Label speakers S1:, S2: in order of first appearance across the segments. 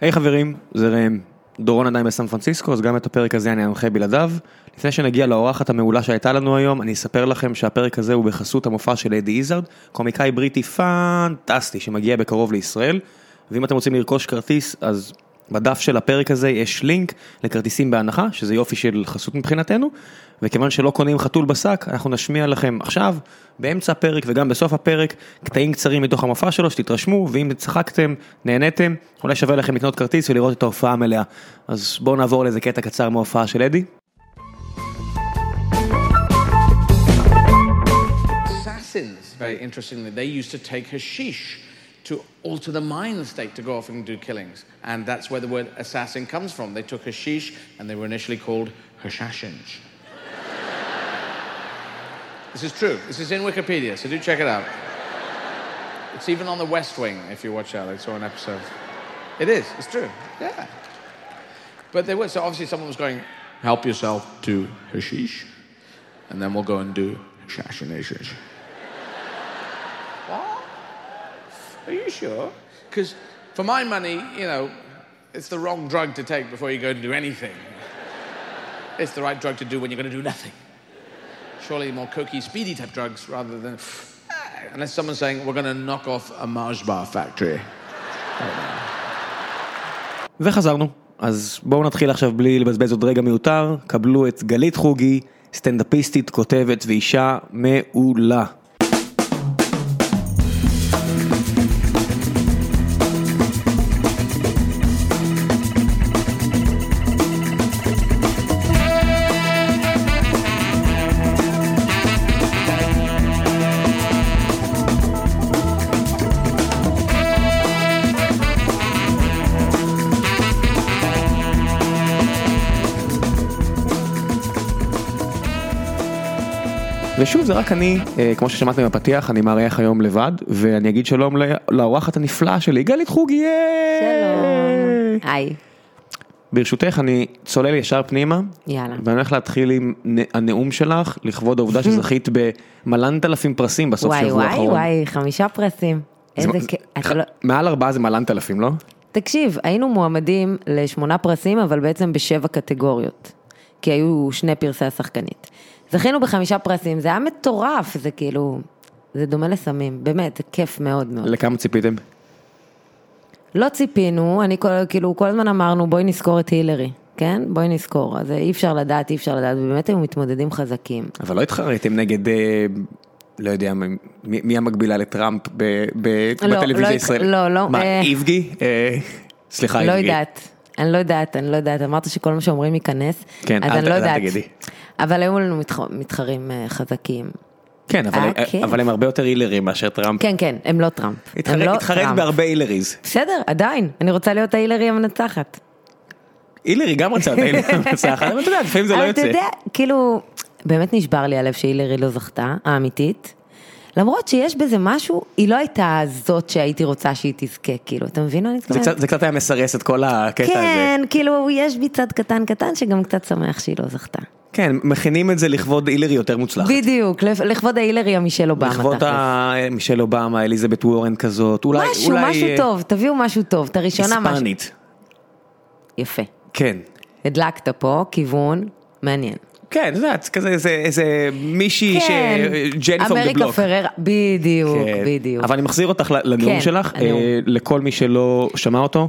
S1: היי חברים, זה ראם. דורון עדיין בסן פרנסיסקו, אז גם את הפרק הזה אני אנחה בלעדיו. לפני שנגיע לאורחת המעולה שהייתה לנו היום, אני אספר לכם שהפרק הזה הוא בחסות המופע של אדי איזארד, קומיקאי בריטי פנטסטי שמגיע בקרוב לישראל. ואם אתם רוצים לרכוש כרטיס, אז בדף של הפרק הזה יש לינק לכרטיסים בהנחה, שזה יופי של חסות מבחינתנו. וכיוון שלא קונים חתול בשק, אנחנו נשמיע לכם עכשיו, באמצע הפרק וגם בסוף הפרק, קטעים קצרים מתוך המופע שלו, שתתרשמו, ואם צחקתם, נהניתם, אולי שווה לכם לקנות כרטיס ולראות את ההופעה המלאה. אז בואו נעבור לאיזה קטע קצר מההופעה של אדי.
S2: assassins, very interestingly, they used to take hashish to alter the mind state to go off and do killings. And that's where the word assassin comes from. They took hashish and they were initially called hashashins. this is true. This is in Wikipedia, so do check it out. It's even on the West Wing, if you watch out. I saw an episode. It is. It's true. Yeah. But they were. So obviously, someone was going, help yourself to hashish, and then we'll go and do assassinations. What? Are you sure? Because for my money, you know, it's the wrong drug to take before you go and do anything. it's the right drug to do when you're going to do nothing. Surely more cokey, speedy type drugs rather than. uh, Unless someone's saying, we're going to knock off a Mars bar factory.
S1: וחזרנו. אז בואו נתחיל עכשיו בלי לבזבז עוד רגע מיותר, קבלו את גלית חוגי, סטנדאפיסטית, כותבת ואישה מעולה. ושוב זה רק אני, אה, כמו ששמעתם בפתיח, אני מארח היום לבד, ואני אגיד שלום לא- לאורחת הנפלאה שלי, גלית חוגי! יאי!
S3: שלום. היי.
S1: ברשותך אני צולל ישר פנימה,
S3: יאללה.
S1: ואני הולך להתחיל עם נ- הנאום שלך, לכבוד העובדה שזכית במלנת אלפים פרסים בסוף
S3: וואי
S1: שבוע
S3: וואי
S1: האחרון.
S3: וואי, חמישה פרסים.
S1: זה-
S3: איזה
S1: זה-
S3: כ...
S1: ח-
S3: אתה לא...
S1: מעל ארבעה זה מלנת אלפים, לא?
S3: תקשיב, היינו מועמדים לשמונה פרסים, אבל בעצם בשבע קטגוריות. כי היו שני פרסי השחקנית. זכינו בחמישה פרסים, זה היה מטורף, זה כאילו... זה דומה לסמים, באמת, זה כיף מאוד מאוד.
S1: לכמה ציפיתם?
S3: לא ציפינו, אני כל, כאילו כל הזמן אמרנו בואי נזכור את הילרי, כן? בואי נזכור, אז אי אפשר לדעת, אי אפשר לדעת, ובאמת היו מתמודדים חזקים.
S1: אבל לא התחרתם נגד, אה, לא יודע, מ- מי מי המקבילה לטראמפ ב- ב-
S3: לא,
S1: בטלוויזיה
S3: לא,
S1: הישראלית?
S3: לא, לא,
S1: מה,
S3: אה.
S1: איבגי? אה, סליחה, איבגי.
S3: לא יודעת, אני לא יודעת, אני לא יודעת, אמרת שכל מה שאומרים ייכנס,
S1: כן,
S3: אז
S1: אל ת-
S3: אני לא
S1: אל
S3: יודעת.
S1: תגידי.
S3: אבל היו לנו מתח- מתחרים אה, חזקים.
S1: כן, אבל
S3: אה,
S1: הם-
S3: כן.
S1: אבל הם הרבה יותר הילרים מאשר טראמפ.
S3: כן, כן, הם לא טראמפ. הם
S1: התחרט-
S3: לא
S1: התחרט
S3: טראמפ.
S1: בהרבה הילריז.
S3: בסדר, עדיין, אני רוצה להיות ההילרי המנצחת.
S1: הילרי גם רצה את הילרי המנצחת, אבל אתה יודע, לפעמים זה לא
S3: אבל
S1: יוצא.
S3: אתה יודע, כאילו, באמת נשבר לי הלב שהילרי לא זכתה, האמיתית. למרות שיש בזה משהו, היא לא הייתה זאת שהייתי רוצה שהיא תזכה, כאילו, אתה מבין מה אני
S1: זה
S3: מתכוונת?
S1: קצת- זה קצת היה מסרס את כל הקטע הזה.
S3: כן, כאילו, יש בי צד קטן קטן שגם קצת שמח שהיא לא זכתה.
S1: כן, מכינים את זה לכבוד הילרי יותר מוצלחת.
S3: בדיוק, לכ- לכבוד ההילרי המישל אובמה.
S1: לכבוד
S3: תכלס.
S1: ה- מישל אובמה, אליזבת וורן כזאת, אולי...
S3: משהו,
S1: אולי,
S3: משהו
S1: אה,
S3: טוב, תביאו משהו טוב, את הראשונה משהו.
S1: היספנית,
S3: יפה.
S1: כן.
S3: הדלקת פה, כיוון, מעניין. כן,
S1: כן, את יודעת, כזה איזה- איזה מישהי ש... ג'ני פום דה
S3: אמריקה
S1: בלוק. כן.
S3: פררה, בדיוק, בדיוק.
S1: אבל אני מחזיר אותך ל- לנאום
S3: כן,
S1: שלך, אה,
S3: הנאום.
S1: לכל מי שלא שמע אותו,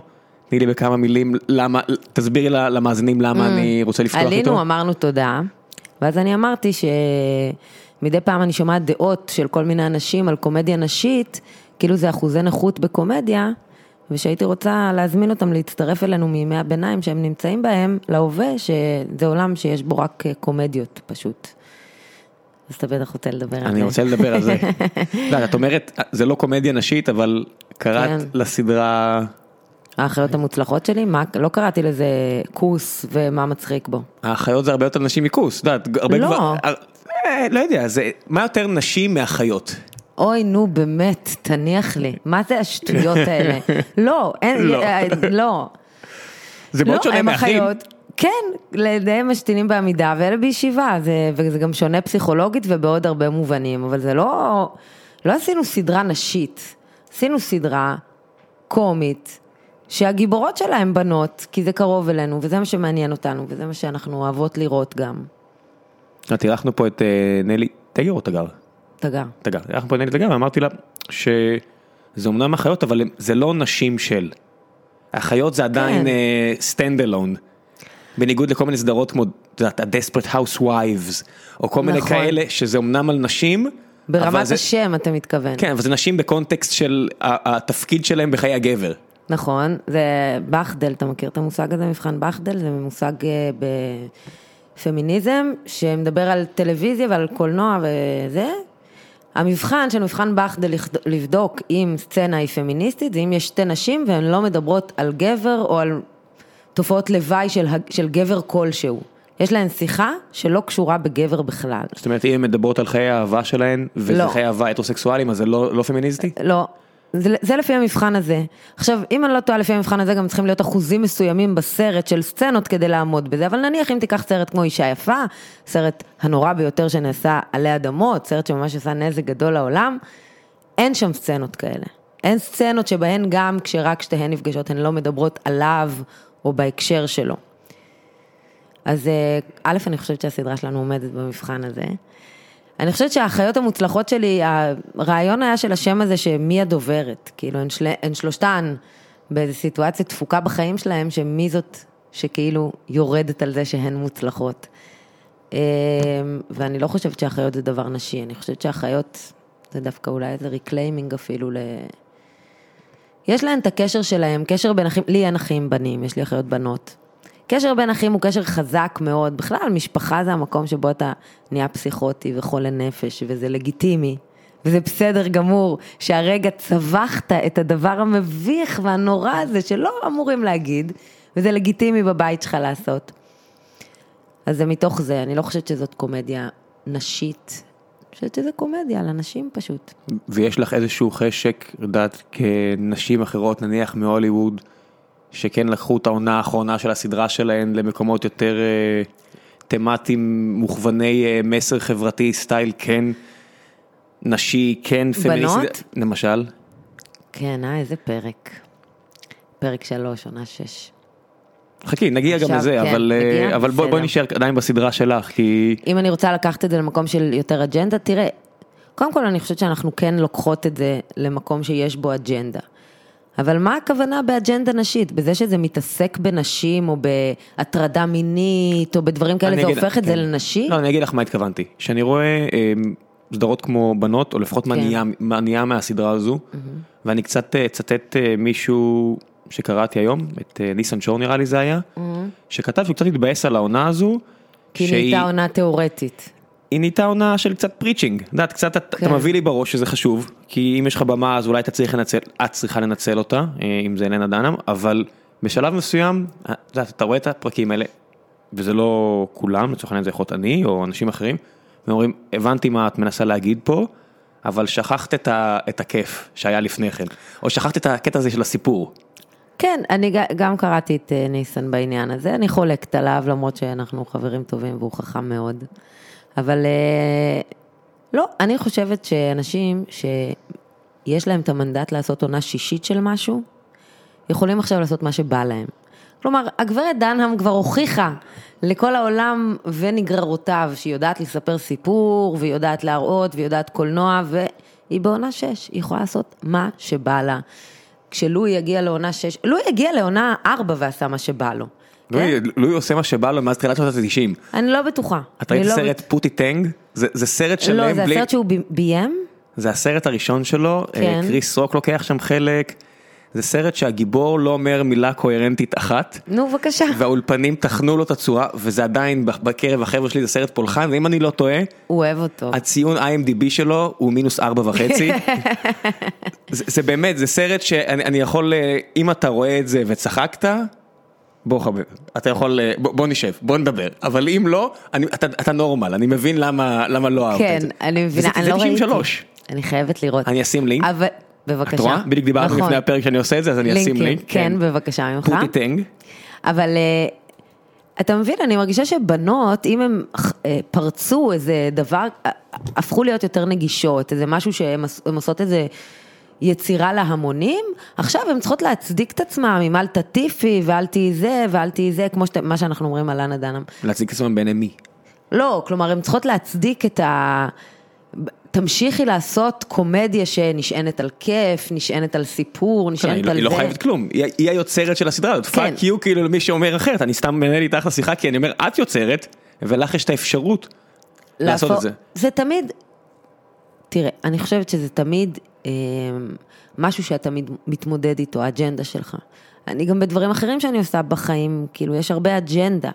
S1: תני לי בכמה מילים למה, תסבירי ל- למאזינים למה אני רוצה לפתוח
S3: Mm. עלינו,
S1: איתו.
S3: אמרנו תודה, ואז אני אמרתי שמדי פעם אני שומעת דעות של כל מיני אנשים על קומדיה נשית, כאילו זה אחוזי נכות בקומדיה, ושהייתי רוצה להזמין אותם להצטרף אלינו מימי הביניים שהם נמצאים בהם, להווה, שזה עולם שיש בו רק אה, קומדיות פשוט. אז אתה בטח רוצה לדבר על זה.
S1: אני רוצה לדבר על זה. לא, את אומרת, זה לא קומדיה נשית, אבל קראת
S3: כן.
S1: לסדרה,
S3: האחיות המוצלחות שלי, מה, לא קראתי לזה כוס ומה מצחיק בו.
S1: האחיות זה הרבה יותר נשים מכוס, את יודעת, הרבה
S3: לא.
S1: כבר... אה, לא יודע, זה, מה יותר נשים מאחיות?
S3: אוי, נו, באמת, תניח לי. מה זה השטויות האלה? לא, אין,
S1: לא.
S3: אה, לא.
S1: זה מאוד שונה מאחים.
S3: כן, לידיהם משתינים בעמידה ואלה בישיבה, זה, וזה גם שונה פסיכולוגית ובעוד הרבה מובנים, אבל זה לא, לא עשינו סדרה נשית, עשינו סדרה קומית, שהגיבורות שלהם בנות, כי זה קרוב אלינו, וזה מה שמעניין אותנו, וזה מה שאנחנו אוהבות לראות גם.
S1: את אירחנו פה את אה, נלי תגר או תגר?
S3: תגר.
S1: תגר. אירחנו פה את נלי תגר ואמרתי לה שזה אומנם אחיות אבל הם- זה לא נשים של. אחיות זה עדיין
S3: כן.
S1: סטנד אלון. בניגוד לכל מיני סדרות כמו את יודעת, ה-Desperate Housewives או כל מיני
S3: נכון.
S1: כאלה שזה אומנם על נשים. אבל
S3: ברמת
S1: זה-
S3: זה... השם, אתה מתכוון.
S1: כן, אבל זה נשים בקונטקסט של ה- התפקיד שלהם בחיי הגבר.
S3: נכון, זה בחדל, אתה מכיר את המושג הזה, מבחן בחדל? זה מושג אה, בפמיניזם, שמדבר על טלוויזיה ועל קולנוע וזה. המבחן של מבחן בחדל לכד- לבדוק אם סצנה היא פמיניסטית, זה אם יש שתי נשים והן לא מדברות על גבר או על תופעות לוואי של, הג- של גבר כלשהו. יש להן שיחה שלא קשורה בגבר בכלל.
S1: זאת אומרת, אם הן מדברות על חיי האהבה שלהן, וזה
S3: לא.
S1: חיי אהבה הטרוסקסואליים, אז זה לא, לא פמיניסטי?
S3: לא. זה, זה לפי המבחן הזה. עכשיו, אם אני לא טועה לפי המבחן הזה, גם צריכים להיות אחוזים מסוימים בסרט של סצנות כדי לעמוד בזה, אבל נניח אם תיקח סרט כמו אישה יפה, סרט הנורא ביותר שנעשה עלי אדמות, סרט שממש עשה נזק גדול לעולם, אין שם סצנות כאלה. אין סצנות שבהן גם כשרק שתיהן נפגשות, הן לא מדברות עליו או בהקשר שלו. אז אה, א', אני חושבת שהסדרה שלנו עומדת במבחן הזה. אני חושבת שהאחיות המוצלחות שלי, הרעיון היה של השם הזה שמי הדוברת, כאילו הן, של... הן שלושתן באיזו סיטואציה תפוקה בחיים שלהם, שמי זאת שכאילו יורדת על זה שהן מוצלחות. אה, ואני לא חושבת שאחיות זה דבר נשי, אני חושבת שאחיות זה דווקא אולי איזה ריקליימינג אפילו ל... יש להן את הקשר שלהם, קשר בין אחים, לי אין אחים בנים, יש לי אחיות בנות. קשר בין אחים הוא קשר חזק מאוד, בכלל משפחה זה המקום שבו אתה נהיה פסיכוטי וחולה נפש, וזה לגיטימי, וזה בסדר גמור, שהרגע צווחת את הדבר המביך והנורא הזה שלא אמורים להגיד, וזה לגיטימי בבית שלך לעשות. אז זה מתוך זה, אני לא חושבת שזאת קומדיה נשית, אני חושבת שזה קומדיה לנשים פשוט.
S1: ויש לך איזשהו חשק, יודעת, כנשים אחרות, נניח מהוליווד, שכן לקחו את העונה האחרונה של הסדרה שלהן למקומות יותר אה, תמטיים, מוכווני אה, מסר חברתי, סטייל כן נשי, כן פמיניסטי.
S3: בנות?
S1: למשל?
S3: כן, אה, איזה פרק. פרק שלוש, עונה שש.
S1: חכי, נגיע גם
S3: עכשיו,
S1: לזה,
S3: כן,
S1: אבל, אה,
S3: נגיע?
S1: אבל בואי בוא
S3: בסדר.
S1: נשאר עדיין בסדרה שלך, כי...
S3: אם אני רוצה לקחת את זה למקום של יותר אג'נדה, תראה, קודם כל אני חושבת שאנחנו כן לוקחות את זה למקום שיש בו אג'נדה. אבל מה הכוונה באג'נדה נשית? בזה שזה מתעסק בנשים, או בהטרדה מינית, או בדברים כאלה,
S1: אני
S3: זה
S1: אגיד-
S3: הופך את
S1: כן.
S3: זה לנשי?
S1: לא, אני אגיד לך מה התכוונתי. שאני רואה אה, סדרות כמו בנות, או לפחות מה
S3: כן.
S1: נהיה- מה נהיה מהסדרה הזו, ואני קצת אה, אצטט אה, מישהו שקראתי היום, את אה, ניסן שור נראה לי זה היה, שכתב שהוא קצת התבאס על העונה הזו.
S3: כי
S1: שהיא-
S3: נהייתה עונה תיאורטית.
S1: היא נהייתה עונה של קצת פריצ'ינג, את יודעת, קצת אתה- אתה
S3: כן.
S1: מביא לי בראש שזה חשוב, כי אם יש לך במה אז אולי אתה צריך לנצל, את צריכה לנצל אותה, אה, אם זה אלנה דנאם, אבל בשלב מסוים, אה, את יודעת, אתה רואה את הפרקים האלה, וזה לא כולם, לצורך העניין זה יכול להיות אני או אנשים אחרים, ואומרים, הבנתי מה את מנסה להגיד פה, אבל שכחת את, ה, את הכיף שהיה לפני כן, או שכחת את הקטע הזה של הסיפור.
S3: כן, אני ג- גם קראתי את אה, ניסן בעניין הזה, אני חולקת עליו, למרות שאנחנו חברים טובים והוא חכם מאוד. אבל אה, לא, אני חושבת שאנשים שיש להם את המנדט לעשות עונה שישית של משהו, יכולים עכשיו לעשות מה שבא להם. כלומר, הגברת דנהם כבר הוכיחה לכל העולם ונגררותיו שהיא יודעת לספר סיפור, והיא יודעת להראות, והיא יודעת קולנוע, והיא בעונה 6, היא יכולה לעשות מה שבא לה. כשלואי יגיע לעונה 6, לואי יגיע לעונה 4 ועשה מה שבא לו. כן?
S1: לואי, לואי עושה מה שבא לו מאז תחילת שנות ה-90.
S3: אני לא בטוחה.
S1: אתה
S3: אני
S1: ראית
S3: לא
S1: סרט פוטי טנג? זה, זה סרט שלם
S3: לא, זה
S1: בלי...
S3: הסרט שהוא ב- ביים?
S1: זה הסרט הראשון שלו, כן.
S3: כן.
S1: קריס רוק לוקח שם חלק, זה סרט שהגיבור לא אומר מילה קוהרנטית אחת,
S3: נו, בבקשה.
S1: והאולפנים טחנו לו את הצורה, וזה עדיין בקרב החבר'ה שלי זה סרט פולחן, ואם אני לא טועה,
S3: הוא אוהב אותו.
S1: הציון IMDb שלו הוא מינוס ארבע וחצי. זה, זה באמת, זה סרט שאני אני יכול, אה, אם אתה רואה את זה וצחקת, בוא חבר, אתה יכול, אה, בוא, בוא נשב, בוא נדבר, אבל אם לא, אני, אתה, אתה נורמל, אני מבין למה, למה לא אהבת
S3: כן,
S1: את זה.
S3: אני
S1: וזה-
S3: מבינה, אני
S1: זה
S3: לא ראיתי.
S1: 93.
S3: אני חייבת לראות.
S1: אני אשים לינק.
S3: אבל, בבקשה.
S1: את רואה? בדיוק דיברנו
S3: נכון.
S1: לפני הפרק שאני עושה את זה, אז אני אשים
S3: לינקים,
S1: לינק.
S3: כן, בבקשה ממך.
S1: פוטי טנג.
S3: אבל אה, אתה מבין, אני מרגישה שבנות, אם הן אה, פרצו איזה דבר, אה, הפכו להיות יותר נגישות, איזה משהו שהן עש- הן עושות איזה יצירה להמונים, עכשיו הן צריכות להצדיק את עצמם עם אל תטיפי ואל תהי זה ואל תהי זה, כמו שאת, מה שאנחנו אומרים על אנה דנם.
S1: להציג את עצמם בעיני מי?
S3: לא, כלומר, הן צריכות להצדיק את ה... תמשיכי לעשות קומדיה שנשענת על כיף, נשענת על סיפור,
S1: כן, היא
S3: נשענת
S1: לא-
S3: על זה.
S1: היא לא חייבת כלום, היא היא היוצרת של הסדרה הזאת,
S3: כן.
S1: פאק יו כאילו למי שאומר אחרת, אני סתם מנהל איתך את השיחה כי אני אומר את יוצרת ולך יש את האפשרות לעשות
S3: להפוך-
S1: את זה.
S3: זה תמיד, תראה, אני חושבת שזה תמיד אה, משהו שאתה מת- מתמודד איתו, האג'נדה שלך. אני גם בדברים אחרים שאני עושה בחיים, כאילו, יש הרבה אג'נדה,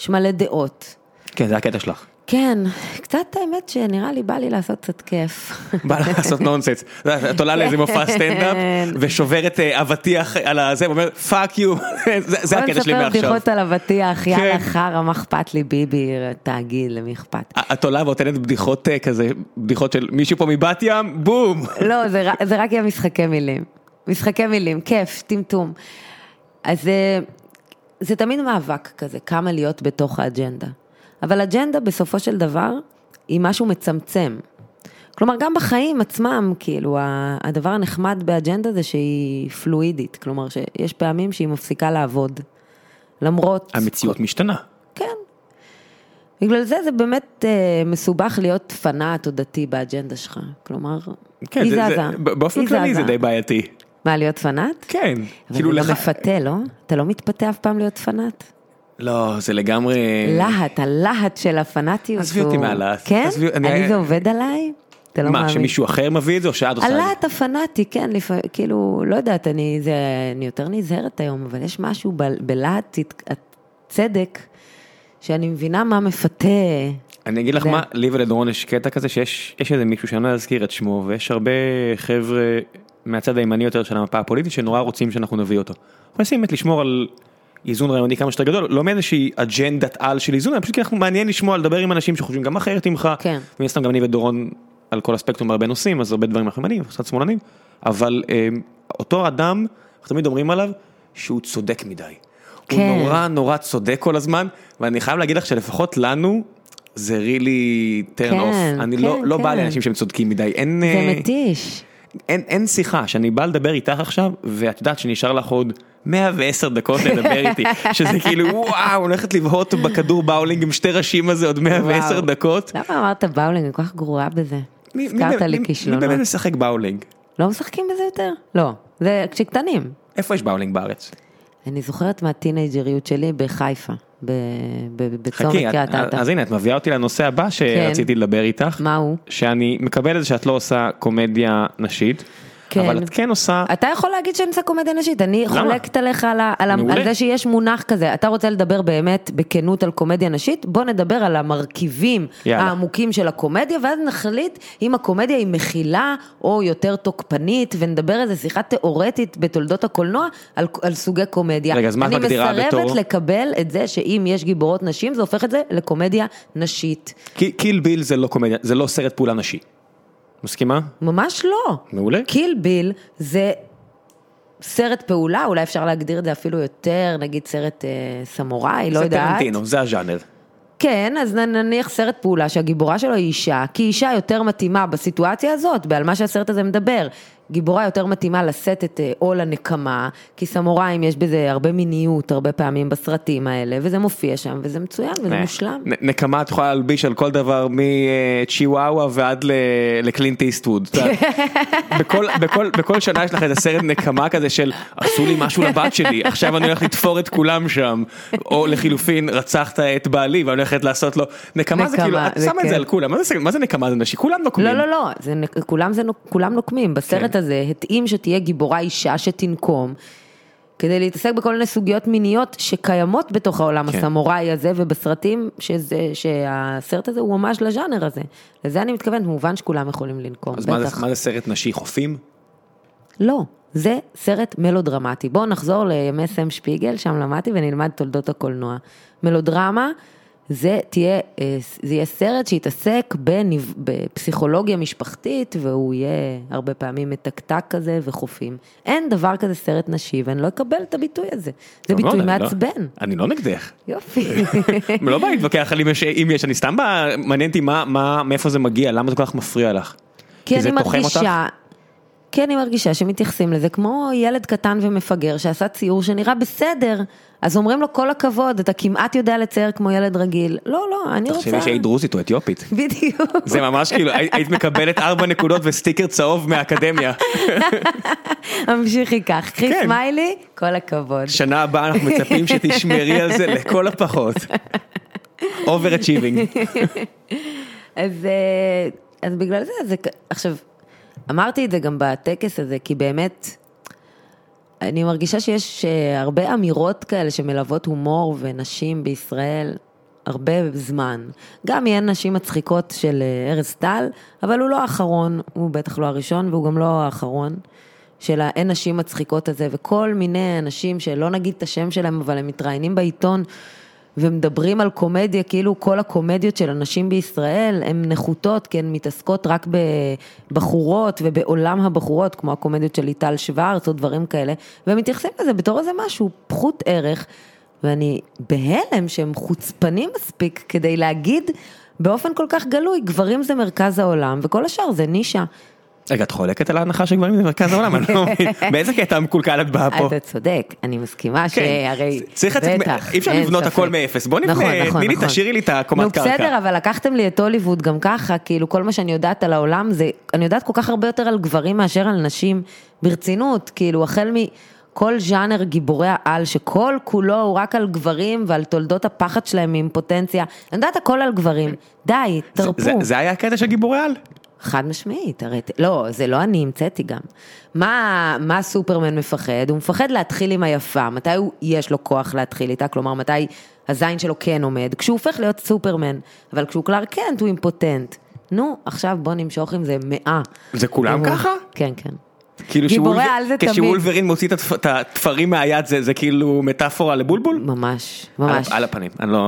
S3: יש מלא דעות.
S1: כן זה הקטע שלך.
S3: כן, קצת האמת שנראה לי בא לי לעשות קצת כיף.
S1: בא לך לעשות נונסנס, את עולה לאיזה מופע סטנדאפ
S3: כן.
S1: ושוברת אה, אבטיח על הזה ואומרת פאק יו, זה הקטע שלי
S3: בוא נספר
S1: מעכשיו.
S3: בדיחות על אבטיח,
S1: כן.
S3: יאללה חרא, מה אכפת לי, ביבי, תאגיד, למי אכפת.
S1: את עולה ונותנת בדיחות אה, כזה, בדיחות של מישהו פה מבת ים, בום.
S3: לא, זה, ר- זה רק יהיה משחקי מילים. משחקי מילים, כיף, טמטום. אז זה, זה תמיד מאבק כזה, כמה להיות בתוך האג'נדה. אבל אג'נדה בסופו של דבר היא משהו מצמצם. כלומר, גם בחיים עצמם, כאילו, ה- הדבר הנחמד באג'נדה זה שהיא פלואידית. כלומר, שיש פעמים שהיא מפסיקה לעבוד. למרות...
S1: המציאות משתנה.
S3: כן. בגלל זה זה באמת אה, מסובך להיות פנאט או דתי באג'נדה שלך. כלומר,
S1: כן,
S3: היא
S1: זה- זה-
S3: זזה.
S1: ב- באופן
S3: היא
S1: כללי
S3: זזה.
S1: זה די בעייתי.
S3: מה, להיות פנאט?
S1: כן.
S3: כאילו לך... אבל זה
S1: לך-
S3: לא מפתה, לא? אתה לא מתפתה אף פעם להיות פנאט?
S1: לא, זה לגמרי...
S3: להט, הלהט של הפנאטיות.
S1: עזבי אותי
S3: הוא-
S1: מהלהט.
S3: כן?
S1: עזבי- אני-
S3: אני זה עובד עליי? אתה לא
S1: מה,
S3: מאמין.
S1: שמישהו אחר מביא את זה או שאת עושה את זה?
S3: הלהט הפנאטי, כן, לפ... כאילו, לא יודעת, אני, זה, אני יותר נזהרת היום, אבל יש משהו ב... בלהט הת- הצדק, שאני מבינה מה מפתה.
S1: אני אגיד לך
S3: זה-
S1: מה, לי ולדורון יש קטע כזה שיש יש איזה מישהו שאני לא אזכיר את שמו ויש הרבה חבר'ה מהצד הימני יותר של המפה הפוליטית שנורא רוצים שאנחנו נביא אותו. אנחנו מנסים באמת לשמור על איזון רעיוני כמה שיותר גדול, לא מאיזושהי אג'נדת על של איזון, אלא פשוט כי אנחנו מעניין לשמוע, לדבר עם אנשים שחושבים גם אחרת ממך.
S3: כן.
S1: ומן הסתם גם אני ודורון על כל הספקטרום בהרבה נושאים, אז הרבה דברים אנחנו ימנים, קצת שמאלנים, אבל אה, אותו אדם, אנחנו תמיד אומרים עליו שהוא צודק מדי.
S3: כן.
S1: הוא נורא נורא צודק כל הזמן, ואני חייב להגיד לך שלפחות לנו, זה really turn
S3: כן,
S1: off. אני לא,
S3: כן,
S1: לא בא
S3: כן.
S1: לאנשים שהם צודקים מדי, אין,
S3: זה
S1: אה,
S3: מתיש.
S1: אין, אין שיחה שאני בא לדבר איתך עכשיו, ואת יודעת שנשאר לך עוד 110 דקות לדבר איתי, שזה כאילו וואו, הולכת לבהות בכדור באולינג עם שתי ראשים הזה עוד 110
S3: וואו.
S1: דקות.
S3: למה אמרת באולינג? אני כל כך גרועה בזה.
S1: מי- מי
S3: הזכרת
S1: באמת-
S3: לי
S1: מי-
S3: כישלונות.
S1: מי באמת משחק באולינג?
S3: לא משחקים בזה יותר? לא. זה כשקטנים.
S1: איפה יש באולינג בארץ?
S3: אני זוכרת מהטינג'ריות שלי בחיפה, ב- ב- בצומת
S1: חכי, את-
S3: קריית אתא.
S1: אז הנה את מביאה אותי לנושא
S3: כן.
S1: הבא שרציתי לדבר איתך.
S3: מה הוא?
S1: שאני מקבל את זה שאת לא עושה קומדיה נשית,
S3: כן.
S1: אבל את כן עושה,
S3: אתה יכול להגיד שאני עושה קומדיה נשית, אני
S1: למה?
S3: חולקת עליך על, ה- על, ה-
S1: מעולה.
S3: על זה שיש מונח כזה. אתה רוצה לדבר באמת בכנות על קומדיה נשית? בוא נדבר על המרכיבים
S1: יאללה.
S3: העמוקים של הקומדיה, ואז נחליט אם הקומדיה היא מכילה או יותר תוקפנית, ונדבר איזה שיחה תיאורטית בתולדות הקולנוע על, על סוגי קומדיה.
S1: רגע, אז מה את מגדירה
S3: אני
S1: בתור-
S3: מסרבת לקבל את זה שאם יש גיבורות נשים, זה הופך את זה לקומדיה נשית.
S1: כי- קיל ביל זה לא קומדיה, זה לא סרט פעולה נשי. מסכימה?
S3: ממש לא.
S1: מעולה.
S3: קיל ביל זה סרט פעולה, אולי אפשר להגדיר את זה אפילו יותר, נגיד סרט אה, סמוראי, לא
S1: זה
S3: יודעת.
S1: טרנטינו, זה הז'אנר.
S3: כן, אז נ- נניח סרט פעולה שהגיבורה שלו היא אישה, כי אישה יותר מתאימה בסיטואציה הזאת, על מה שהסרט הזה מדבר. גיבורה יותר מתאימה לשאת את אה, עול הנקמה, כי סמוראים יש בזה הרבה מיניות, הרבה פעמים בסרטים האלה, וזה מופיע שם, וזה מצוין, וזה
S1: אה,
S3: מושלם.
S1: נ- נקמה את יכולה להלביש על כל דבר מצ'יוואווה ועד ל- לקלינט איסטווד. את יודעת. בכל- בכל- בכל שנה יש לך איזה סרט נקמה כזה של עשו לי משהו לבת שלי, עכשיו אני הולך לתפור את כולם שם. או לחילופין, רצחת את בעלי ואני הולכת לעשות לו. נקמה זה
S3: נקמה,
S1: כאילו, את
S3: זה
S1: שמה את זה
S3: כן.
S1: על כולם, מה זה- מה זה נקמה זה נשי? כולם נוקמים.
S3: לא, לא, לא, זה, נ- כולם, זה, נוק- כולם נוקמים. בסרט
S1: כן.
S3: הזה התאים שתהיה גיבורה אישה שתנקום, כדי להתעסק בכל מיני סוגיות מיניות שקיימות בתוך העולם
S1: כן.
S3: הסמוראי הזה, ובסרטים שזה, שהסרט הזה הוא ממש לז'אנר הזה. לזה אני מתכוונת, מובן שכולם יכולים לנקום,
S1: אז
S3: בטח.
S1: מה זה- מה זה סרט נשי חופים?
S3: לא, זה סרט מלודרמטי. בואו נחזור לימי סם שפיגל, שם למדתי ונלמד תולדות הקולנוע. מלודרמה, זה, תהיה, אה, זה יהיה סרט שיתעסק בניב, בפסיכולוגיה משפחתית, והוא יהיה הרבה פעמים מתקתק כזה וחופים. אין דבר כזה סרט נשי, ואני לא אקבל את הביטוי הזה. זה
S1: לא,
S3: ביטוי
S1: לא, אני לא-
S3: מעצבן.
S1: אני לא נגדך.
S3: יופי.
S1: לא בא להתווכח על אם יש, אם יש, אני סתם בא- מעניין אותי מה, מה, מאיפה זה מגיע, למה זה כל כך מפריע לך.
S3: כי אני
S1: זה תוחם אותך?
S3: מרגישה, כי אני מרגישה שמתייחסים לזה כמו ילד קטן ומפגר שעשה ציור שנראה בסדר, אז אומרים לו כל הכבוד, אתה כמעט יודע לצייר כמו ילד רגיל. לא, לא, אני רוצה...
S1: תחשבי שהיית דרוזית או אתיופית.
S3: בדיוק.
S1: זה ממש כאילו, היית- היית מקבלת ארבע נקודות וסטיקר צהוב מהאקדמיה.
S3: המשיכי כך, קחי
S1: כן.
S3: סמיילי, כל הכבוד.
S1: שנה הבאה אנחנו מצפים שתשמרי על זה לכל הפחות. אובר אצ'יבינג.
S3: אז, אה, אז בגלל זה, זה, כ- עכשיו, אמרתי את זה גם בטקס הזה, כי באמת, אני מרגישה שיש אה, הרבה אמירות כאלה שמלוות הומור ונשים בישראל הרבה זמן. גם יהיה נשים מצחיקות של אה, ארז טל, אבל הוא לא האחרון, הוא בטח לא הראשון והוא גם לא האחרון. של האין נשים מצחיקות הזה, וכל מיני אנשים שלא נגיד את השם שלהם, אבל הם מתראיינים בעיתון ומדברים על קומדיה, כאילו כל הקומדיות של הנשים בישראל הן נחותות, כי הן מתעסקות רק בבחורות ובעולם הבחורות, כמו הקומדיות של ליטל שוורץ או דברים כאלה, והם מתייחסים לזה בתור איזה משהו פחות ערך, ואני בהלם שהם חוצפנים מספיק כדי להגיד באופן כל כך גלוי, גברים זה מרכז העולם וכל השאר זה נישה.
S1: רגע, את חולקת על ההנחה שגברים זה מרכז העולם? אני לא מבין. באיזה קטע המקולקל את באה פה? כן,
S3: אתה צודק, אני מסכימה שהרי,
S1: צריך לצאת,
S3: בטח,
S1: אי אפשר
S3: אין
S1: לבנות
S3: ספק.
S1: הכל מאפס, בוא נבנה,
S3: נכון, נכון,
S1: תני לי,
S3: נכון.
S1: תשאירי לי את הקומת
S3: נו
S1: קרקע.
S3: בסדר, אבל לקחתם לי את הוליווד גם ככה, כאילו כל מה שאני יודעת על העולם זה, אני יודעת כל כך הרבה יותר על גברים מאשר על נשים, ברצינות, כאילו החל מכל ז'אנר גיבורי העל, שכל כולו הוא רק על גברים ועל תולדות הפחד שלהם מאימפוטנציה, אני יודעת הכל על גברים, די,
S1: זה-
S3: תרפו.
S1: זה- זה היה הקטע של גיבורי על?
S3: חד משמעית, הרי, ת- לא, זה לא אני המצאתי גם. מה, מה סופרמן מפחד? הוא מפחד להתחיל עם היפה, מתי הוא, יש לו כוח להתחיל איתה, כלומר מתי הזין שלו כן עומד, כשהוא הופך להיות סופרמן, אבל כשהוא קלארק קנט הוא אימפוטנט. נו, עכשיו בוא נמשוך עם זה מאה.
S1: זה כולם
S3: והוא-
S1: ככה?
S3: כן, כן.
S1: כאילו
S3: גיבורי
S1: שוולבר-
S3: על זה תמיד.
S1: כשוולברין מוציא את התפ- את התפרים מהיד זה זה כאילו מטאפורה לבולבול?
S3: ממש,
S1: על-
S3: ממש.
S1: על הפנים, אני לא...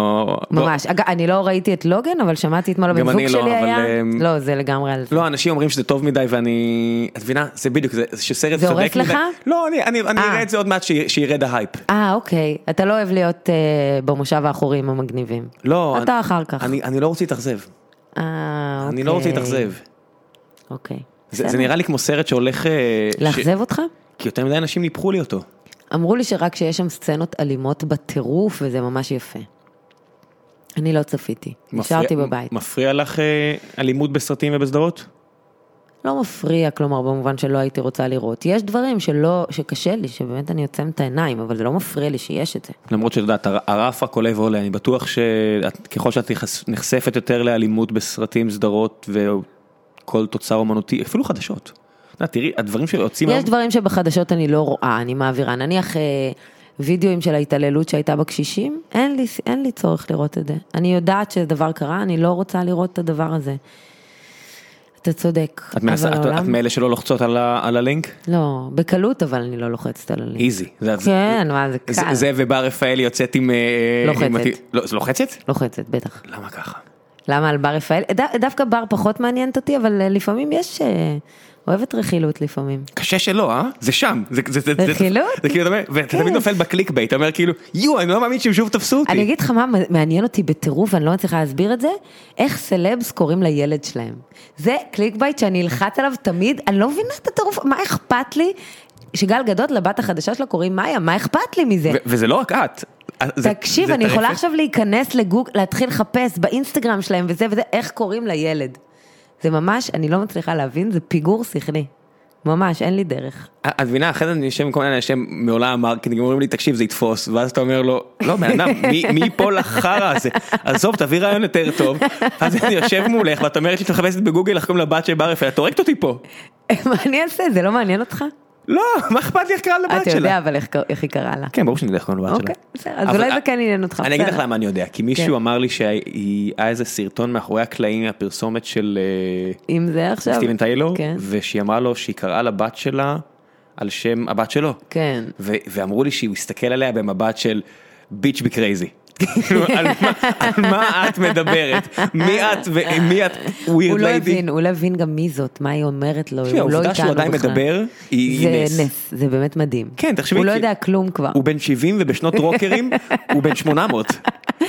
S1: לא-
S3: ממש. אגב, אני לא ראיתי את לוגן, אבל שמעתי אתמול
S1: גם
S3: הבן
S1: אני
S3: זוג
S1: לא,
S3: שלי
S1: אבל,
S3: היה...
S1: אמ,
S3: לא, זה לגמרי על זה.
S1: לא, אנשים אומרים שזה טוב מדי ואני... את מבינה? זה בדיוק, זה זה שסרט
S3: זה
S1: צודק מדי.
S3: הורס לך?
S1: לא, אני- אני אני
S3: אה.
S1: אראה את זה עוד מעט שי- שירד ההייפ.
S3: אה, אוקיי. אתה לא אוהב להיות אה, במושב האחורי עם המגניבים.
S1: לא.
S3: אתה
S1: אני-
S3: אחר כך.
S1: אני אני לא רוצה להתאכזב.
S3: אה, אוקיי.
S1: אני לא רוצה להתאכזב.
S3: אוקיי.
S1: זה
S3: בסדר.
S1: זה נראה לי כמו סרט שהולך... אה, ש-
S3: לאכזב אותך?
S1: כי יותר מדי אנשים ניפחו לי אותו.
S3: אמרו לי שרק שיש שם סצנות אלימות בטירוף, וזה ממש יפה. אני לא צפיתי,
S1: מפריע-
S3: נשארתי בבית.
S1: מפריע לך אה, אלימות בסרטים ובסדרות?
S3: לא מפריע, כלומר, במובן שלא הייתי רוצה לראות. יש דברים שלא, שקשה לי, שבאמת אני עוצמת את העיניים, אבל זה לא מפריע לי שיש את זה.
S1: למרות שאת יודעת, הר- הרף רק עולה ועולה, אני בטוח שככל שאת נחש- נחשפת יותר לאלימות בסרטים, סדרות וכל תוצר אומנותי, אפילו חדשות. את יודעת, תראי, הדברים שיוצאים
S3: יש דברים שבחדשות אני לא רואה, אני מעבירה. נניח אה, וידאוים של ההתעללות שהייתה בקשישים, אין לי, אין לי צורך לראות את זה. אני יודעת שדבר קרה, אני לא רוצה לראות את הדבר הזה. אתה צודק.
S1: את, מנסה,
S3: אבל
S1: את, את
S3: העולם-
S1: מאלה שלא לוחצות על, ה, על הלינק?
S3: לא, בקלות אבל אני לא לוחצת על הלינק.
S1: איזי. זה,
S3: כן, מה זה קל.
S1: זה, זה ובר רפאל יוצאת עם... אה,
S3: לוחצת.
S1: עם הת- לא, זה לוחצת?
S3: לוחצת, בטח.
S1: למה ככה?
S3: למה על בר רפאל? ד- דווקא בר פחות מעניינת אותי, אבל אה, לפעמים יש... אה, אוהבת רכילות לפעמים.
S1: קשה שלא, אה? זה שם. זה, זה, זה, זה,
S3: רכילות?
S1: זה כאילו, אתה אומר, ואתה
S3: כן.
S1: תמיד נופל בקליק בייט, אתה אומר כאילו, יואו, אני לא מאמין שהם שוב תפסו אותי.
S3: אני אגיד לך מה מעניין אותי בטירוף, אני לא מצליחה להסביר את זה, איך סלבס קוראים לילד שלהם. זה קליק בייט שאני אלחץ עליו תמיד, אני לא מבינה את הטירוף, מה אכפת לי שגל גדות לבת החדשה שלה קוראים מאיה, מה אכפת לי מזה?
S1: ו- וזה לא רק את. זה-
S3: תקשיב,
S1: זה
S3: אני יכולה
S1: טרפת.
S3: עכשיו להיכנס לגוג, להתחיל לחפש באינסטגרם שלהם וזה וזה, איך קוראים לילד. זה ממש, אני לא מצליחה להבין, זה פיגור שכלי. ממש, אין לי דרך.
S1: את מבינה, אחרי זה אני יושב עם כל מיני אנשים מעולם המרקטינג, אומרים לי, תקשיב, זה יתפוס, ואז אתה אומר לו, לא, בן אדם, מי- מי ייפול לחרא הזה? עזוב, תביא רעיון יותר טוב. אז אני יושב מולך, ואת אומרת לי, שאת מחפשת בגוגל, איך קוראים לבת של בר רפאל, את הורגת אותי פה.
S3: מה אני אעשה? זה לא מעניין אותך?
S1: לא, מה אכפת לי איך קרא לבת
S3: אתה
S1: שלה?
S3: יודע אבל איך קר- איך היא קראה לה.
S1: כן, ברור שאני יודע איך קוראים לבת שלה.
S3: אוקיי, בסדר, אז
S1: אבל-
S3: אולי זה כן עניין אותך,
S1: אני אגיד לך
S3: בסדר. כן.
S1: למה אני יודע, כי מישהו אמר לי שהיה איזה סרטון מאחורי הקלעים מהפרסומת של אה,
S3: אם זה עכשיו...
S1: סטיבן טיילור,
S3: כן.
S1: ושהיא אמרה לו שהיא קראה לבת שלה על שם הבת שלו.
S3: כן.
S1: ו- ואמרו לי שהוא הסתכל עליה במבט של ביץ' בי קרייזי. כאילו, על מה- על מה את מדברת? מי את ומי את
S3: הוא
S1: ווירד
S3: לא
S1: ליידי?
S3: הבין, הוא לא הבין גם מי זאת, מה היא אומרת לו, הוא לא איתנו בכלל.
S1: העובדה שהוא עדיין מדבר היא היא
S3: זה
S1: נס.
S3: נס, זה באמת מדהים.
S1: כן, תחשבי
S3: הוא לא
S1: כי-
S3: יודע כלום כבר.
S1: הוא בן 70 ובשנות רוקרים הוא בן 800.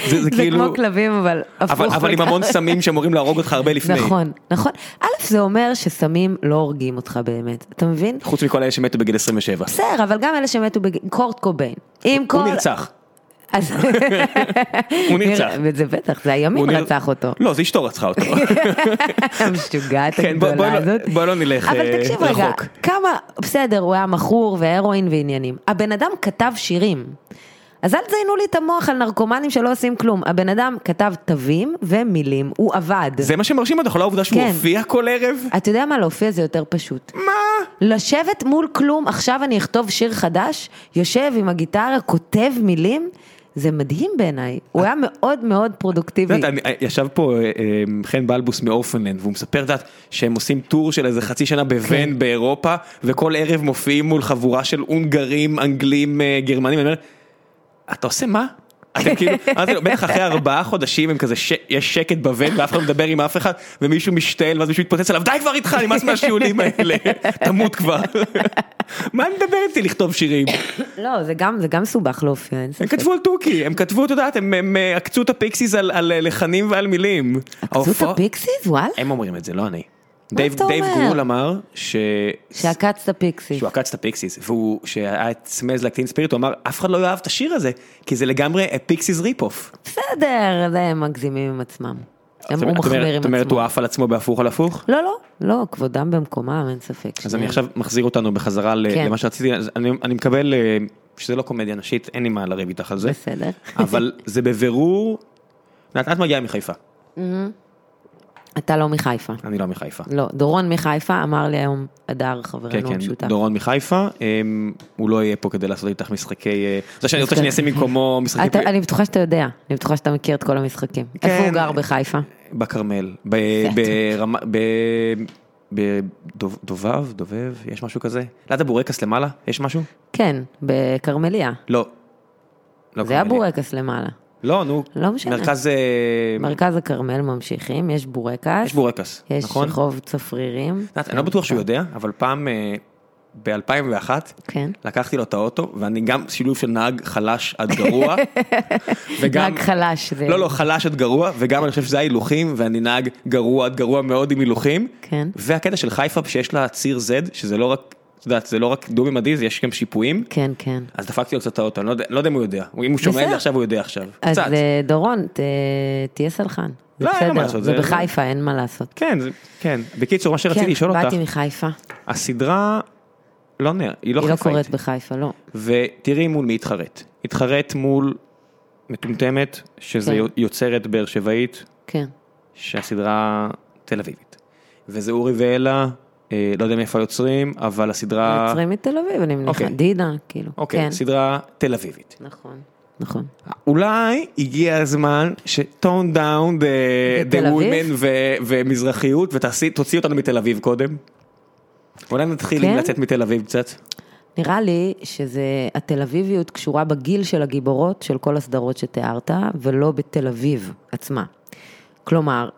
S1: זה
S3: זה
S1: כאילו-
S3: כמו כלבים, אבל הפוך.
S1: אבל, אבל עם
S3: לגמרי.
S1: המון סמים שאמורים להרוג אותך הרבה לפני.
S3: נכון, נכון. א', זה אומר שסמים לא הורגים אותך באמת, אתה מבין?
S1: חוץ מכל אלה שמתו בגיל 27.
S3: בסדר, אבל גם אלה שמתו בגיל... קורט קוביין. עם כל...
S1: הוא נרצח.
S3: אז...
S1: הוא נרצח.
S3: זה בטח, זה הימין
S1: הוא נר-
S3: רצח אותו.
S1: לא, זה אשתו רצחה אותו.
S3: המשוגעת
S1: כן, בוא- בוא
S3: הגדולה
S1: לא-
S3: הזאת.
S1: בוא לא נלך, אה,
S3: אבל תקשיב רגע,
S1: רחוק.
S3: כמה, בסדר, הוא היה מכור והרואין ועניינים. הבן אדם כתב שירים. אז אל תזיינו לי את המוח על נרקומנים שלא עושים כלום. הבן אדם כתב תווים ומילים, הוא עבד.
S1: זה מה שמרשים אותך, לא העובדה שהוא
S3: כן.
S1: הופיע כל ערב?
S3: אתה יודע מה, להופיע זה יותר פשוט. מה? לשבת מול כלום, עכשיו אני אכתוב שיר חדש, יושב עם הגיטרה, כותב מילים, זה מדהים בעיניי. הוא היה מאוד מאוד
S1: את
S3: פרודוקטיבי.
S1: יודעת, אני- ישב פה אה, אה, חן בלבוס מאורפנלנד והוא מספר את יודעת, שהם עושים טור של איזה חצי שנה בוון באירופה וכל ערב מופיעים מול חבורה של הונגרים, אנגלים, אה, גרמנים, אני אומר, אתה עושה מה? אתם כאילו, אמרתי לו, בטח אחרי ארבעה חודשים הם כזה, ש- יש שקט בוון ואף אחד לא מדבר עם אף אחד ומישהו משתעל ואז מישהו מתפוצץ עליו, די כבר איתך, נמאס מהשיעולים האלה, תמות כבר. מה הם מדבר איתי לכתוב שירים?
S3: לא, זה גם, זה גם סובך להופיע, אין
S1: הם
S3: ספק.
S1: כתבו על טורקי, הם כתבו, את יודעת, הם- הם אה, עקצו את הפיקסיס על- על אה, לחנים ועל מילים.
S3: זאת
S1: ההופעה-
S3: הפיקסיס, וואלה.
S1: הם אומרים את זה, לא אני. דייב,
S3: אתה
S1: דייב
S3: אומר?
S1: גרול אמר ש...
S3: שעקצת פיקסיס.
S1: שהוא עקץ את הפיקסיס, והוא, שהיה את סמז לקטין ספיריט, הוא אמר, אף אחד לא יאהב את השיר הזה, כי זה לגמרי a פיקסיס ריפ אוף.
S3: בסדר, זה הם מגזימים עם עצמם. הם הוא מחמיר עם
S1: זאת אומרת, הוא
S3: עצמו.
S1: עף על עצמו בהפוך על הפוך?
S3: לא, לא, לא, כבודם במקומם, אין ספק.
S1: אז
S3: שניהם.
S1: אני עכשיו מחזיר אותנו בחזרה ל-
S3: כן.
S1: למה שרציתי, אז אני אני מקבל אה, שזה לא קומדיה נשית, אין לי מה לריב איתך על זה.
S3: בסדר.
S1: אבל זה בבירור, את את מגיעה מחיפה,
S3: אתה לא מחיפה.
S1: אני לא מחיפה.
S3: לא, דורון מחיפה אמר לי היום, הדר
S1: כן,
S3: חברנו
S1: כן,
S3: המשותף.
S1: דורון מחיפה, אמ, הוא לא יהיה פה כדי לעשות איתך משחקי, אה, זה שאני רוצה
S3: משחק-
S1: שאני אעשה במקומו
S3: אתה,
S1: משחקי
S3: אני בטוחה שאתה יודע, אני בטוחה שאתה מכיר את כל המשחקים.
S1: כן.
S3: איפה הוא גר בחיפה?
S1: פ- בכרמל, ב-
S3: בסדר.
S1: ברמה, בדובב, דובב, יש משהו כזה? ליד הבורקס למעלה, יש משהו?
S3: כן, בכרמליה.
S1: לא. לא
S3: זה היה
S1: כרמלי.
S3: בורקס למעלה.
S1: לא, נו,
S3: לא משנה.
S1: מרכז, אה,
S3: מרכז הכרמל ממשיכים, יש בורקס,
S1: יש בורקס,
S3: יש
S1: נכון?
S3: רחוב צפרירים.
S1: את יודעת, אני לא בטוח שהוא יודע, אבל פעם ב-2001,
S3: כן.
S1: לקחתי לו את האוטו, ואני גם שילוב של נהג חלש עד גרוע, וגם...
S3: נהג חלש. זה-
S1: לא, לא, חלש עד גרוע, וגם אני חושב שזה ההילוכים, ואני נהג גרוע עד גרוע מאוד עם הילוכים.
S3: כן.
S1: והקטע של חיפה, שיש לה ציר Z, שזה לא רק, את יודעת, זה לא רק דו-ממדי, זה יש גם שיפועים.
S3: כן, כן.
S1: אז דפקתי לו קצת את האוטו, אני לא יודע- לא יודע אם הוא יודע. אם הוא שומע את
S3: בסדר.
S1: זה עכשיו, הוא יודע עכשיו.
S3: אז
S1: קצת.
S3: אה, דורון, ת- תהיה סלחן. זה
S1: לא, אין לו מה
S3: בסדר,
S1: לעשות,
S3: זה
S1: זה-
S3: בחיפה, אין מה לעשות.
S1: כן, זה- כן. בקיצור, מה
S3: כן,
S1: שרציתי לשאול אותך,
S3: באתי מחיפה.
S1: הסדרה, לא נראה, היא לא
S3: היא לא
S1: חיפאית.
S3: קורית בחיפה, לא.
S1: ותראי מול מי התחרט. התחרט מול מטומטמת, שזה
S3: כן.
S1: יוצרת באר שבעית,
S3: כן.
S1: שהסדרה תל אביבית. וזה אורי ואלה, אה, לא יודע מאיפה היוצרים, אבל הסדרה...
S3: יוצרים מתל אביב, אני מניחה.
S1: אה, אוקיי.
S3: דידה, כאילו.
S1: אוקיי,
S3: כן.
S1: סדרה תל אביבית.
S3: נכון, נכון.
S1: אולי הגיע הזמן שטון דאון the
S3: ותל אביב?
S1: women ו- ומזרחיות ותוציא אותנו מתל אביב קודם. אולי נתחיל
S3: כן?
S1: לצאת מתל אביב קצת.
S3: נראה לי שזה, התל אביביות קשורה בגיל של הגיבורות של כל הסדרות שתיארת, ולא בתל אביב עצמה. כלומר,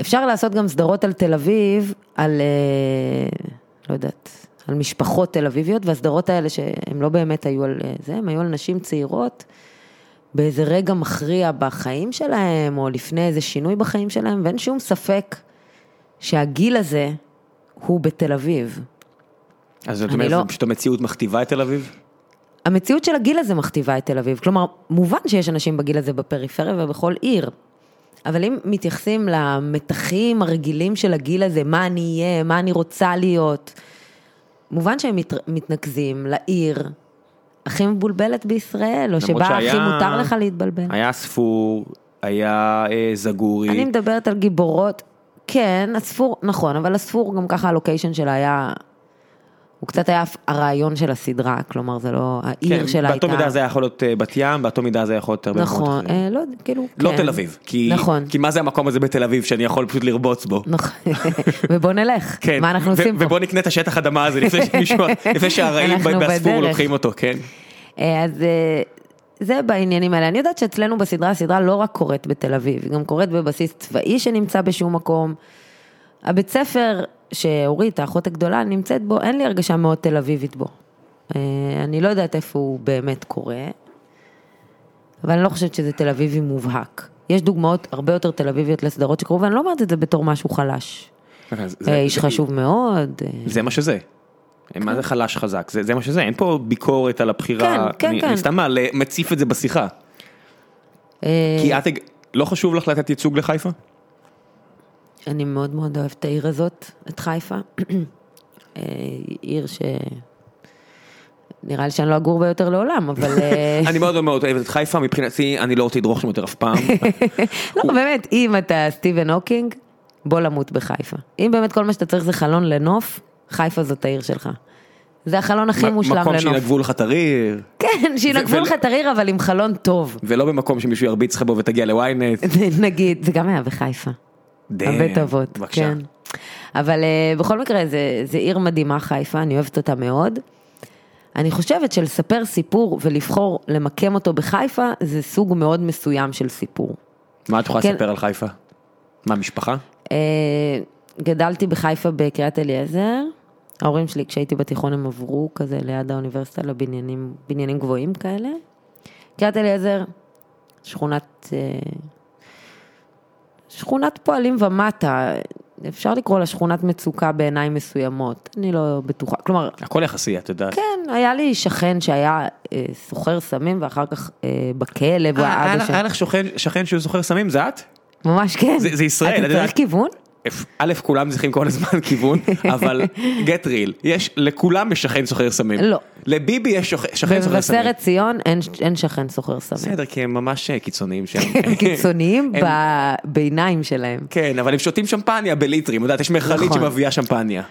S3: אפשר לעשות גם סדרות על תל אביב, על, אה, לא יודעת, על משפחות תל אביביות, והסדרות האלה שהן לא באמת היו על אה, זה, הן היו על נשים צעירות. באיזה רגע מכריע בחיים שלהם, או לפני איזה שינוי בחיים שלהם, ואין שום ספק שהגיל הזה הוא בתל אביב.
S1: אז זאת
S3: אני
S1: אומרת,
S3: לא-
S1: פשוט המציאות מכתיבה את תל אביב?
S3: המציאות של הגיל הזה מכתיבה את תל אביב. כלומר, מובן שיש אנשים בגיל הזה בפריפריה ובכל עיר. אבל אם מתייחסים למתחים הרגילים של הגיל הזה, מה אני אהיה, מה אני רוצה להיות, מובן שהם מת, מתנקזים לעיר הכי מבולבלת בישראל, או שבה
S1: שהיה-
S3: הכי מותר לך להתבלבל.
S1: היה ספור, היה אה, זגורי.
S3: כן. אני מדברת על גיבורות, כן, הספור, נכון, אבל הספור גם ככה הלוקיישן שלה היה, הוא קצת היה הרעיון של הסדרה, כלומר זה לא, העיר
S1: כן,
S3: שלה הייתה...
S1: באותו מידה זה היה יכול להיות אה, בת ים, באותו מידה זה היה יכול להיות הרבה מקומות
S3: נכון,
S1: אחרים.
S3: אה, לא, יודע, כאילו,
S1: לא
S3: כן.
S1: תל אביב, כי,
S3: נכון,
S1: כי מה זה המקום הזה בתל אביב שאני יכול פשוט לרבוץ בו.
S3: נכון, ובוא נלך,
S1: כן,
S3: מה אנחנו
S1: ו-
S3: עושים פה?
S1: ובוא נקנה את השטח אדמה הזה לפני שמישהו, לפני שהרעים
S3: אנחנו
S1: בספור
S3: בדרך.
S1: לוקחים אותו, כן.
S3: אה, אז אה, זה בעניינים האלה. אני יודעת שאצלנו בסדרה, הסדרה לא רק קורית בתל אביב, היא גם קורית בבסיס צבאי שנמצא בשום מקום. הבית ספר שאורית, האחות הגדולה, נמצאת בו, אין לי הרגשה מאוד תל אביבית בו. אה, אני לא יודעת איפה הוא באמת קורה. אבל אני לא חושבת שזה תל אביבי מובהק. יש דוגמאות הרבה יותר תל אביביות לסדרות שקרו, ואני לא אומרת את זה בתור משהו חלש.
S1: אז זה-
S3: אה, איש
S1: זה-
S3: חשוב מאוד. אה,
S1: זה מה שזה. מה זה חלש חזק? זה זה מה שזה, אין פה ביקורת על הבחירה.
S3: כן, כן,
S1: אני-
S3: כן.
S1: אני סתם מעלה- מציף את זה בשיחה.
S3: אה,
S1: כי את, הג- לא חשוב לך לתת ייצוג לחיפה?
S3: אני מאוד מאוד אוהבת את העיר הזאת, את חיפה. אה, עיר ש... נראה לי שאני לא אגור בה יותר לעולם, אבל... אה,
S1: אני מאוד מאוד אוהב את חיפה, מבחינתי אני לא רוצה לדרוך שם יותר אף פעם.
S3: לא, באמת, אם אתה סטיבן הוקינג, בוא למות בחיפה. אם באמת כל מה שאתה צריך זה חלון לנוף, חיפה זאת העיר שלך. זה החלון הכי מושלם
S1: מקום
S3: לנוף.
S1: שינגבו לך את הריר,
S3: כן, שינגבו
S1: ו-
S3: לך את הריר, אבל עם חלון טוב.
S1: ולא במקום שמישהו ירביץ לך בו ותגיע לוויינט.
S3: נגיד, זה גם היה בחיפה. הבית אבות,
S1: בבקשה.
S3: כן. אבל אה, בכל מקרה, זה, זה עיר מדהימה, חיפה, אני אוהבת אותה מאוד. אני חושבת שלספר סיפור ולבחור למקם אותו בחיפה, זה סוג מאוד מסוים של סיפור.
S1: מה את יכולה
S3: כן.
S1: לספר על חיפה? מה, משפחה?
S3: אה, גדלתי בחיפה בקריית אליעזר. ההורים שלי, כשהייתי בתיכון, הם עברו כזה ליד האוניברסיטה לבניינים בניינים גבוהים כאלה. קריית אליעזר, שכונת... אה, שכונת פועלים ומטה, אפשר לקרוא לה שכונת מצוקה בעיניים מסוימות, אני לא בטוחה. כלומר,
S1: הכל יחסי, את יודעת.
S3: כן, היה לי שכן שהיה אה, סוחר סמים ואחר כך אה, בכלא, והאבא
S1: אה, היה לך-
S3: שם-
S1: היה לך שוכן- שכן שהוא סוחר סמים, זה את?
S3: ממש כן.
S1: זה- זה ישראל, את
S3: אתה
S1: יודעת.
S3: צריך כיוון?
S1: אפ- א', כולם צריכים כל הזמן כיוון, אבל get real, יש, לכולם יש שכן סוחר סמים.
S3: לא.
S1: לביבי יש שוכ- שכן סוחר סמים.
S3: במבשרת ציון אין, אין שכן סוחר סמים.
S1: בסדר, כי הם ממש אה, קיצוניים שם.
S3: הם קיצוניים
S1: הם-
S3: בביניים שלהם.
S1: כן, אבל הם שותים שמפניה בליטרים, יודעת, יש מכלית
S3: נכון.
S1: שמביאה שמפניה.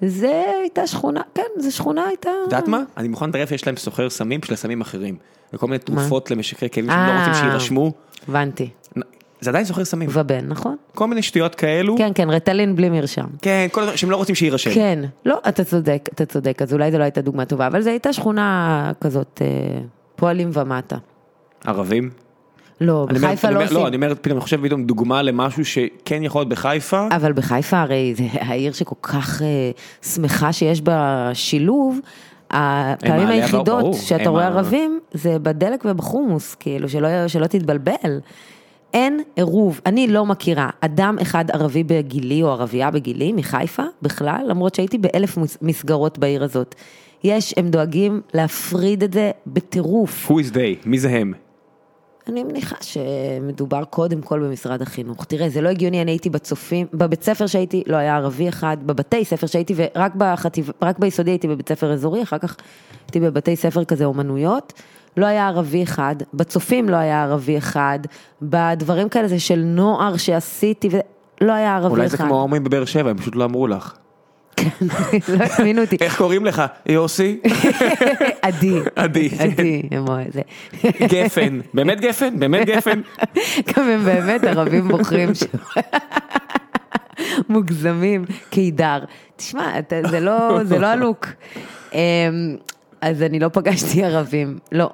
S3: זה הייתה שכונה, כן, זו שכונה הייתה...
S1: את יודעת מה? אני מוכן לטרף שיש להם סוחר סמים בשביל סמים אחרים. וכל מיני תרופות למשכי כאבים שהם לא
S3: אה.
S1: רוצים שיירשמו.
S3: הבנתי.
S1: זה עדיין סוחר סמים.
S3: ובן, נכון?
S1: כל מיני שטויות כאלו.
S3: כן, כן, רטלין בלי מרשם.
S1: כן, כל הזמן, שהם לא רוצים שיירשם.
S3: כן, לא, אתה צודק, אתה צודק, אז אולי זו לא הייתה דוגמה טובה, אבל זו הייתה שכונה כזאת, אה, פועלים ומטה.
S1: ערבים?
S3: לא,
S1: אני אומר-
S3: בחיפה
S1: אני
S3: לא
S1: אומר- לא, אני
S3: עושים.
S1: אומר, פתאום, אני חושב פתאום דוגמה למשהו שכן יכול להיות בחיפה.
S3: אבל בחיפה הרי זה העיר שכל כך אה, שמחה שיש בה שילוב,
S1: מעליה,
S3: הפעמים
S1: ברור,
S3: היחידות
S1: הם
S3: שאתה רואה
S1: ה-
S3: ערבים זה בדלק ובחומוס, כאילו, שלא, שלא תתבלבל. אין עירוב, אני לא מכירה אדם אחד ערבי בגילי או ערבייה בגילי מחיפה בכלל, למרות שהייתי באלף מוס- מסגרות בעיר הזאת. יש, הם דואגים להפריד את זה בטירוף.
S1: Who is they? מי זה הם?
S3: אני מניחה שמדובר קודם כל במשרד החינוך. תראה, זה לא הגיוני, אני הייתי בצופים, בבית ספר שהייתי, לא היה ערבי אחד, בבתי ספר שהייתי, ורק בחטיב, רק ביסודי הייתי בבית ספר אזורי, אחר כך הייתי בבתי ספר כזה אומנויות, לא היה ערבי אחד, בצופים לא היה ערבי אחד, בדברים כאלה זה של נוער שעשיתי, וזה, לא היה ערבי אחד.
S1: אולי זה כמו ההומואים בבאר שבע, הם פשוט לא אמרו לך.
S3: לא הזמינו אותי.
S1: איך קוראים לך? יוסי?
S3: עדי.
S1: עדי.
S3: עדי, הם רואים את זה.
S1: גפן. באמת גפן? באמת גפן?
S3: גם הם באמת ערבים בוחרים שם. מוגזמים, קידר. תשמע, אתה, זה, לא, זה לא הלוק. אמ, אז אני לא פגשתי ערבים. לא,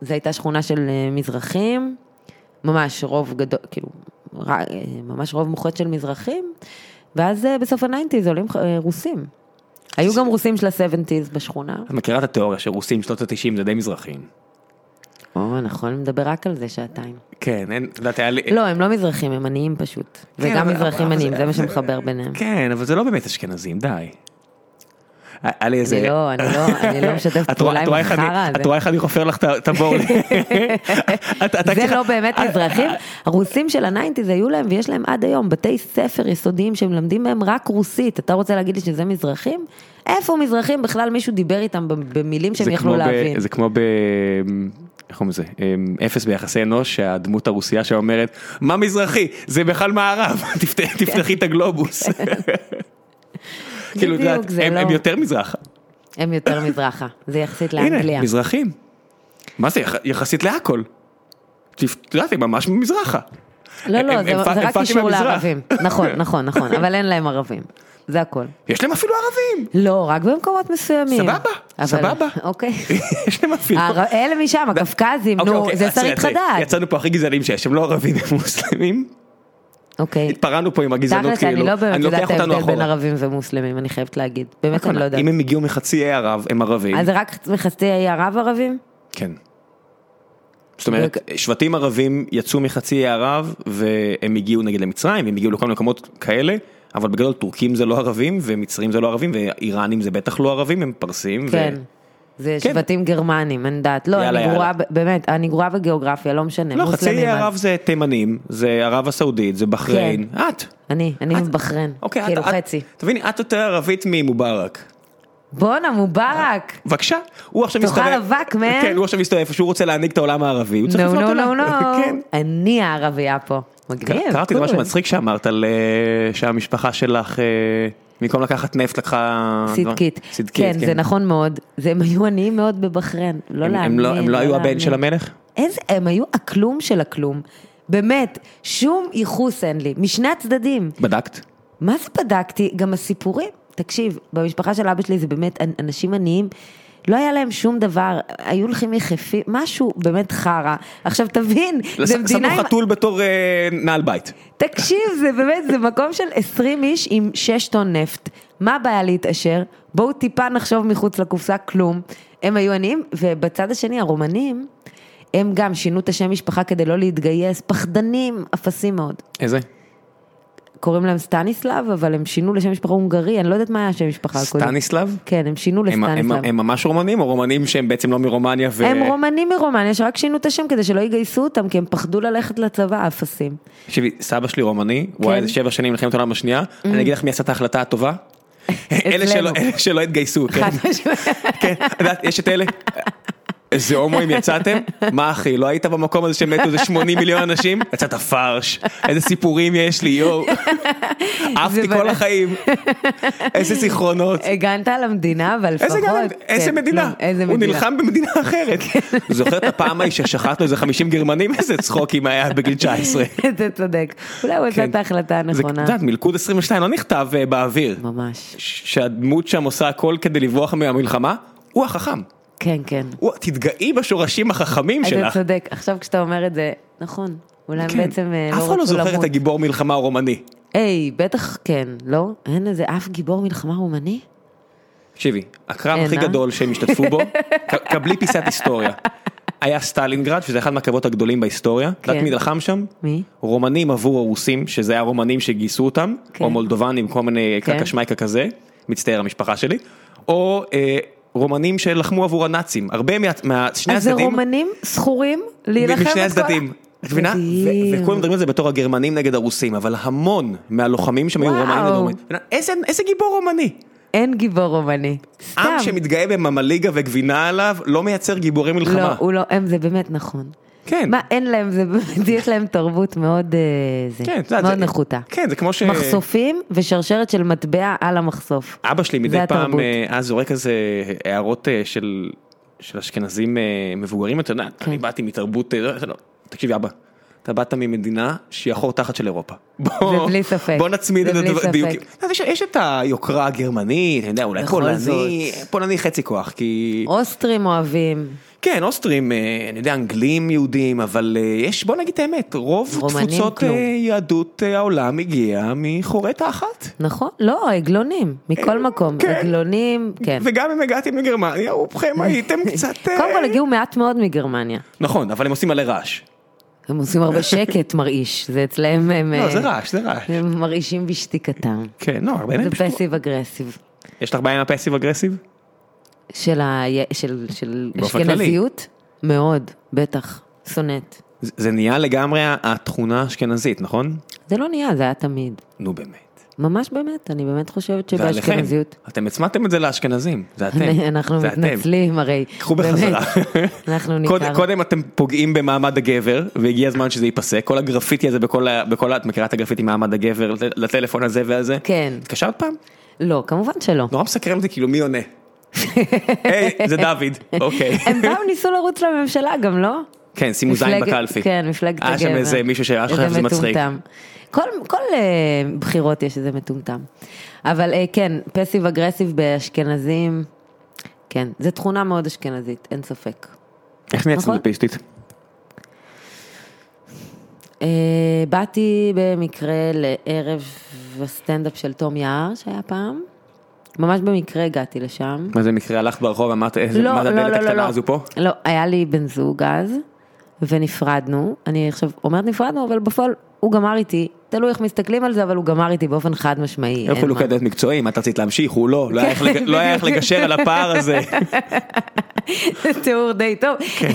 S3: זו הייתה שכונה של אה, מזרחים, ממש רוב גדול, כאילו, ר- אה, ממש רוב מוחץ של מזרחים, ואז אה, בסוף הניינטיז עולים ח- אה, רוסים. היו גם רוסים של הסבנטיז בשכונה.
S1: את מכירה את התיאוריה שרוסים שנות ה-90 זה די מזרחים.
S3: או, נכון, נדבר רק על זה שעתיים.
S1: כן, אין, את יודעת, היה לי...
S3: לא, הם לא מזרחים, הם עניים פשוט. וגם
S1: אבל-
S3: מזרחים
S1: אבל-
S3: עניים,
S1: אבל-
S3: זה מה שמחבר ביניהם.
S1: כן, אבל זה לא באמת אשכנזים, די. היה לי איזה...
S3: אני לא, אני לא, אני לא משתפת
S1: את רואה-
S3: פעולה
S1: את
S3: עם
S1: רואה איך אני-
S3: החרא
S1: את
S3: הזה.
S1: רואה איך אני חופר לך את ה- את הבור. את- את-
S3: זה
S1: את-
S3: לא באמת מזרחים,
S1: אה,
S3: הרוסים של הניינטיז היו להם ויש להם עד היום בתי ספר יסודיים שמלמדים בהם רק רוסית, אתה רוצה להגיד לי שזה מזרחים? איפה מזרחים בכלל מישהו דיבר איתם במילים שהם
S1: זה
S3: יכלו
S1: כמו ב-
S3: להבין?
S1: זה כמו ב... איך קוראים לזה? אמ, אפס ביחסי אנוש, שהדמות הרוסייה שאומרת, מה מזרחי? זה בכלל מערב, תפת- תפתחי את הגלובוס. כאילו, את יודעת,
S3: בדיוק, זה
S1: הם
S3: לא-
S1: הם יותר מזרח.
S3: הם יותר מזרחה, זה יחסית לאנגליה.
S1: הנה, מזרחים. מה זה, יח- יחסית להכל. תפ- את יודעת, הם ממש מזרחה.
S3: לא,
S1: הם-
S3: לא,
S1: הם-
S3: זה-
S1: הם פ-
S3: זה
S1: הם
S3: רק
S1: פאקים
S3: קישור
S1: מהמזרח.
S3: לערבים. נכון, נכון, נכון, אבל אין להם ערבים, זה הכל.
S1: יש להם אפילו ערבים.
S3: לא, רק במקומות מסוימים.
S1: סבבה,
S3: אבל-
S1: סבבה.
S3: אוקיי.
S1: יש להם אפילו...
S3: הר- אלה משם, הקפקזים,
S1: אוקיי,
S3: נו,
S1: אוקיי,
S3: זה
S1: עצרי,
S3: שרית
S1: עצרי.
S3: חדד.
S1: יצאנו פה הכי גזענים שיש, הם לא ערבים, הם מוסלמים.
S3: אוקיי.
S1: התפרענו פה עם הגזענות
S3: תכל'ס,
S1: כאילו.
S3: אני לא באמת יודעת
S1: לוקח
S3: את
S1: אותנו
S3: ההבדל בין
S1: אחורה. נכון,
S3: ערבים ומוסלמים, אני חייבת להגיד. באמת אני לא יודעת.
S1: אם הם הגיעו מחצי האי ערב, הם ערבים.
S3: אז זה רק מחסדי האי ערב ערבים?
S1: כן. זאת אומרת, שבטים ערבים יצאו מחצי האי ערב, והם הגיעו נגיד למצרים, הם הגיעו לכל מיני מקומות כאלה, אבל בגדול טורקים זה לא ערבים, ומצרים זה לא ערבים, ואיראנים זה בטח לא ערבים, הם פרסים. ו-
S3: כן. זה
S1: כן.
S3: שבטים גרמנים, אין דעת. לא,
S1: יאללה,
S3: אני גרועה,
S1: יאללה.
S3: ב- באמת, אני גרועה בגיאוגרפיה, לא משנה.
S1: לא, חצי
S3: מוסלמים,
S1: האי
S3: אז-
S1: ערב זה תימנים, זה ערב הסעודית, זה בחריין. את.
S3: אני, כן. אני
S1: את-
S3: מבחריין.
S1: אוקיי, את-
S3: כאילו
S1: את-
S3: חצי.
S1: תביני, את יותר ערבית ממובארק.
S3: בואנה, מובארק.
S1: בבקשה, הוא עכשיו
S3: תאכל
S1: מסתובב,
S3: אבק, man.
S1: כן, הוא עכשיו מסתובב איפה שהוא רוצה להנהיג את העולם הערבי, הוא צריך
S3: נו,
S1: לפנות
S3: נו,
S1: אליי,
S3: נו, נו.
S1: כן.
S3: אני הערבייה פה. מגניב.
S1: קראתי איזה משהו
S3: קול.
S1: מצחיק שאמרת על אה, שהמשפחה שלך, אה, במקום לקחת נפט לקחה... דבר-
S3: צדקית.
S1: לא? צדקית,
S3: כן, זה נכון מאוד. זה- הם היו עניים מאוד בבחריין. לא
S1: הם-
S3: להאמין.
S1: הם לא- הם לא היו הבן
S3: להאמין.
S1: של המלך?
S3: איזה, הם היו הכלום של הכלום. באמת, שום ייחוס אין לי, משני הצדדים.
S1: בדקת?
S3: מה זה בדקתי? גם הסיפורים. תקשיב, במשפחה של אבא שלי זה באמת אנ- אנשים עניים. לא היה להם שום דבר, היו הולכים יחפים, משהו באמת חרא. עכשיו תבין, זה
S1: לש-
S3: מדינה
S1: שמו
S3: עם...
S1: חתול בתור אה, נעל בית.
S3: תקשיב, זה באמת, זה מקום של 20 איש עם 6 טון נפט. מה הבעיה להתעשר? בואו טיפה נחשוב מחוץ לקופסה, כלום. הם היו עניים, ובצד השני, הרומנים, הם גם שינו את השם משפחה כדי לא להתגייס, פחדנים, אפסים מאוד.
S1: איזה?
S3: קוראים להם סטניסלב, אבל הם שינו לשם משפחה הונגרי, אני לא יודעת מה היה השם משפחה הקודם.
S1: סטניסלב?
S3: כן, הם שינו
S1: הם- הם-
S3: לסטניסלב.
S1: הם ממש רומנים או רומנים שהם בעצם לא מרומניה ו...
S3: הם רומנים מרומניה, שרק שינו את השם כדי שלא יגייסו אותם, כי הם פחדו ללכת לצבא, האפסים.
S1: תקשיבי, סבא שלי רומני, הוא היה
S3: כן. Mm.
S1: איזה שבע שנים מלחמת העולם השנייה, אני אגיד לך מי עשה את ההחלטה הטובה? אלה שלא- אלה שלא התגייסו, כן.
S3: חד משמעית.
S1: כן, את יודעת, יש את אלה. איזה הומואים יצאתם? מה אחי, לא היית במקום הזה שמתו איזה 80 מיליון אנשים? יצאת פרש, איזה סיפורים יש לי, יואו. עפתי כל
S3: בנה.
S1: החיים, איזה זיכרונות.
S3: הגנת על המדינה, אבל לפחות...
S1: איזה גן, איזה
S3: כן,
S1: מדינה,
S3: לא, איזה
S1: הוא
S3: מדינה. כן.
S1: נלחם במדינה אחרת. זוכר את הפעם ההיא ששחטנו איזה 50 גרמנים? איזה צחוקים היה בגיל 19.
S3: אתה צודק. אולי הוא עשה
S1: כן.
S3: את ההחלטה
S1: זה-
S3: הנכונה.
S1: את יודעת, מלכוד 22 לא נכתב אה, באוויר.
S3: נכון. ממש.
S1: ש- שהדמות שם עושה הכל כדי לברוח מהמלחמה, הוא החכם.
S3: כן, כן.
S1: וואו, תתגאי בשורשים החכמים
S3: אתה
S1: שלך.
S3: צודק, עכשיו כשאתה אומר את זה, נכון. אולי הם
S1: כן.
S3: בעצם אה,
S1: אף אחד
S3: לא
S1: לא
S3: רצו
S1: זוכר את
S3: למות.
S1: הגיבור מלחמה הרומני.
S3: היי, בטח כן, לא? אין איזה אף גיבור מלחמה רומני?
S1: תקשיבי, הקרב
S3: אין,
S1: הכי
S3: אה?
S1: גדול שהם השתתפו בו, ק- קבלי פיסת היסטוריה. היה סטלינגרד, שזה אחד מהקרבות הגדולים בהיסטוריה. את יודעת
S3: כן.
S1: מי נלחם שם?
S3: מי?
S1: רומנים עבור הרוסים, שזה היה רומנים שגייסו אותם,
S3: כן.
S1: או מולדובנים, כל מיני
S3: כן.
S1: קקה שמייקה כזה, מצטער המשפחה שלי, או אה, רומנים שלחמו עבור הנאצים, הרבה מה- מהשני
S3: אז זה
S1: הצדדים.
S3: רומנים זכורים להילחם
S1: משני
S3: את כל-
S1: הצדדים. את מבינה? ו-
S3: מדהים.
S1: וכולם מדברים על זה בתור הגרמנים נגד הרוסים, אבל המון מהלוחמים שם היו
S3: וואו.
S1: רומנים נגד רומנים. את מבינה? איזה- איזה גיבור רומני.
S3: אין גיבור רומני. סתם.
S1: עם שמתגאה בממליגה וגבינה עליו, לא מייצר גיבורי
S3: לא,
S1: מלחמה.
S3: הוא לא, הם, זה באמת נכון.
S1: כן.
S3: מה, אין להם, זה באמת, יש להם תרבות מאוד, אה, זה,
S1: כן, את יודעת,
S3: מאוד
S1: זה-
S3: נחותה.
S1: כן, זה כמו ש...
S3: מחשופים ושרשרת של מטבע על המחשוף.
S1: אבא שלי מדי
S3: זה
S1: פעם
S3: התרבות.
S1: אה, היה זורק איזה הערות אה, של של אשכנזים אה, מבוגרים, אתה יודע, אני
S3: כן.
S1: באתי מתרבות, אה, לא, לא, תקשיבי אבא. אתה באת ממדינה שהיא החור תחת של אירופה. בוא,
S3: זה בלי ספק.
S1: בוא נצמיד
S3: זה
S1: את
S3: בלי ספק.
S1: הדיוקים. אז יש, יש את היוקרה הגרמנית, אני יודע, אולי
S3: בכל
S1: פולני, פולני חצי כוח, כי...
S3: אוסטרים אוהבים,
S1: כן, אוסטרים, אה, אני יודע, אנגלים, יהודים, אבל אה, יש, בוא נגיד את האמת, רוב
S3: רומנים,
S1: תפוצות אה,
S3: כלום.
S1: יהדות אה, העולם הגיעה מחורטה אחת.
S3: נכון? לא, עגלונים, מכל מקום.
S1: כן.
S3: עגלונים, כן.
S1: וגם אם הגעתי מגרמניה, רובכם הייתם קצת... אה,
S3: קודם כל הגיעו מעט מאוד מגרמניה.
S1: נכון, אבל הם עושים מלא רעש.
S3: הם עושים הרבה שקט מרעיש, זה אצלהם הם...
S1: לא,
S3: אה,
S1: זה רעש, זה רעש.
S3: הם מרעישים בשתיקתם.
S1: כן, לא, הרבה
S3: זה
S1: אנשים פשוט...
S3: פסיב אגרסיב.
S1: יש לך בעיה עם הפסיב אגרסיב?
S3: של ה- של- של
S1: באופן כללי.
S3: אשכנזיות? מאוד, בטח. שונאת.
S1: זה זה נהיה לגמרי התכונה האשכנזית, נכון?
S3: זה לא נהיה, זה היה תמיד.
S1: נו באמת.
S3: ממש באמת, אני באמת חושבת
S1: ועליכם,
S3: שבאשכנזיות.
S1: אתם הצמדתם את זה לאשכנזים, זה אתם.
S3: אנחנו
S1: זה אתם.
S3: מתנצלים הרי.
S1: קחו בחזרה.
S3: באמת, אנחנו
S1: קודם,
S3: ניכר.
S1: קודם אתם פוגעים במעמד הגבר, והגיע הזמן שזה ייפסק. כל הגרפיטי הזה בכל ה... בכל ה... את מכירה את הגרפיטי מעמד הגבר, לט- לטלפון הזה והזה?
S3: כן.
S1: התקשרת פעם?
S3: לא, כמובן שלא.
S1: נורא מסקרן אותי, כאילו, מי עונה? היי, זה דוד, אוקיי.
S3: הם באו ניסו לרוץ לממשלה גם, לא?
S1: כן, שימו זין
S3: מפלגת-
S1: בקלפי.
S3: כן, מפלגת הגבר.
S1: היה שם איזה מישהו שהיה חושב
S3: איזה
S1: שזה מצחיק.
S3: מטומטם. כל, כל אה, בחירות יש איזה מטומטם. אבל אה, כן, פסיב אגרסיב באשכנזים, כן, זו תכונה מאוד אשכנזית, אין ספק.
S1: איך נהיית
S3: נכון?
S1: סטנדאפיסטית?
S3: אה, באתי במקרה לערב הסטנדאפ של תום יער שהיה פעם, ממש במקרה הגעתי לשם.
S1: מה זה מקרה הלכת ברחוב אמרת איזה,
S3: לא,
S1: מה זה
S3: לא,
S1: הדלת
S3: לא, לא,
S1: הקטנה
S3: לא.
S1: הזו פה?
S3: לא, היה לי בן זוג אז, ונפרדנו. אני עכשיו אומרת נפרדנו, אבל בפועל הוא גמר איתי. תלוי איך מסתכלים על זה, אבל הוא גמר איתי באופן חד משמעי.
S1: היו
S3: אין מה.
S1: חילוקי דעת מקצועיים, את רצית להמשיך, הוא לא, לא היה איך לג- לא היה איך
S3: כן, בדיוק.
S1: לגשר על הפער הזה.
S3: זה תיאור די טוב.
S1: כן.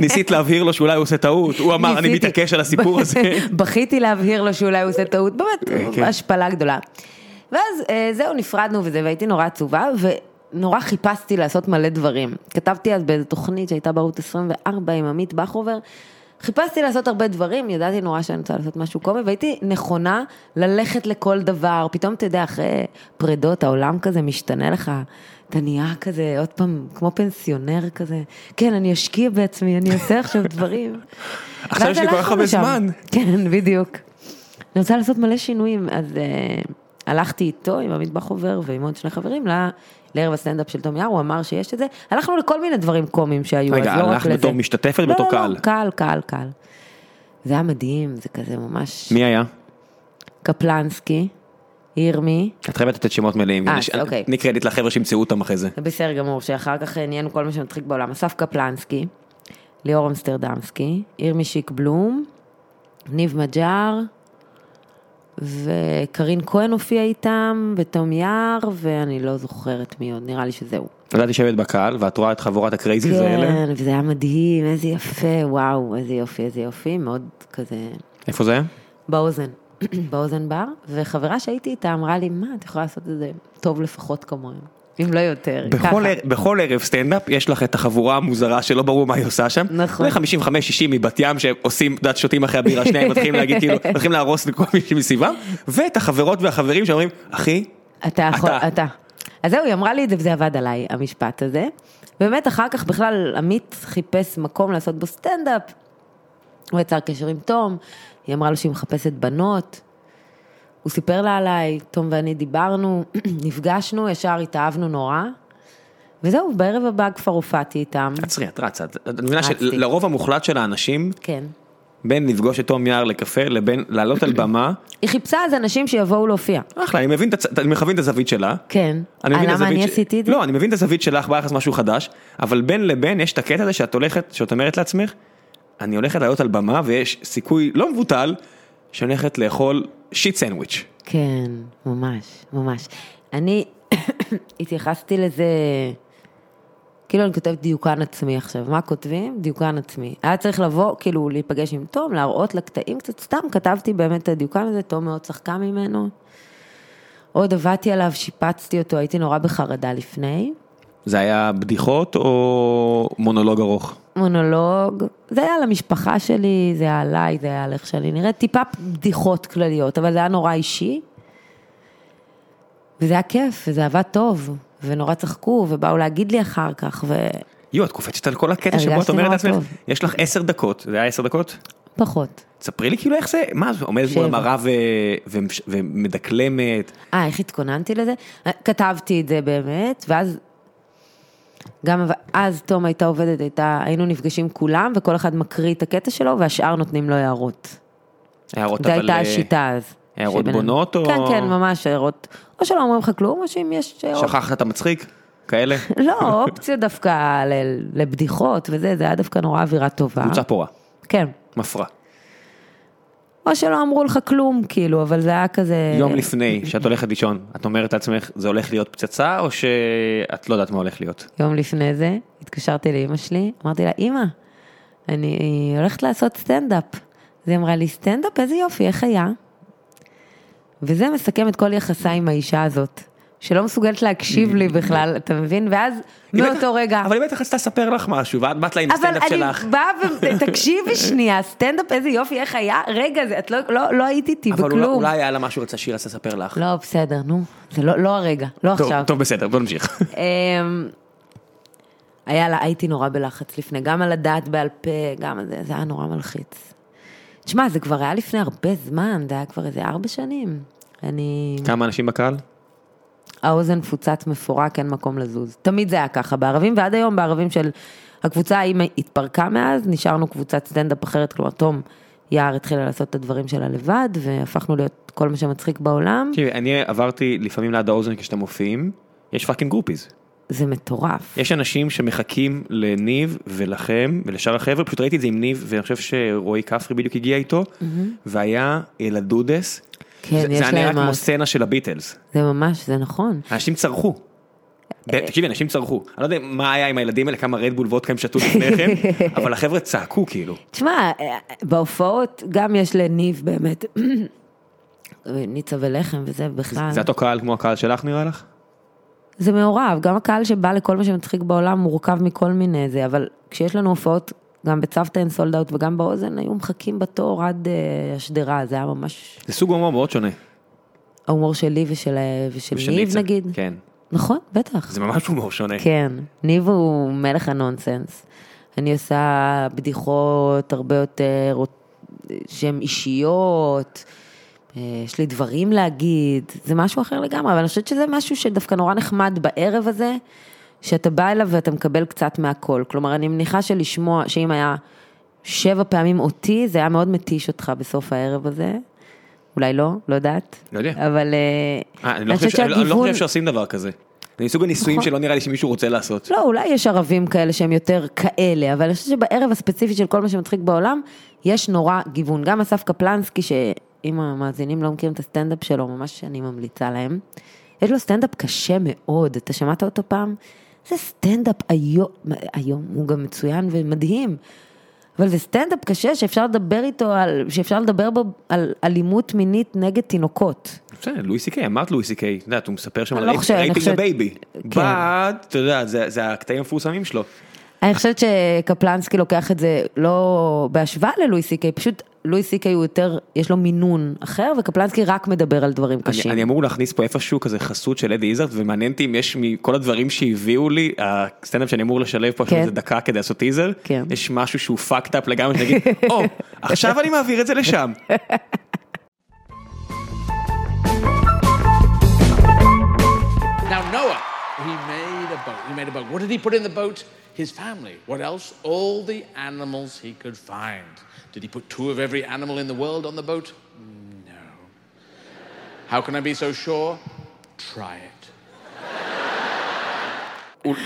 S1: ניסית להבהיר לו שאולי הוא עושה טעות, הוא אמר, אני
S3: ניסיתי.
S1: מתעקש על הסיפור הזה.
S3: בכיתי להבהיר לו שאולי הוא עושה טעות, באמת,
S1: כן.
S3: השפלה גדולה. ואז אה, זהו, נפרדנו וזה, והייתי נורא עצובה, ונורא חיפשתי לעשות מלא דברים. כתבתי אז באיזו תוכנית שהייתה בערוץ 24 עם עמית בחובר. חיפשתי לעשות הרבה דברים, ידעתי נורא שאני רוצה לעשות משהו קומי, והייתי נכונה ללכת לכל דבר. פתאום, אתה יודע, אחרי פרדות, העולם כזה משתנה לך. אתה נהיה כזה, עוד פעם, כמו פנסיונר כזה. כן, אני אשקיע בעצמי, אני אעשה עכשיו דברים.
S1: עכשיו
S3: ואז
S1: יש לי כל כך
S3: הלכנו
S1: הרבה
S3: לשם.
S1: זמן.
S3: כן, בדיוק. אני רוצה לעשות מלא שינויים, אז uh, הלכתי איתו, עם עמית בחובר ועם עוד שני חברים, ל- לערב הסטנדאפ של תום יער, הוא אמר שיש את זה. הלכנו לכל מיני דברים קומיים שהיו,
S1: רגע,
S3: אז לא רק
S1: הלכת
S3: לזה.
S1: בתור משתתפת,
S3: לא,
S1: בתור
S3: לא,
S1: קהל.
S3: לא, קהל, קהל, קהל. זה היה מדהים, זה כזה ממש...
S1: מי היה?
S3: קפלנסקי, ירמי,
S1: את חייבת לתת שמות מלאים.
S3: אה,
S1: כדי ש-
S3: אוקיי.
S1: תני קרדיט לחבר'ה שימצאו אותם אחרי זה.
S3: זה בסדר גמור, שאחר כך אה, נהיינו כל מה שמצחיק בעולם. אסף קפלנסקי, ליאור אמסטרדמסקי, ירמי שיק בלום, ניב מג'אר, וקרין כהן הופיע איתם, ותום יער, ואני לא זוכרת מי עוד, נראה לי שזהו.
S1: ואת יושבת בקהל, ואת רואה את חבורת הקרייזיז האלה.
S3: כן, וזה היה מדהים, איזה יפה, וואו, איזה יופי, איזה יופי, מאוד כזה
S1: איפה זה היה?
S3: באוזן, באוזן בר, וחברה שהייתי איתה אמרה לי, מה, את יכולה לעשות את זה טוב לפחות כמוהם, אם לא יותר,
S1: בכל,
S3: ככה.
S1: ער, בכל ערב סטנדאפ יש לך את החבורה המוזרה שלא ברור מה היא עושה שם.
S3: נכון.
S1: 55-60 מבת ים שעושים, את יודעת, שותים אחרי הבירה, שניהם מתחילים להגיד כאילו, מתחילים להרוס לכל מי שמסביבם, ואת החברות והחברים שאומרים, אחי,
S3: אתה יכול,
S1: אתה.
S3: אתה. אתה. אז זהו, היא אמרה לי את זה וזה עבד עליי, המשפט הזה. באמת, אחר כך בכלל עמית חיפש מקום לעשות בו סטנדאפ. הוא יצר קשר עם תום, היא אמרה לו שהיא מחפשת בנות. הוא סיפר לה עליי, תום ואני דיברנו, נפגשנו, ישר התאהבנו נורא. וזהו, בערב הבא כבר הופעתי איתם.
S1: עצרי, את רצה. את- את מבינה
S3: רצתי.
S1: שלרוב המוחלט של האנשים,
S3: כן.
S1: בין לפגוש את תום יער לקפה, לבין לעלות על במה,
S3: היא חיפשה אז אנשים שיבואו להופיע.
S1: אחלה, אני מבין את הצ- אני מכוון את הזווית שלה.
S3: כן.
S1: אני מבין
S3: אה,
S1: את
S3: למה
S1: הזווית
S3: אני
S1: ש-
S3: עשיתי את זה?
S1: לא, אני מבין את הזווית שלך ביחס משהו חדש, אבל בין לבין יש את הקטע הזה שאת הולכת, שאת אומרת לעצמך, אני הולכת לעלות על במה ויש סיכוי לא מבוטל, שאני הולכת לאכול שיט סנדוויץ'.
S3: כן, ממש, ממש. אני התייחסתי לזה, כאילו אני כותבת דיוקן עצמי עכשיו, מה כותבים? דיוקן עצמי. היה צריך לבוא, כאילו להיפגש עם תום, להראות לקטעים קצת, סתם כתבתי באמת את הדיוקן הזה, תום מאוד צחקה ממנו. עוד עבדתי עליו, שיפצתי אותו, הייתי נורא בחרדה לפני.
S1: זה היה בדיחות או מונולוג ארוך?
S3: מונולוג, זה היה על המשפחה שלי, זה היה עליי, זה היה על איך שאני נראית, טיפה בדיחות כלליות, אבל זה היה נורא אישי. וזה היה כיף, וזה עבד טוב, ונורא צחקו, ובאו להגיד לי אחר כך,
S1: יואו, את קופצת על כל הקטע שבו את
S3: הרגשתי
S1: אומרת
S3: נורא
S1: לעצמך,
S3: טוב.
S1: יש לך עשר דקות, זה היה עשר דקות?
S3: ופחות.
S1: ספרי לי כאילו איך זה, מה זה, עומדת מול
S3: שבע.
S1: המראה ו- ו- ומדקלמת,
S3: אה, איך התכוננתי לזה? אה, כתבתי את זה באמת, ואז... גם אבל- אז תום הייתה עובדת, הייתה, היינו נפגשים כולם, וכל אחד מקריא את הקטע שלו, והשאר נותנים לו הערות.
S1: הערות אבל...
S3: זו הייתה
S1: אה,
S3: השיטה אז.
S1: הערות
S3: שבין-
S1: בונות או-
S3: כן, כן, ממש הערות. או שלא אומרים לך כלום, או שאם יש... הערות-
S1: שכחת את המצחיק? כאלה?
S3: לא, אופציה דווקא ל- לבדיחות וזה, זה היה דווקא נורא אווירה טובה.
S1: קבוצה פורה,
S3: כן.
S1: מפרה.
S3: או שלא אמרו לך כלום, כאילו, אבל זה היה כזה...
S1: יום לפני שאת הולכת לישון, את אומרת לעצמך, זה הולך להיות פצצה, או שאת לא יודעת מה הולך להיות?
S3: יום לפני זה, התקשרתי לאימא שלי, אמרתי לה, אימא, אני הולכת לעשות סטנדאפ. אז היא אמרה לי, סטנדאפ? איזה יופי, איך היה? וזה מסכם את כל יחסיי עם האישה הזאת, שלא מסוגלת להקשיב לי בכלל, אתה מבין? ואז
S1: היא בטח-
S3: מאותו רגע...
S1: אבל היא בטח רצתה לספר לך משהו, ואת באת לה עם
S3: לא. אבל
S1: הסטנדאפ
S3: אני
S1: שלך.
S3: באה ו... תקשיבי שנייה, סטנדאפ, איזה יופי, איך היה? רגע, זה- את לא, לא, לא היית איתי
S1: אבל אולי-
S3: בכלום.
S1: אולי היה לה משהו רצה שהיא רצתה לספר לך.
S3: לא, בסדר, נו. זה לא, לא הרגע, לא
S1: טוב,
S3: עכשיו.
S1: טוב, בסדר, בוא נמשיך.
S3: אמ, היה לה, הייתי נורא בלחץ לפני, גם על הדעת בעל פה, גם על זה, זה היה נורא מלחיץ. תשמע, זה כבר היה לפני הרבה זמן, זה היה כבר איזה ארבע שנים. אני...
S1: כמה אנשים בקהל?
S3: האוזן פוצץ מפורק, אין מקום לזוז. תמיד זה היה ככה בערבים, ועד היום בערבים של... הקבוצה ההיא התפרקה מאז, נשארנו קבוצת סטנדאפ אחרת, כלומר, תום יער התחילה לעשות את הדברים שלה לבד, והפכנו להיות כל מה שמצחיק בעולם.
S1: תראי, אני עברתי לפעמים ליד האוזן כשאתם מופיעים, יש פאקינג גרופיז.
S3: זה מטורף.
S1: יש אנשים שמחכים לניב ולכם ולשאר החבר'ה, פשוט ראיתי את זה עם ניב, ואני חושב שרועי כפרי בדיוק הגיע איתו, והיה לדודס.
S3: כן,
S1: זה-
S3: יש
S1: זה היה
S3: להם
S1: נראה כמו
S3: ה-
S1: סצנה של הביטלס.
S3: זה ממש, זה נכון.
S1: אנשים צרחו. ב- תקשיבי, אנשים צרחו. אני לא יודע מה היה עם הילדים האלה, כמה רדבול וודקה הם שתו לפני כן, אבל החבר'ה צעקו כאילו.
S3: תשמע, אה, בהופעות גם יש לניב באמת, ניצה ולחם וזה בכלל.
S1: זה אותו קהל כמו הקהל שלך נראה לך?
S3: זה מעורב, גם הקהל שבא לכל מה שמצחיק בעולם מורכב מכל מיני זה, אבל כשיש לנו הופעות, גם בצוותא אין סולד אאוט וגם באוזן, היו מחכים בתור עד אה, השדרה, זה היה ממש
S1: זה סוג הומור מאוד שונה.
S3: ההומור שלי ושל, אה, ושל
S1: ושל
S3: ניב
S1: ניצה.
S3: נגיד.
S1: כן.
S3: נכון, בטח.
S1: זה ממש הומור שונה.
S3: כן, ניב הוא מלך הנונסנס. אני עושה בדיחות הרבה יותר, שהן אישיות, אה, יש לי דברים להגיד, זה משהו אחר לגמרי, אבל אני חושבת שזה משהו שדווקא נורא נחמד בערב הזה, שאתה בא אליו ואתה מקבל קצת מהכל. כלומר, אני מניחה שלשמוע, שאם היה שבע פעמים אותי, זה היה מאוד מתיש אותך בסוף הערב הזה. אולי לא, לא יודעת.
S1: לא יודע.
S3: אבל... אה,
S1: אה, אני לא חושב ש- אני לא חושב שעושים דבר כזה. זה מסוג הניסויים
S3: נכון.
S1: שלא נראה לי שמישהו רוצה לעשות.
S3: לא, אולי יש ערבים כאלה שהם יותר כאלה, אבל אני חושבת שבערב הספציפי של כל מה שמצחיק בעולם, יש נורא גיוון. גם אסף קפלנסקי, שאם המאזינים לא מכירים את הסטנדאפ שלו, ממש אני ממליצה להם. יש לו סטנדאפ קשה מאוד, אתה שמעת אותו פעם? זה סטנדאפ היום, היום הוא גם מצוין ומדהים. אבל זה סטנדאפ קשה שאפשר לדבר איתו, על, שאפשר לדבר בו על אלימות מינית נגד תינוקות.
S1: בסדר, לואי סי קיי, אמרת לואי סי קיי, את יודעת, הוא מספר שם
S3: אני
S1: על
S3: לא חושבת, אני
S1: רייטינג
S3: חושבת-
S1: הבייבי.
S3: כן.
S1: בד, אתה יודע, זה זה הקטעים המפורסמים שלו.
S3: אני חושבת שקפלנסקי לוקח את זה לא בהשוואה ללואי סי קיי, פשוט לואי סי קיי הוא יותר, יש לו מינון אחר, וקפלנסקי רק מדבר על דברים
S1: אני-
S3: קשים.
S1: אני אמור להכניס פה איפשהו כזה חסות של אדי איזרד, ומעניין אותי אם יש מכל הדברים שהביאו לי, הסטנדאפ שאני אמור לשלב פה, יש לי
S3: כן.
S1: איזה דקה כדי לעשות טיזר,
S3: כן.
S1: יש משהו שהוא fucked up לגמרי, שאני אגיד, או, עכשיו אני מעביר את זה לשם.
S2: Now Noah, he made a boat. He made a boat. What did he put in the boat? His family. What else? All the animals he could find. Did he put two of every animal in the world on the boat? No. How can I be so sure? Try it.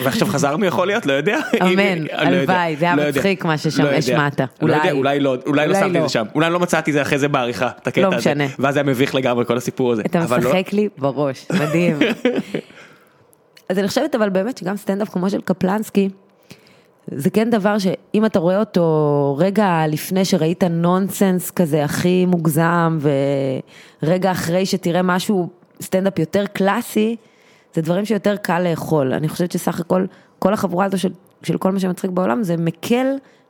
S1: ועכשיו חזרנו יכול להיות, לא יודע.
S3: אמן,
S1: אם- לא יודע,
S3: הלוואי, זה היה
S1: לא יודע.
S3: מצחיק מה ששם
S1: לא יודע.
S3: השמעת.
S1: לא יודע,
S3: אולי.
S1: אולי לא, אולי לא
S3: אולי
S1: שמתי את
S3: לא.
S1: זה שם, אולי לא מצאתי את זה אחרי זה בעריכה, את הקטע
S3: לא
S1: הזה.
S3: משנה.
S1: ואז זה היה מביך לגמרי כל הסיפור הזה.
S3: אתה
S1: אבל לא-
S3: משחק לי בראש, מדהים. אז אני חושבת אבל באמת שגם סטנדאפ כמו של קפלנסקי, זה כן דבר שאם אתה רואה אותו רגע לפני שראית נונסנס כזה הכי מוגזם, ורגע אחרי שתראה משהו, סטנדאפ יותר קלאסי, זה דברים שיותר קל לאכול. אני חושבת שסך הכל, כל החבורה הזו של, של כל מה שמצחיק בעולם, זה מקל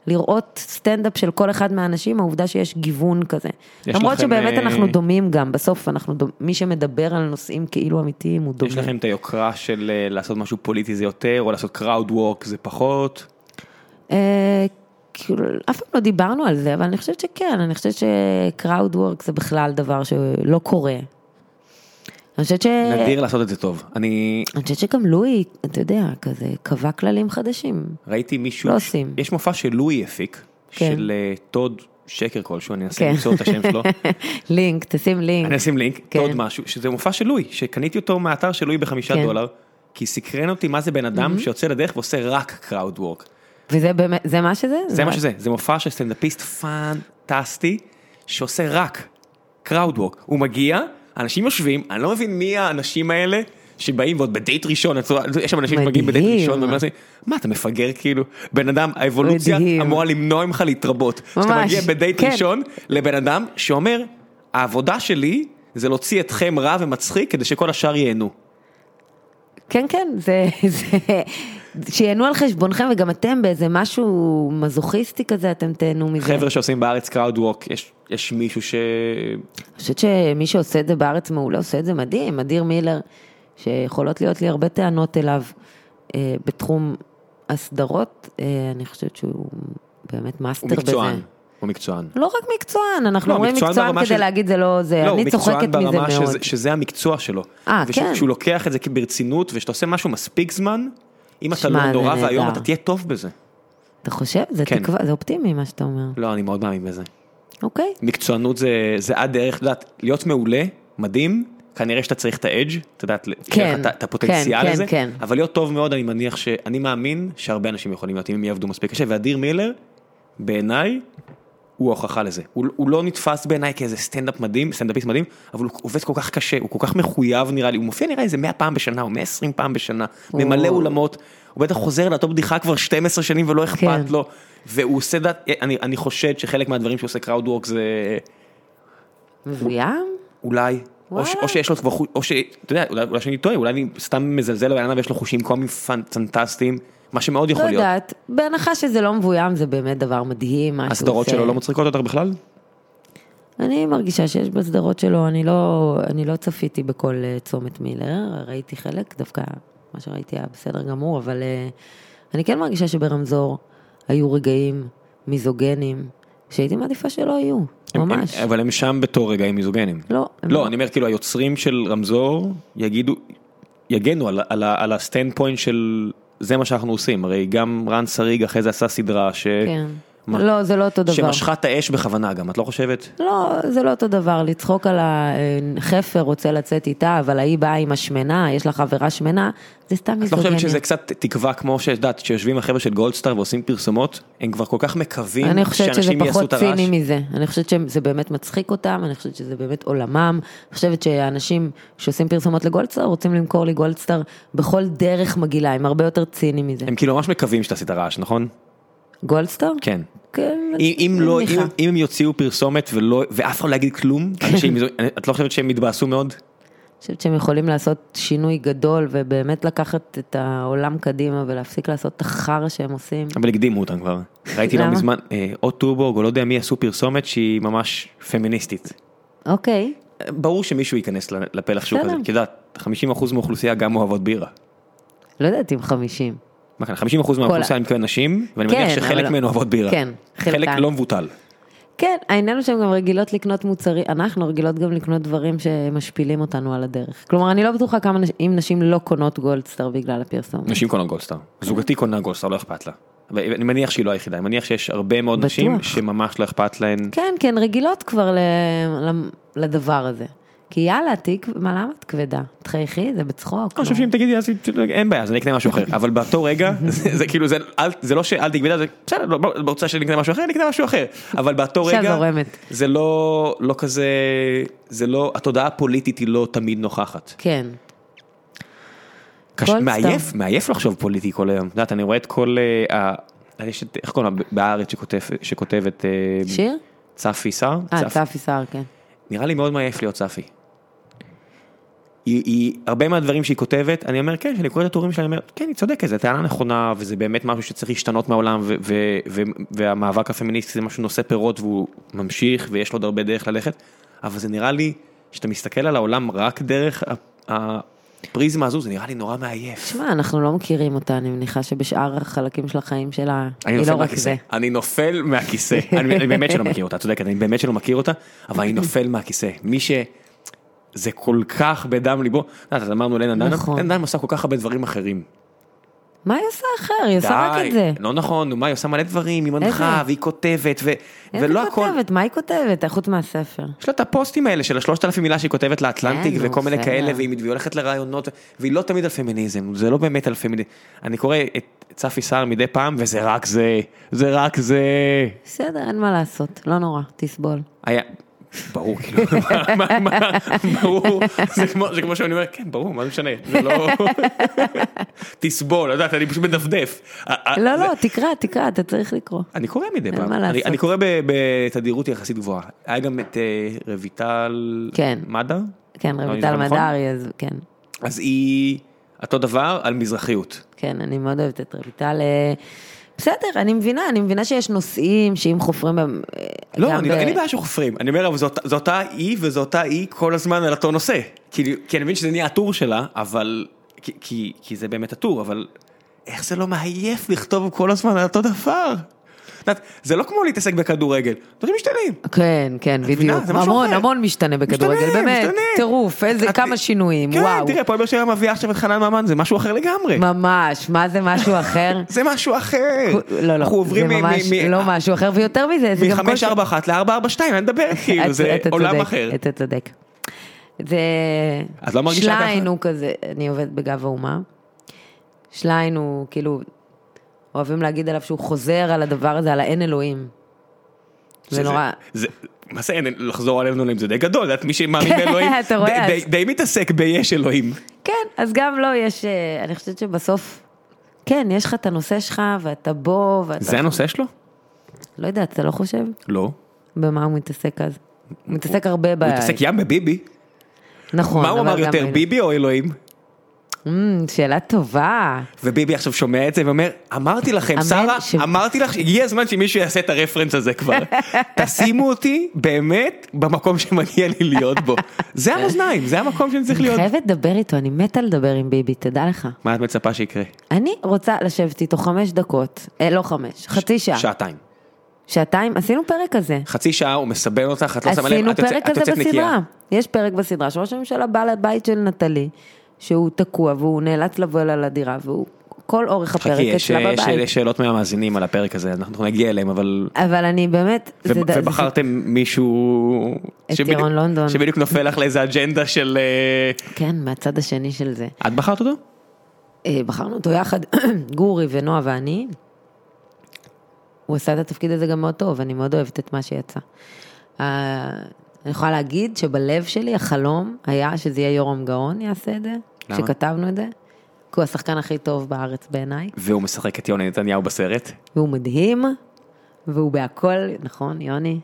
S3: לראות סטנדאפ של כל אחד מהאנשים, העובדה שיש גיוון כזה.
S1: יש
S3: למרות
S1: לכם,
S3: שבאמת
S1: אה,
S3: אנחנו דומים גם, בסוף אנחנו, דומ- מי שמדבר על נושאים כאילו אמיתיים הוא דומה.
S1: יש לכם את היוקרה של אה, לעשות משהו פוליטי זה יותר, או לעשות crowd work זה פחות.
S3: אה, כאילו, אף פעם לא דיברנו על זה, אבל אני חושבת שכן, אני חושבת ש-crowd work זה בכלל דבר שלא קורה. אני חושבת ש...
S1: נדיר לעשות את זה טוב. אני
S3: אני חושבת שגם לואי, אתה יודע, כזה קבע כללים חדשים.
S1: ראיתי מישהו,
S3: לא
S1: ש-
S3: עושים.
S1: יש מופע שלואי הפיק,
S3: כן.
S1: של אה, טוד שקר כלשהו, אני אנסה
S3: כן.
S1: למצוא את השם שלו.
S3: לינק, תשים לינק.
S1: אני אשים לינק,
S3: כן.
S1: עוד משהו, שזה מופע של לואי, שקניתי אותו מהאתר של לואי בחמישה
S3: כן.
S1: דולר, כי סקרן אותי מה זה בן אדם שיוצא לדרך ועושה רק קראוד וורק.
S3: וזה באמת, זה מה שזה?
S1: זה מה שזה, זה מופע של סטנדאפיסט פנטסטי, שעושה רק קראוד וורק. הוא מגיע, אנשים יושבים, אני לא מבין מי האנשים האלה. שבאים ועוד בדייט ראשון, הצורה- יש שם אנשים שמגיעים בדייט
S3: מדהים.
S1: ראשון, ואומרים לעצמי, מה אתה מפגר כאילו, בן אדם, האבולוציה
S3: מדהים.
S1: אמורה למנוע ממך להתרבות. כשאתה
S3: ממש,
S1: מגיע בדייט
S3: כן.
S1: ראשון לבן אדם שאומר, העבודה שלי זה להוציא אתכם רע ומצחיק כדי שכל השאר ייהנו.
S3: כן, כן, זה... זה... שיהנו על חשבונכם, וגם אתם באיזה משהו מזוכיסטי כזה, אתם תהנו מזה.
S1: חבר'ה שעושים בארץ קראוד ווק, יש- יש מישהו ש...
S3: אני חושבת שמי שעושה את זה בארץ מעולה עושה את זה מדהים, אדיר מילר, שיכולות להיות לי הרבה טענות אליו אה, בתחום הסדרות, אה, אני חושבת שהוא באמת מאסטר
S1: הוא
S3: בזה.
S1: מקצוען, הוא מקצוען.
S3: לא רק מקצוען, אנחנו
S1: לא,
S3: אומרים
S1: מקצוען
S3: מקצוען
S1: ברמה
S3: כדי
S1: של-
S3: להגיד זה לא זה,
S1: לא, הוא
S3: אני צוחקת
S1: מקצוען
S3: מזה
S1: ברמה
S3: מאוד.
S1: שזה, שזה המקצוע שלו.
S3: אה, כן.
S1: ושהוא לוקח את זה ברצינות, ושאתה עושה משהו מספיק זמן, אם אתה
S3: שמע,
S1: לא
S3: זה
S1: נורא
S3: נהדר.
S1: ואיום, אתה תהיה טוב בזה.
S3: אתה חושב? זה
S1: כן.
S3: תקווה, זה אופטימי מה שאתה אומר.
S1: לא, אני מאוד מאמין בזה.
S3: אוקיי,
S1: מקצוענות זה, זה עד דרך, את יודעת, להיות מעולה, מדהים, כנראה שאתה צריך את האדג', את יודעת,
S3: כן,
S1: את- את הפוטנציאל
S3: כן,
S1: הזה,
S3: כן.
S1: אבל להיות טוב מאוד, אני מניח ש... אני מאמין שהרבה אנשים יכולים להיות, אם הם יעבדו מספיק קשה, ואדיר מילר, בעיניי, הוא ההוכחה לזה. הוא, הוא לא נתפס בעיניי כאיזה סטנדאפ מדהים, סטנדאפיסט מדהים, אבל הוא עובד כל כך קשה, הוא כל כך מחויב נראה לי, הוא מופיע נראה לי איזה 100 פעם בשנה או 120 פעם בשנה,
S3: הוא-
S1: ממלא אולמות, הוא בטח חוזר לאותו בדיחה כבר 12 שנים ולא אכפת
S3: כן.
S1: לו, והוא עושה דת, אני, אני חושד שחלק מהדברים שהוא עושה קראוד וורק זה
S3: מבוים?
S1: אולי, או, ש,
S3: וואלה.
S1: או שיש לו כבר, חוש- או ש, אתה יודע, אולי, אולי שאני טועה, אולי אני סתם מזלזל בבן אדם ויש לו חושים קומיים פנ- פנטסטיים, מה שמאוד
S3: לא
S1: יכול להיות.
S3: יודעת, בהנחה שזה לא מבוים זה באמת דבר מדהים, מה שהוא עושה.
S1: הסדרות שלו לא מצחיקות אותך בכלל?
S3: אני מרגישה שיש בסדרות שלו, אני לא, אני לא צפיתי בכל אה, צומת מילר, ראיתי חלק, דווקא מה שראיתי היה בסדר גמור, אבל אה, אני כן מרגישה שברמזור היו רגעים מיזוגנים, שהייתי מעדיפה שלא יהיו,
S1: הם-
S3: ממש.
S1: הם- אבל הם שם בתור רגעים מיזוגנים.
S3: לא, הם
S1: לא,
S3: לא.
S1: אני אומר כאילו היוצרים של רמזור יגידו, יגנו על, על, ה- על הסטנד פוינט של זה מה שאנחנו עושים, הרי גם רן שריג אחרי זה עשה סדרה ש...
S3: כן.
S1: מה-
S3: לא, זה לא אותו דבר.
S1: שמשכה את האש בכוונה גם, את לא חושבת?
S3: לא, זה לא אותו דבר, לצחוק על החפר רוצה לצאת איתה, אבל ההיא באה עם השמנה, יש לה חברה שמנה, זה סתם
S1: את לא
S3: מיזוגניה.
S1: חושבת שזה קצת תקווה כמו שאת יודעת, כשיושבים החבר'ה של גולדסטאר ועושים פרסומות, הם כבר כל כך מקווים
S3: אני חושבת שזה
S1: שאנשים יעשו
S3: פחות
S1: את הרעש?
S3: ציני מזה. אני חושבת שזה באמת מצחיק אותם, אני חושבת שזה באמת עולמם. אני חושבת שהאנשים שעושים פרסומות לגולדסטאר רוצים למכור לי גולדסטאר בכל דרך מגעילה, הם הרבה יותר ציניים מזה.
S1: הם כאילו ממש מקווים שתעשי את הרעש, נכון?
S3: גולדסטאר?
S1: כן.
S3: כן.
S1: אם, אם לא, אם,
S3: מניחה. כן.
S1: אם הם יוציאו פרסומת ולא, ואף אחד לא יגיד כלום, אנשים, את לא חושבת שהם יתבאסו מאוד?
S3: אני חושבת שהם יכולים לעשות שינוי גדול ובאמת לקחת את העולם קדימה ולהפסיק לעשות את החרא שהם עושים.
S1: אבל הקדימו אותם כבר. ראיתי לא
S3: למה?
S1: מזמן, אה, או טורבורג או לא יודע מי עשו פרסומת שהיא ממש פמיניסטית.
S3: אוקיי.
S1: אה, ברור שמישהו ייכנס ל- לפלח שוק הזה,
S3: בסדר.
S1: כי את יודעת, 50% מהאוכלוסייה גם אוהבות בירה.
S3: לא יודעת אם חמישים.
S1: מה כן, כאן, 50% מהאוכלוסייה הם כאן נשים, ואני מניח
S3: כן,
S1: שחלק
S3: אבל-
S1: מהן אוהבות בירה.
S3: כן,
S1: חלק
S3: חלקן.
S1: לא מבוטל.
S3: כן, העניין הוא שהן גם רגילות לקנות מוצרים, אנחנו רגילות גם לקנות דברים שמשפילים אותנו על הדרך. כלומר, אני לא בטוחה כמה, נש- אם נשים לא קונות גולדסטאר בגלל הפרסום.
S1: נשים קונות גולדסטאר. זוגתי קונה גולדסטאר, לא אכפת לה. ואני מניח שהיא לא היחידה, אני מניח שיש הרבה מאוד
S3: בטוח.
S1: נשים שממש לא אכפת להן.
S3: כן, כן, רגילות כבר ל... ל- לדבר הזה. כי יאללה, תיק, מה למה את כבדה? תחייכי, זה בצחוק. לא?
S1: אני חושב
S3: נו.
S1: שאם תגידי אז אין בעיה אז אני אקנה משהו אחר אבל באותו רגע זה, זה כאילו זה, אל, זה לא שאל תגבדה זה בסדר לא, בוא, רוצה שאני אקנה משהו אחר אני אקנה משהו אחר אבל באותו
S3: אישה
S1: רגע
S3: זורמת.
S1: זה לא לא כזה זה לא התודעה הפוליטית היא לא תמיד נוכחת.
S3: כן.
S1: קש,
S3: גולדסטאר.
S1: מעייף מעייף לחשוב פוליטי כל היום את יודעת אני רואה את כל אה, ה... יש את איך קוראים לה בארץ שכותב, שכותבת אה,
S3: שיר?
S1: צפי שר
S3: אה,
S1: צפ-
S3: צפי סער, כן.
S1: נראה לי מאוד מעייף להיות צפי. היא, היא, הרבה מהדברים שהיא כותבת, אני אומר כן, כשאני קורא את הטורים שלה, אני אומר, כן, היא צודקת, זו טענה נכונה, וזה באמת משהו שצריך להשתנות מהעולם, ו- ו- ו- והמאבק הפמיניסטי זה משהו נושא פירות, והוא ממשיך, ויש לו עוד הרבה דרך ללכת, אבל זה נראה לי, כשאתה מסתכל על העולם רק דרך ה- הפריזמה הזו, זה נראה לי נורא מעייף.
S3: תשמע, אנחנו לא מכירים אותה, אני מניחה שבשאר החלקים של החיים שלה,
S1: אני
S3: היא
S1: נופל
S3: לא רק
S1: מהכיסא,
S3: זה.
S1: אני נופל מהכיסא, אני אני באמת שלא מכיר אותה, את צודקת, אני באמת שלא מכיר אותה, אבל אני נופל מהכיסא. מי ש... זה כל כך בדם ליבו, את יודעת, אז אמרנו לנה דנם,
S3: נכון.
S1: לנה דנם עושה כל כך הרבה דברים אחרים.
S3: מה היא עושה אחר? היא עושה רק את זה.
S1: לא נכון, נו מה, היא עושה מלא דברים, היא מנחה,
S3: איזה?
S1: והיא כותבת, ו-
S3: איזה
S1: ולא לא הכל.
S3: כותבת? מה היא כותבת? חוץ מהספר.
S1: יש לה את הפוסטים האלה של השלושת אלפים מילה שהיא כותבת לאטלנטיק
S3: כן, נו,
S1: וכל מיני
S3: בסדר.
S1: כאלה, והיא והיא הולכת לרעיונות, והיא לא תמיד על פמיניזם, זה לא באמת על פמיניזם. אני קורא את צפי סער מדי פעם, וזה רק זה, זה רק זה.
S3: בסדר, אין מה לעשות, לא נורא, תסבול.
S1: היה, ברור, כאילו, מה, מה, מה, ברור, זה כמו, זה כמו שאני אומר, כן, ברור, מה זה משנה, זה לא, תסבול, יודעת, אני פשוט מדפדף.
S3: לא, לא, תקרא, תקרא, אתה צריך לקרוא.
S1: אני קורא מדי פעם,
S3: מה
S1: אני,
S3: לעשות.
S1: אני קורא ב- בתדירות יחסית גבוהה. היה גם את אה, רויטל
S3: כן.
S1: מדר,
S3: כן,
S1: לא
S3: רויטל
S1: נשמע נכון?
S3: מדרי, אז כן.
S1: אז היא אותו דבר על מזרחיות.
S3: כן, אני מאוד אוהבת את רויטל. אה, בסדר, אני מבינה, אני מבינה שיש נושאים שאם חופרים בהם... אה,
S1: לא,
S3: גם
S1: אני,
S3: ב-
S1: לא, אין לי בעיה שחופרים, אני אומר, אבל זאת, זאת אותה היא וזאת אותה היא כל הזמן על אותו נושא. כי, כי אני מבין שזה נהיה הטור שלה, אבל, כי, כי, כי זה באמת הטור, אבל איך זה לא מעייף לכתוב כל הזמן על אותו דבר? את יודעת, זה לא כמו להתעסק בכדורגל, דברים משתנים.
S3: כן, כן, בדיוק.
S1: מבינה? זה משהו
S3: המון,
S1: אחר.
S3: המון משתנה בכדורגל,
S1: משתנה,
S3: באמת.
S1: משתנה.
S3: טירוף, איזה,
S1: את-
S3: כמה שינויים,
S1: כן,
S3: וואו.
S1: תראה, פועל באר שבע מביאה עכשיו את חנן ממן, זה משהו אחר לגמרי.
S3: ממש, מה זה משהו אחר?
S1: זה משהו אחר. אנחנו
S3: לא, לא, זה
S1: עוברים מ- מ-
S3: ממש
S1: מ-
S3: לא משהו אחר, ויותר מזה, זה גם כל...
S1: מ-541 ל-442, אני מדבר, כאילו,
S3: את-
S1: זה
S3: אתה
S1: עולם
S3: צודק,
S1: אחר.
S3: אתה צודק. זה...
S1: את לא מרגישה ככה?
S3: שליין הוא כזה, אני עובדת בגב האומה. שליין הוא כאילו, אוהבים להגיד עליו שהוא חוזר על הדבר הזה, על האין אלוהים. זה
S1: שזה-
S3: נורא...
S1: זה- מה זה אין- לחזור על אין אלוהים זה די גדול, את מי שמאמין באלוהים,
S3: אתה רואה,
S1: די-
S3: אז-
S1: די- די מתעסק ביש אלוהים.
S3: כן, אז גם לא, יש... אה, אני חושבת שבסוף... כן, יש לך את הנושא שלך, ואתה בו, ואתה...
S1: זה הנושא שלו?
S3: לא יודעת, אתה לא חושב
S1: לא.
S3: במה הוא מתעסק אז? הוא מתעסק הרבה ב...
S1: הוא התעסק ים בביבי.
S3: נכון,
S1: מה הוא
S3: אבל
S1: אמר
S3: גם
S1: יותר,
S3: היינו-
S1: ביבי או אלוהים?
S3: אמ, שאלה טובה.
S1: וביבי עכשיו שומע את זה ואומר, אמרתי לכם,
S3: אמן
S1: שרה,
S3: ש-
S1: אמרתי לך, הגיע הזמן שמישהו יעשה את הרפרנס הזה כבר. תשימו אותי באמת במקום שמגיע לי להיות בו. זה המאזניים, זה המקום שאני צריך
S3: אני
S1: להיות.
S3: חייבת לדבר איתו, אני מתה לדבר עם ביבי, תדע לך.
S1: מה את מצפה שיקרה?
S3: אני רוצה לשבת איתו חמש דקות, אה, לא חמש, חצי שעה.
S1: שעתיים.
S3: שעתיים, עשינו פרק כזה.
S1: חצי שעה הוא מסבן אותך, את לא שמה לב,
S3: עשינו
S1: את יוצאת-
S3: פרק
S1: את
S3: כזה
S1: יוצאת נקייה.
S3: בסדרה. יש פרק בסדרה שראש הממשלה בא לבית של נטלי, שהוא תקוע והוא נאלץ לבוא אליה לדירה, והוא כל אורך
S1: חכי,
S3: הפרק
S1: יש אה,
S3: אצלה
S1: יש-
S3: בבית.
S1: יש שאלות מהמאזינים על הפרק הזה, אנחנו נגיע אליהם, אבל...
S3: אבל אני באמת,
S1: ו-
S3: זה ד- זה-
S1: ובחרתם מישהו...
S3: את
S1: שבדיוק-
S3: ירון לונדון.
S1: שבדיוק נופל לך לאיזה אג'נדה של... אה,
S3: כן, מהצד השני של זה.
S1: את בחרת אותו?
S3: אה, בחרנו אותו יחד, גורי ונועה ואני. הוא עשה את התפקיד הזה גם מאוד טוב, אני מאוד אוהבת את מה שיצא. אה, אני יכולה להגיד שבלב שלי החלום היה שזה יהיה יורם גאון יעשה את זה,
S1: למה?
S3: שכתבנו את זה. כי הוא השחקן הכי טוב בארץ בעיניי,
S1: והוא משחק את יוני נתניהו בסרט.
S3: והוא מדהים, והוא בהכל, נכון, יוני?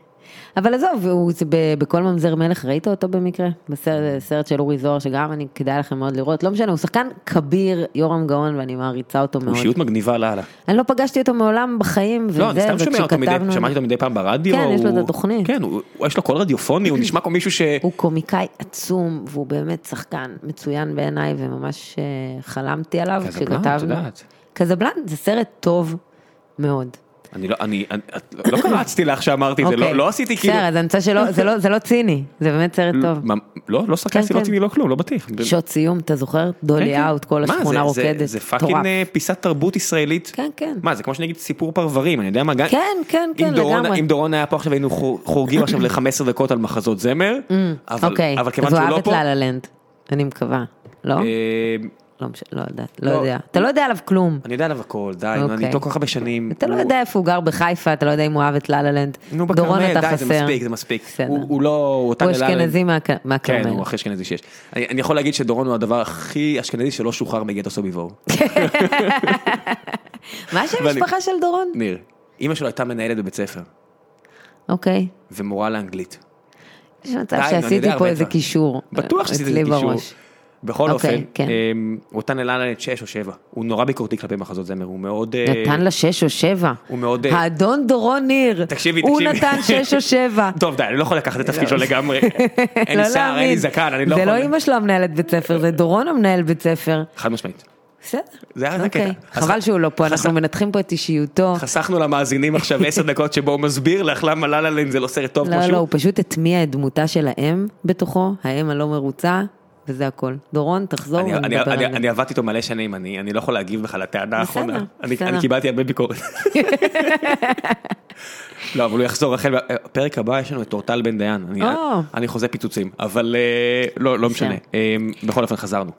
S3: אבל עזוב, והוא זה ב- בכל ממזר מלך, ראית אותו במקרה? בסרט סרט של אורי זוהר, שגם אני, כדאי לכם מאוד לראות, לא משנה, הוא שחקן כביר, יורם גאון, ואני מעריצה אותו מאוד.
S1: הוא אישיות מגניבה לאללה.
S3: אני לא פגשתי אותו מעולם בחיים, וזה,
S1: לא, אני סתם שומע אותו מדי,
S3: וכשכתבנו-
S1: שמעתי אותו מדי פעם ברדיו.
S3: כן, יש לו את
S1: הוא-
S3: התוכנית.
S1: כן, הוא- הוא- יש לו קול רדיופוני, הוא נשמע כמו מישהו ש...
S3: הוא קומיקאי עצום, והוא באמת שחקן מצוין בעיניי, וממש אה, חלמתי עליו
S1: קזבלן,
S3: כשכתבנו.
S1: את יודעת.
S3: קזבלן, זה סרט טוב מאוד.
S1: אני לא, אני, אני- את- לא קרצתי לך שאמרתי את זה, לא- לא עשיתי כאילו...
S3: אוקיי. בסדר, אז אני רוצה שלא, זה לא- זה לא ציני, זה באמת סרט טוב.
S1: מה, לא, לא סרקסטי,
S3: כן,
S1: לא
S3: כן.
S1: ציני, לא כלום, לא בטיח.
S3: שעות סיום, אתה זוכר?
S1: כן,
S3: דולי
S1: כן.
S3: אאוט, כל
S1: מה, זה-
S3: השכונה
S1: זה-
S3: רוקדת.
S1: זה
S3: מטורף.
S1: פאקינג אה, פיסת תרבות ישראלית.
S3: כן, כן.
S1: מה, זה כמו שנגיד סיפור פרברים, אני יודע מה, גם...
S3: כן, כן,
S1: אם
S3: כן,
S1: דורון-
S3: לגמרי.
S1: אם דורון היה פה עכשיו היינו חור- חורגים עכשיו ל-15 דקות על מחזות זמר, אבל
S3: אוקיי,
S1: אבל כיוון
S3: אז הוא
S1: שהוא
S3: אהב
S1: לא
S3: את
S1: פה,
S3: לה לה לנד, אני מקווה. לא?
S1: אה,
S3: לא מש- לא יודעת, לא
S1: לא.
S3: יודע. אתה לא יודע עליו כלום.
S1: אני יודע עליו הכל, די, נו, אני
S3: אוקיי.
S1: איתו כל כך הרבה שנים.
S3: אתה לא
S1: הוא-
S3: יודע איפה הוא גר בחיפה, אתה לא יודע אם הוא אהב את לה-לה-לנד.
S1: נו,
S3: דורון
S1: בכרמל,
S3: אתה
S1: די,
S3: חסר.
S1: זה מספיק, זה מספיק.
S3: בסדר.
S1: הוא הוא לא... אותה
S3: הוא
S1: ללה-
S3: אשכנזי מהק-
S1: כן,
S3: מהכרמל.
S1: הוא הכי אשכנזי שיש. אני אני יכול להגיד שדורון הוא הדבר הכי אשכנזי שלא שוחרר מגטו סוביבור.
S3: מה שם
S1: ואני-
S3: המשפחה של דורון?
S1: ניר, אימא שלו הייתה מנהלת בבית ספר,
S3: אוקיי.
S1: ומורה לאנגלית.
S3: יש מצב
S1: די, נו, אני יודע
S3: שעשיתי פה
S1: הרבה
S3: איזה
S1: דברים.
S3: קישור. אה,
S1: בטוח שעשית איזה
S3: אצלי
S1: קישור.
S3: בראש.
S1: בכל
S3: אוקיי,
S1: אופן,
S3: כן.
S1: אמ, הוא נתן ללנד 6 או 7, הוא נורא ביקורתי כלפי מחזות זמר, הוא מאוד... אה,
S3: נתן לה שש או שבע.
S1: הוא מאוד, אה,
S3: האדון דורון ניר.
S1: תקשיבי,
S3: הוא
S1: תקשיבי.
S3: נתן שש או שבע.
S1: טוב, די, אני לא יכול לקחת את התפקיד שלו לגמרי. אין
S3: לא
S1: לי שיער, אין לי
S3: להאמין.
S1: זקן, אני לא
S3: זה
S1: יכול...
S3: לא אימא שלו המנהלת בית ספר, זה דורון המנהל בית ספר.
S1: חד משמעית.
S3: בסדר.
S1: זה היה- זה
S3: אוקיי.
S1: הקטע. אז
S3: חבל
S1: ח-
S3: שהוא לא פה, אנחנו
S1: חסך-
S3: מנתחים פה את אישיותו.
S1: חסכנו למאזינים עכשיו 10 דקות שבו הוא מסביר לך למה ללנד זה לא סרט טוב כמו
S3: לא, לא,
S1: שהוא.
S3: הוא פשוט הטמיע את דמותה של האם בתוכו, האם הלא מרוצה, וזה הכל. דורון, תחזור
S1: אני- אני-
S3: ונדבר
S1: אני
S3: על
S1: אני
S3: זה.
S1: עבדתי איתו מלא שנים, אני אני לא יכול להגיב לך לטענה
S3: בסדר,
S1: האחרונה. אני
S3: בסדר.
S1: אני קיבלתי הרבה ביקורת. לא, אבל הוא יחזור החל, בפרק הבא יש לנו את אורטל בן דיין, אני-
S3: או.
S1: אני חוזה פיצוצים, אבל אה, לא, לא משנה.
S3: בסדר.
S1: אמ, בכל אופן חזרנו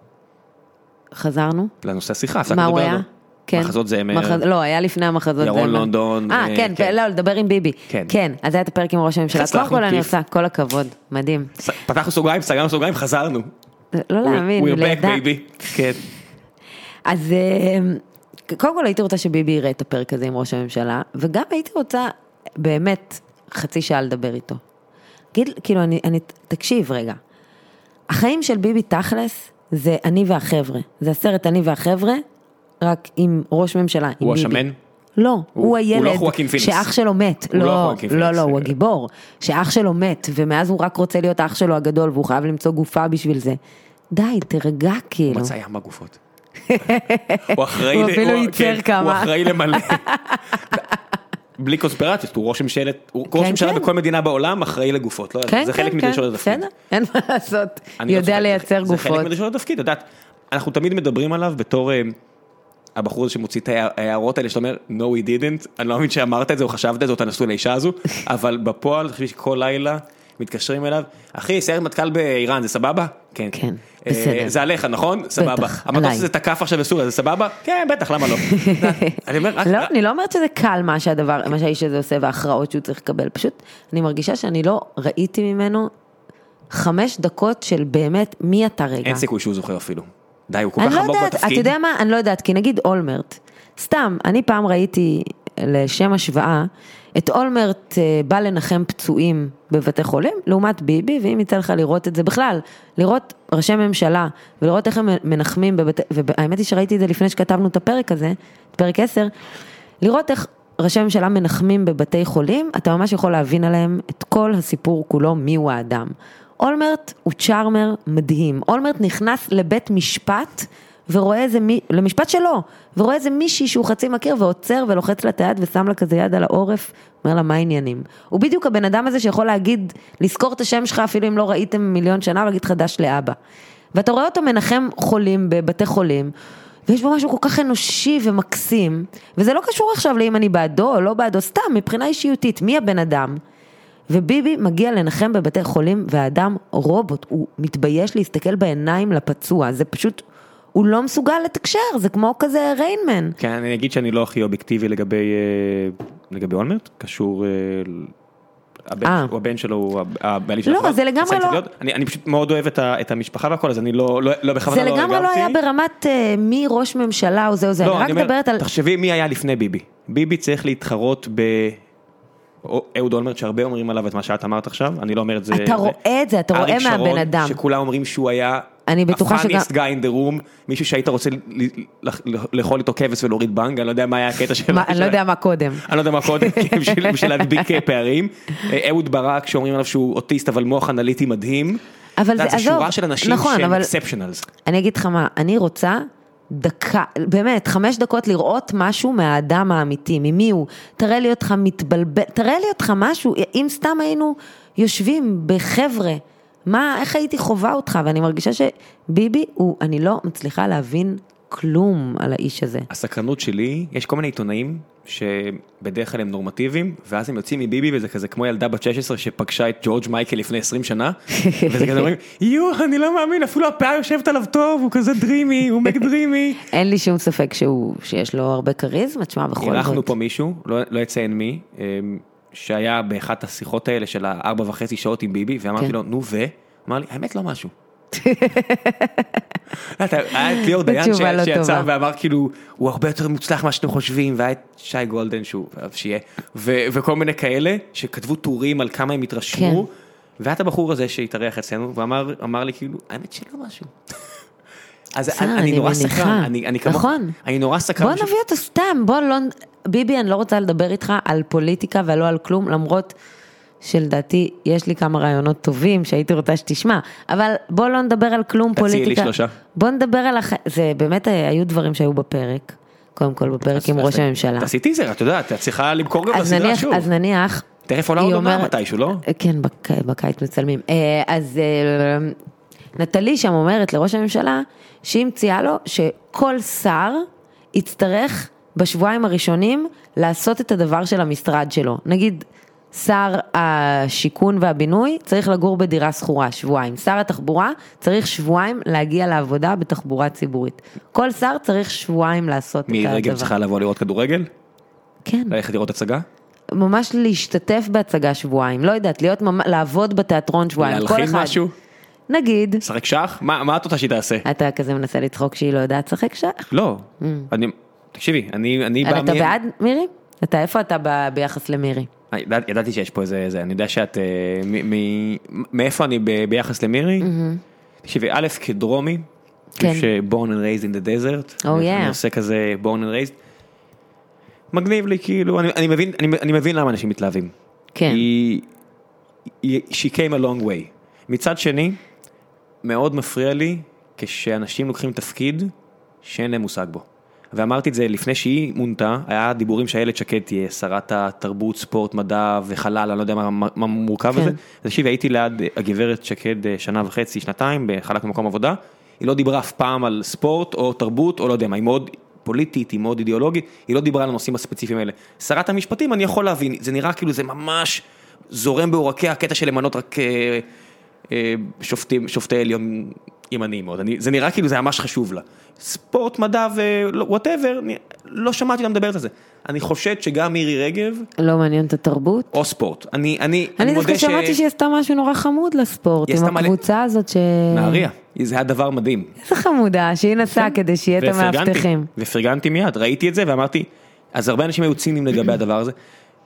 S3: חזרנו?
S1: לנושא השיחה, הפסקנו
S3: מה הוא
S1: לדבר
S3: היה? כן.
S1: על- מחזות אה, זמר.
S3: מחז- לא, היה לפני המחזות
S1: ירון
S3: זמר.
S1: לונדון,
S3: אה,
S1: אה,
S3: כן,
S1: כן.
S3: פ- לא, לדבר עם ביבי.
S1: כן.
S3: כן, אז היה את הפרק עם ראש הממשלה.
S1: הצלחנו,
S3: קודם כל אני
S1: כיף.
S3: עושה, כל הכבוד, מדהים.
S1: ס- פתחנו סוגריים, סגרנו סוגריים, חזרנו.
S3: לא להאמין,
S1: We're back
S3: לידע.
S1: baby. כן.
S3: אז אה, קודם כל הייתי רוצה שביבי יראה את הפרק הזה עם ראש הממשלה, וגם הייתי רוצה באמת חצי שעה לדבר איתו. גיד, כאילו, אני, אני, תקשיב רגע, החיים של ביבי תכלס זה אני והחבר'ה, זה הסרט אני והחבר'ה, רק עם ראש ממשלה, עם
S1: הוא
S3: ביבי.
S1: השמן?
S3: לא, הוא,
S1: הוא
S3: הילד
S1: לא חואקין פיניקס.
S3: שאח שלו מת,
S1: הוא
S3: לא,
S1: לא
S3: לא,
S1: חואקין
S3: לא,
S1: פיניקס.
S3: הוא הגיבור, שאח שלו מת, ומאז הוא רק רוצה להיות אח שלו הגדול, והוא חייב למצוא גופה בשביל זה. די, תרגע כאילו.
S1: הוא מצא ים הגופות. הוא אחראי...
S3: הוא
S1: ל-
S3: אפילו ייצר
S1: כן, הוא
S3: כמה.
S1: אחראי למלא. בלי קונספירציות, הוא ראש ממשלת, הוא ראש
S3: כן,
S1: ממשלה
S3: כן.
S1: בכל מדינה בעולם אחראי לגופות, לא,
S3: כן,
S1: זה
S3: כן,
S1: חלק
S3: כן,
S1: מדרישות התפקיד.
S3: בסדר, אין מה לעשות,
S1: אני לא
S3: יודע
S1: צוחק,
S3: לייצר
S1: זה חלק
S3: גופות.
S1: מדרישות התפקיד, את יודעת, אנחנו תמיד מדברים עליו בתור אה, הבחור הזה שמוציא את ההע- ההערות האלה, שאתה אומר, no we didn't, אני לא מאמין שאמרת את זה או חשבת את זה או תנסו לאישה הזו, אבל בפועל, אני חושב שכל לילה מתקשרים אליו, אחי, סיירת מטכ"ל באיראן, זה סבבה? כן.
S3: כן,
S1: אה,
S3: בסדר.
S1: זה עליך, נכון? סבבה. המטוס
S3: עליי.
S1: הזה תקף עכשיו בסוריה, זה סבבה? כן, בטח, למה לא? אני אומר, "רק-
S3: לא,
S1: רק-
S3: אני לא אומרת שזה קל מה שהדבר, מה שהאיש הזה עושה וההכרעות שהוא צריך לקבל, פשוט אני מרגישה שאני לא ראיתי ממנו חמש דקות של באמת מי אתה רגע.
S1: אין סיכוי שהוא זוכר אפילו. די, הוא כל
S3: אני
S1: כך
S3: לא
S1: עמוק
S3: יודעת, אתה
S1: בתפקיד.
S3: יודע מה? אני לא יודעת, כי נגיד אולמרט, סתם, אני פעם ראיתי, לשם השוואה, את אולמרט אה, בא לנחם פצועים בבתי חולים, לעומת ביבי, ואם יצא לך לראות את זה בכלל, לראות ראשי ממשלה ולראות איך הם מנחמים בבתי, והאמת היא שראיתי את זה לפני שכתבנו את הפרק הזה, את פרק 10, לראות איך ראשי ממשלה מנחמים בבתי חולים, אתה ממש יכול להבין עליהם את כל הסיפור כולו, מיהו האדם. אולמרט הוא צ'ארמר מדהים. אולמרט נכנס לבית משפט ורואה איזה מי, למשפט שלו, ורואה איזה מישהי שהוא חצי מכיר ועוצר ולוחץ לה את היד ושם לה כזה יד על העורף, אומר לה מה העניינים. הוא בדיוק הבן אדם הזה שיכול להגיד, לזכור את השם שלך אפילו אם לא ראיתם מיליון שנה, ולהגיד חדש לאבא. ואתה רואה אותו מנחם חולים בבתי חולים, ויש בו משהו כל כך אנושי ומקסים, וזה לא קשור עכשיו לאם אני בעדו או לא בעדו, סתם מבחינה אישיותית, מי הבן אדם? וביבי מגיע לנחם בבתי חולים, והאדם רובוט, הוא מתבייש להסתכל בעיניים לפצוע, זה פשוט, הוא לא מסוגל לתקשר, זה כמו כזה ריינמן.
S1: כן, אני אגיד שאני לא הכי אובייקטיבי לגבי אה, לגבי אולמרט, קשור... אה, ל- הבן,
S3: אה.
S1: הוא הבן שלו, הוא הב- הבעלים של
S3: לא,
S1: החברה.
S3: זה לגמרי
S1: יצא לי
S3: לא-
S1: להיות. אני, אני פשוט מאוד אוהב את, ה, את המשפחה והכל, אז אני לא, לא, לא בכוונה
S3: זה
S1: לא
S3: לגמרי לא היה
S1: הגבתי. לא,
S3: ברמת אה, מי ראש ממשלה או זה או זה, אני רק
S1: אומר,
S3: מדברת על...
S1: תחשבי מי היה לפני ביבי. ביבי צריך להתחרות ב... או- אהוד אולמרט שהרבה אומרים עליו את מה שאת אמרת עכשיו, אני לא אומר את זה...
S3: אתה רואה את זה, אתה רואה
S1: אריק שרון,
S3: מהבן אדם.
S1: שכולם אומרים שהוא היה...
S3: אני בטוחה שגם-
S1: ה-funniest guy in the room, מישהו שהיית רוצה ל- ל- ל- לאכול איתו כבש ולהוריד בנג, אני לא יודע מה היה הקטע של...
S3: מה, אני לא יודע מה קודם.
S1: אני לא יודע מה קודם, כן, בשביל בשביל להדביק פערים. אה, אהוד ברק שאומרים עליו שהוא אוטיסט אבל מוח אנליטי מדהים.
S3: אבל
S1: אתה יודע,
S3: זה-
S1: זה שורה
S3: עזוב,
S1: של אנשים
S3: נכון,
S1: שהם
S3: אבל-
S1: אקספשנלס.
S3: אני אגיד לך מה, אני רוצה דקה, באמת, חמש דקות לראות משהו מהאדם האמיתי, ממי הוא. תראה לי אותך מתבלבל, תראה לי אותך משהו, אם סתם היינו יושבים בחבר'ה, מה, איך הייתי חווה אותך? ואני מרגישה שביבי הוא, אני לא מצליחה להבין כלום על האיש הזה.
S1: הסקרנות שלי, יש כל מיני עיתונאים שבדרך כלל הם נורמטיביים, ואז הם יוצאים מביבי וזה כזה כמו ילדה בת 16 שפגשה את ג'ורג' מייקל לפני 20 שנה, וזה כזה אומרים, יואו, אני לא מאמין, אפילו הפאה יושבת עליו טוב, הוא כזה דרימי, הוא מק דרימי.
S3: אין לי שום ספק שהוא, שיש לו הרבה כריזמה, תשמע, בכל זאת.
S1: אירחנו פה מישהו, לא לא אציין מי, אמ, שהיה באחת השיחות האלה של הארבע וחצי שעות עם ביבי, ואמרתי
S3: כן.
S1: לו, נו ו? אמר לי, האמת לא משהו. אתה- היה את ליאור דיין
S3: תשובה
S1: ש-
S3: לא
S1: שיצא
S3: טובה.
S1: ואמר כאילו, הוא הרבה יותר מוצלח ממה שאתם חושבים, והיה את שי גולדן שהוא, אה, שיהיה, ו- וכל מיני כאלה, שכתבו טורים על כמה הם
S3: כן.
S1: התרשמו, והיה את הבחור הזה שהתארח אצלנו, ואמר אמר לי כאילו, האמת שלא משהו. אז
S3: בסדר,
S1: אני- אני
S3: אני
S1: נורא
S3: מניחה.
S1: סקרן, אני- אני כמוך-
S3: נכון.
S1: אני נורא סקרן.
S3: בוא
S1: פשוט-
S3: נביא אותו סתם, בוא לא... ביבי, אני לא רוצה לדבר איתך על פוליטיקה ולא על כלום, למרות שלדעתי יש לי כמה רעיונות טובים שהייתי רוצה שתשמע, אבל בוא לא נדבר על כלום
S1: תציעי לי
S3: פוליטיקה.
S1: שלושה.
S3: בוא נדבר על הח... זה באמת אה, היו דברים שהיו בפרק, קודם כל בפרק עם
S1: אז
S3: ראש
S1: ת-
S3: הממשלה.
S1: תעשי טיזר, את יודעת, את צריכה למכור גם
S3: אז
S1: בסדרה
S3: נניח,
S1: שוב.
S3: אז נניח,
S1: תכף עולה
S3: היא
S1: עוד עונה
S3: אומרת-
S1: מתישהו, לא?
S3: כן, בק- בקיץ מצלמים. אה, אז אה, נטלי שם אומרת לראש הממשלה, שהיא מציעה לו שכל שר יצטרך בשבועיים הראשונים לעשות את הדבר של המשרד שלו. נגיד, שר השיכון והבינוי צריך לגור בדירה שכורה שבועיים. שר התחבורה צריך שבועיים להגיע לעבודה בתחבורה ציבורית. כל שר צריך שבועיים לעשות את
S1: מירי
S3: הדבר.
S1: רגב צריכה לבוא לראות כדורגל?
S3: כן.
S1: ללכת לראות הצגה?
S3: ממש להשתתף בהצגה שבועיים, לא יודעת, להיות, ממ... לעבוד בתיאטרון שבועיים, כל אחד.
S1: להלחין משהו?
S3: נגיד,
S1: לשחק שח? מה מה את רוצה שהיא תעשה?
S3: אתה כזה מנסה לצחוק שהיא לא יודעת לשחק שח?
S1: לא.
S3: Mm.
S1: אני... תקשיבי, אני... אני
S3: אבל
S1: בא
S3: אתה
S1: מ-
S3: בעד מירי? אתה, איפה אתה ב... ביחס למירי?
S1: אה, ידע- ידעתי שיש פה איזה... זה, אני יודע שאת... אה, מ- מ- מאיפה אני ב- ביחס למירי? תקשיבי, א', כדרומי,
S3: Mm-hmm. כן.
S1: שבורן and raised in the desert,
S3: Oh,
S1: אני
S3: yeah.
S1: עושה כזה born and raised, מגניב לי כאילו, אני, אני, מבין, אני, אני מבין למה אנשים מתלהבים.
S3: כן.
S1: היא, היא, she came a long way. מצד שני, מאוד מפריע לי כשאנשים לוקחים תפקיד שאין להם מושג בו. ואמרתי את זה לפני שהיא מונתה, היה דיבורים שאיילת שקד תהיה שרת התרבות, ספורט, מדע וחלל, אני לא יודע מה, מה, מה מורכב
S3: כן.
S1: בזה. אז תקשיבי, הייתי ליד אה, הגברת שקד אה, שנה וחצי, שנתיים, בחלק ממקום עבודה, היא לא דיברה אף פעם על ספורט או תרבות או לא יודע מה, היא מאוד פוליטית, היא מאוד אידיאולוגית, היא לא דיברה על הנושאים הספציפיים האלה. שרת המשפטים, אני יכול להבין, זה נראה כאילו זה ממש זורם בעורקי הקטע של למנות רק אה, אה, שופטים, שופטי עליון ימניים מאוד. אני, זה נראה כאילו זה ממש חשוב לה. ספורט, מדע ווואטאבר, לא שמעתי אותה מדברת על זה. אני חושד שגם מירי רגב,
S3: לא מעניין את התרבות.
S1: או ספורט. אני, אני,
S3: אני
S1: מודה
S3: דווקא שמעתי שהיא עשתה משהו נורא חמוד לספורט,
S1: היא
S3: עם
S1: עשתה מלא-
S3: הקבוצה הזאת ש...
S1: נהריה, אה, כן. זה היה דבר מדהים.
S3: איזה חמודה, שהיא נסעה כדי שיהיה את
S1: ופרגנתי,
S3: המאבטחים.
S1: ופרגנתי מיד, ראיתי את זה ואמרתי, אז הרבה אנשים היו ציניים לגבי הדבר הזה.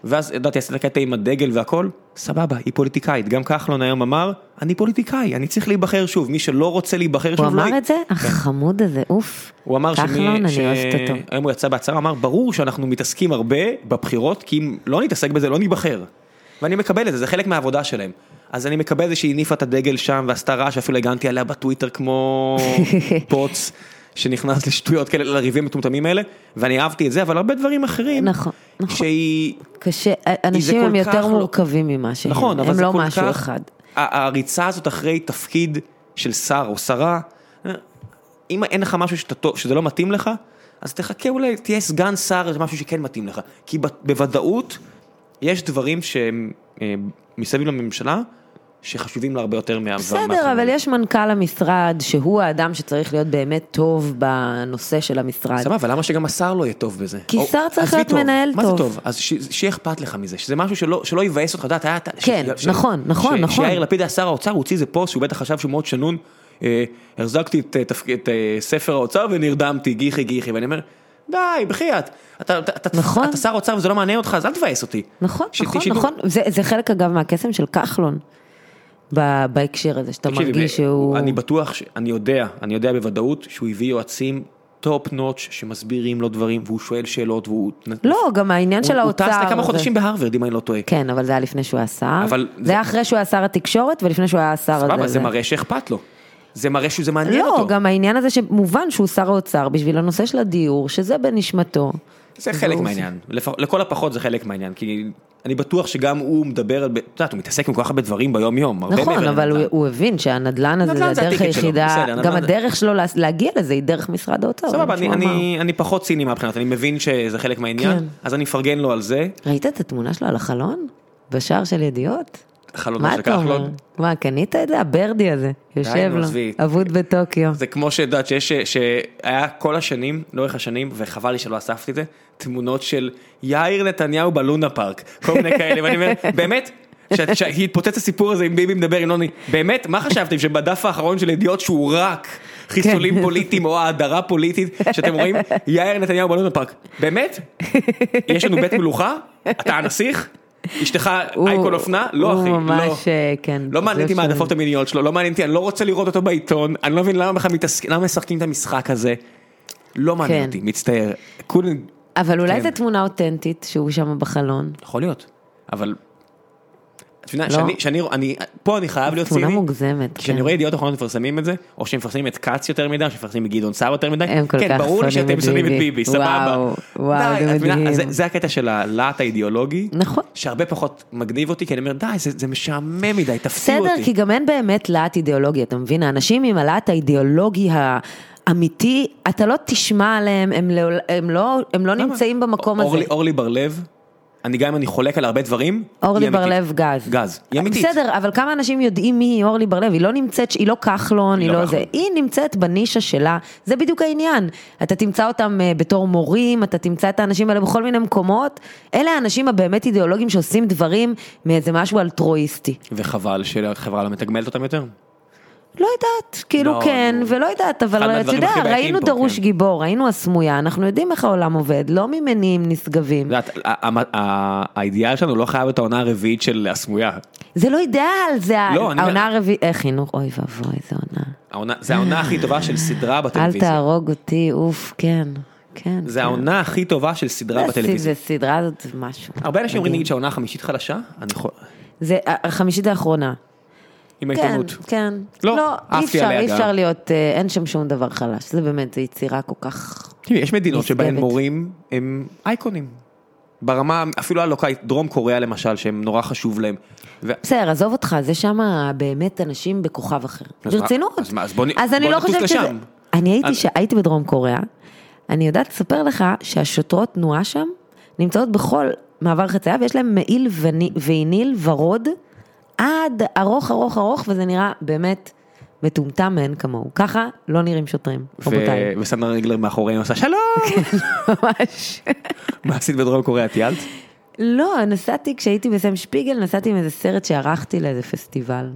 S1: ואז ידעתי, עשית קטע עם הדגל והכל, סבבה, היא פוליטיקאית. גם כחלון היום אמר, אני פוליטיקאי, אני צריך להיבחר שוב. מי שלא רוצה להיבחר שוב
S3: הוא
S1: לא... י-
S3: אמר את זה? החמוד הזה, אוף.
S1: הוא אמר שמי...
S3: כחלון,
S1: ש-
S3: אני אוהבת אותו.
S1: היום הוא יצא בהצהרה, אמר, ברור שאנחנו מתעסקים הרבה בבחירות, כי אם לא נתעסק בזה, לא ניבחר. ואני מקבל את זה, זה חלק מהעבודה שלהם. אז אני מקבל את זה שהיא הניפה את הדגל שם ועשתה רעש, אפילו הגנתי עליה בטוויטר כמו פוץ, שנכנס לשטויות כאלה, לריבים המטומטמים האלה, ואני אהבתי את זה, אבל הרבה דברים אחרים,
S3: נכון, נכון.
S1: שהיא...
S3: קשה, אנשים
S1: כל
S3: הם
S1: כך
S3: יותר
S1: לא-
S3: מורכבים ממה שהם,
S1: נכון, אבל
S3: הם
S1: זה
S3: לא
S1: כל
S3: משהו
S1: כך...
S3: אחד.
S1: ה- הריצה הזאת אחרי תפקיד של שר או שרה, אם אין לך משהו שאתה, טוב- שזה לא מתאים לך, אז תחכה אולי, תהיה סגן שר, זה משהו שכן מתאים לך. כי ב- בוודאות, יש דברים שהם אה, מסביב לממשלה, שחשובים לה הרבה יותר מה...
S3: בסדר,
S1: מה-
S3: אבל יש מנכ"ל המשרד שהוא האדם שצריך להיות באמת טוב בנושא של המשרד.
S1: סבבה, אבל למה שגם השר לא יהיה טוב בזה?
S3: כי
S1: או-
S3: שר צריך
S1: עזבי
S3: להיות מנהל
S1: מה זה
S3: טוב.
S1: טוב? אז ש- שיהיה אכפת לך מזה, שזה משהו שלא שלא יבאס אותך, אתה יודע, אתה...
S3: כן, נכון, נכון,
S1: ש-
S3: נכון.
S1: שיאיר לפיד היה שר האוצר, הוא הוציא איזה פוסט שהוא בטח חשב שהוא מאוד שנון, אה, החזקתי את אה, תפק- את אה, ספר האוצר ונרדמתי, גיחי גיחי, ואני אומר, די, בחייאת, אתה- אתה אתה-
S3: נכון.
S1: אתה שר אוצר וזה לא מעניין אותך, אז אל תבאס אותי.
S3: נכון,
S1: ש-
S3: נכון,
S1: שידעו-
S3: נכון. זה זה חלק אגב מהקסם של כחלון ב- בהקשר הזה, שאתה
S1: תקשיבי,
S3: מרגיש שהוא...
S1: אני בטוח, ש- אני יודע, אני יודע בוודאות שהוא הביא יועצים טופ נוטש שמסבירים לו דברים, והוא שואל שאלות, והוא...
S3: לא, גם העניין של האוצר.
S1: הוא טס לכמה
S3: זה-
S1: חודשים בהרווארד, אם אני לא טועה.
S3: כן, אבל זה היה לפני שהוא היה שר.
S1: אבל
S3: זה
S1: זה-
S3: היה אחרי שהוא היה שר התקשורת ולפני שהוא היה שר הזה.
S1: סבבה, זה מראה שאכפת לו. זה מראה שזה מעניין
S3: לא,
S1: אותו.
S3: גם העניין הזה שמובן שהוא שר האוצר בשביל הנושא של הדיור, שזה בנשמתו.
S1: זה חלק
S3: והוא-
S1: מהעניין. לפח- לכל הפחות זה חלק מהעניין, כי אני בטוח שגם הוא מדבר, על- את יודעת, הוא מתעסק עם כל כך הרבה דברים ביום-יום. הרבה
S3: נכון,
S1: מעבר
S3: אבל הוא-
S1: לנדל"ן.
S3: הוא הבין שהנדלן הזה
S1: נדל"ן
S3: זה
S1: זה
S3: הדרך
S1: הטיקט שלו,
S3: היחידה,
S1: בסדר,
S3: גם
S1: נדל"ן-
S3: הדרך שלו לה- להגיע לזה היא דרך משרד האוצר. זה
S1: סבבה,
S3: מה
S1: אני-
S3: שהוא אמר.
S1: אני- אני פחות ציני מהבחינת, אני מבין שזה חלק
S3: כן.
S1: מהעניין, אז אני מפרגן לו על זה.
S3: ראית את התמונה שלו על החלון? בשער של ידיעות?
S1: חלונו
S3: מה
S1: של
S3: אתה אומר?
S1: כחלון.
S3: מה, קנית את זה? הברדי הזה. יושב
S1: נו,
S3: לו,
S1: לא. עזבי.
S3: אבוד בטוקיו.
S1: זה כמו שאת יודעת שיש, ש- שהיה כל השנים, לאורך השנים, וחבל לי שלא אספתי את זה, תמונות של יאיר נתניהו בלונה פארק, כל מיני כאלה, ואני אומר, באמת? ש- שהתפוצץ הסיפור הזה עם ביבי מדבר עם נוני, באמת? מה חשבתם, שבדף האחרון של ידיעות שהוא רק חיסולים
S3: כן.
S1: פוליטיים או האדרה פוליטית, שאתם רואים, יאיר נתניהו בלונה פארק, באמת? יש לנו בית מלוכה? אתה הנסיך? אשתך
S3: הוא-
S1: אייקון אופנה? לא אחי, לא.
S3: הוא ממש, אה, כן.
S1: לא
S3: זה
S1: מעניין אותי מה
S3: שונה.
S1: העדפות המיניות שלו, לא מעניין אותי, אני לא רוצה לראות אותו בעיתון, אני לא מבין למה בכלל מתעסק- למה משחקים את המשחק הזה. לא מעניין
S3: כן.
S1: אותי, מצטער. כולם,
S3: אבל אולי
S1: כן.
S3: זו תמונה אותנטית שהוא שם בחלון.
S1: יכול להיות, אבל... את מבינה,
S3: לא.
S1: שאני, שאני, אני, פה אני חייב להיות
S3: תמונה
S1: ציני.
S3: מוגזמת,
S1: כשאני
S3: כן.
S1: רואה ידיעות אחרונות מפרסמים את זה, או שמפרסמים את כץ יותר מדי, או שמפרסמים את גדעון סער יותר מדי,
S3: הם כל
S1: כן,
S3: כך
S1: ברור לי
S3: שונאים
S1: שאתם
S3: את
S1: שונאים את
S3: ביבי.
S1: ביבי, סבבה.
S3: וואו, וואו,
S1: די,
S3: זה
S1: את מבינה?
S3: מדהים.
S1: אז זה- זה הקטע של הלהט האידיאולוגי,
S3: נכון.
S1: שהרבה פחות מגניב אותי, כי אני אומר, די, זה זה משעמם מדי, תפסיעו אותי.
S3: בסדר, כי גם אין באמת להט אידיאולוגי, אתה מבין? האנשים עם הלהט האידיאולוגי האמיתי, אתה לא תשמע עליהם, הם לעול- הם לא- הם לא נמצאים במקום הזה.
S1: אורלי, אורלי בר-לב, אני גם אם אני חולק על הרבה דברים,
S3: אורלי
S1: היא אמיתית.
S3: בר-לב גז.
S1: גז, היא אמיתית.
S3: בסדר, אבל כמה אנשים יודעים מי היא אורלי בר-לב? היא לא נמצאת, היא לא כחלון, היא
S1: לא
S3: לא
S1: כחלון.
S3: זה. היא נמצאת בנישה שלה, זה בדיוק העניין. אתה תמצא אותם אה, בתור מורים, אתה תמצא את האנשים האלה בכל מיני מקומות. אלה האנשים הבאמת אידיאולוגים שעושים דברים מאיזה משהו אלטרואיסטי.
S1: וחבל שהחברה לא מתגמלת אותם יותר.
S3: לא יודעת, כאילו
S1: לא,
S3: כן,
S1: נו.
S3: ולא יודעת,
S1: אחד
S3: אבל אתה
S1: מהדברים
S3: יודע,
S1: הכי בעייתיים
S3: ראינו
S1: פה,
S3: דרוש
S1: כן.
S3: גיבור, ראינו הסמויה, אנחנו יודעים איך העולם עובד, לא ממניעים
S1: את
S3: נשגבים.
S1: יודעת, ה- ה- ה- האידיאל שלנו לא חייב את העונה הרביעית של הסמויה.
S3: זה לא אידאל, זה ה-
S1: לא, אני-
S3: העונה הרביעית, אה, חינוך, אוי ואבוי, זה עונה.
S1: העונה, זה העונה הכי טובה של סדרה
S3: אל
S1: בטלוויזיה.
S3: תהרוג אותי, אוף, כן, כן.
S1: זה
S3: כן.
S1: העונה הכי טובה של סדרה
S3: זה
S1: בטלוויזיה.
S3: סד- זה סדרה הזאת זה משהו.
S1: הרבה אנשים אומרים
S3: מדהים.
S1: נגיד שהעונה החמישית חלשה, אני יכול...
S3: זה ה- החמישית האחרונה.
S1: עם
S3: כן,
S1: העיתונות.
S3: כן.
S1: לא,
S3: לא, אי
S1: עפתי
S3: אפשר,
S1: עליה
S3: אי
S1: גם.
S3: אפשר להיות, אה, אין שם שום דבר חלש, זה באמת, זו יצירה כל כך...
S1: תראי, יש מדינות שבהן
S3: נשגבת.
S1: מורים הם אייקונים. ברמה אפילו הלוקאית, דרום קוריאה למשל, שהם נורא חשוב להם. ו-
S3: בסדר, עזוב אותך, זה שם באמת אנשים בכוכב אחר.
S1: אז
S3: ברצינות.
S1: מה- אז מה, אז בוא נ-
S3: אז אני
S1: בוא
S3: לא
S1: נטוס
S3: חושבת שזה...
S1: לשם.
S3: אני הייתי,
S1: אז-
S3: ש... הייתי בדרום קוריאה, אני יודעת לספר לך שהשוטרות תנועה שם נמצאות בכל מעבר חצייה, ויש להם מעיל וני- ויניל ורוד עד ארוך ארוך ארוך, וזה נראה באמת מטומטם מאין כמוהו. ככה לא נראים שוטרים, רבותיי.
S1: ו- וסדנה רגלר מאחורינו עושה שלום!
S3: כן, ממש.
S1: מה עשית בדרום קוריאה? טיילת?
S3: לא, נסעתי, כשהייתי בסם שפיגל, נסעתי עם איזה סרט שערכתי לאיזה פסטיבל.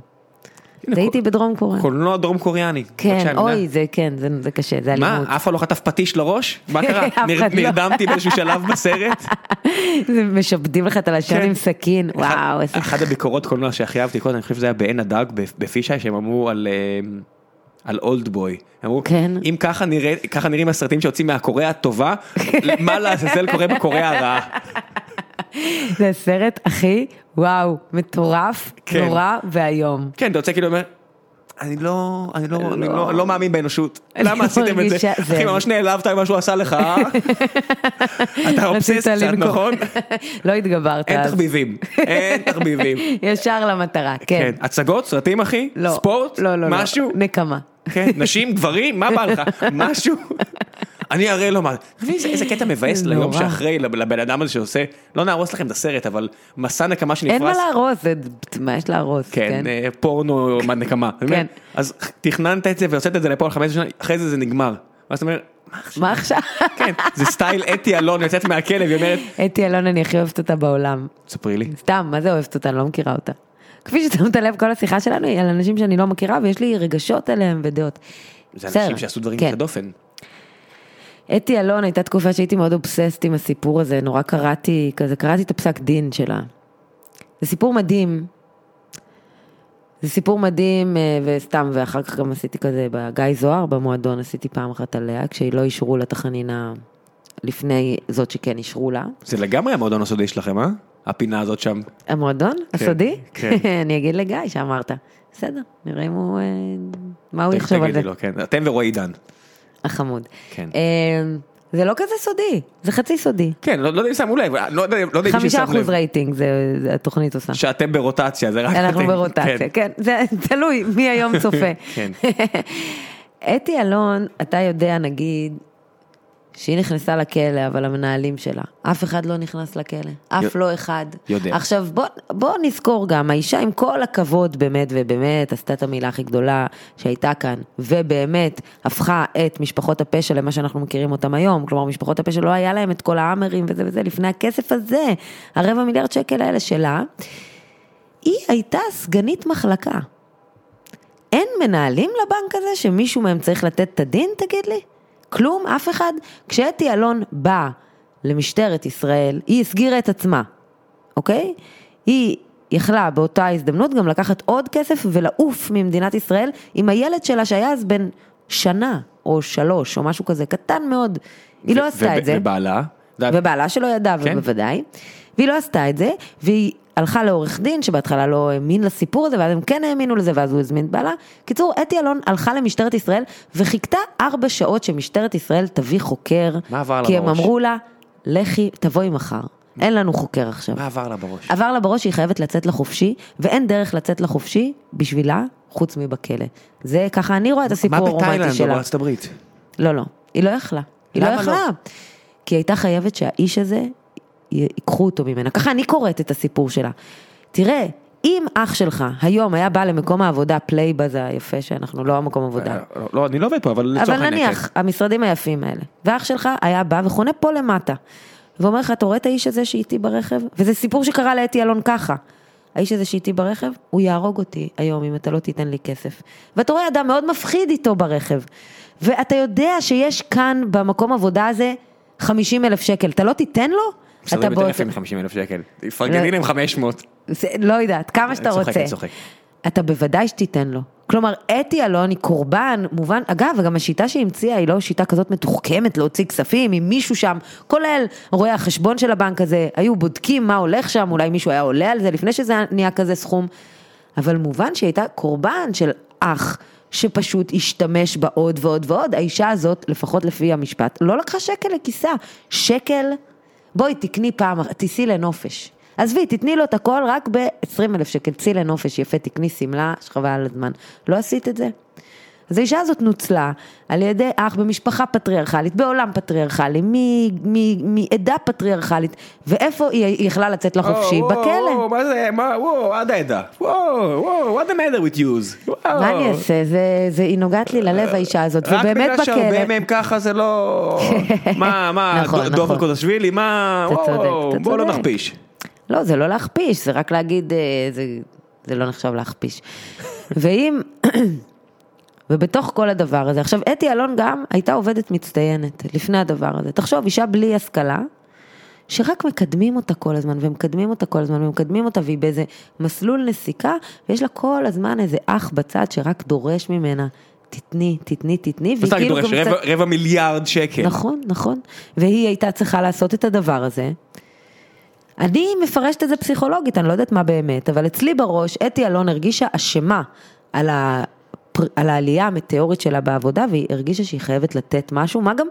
S3: אז הייתי בדרום קוריאה.
S1: קולנוע דרום קוריאני. בבקשה,
S3: כן,
S1: אני
S3: אוי,
S1: יודע.
S3: זה כן, זה זה קשה, זה אלימות.
S1: מה, אף אחד לא חטף פטיש לראש? מה
S3: אף
S1: קרה?
S3: אחד
S1: נר-
S3: לא.
S1: נרדמתי באיזשהו שלב בסרט?
S3: זה משעבדים לך את הלשון
S1: כן.
S3: עם סכין,
S1: אחד-
S3: וואו, איזה...
S1: אחת הביקורות קולנוע שהכי אהבתי קודם, אני חושב שזה היה בעין הדג בפ- בפישאי, שהם אמרו על... אה, על אולד בוי, אמרו,
S3: כן.
S1: אם ככה, נראה, ככה נראים הסרטים שיוצאים מהקוריאה הטובה, מה לעזאזל קורה בקוריאה הרעה?
S3: זה הסרט הכי, וואו, מטורף,
S1: כן.
S3: נורא ואיום.
S1: כן, אתה יוצא כאילו אומר, אני לא, אני לא, אני לא, אני לא מאמין באנושות,
S3: אני
S1: למה עשיתם את זה?
S3: מרגישה- זה-
S1: אחי, ממש נעלבת ממה שהוא עשה לך, אה? אתה אובסס
S3: רצית
S1: קצת,
S3: לנקום.
S1: נכון?
S3: לא התגברת
S1: אין
S3: אז.
S1: תחביבים, אין תחביבים.
S3: ישר למטרה, כן.
S1: כן, הצגות, סרטים אחי?
S3: לא.
S1: ספורט?
S3: לא, לא, לא.
S1: משהו?
S3: נקמה.
S1: כן, נשים, גברים, מה בא לך? משהו? אני אראה לו מה. אתה מבין איזה- איזה קטע מבאס
S3: נורא.
S1: ליום שאחרי, לב- לבן אדם הזה שעושה, לא נהרוס לכם את הסרט, אבל מסע נקמה שנפרס.
S3: אין מה להרוס, זה- מה יש להרוס,
S1: כן,
S3: כן?
S1: אה, פורנו מה נקמה. אתה מבין? אז תכננת את זה והוצאת את זה לפה על 15 שנה, אחרי זה זה נגמר. ואז אתה אומר,
S3: מה עכשיו?
S1: כן, זה סטייל אתי אלון יוצאת מהכלב, היא אומרת,
S3: אתי אלון, אני הכי אוהבת אותה בעולם.
S1: ספרי לי.
S3: סתם, מה זה אוהבת אותה? אני לא מכירה אותה. כפי ששמת לב, כל השיחה שלנו היא על אנשים שאני לא מכירה, ויש לי רגשות עליהם ודעות.
S1: זה
S3: בסדר,
S1: אנשים שעשו דברים
S3: כן.
S1: יוצא דופן.
S3: אתי אלון הייתה תקופה שהייתי מאוד אובססט עם הסיפור הזה, נורא קראתי, כזה קראתי את הפסק דין שלה. זה סיפור מדהים. זה סיפור מדהים, אה, וסתם, ואחר כך גם עשיתי כזה, בגיא זוהר, במועדון עשיתי פעם אחת עליה, כשלא אישרו לה את החנינה לפני זאת שכן אישרו לה.
S1: זה לגמרי המועדון הסודי שלכם, אה? הפינה הזאת שם.
S3: המועדון? הסודי?
S1: כן.
S3: אני אגיד לגיא שאמרת. בסדר, נראה אם הוא... אה, מה הוא
S1: תגיד-
S3: יחשוב על
S1: תגידי
S3: זה.
S1: לו, כן. אתם ורועי עידן.
S3: החמוד.
S1: כן.
S3: אה, זה לא כזה סודי, זה חצי סודי.
S1: כן, לא לא יודע אם שמו לב, לא יודע לא יודע אם מישהו
S3: חמישה
S1: שם לב.
S3: אחוז רייטינג, זה זה התוכנית עושה.
S1: שאתם ברוטציה, זה רק
S3: אנחנו
S1: אתם.
S3: ברוטציה, כן, זה תלוי מי היום צופה.
S1: כן.
S3: אתי אלון, אתה יודע נגיד שהיא נכנסה לכלא, אבל המנהלים שלה, אף אחד לא נכנס לכלא, אף
S1: י-
S3: לא אחד.
S1: יודע.
S3: עכשיו בוא, בוא נזכור גם, האישה עם כל הכבוד באמת ובאמת עשתה את המילה הכי גדולה שהייתה כאן, ובאמת הפכה את משפחות הפשע למה שאנחנו מכירים אותם היום, כלומר משפחות הפשע לא היה להם את כל ההאמרים וזה וזה לפני הכסף הזה, הרבע מיליארד שקל האלה שלה. היא הייתה סגנית מחלקה. אין מנהלים לבנק הזה שמישהו מהם צריך לתת את הדין, תגיד לי? כלום, אף אחד? כשאתי אלון באה למשטרת ישראל, היא הסגירה את עצמה, אוקיי? היא יכלה באותה הזדמנות גם לקחת עוד כסף ולעוף ממדינת ישראל עם הילד שלה שהיה אז בן שנה או שלוש או משהו כזה, קטן מאוד. היא לא
S1: ו-
S3: עשתה
S1: וב-
S3: את זה.
S1: ובעלה? זה-
S3: ובעלה שלו ידע,
S1: כן.
S3: כן. בוודאי. והיא לא עשתה את זה, והיא הלכה לעורך דין, שבהתחלה לא האמין לסיפור הזה, ואז הם כן האמינו לזה, ואז הוא הזמין את בעלה. קיצור, אתי אלון הלכה למשטרת ישראל, וחיכתה ארבע שעות שמשטרת ישראל תביא חוקר.
S1: מה עבר לה
S3: כי הם
S1: בראש?
S3: אמרו לה, לכי, תבואי מחר. אין לנו חוקר עכשיו.
S1: מה עבר לה בראש?
S3: עבר לה בראש שהיא חייבת לצאת לחופשי, ואין דרך לצאת לחופשי בשבילה, חוץ מבכלא. זה ככה אני רואה את הסיפור
S1: מה
S3: הרומנטי
S1: בתאילנד או
S3: שלה.
S1: בארצות הברית?
S3: לא, לא, היא לא יכלה. היא לא
S1: למה
S3: יכלה. כי היא הייתה חייבת שהאיש הזה, י- ייקחו אותו ממנה. ככה אני קוראת את הסיפור שלה. תראה, אם אח שלך היום היה בא למקום העבודה, פלייבה זה היפה שאנחנו לא המקום עבודה.
S1: אה, לא, לא, אני לא עובד פה, אבל לצורך
S3: אבל
S1: העניין. כן.
S3: נניח, המשרדים היפים האלה, ואח שלך היה בא וחונה פה למטה, ואומר לך, אתה רואה את האיש הזה שאיתי ברכב? וזה סיפור שקרה לאתי אלון ככה. האיש הזה שאיתי ברכב, הוא יהרוג אותי היום אם אתה לא תיתן לי כסף. ואתה רואה אדם מאוד מפחיד איתו ברכב. ואתה יודע שיש כאן במקום עבודה הזה 50 אלף שקל, אתה לא תיתן לו?
S1: כן.
S3: אתה
S1: משלמים יותר
S3: באותו-
S1: יפים מ-50 אלף שקל. תפרגני
S3: לא.
S1: להם 500.
S3: זה, לא יודעת, כמה שאתה
S1: אני אה, צוחק,
S3: רוצה.
S1: אני צוחק.
S3: אתה בוודאי שתיתן לו. כלומר, אתי אלון היא קורבן, מובן, אגב, וגם השיטה שהיא המציאה היא לא שיטה כזאת מתוחכמת להוציא כספים, אם מישהו שם, כולל רואה החשבון של הבנק הזה, היו בודקים מה הולך שם, אולי מישהו היה עולה על זה לפני שזה נהיה כזה סכום, אבל מובן שהיא הייתה קורבן של אח שפשוט השתמש בה עוד ועוד ועוד, האישה הזאת, לפחות לפי המשפט, לא לקחה שקל לכיסה, שקל, בואי תקני פעם, אח- תיסעי לנופש. עזבי, תתני לו את הכל רק ב-20 אלף שקל, צאי לנופש, יפה, תקני שמלה, שחבל על הזמן. לא עשית את זה. אז האישה הזאת נוצלה על ידי אח במשפחה פטריארכלית, בעולם פטריארכלי, מ- מ- מעדה פטריארכלית, ואיפה היא- היא יכלה לצאת לחופשי?
S4: וואו,
S3: בכלא.
S4: וואו, מה זה, מה, וואו, עד העדה. וואו, וואו, what the matter with yous? וואו.
S3: מה אני אעשה? זה, זה, היא נוגעת לי ללב האישה הזאת,
S4: רק
S3: ובאמת
S4: בגלל שהרבה
S3: בכלא.
S4: מהם ככה זה לא... מה, מה,
S3: נכון,
S4: דו-
S3: נכון.
S4: דובר קודשווילי, מה,
S3: אתה צודק,
S4: וואו,
S3: אתה
S4: בואו לא
S3: צודק.
S4: נכפיש.
S3: לא, זה לא להכפיש, זה רק להגיד, אה, זה, זה לא נחשב להכפיש. ואם, ובתוך כל הדבר הזה, עכשיו אתי אלון גם הייתה עובדת מצטיינת לפני הדבר הזה. תחשוב, אישה בלי השכלה, שרק מקדמים אותה כל הזמן, ומקדמים אותה כל הזמן, ומקדמים אותה, והיא באיזה מסלול נסיקה, ויש לה כל הזמן איזה אח בצד שרק דורש ממנה, תתני, תתני, תתני,
S4: מה זה רק דורש? רבע- רבע מיליארד
S1: כן.
S4: שקל.
S3: כאילו נכון, נכון. והיא הייתה צריכה לעשות את הדבר הזה. אני מפרשת את זה פסיכולוגית, אני לא יודעת מה באמת, אבל אצלי בראש, אתי אלון הרגישה אשמה על, ה... על העלייה המטאורית שלה בעבודה, והיא הרגישה שהיא חייבת לתת משהו, מה גם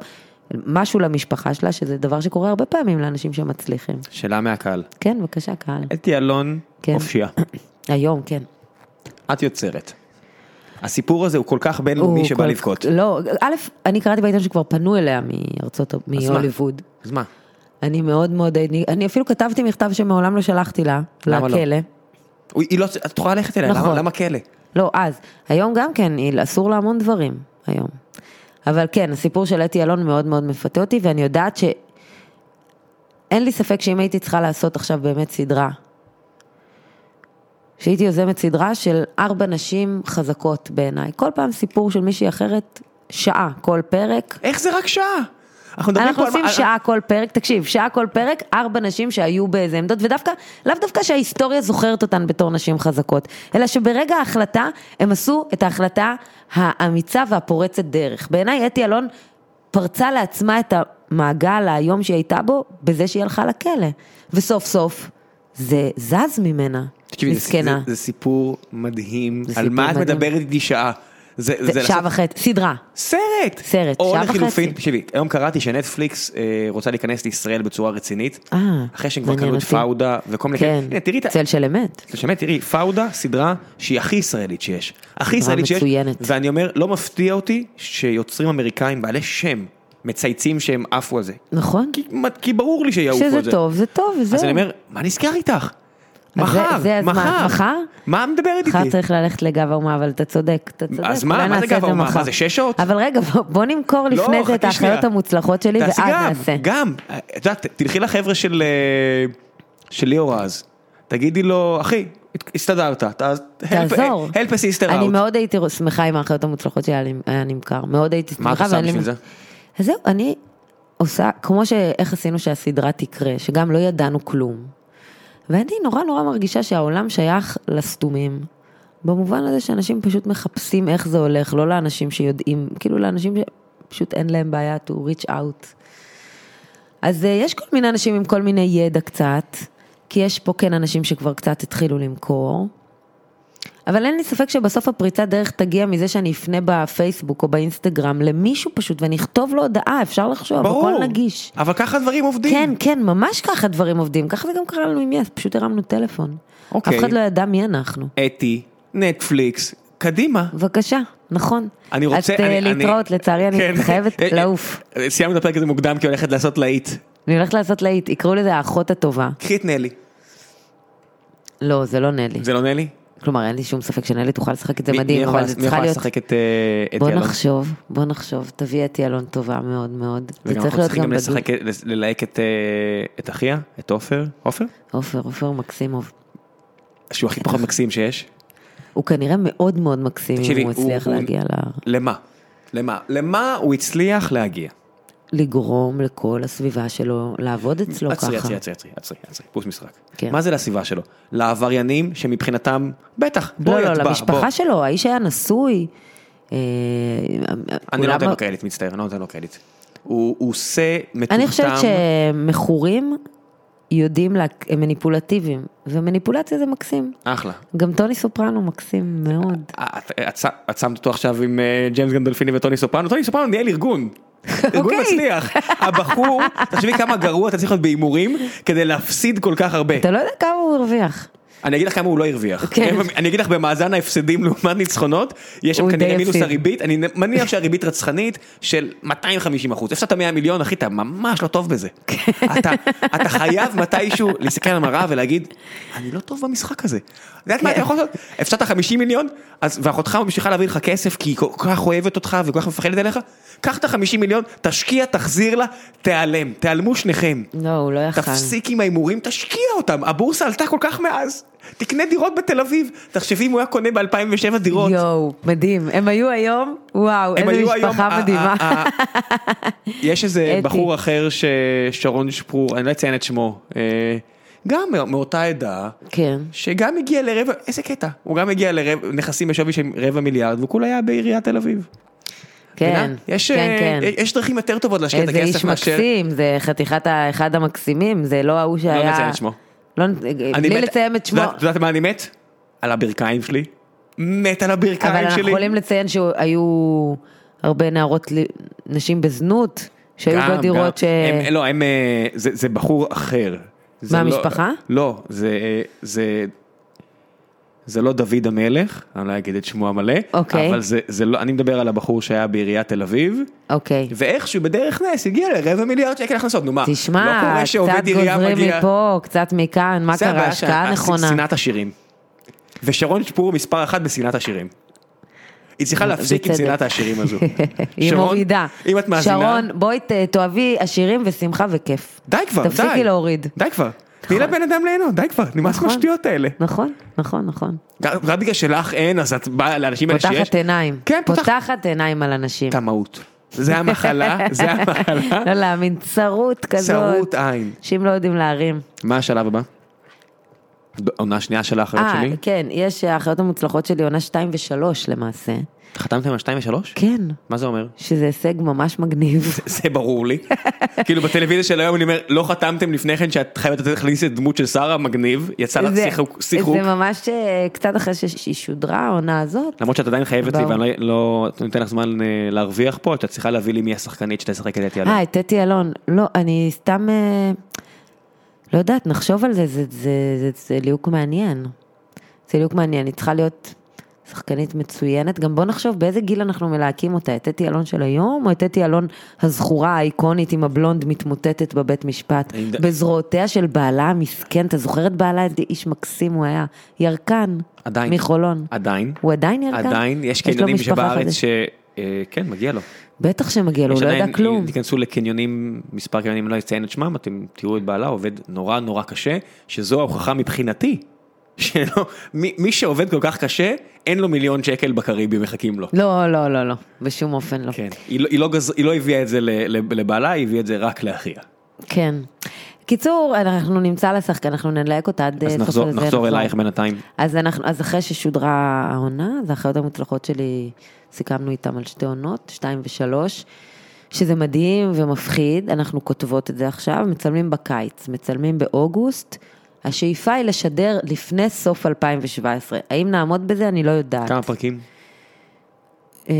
S3: משהו למשפחה שלה, שזה דבר שקורה הרבה פעמים לאנשים שמצליחים.
S1: שאלה מהקהל.
S3: כן, בבקשה, קהל.
S1: אתי אלון,
S3: כן.
S1: חופשייה.
S3: היום, כן.
S1: את יוצרת. הסיפור הזה הוא כל כך בינלאומי
S3: הוא
S1: שבא
S3: כל-
S1: לבכות.
S3: לא, א', אני קראתי בעיתון שכבר פנו אליה מארצות,
S1: אז מה?
S3: מהוליווד.
S1: אז מה?
S3: אני מאוד מאוד, אני, אני אפילו כתבתי מכתב שמעולם לא שלחתי לה,
S1: למה לא?
S3: לכלא. לא?
S1: הוא- היא לא, את יכולה ללכת אליה,
S3: נכון.
S1: למה- למה כלא?
S3: לא, אז. היום גם כן, היא- אסור לה המון דברים, היום. אבל כן, הסיפור של אתי אלון מאוד מאוד מפתה אותי, ואני יודעת ש... אין לי ספק שאם הייתי צריכה לעשות עכשיו באמת סדרה, שהייתי יוזמת סדרה של ארבע נשים חזקות בעיניי. כל פעם סיפור של מישהי אחרת, שעה כל פרק.
S1: איך זה רק שעה? אנחנו מדברים
S3: אנחנו
S1: פה על...
S3: עושים
S1: מה-
S3: שעה כל פרק, תקשיב, שעה כל פרק, ארבע נשים שהיו באיזה עמדות, ודווקא, לאו דווקא שההיסטוריה זוכרת אותן בתור נשים חזקות, אלא שברגע ההחלטה, הם עשו את ההחלטה האמיצה והפורצת דרך. בעיניי אתי אלון פרצה לעצמה את המעגל האיום שהיא הייתה בו, בזה שהיא הלכה לכלא. וסוף סוף, זה זז ממנה,
S1: תקשיבי, זה-
S3: מסכנה.
S1: זה- זה סיפור מדהים.
S3: זה
S1: על
S3: סיפור
S1: מה את
S3: מדהים.
S1: מדברת איתי שעה? זה זה
S3: זה שעה
S1: לעשות-
S3: וחצי, סדרה.
S1: סרט!
S3: סרט,
S1: או
S3: שעה
S1: לחילופין,
S3: וחצי.
S1: תקשיבי, היום קראתי שנטפליקס אה, רוצה להיכנס לישראל בצורה רצינית,
S3: אה,
S1: אחרי שהם כבר
S3: מעניין
S1: קנו את
S3: אותי.
S1: פאודה וכל מיני,
S3: כן,
S1: הנה תראי את ה...
S3: צל של אמת.
S1: באמת, תראי, פאודה סדרה שהיא הכי ישראלית שיש. הכי ישראלית שיש.
S3: אה, מצוינת.
S1: ואני אומר, לא מפתיע אותי שיוצרים אמריקאים בעלי שם מצייצים שהם עפו על זה.
S3: נכון?
S1: כי- מה- כי ברור לי שיעופו על זה.
S3: שזה טוב, זה טוב, וזהו.
S1: כן. אז אני אומר, מה נסגר איתך?
S3: אז זה-
S1: מחר,
S3: זה הזמן.
S1: מחר.
S3: מחר?
S1: מה מדברת
S3: מחר
S1: איתי?
S3: צריך ללכת לגב האומה, אבל אתה צודק, אתה צודק.
S1: אז מה,
S3: אולי
S1: מה זה
S3: נעשה
S1: גב
S3: את
S1: האומה?
S3: מחר.
S1: מה זה, שש שעות? לא,
S3: אבל רגע, בוא, בוא נמכור לפני זה את
S1: חכי שנייה.
S3: האחיות המוצלחות שלי, ואז
S1: תעשי גם,
S3: נעשה.
S1: גם, את יודעת, תלכי לחבר'ה של אה, של ליאור אז, תגידי לו, אחי, הת- הסתדרת, ת-
S3: תעזור.
S1: help- help a sister
S3: אני
S1: out.
S3: מאוד הייתי שמחה אם האחיות המוצלחות שלי היה לי- היה נמכר, מאוד הייתי שמחה.
S1: מה את עושה
S3: ואין לי-
S1: בשביל זה?
S3: אז זהו, אני עושה, כמו שאיך עשינו שהסדרה תקרה, שגם לא ידענו כלום. ואני נורא נורא מרגישה שהעולם שייך לסתומים. במובן הזה שאנשים פשוט מחפשים איך זה הולך, לא לאנשים שיודעים, כאילו לאנשים שפשוט אין להם בעיה to reach out. אז אה, יש כל מיני אנשים עם כל מיני ידע קצת, כי יש פה כן אנשים שכבר קצת התחילו למכור. אבל אין לי ספק שבסוף הפריצת דרך תגיע מזה שאני אפנה בפייסבוק או באינסטגרם למישהו פשוט ואני אכתוב לו הודעה, אפשר לחשוב, לא, הכל
S1: ברור.
S3: נגיש.
S1: אבל ככה דברים עובדים.
S3: כן, כן, ממש ככה דברים עובדים, ככה זה גם קרה לנו עם יס, פשוט הרמנו טלפון.
S1: אוקיי.
S3: אף אחד לא ידע מי אנחנו.
S1: אתי, נטפליקס, קדימה.
S3: בבקשה, נכון.
S1: אני רוצה...
S3: אז אה,
S1: אני- אני-
S3: להתראות, לצערי אני
S1: כן.
S3: חייבת
S1: אה, אה,
S3: לעוף.
S1: אה, סיימנו את הפרק הזה מוקדם כי הולכת לעשות להיט.
S3: אני הולכת לעשות להיט, יקראו לזה האחות הטובה.
S1: קחי את נלי.
S3: לא, זה לא נלי.
S1: זה לא נלי?
S3: כלומר, אין לי שום ספק שנלי תוכל לשחק את זה
S1: מי- מי
S3: מדהים,
S1: יכול-
S3: אבל זה
S1: מי
S3: צריכה
S1: יכול
S3: להיות...
S1: לשחק את אה, את
S3: בוא
S1: ילון?
S3: נחשוב, בוא נחשוב, תביא את ילון טובה מאוד מאוד. זה
S1: וגם
S3: צריך
S1: אנחנו
S3: להיות
S1: צריכים
S3: גם
S1: גם
S3: בדוד.
S1: לשחק, לס- ללהק את, אה, את אחיה, את עופר, עופר?
S3: עופר, עופר מקסימוב.
S1: שהוא הכי פחות מקסים שיש.
S3: הוא כנראה מאוד מאוד מקסים
S1: תקשיבי,
S3: אם הוא
S1: הוא-
S3: הצליח
S1: הוא-
S3: להגיע ל...
S1: למה? למה? למה הוא הצליח להגיע?
S3: לגרום לכל הסביבה שלו לעבוד אצלו לא ככה.
S1: עצרי, עצרי, עצרי, עצרי, עצרי, עצרי, פוס משחק.
S3: כן.
S1: מה זה לסביבה שלו? לעבריינים שמבחינתם, בטח,
S3: לא,
S1: בואי
S3: לא,
S1: את באה, בוא.
S3: למשפחה שלו, האיש היה נשוי. אה,
S1: אני לא
S3: כולם-
S1: נותן לו קרדיט, מצטער, אני לא נותן לו קרדיט. הוא הוא עושה מטומטם.
S3: אני חושבת שמכורים יודעים, לה- הם מניפולטיביים, ומניפולציה זה מקסים.
S1: אחלה.
S3: גם טוני סופרנו מקסים מאוד.
S1: את- אה, את ש- את שמת אותו עכשיו עם אה, ג'יימס גנדולפיני וטוני סופרנו, טוני סופרנו ניהל ארגון. ארגון
S3: אוקיי.
S1: מצליח. הבחור, תחשבי כמה גרוע אתה צריך להיות בהימורים כדי להפסיד כל כך הרבה.
S3: אתה לא יודע כמה הוא הרוויח.
S1: אני אגיד לך כמה הוא לא הרוויח.
S3: כן.
S1: אני אגיד לך במאזן ההפסדים לעומת ניצחונות, יש שם
S3: הוא
S1: כנראה
S3: די
S1: מינוס
S3: הפסיד.
S1: הריבית, אני מניח שהריבית רצחנית של 250 אחוז. הפסדת 100 מיליון, אחי, אתה ממש לא טוב בזה.
S3: כן.
S1: אתה- אתה חייב מתישהו להסתכל על המראה ולהגיד, אני לא טוב במשחק הזה. את יודעת
S3: כן.
S1: מה אתה יכול לעשות? הפסדת 50 מיליון, אז- ואחותך ממשיכה להביא לך כסף כי היא כל כך אוהבת אותך וכל כך מפחדת עליך, קח את ה-50 מיליון, תשקיע, תחזיר לה, תיעלם, תיעלמו שניכם.
S3: לא, הוא לא יכל.
S1: תפסיק עם ההימורים, תשקיע אותם, הבורסה עלתה כל כך מאז. תקנה דירות בתל אביב, תחשבי אם הוא היה קונה ב-2007 דירות.
S3: יואו, מדהים. הם היו היום, וואו,
S1: הם
S3: איזה
S1: היו היום-
S3: משפחה
S1: ה-
S3: מדהימה.
S1: ה- ה- יש איזה
S3: אתי.
S1: בחור אחר ששרון שפרור, אני לא אציין את שמו, אה, גם מא- מאותה עדה,
S3: כן.
S1: שגם הגיע לרבע, איזה קטע, הוא גם הגיע לנכסים בשווי של רבע מיליארד, והוא כולה היה בעיריית תל אביב.
S3: כן,
S1: מבינה? יש,
S3: כן,
S1: אה,
S3: כן.
S1: יש דרכים יותר טובות להשקיע את
S3: איזה איש
S1: הכסף מאשר...
S3: מקסים, זה חתיכת האחד המקסימים, זה לא ההוא שהיה...
S1: נציין את שמו.
S3: לא,
S1: אני
S3: בלי
S1: מת-
S3: לציין את שמו.
S1: יודעת- את יודעת מה אני מת? על הברכיים שלי. מת על הברכיים
S3: אבל
S1: שלי.
S3: אנחנו יכולים לציין שהיו הרבה נערות, ל- נשים בזנות, שהיו
S1: גם,
S3: בדירות ש...
S1: גם. הם, לא, הם... אה, זה, זה בחור אחר. זה לא-
S3: מהמשפחה?
S1: לא, זה... אה, זה... זה לא דוד המלך, אני לא אגיד את שמו המלא,
S3: אוקיי.
S1: אבל זה, זה לא, אני מדבר על הבחור שהיה בעיריית תל אביב,
S3: אוקיי.
S1: ואיכשהו בדרך נס הגיע לרבע מיליארד שקל הכנסות, נו מה, לא
S3: תשמע,
S1: קורה
S3: קצת
S1: שעובד עירייה
S3: גוזרים
S1: מגיע,
S3: מפה, קצת מכאן, מה
S1: זה
S3: קרה?
S1: הבעיה
S3: השקעה
S1: שה-
S3: נכונה.
S1: שנאת עשירים. ושרון שפור מספר אחת בשנאת עשירים. היא צריכה להפסיק עם
S3: בצדק.
S1: שנאת העשירים הזו.
S3: היא
S1: שרון,
S3: מורידה.
S1: אם את מאזינה,
S3: שרון, בואי ת- תאהבי עשירים ושמחה וכיף.
S1: די כבר, די.
S3: תפסיקי להוריד.
S1: די כבר. תני לבן אדם ליהנות, די כבר, נמאס מהשטויות האלה.
S3: נכון, נכון, נכון.
S1: רק רק בגלל שלך אין, אז את באה לאנשים האלה שיש.
S3: פותחת עיניים.
S1: כן, פותחת.
S3: פותחת עיניים על אנשים.
S1: טמאות. זה המחלה, זה המחלה.
S3: לא להאמין, צרות כזאת.
S1: אה? צרות עין.
S3: אנשים לא יודעים להרים.
S1: מה השלב הבא? ד- עונה שנייה של האחריות
S3: אה,
S1: שלי?
S3: כן, יש האחיות המוצלחות שלי, עונה 2 ו-3 למעשה.
S1: חתמתם על 2 ו-3?
S3: אה, כן,
S1: מה זה אומר?
S3: שזה הישג ממש מגניב.
S1: זה ברור לי. כאילו בטלוויזיה של היום אני אומר, לא חתמתם לפני כן שאת חייבת לתת להכניס את דמות של שרה מגניב, יצא לך
S3: זה-
S1: שיחוק, שיחוק.
S3: זה ממש אה, קצת אחרי ש- שהיא שודרה, העונה הזאת.
S1: למרות שאת עדיין חייבת לי
S3: ברור.
S1: ואני לא אני נותן לך זמן אה, להרוויח פה, את צריכה להביא לי מי השחקנית שתשחק את יאללה.
S3: אה, את אתי אלון. לא, אני סתם... אה, לא יודעת, נחשוב על זה, זה- זה- זה- זה ליהוק מעניין. זה ליהוק מעניין, היא צריכה להיות שחקנית מצוינת. גם בוא נחשוב באיזה גיל אנחנו מלהקים אותה, את אתי אלון של היום, או את אתי אלון הזכורה, האיקונית עם הבלונד מתמוטטת בבית משפט,
S1: אני ד-
S3: בזרועותיה של בעלה המסכן, אתה זוכר את בעלה? איזה איש מקסים הוא היה. ירקן.
S1: עדיין.
S3: מחולון.
S1: עדיין.
S3: הוא עדיין ירקן?
S1: עדיין, יש
S3: לו
S1: קניונים
S3: משפחה
S1: שבארץ
S3: חדשה.
S1: ש... אה, כן, מגיע לו.
S3: בטח שמגיע לו,
S1: יש
S3: הוא לא
S1: עדיין-
S3: יודע כלום.
S1: תיכנסו לקניונים, מספר קניונים, לא אציין את שמם, אתם תראו את בעלה עובד נורא נורא קשה, שזו ההוכחה מבחינתי, שלא, מי, מי שעובד כל כך קשה, אין לו מיליון שקל בקריבי מחכים לו.
S3: לא, לא, לא, לא, בשום אופן לא.
S1: כן, היא לא, היא לא, גז, היא לא הביאה את זה ל- ל- לבעלה, היא הביאה את זה רק לאחיה.
S3: כן. קיצור, אנחנו נמצא לה שחקן, אנחנו נלהק אותה עד אה,
S1: אז
S3: סוף
S1: נחזור,
S3: הזה,
S1: נחזור אלייך בינתיים.
S3: אז, אנחנו, אז אחרי ששודרה העונה, אז האחיות המוצלחות שלי, סיכמנו איתם על שתי עונות, שתיים ושלוש, שזה מדהים ומפחיד, אנחנו כותבות את זה עכשיו, מצלמים בקיץ, מצלמים באוגוסט, השאיפה היא לשדר לפני סוף 2017. האם נעמוד בזה? אני לא יודעת.
S1: כמה פרקים?
S3: אה,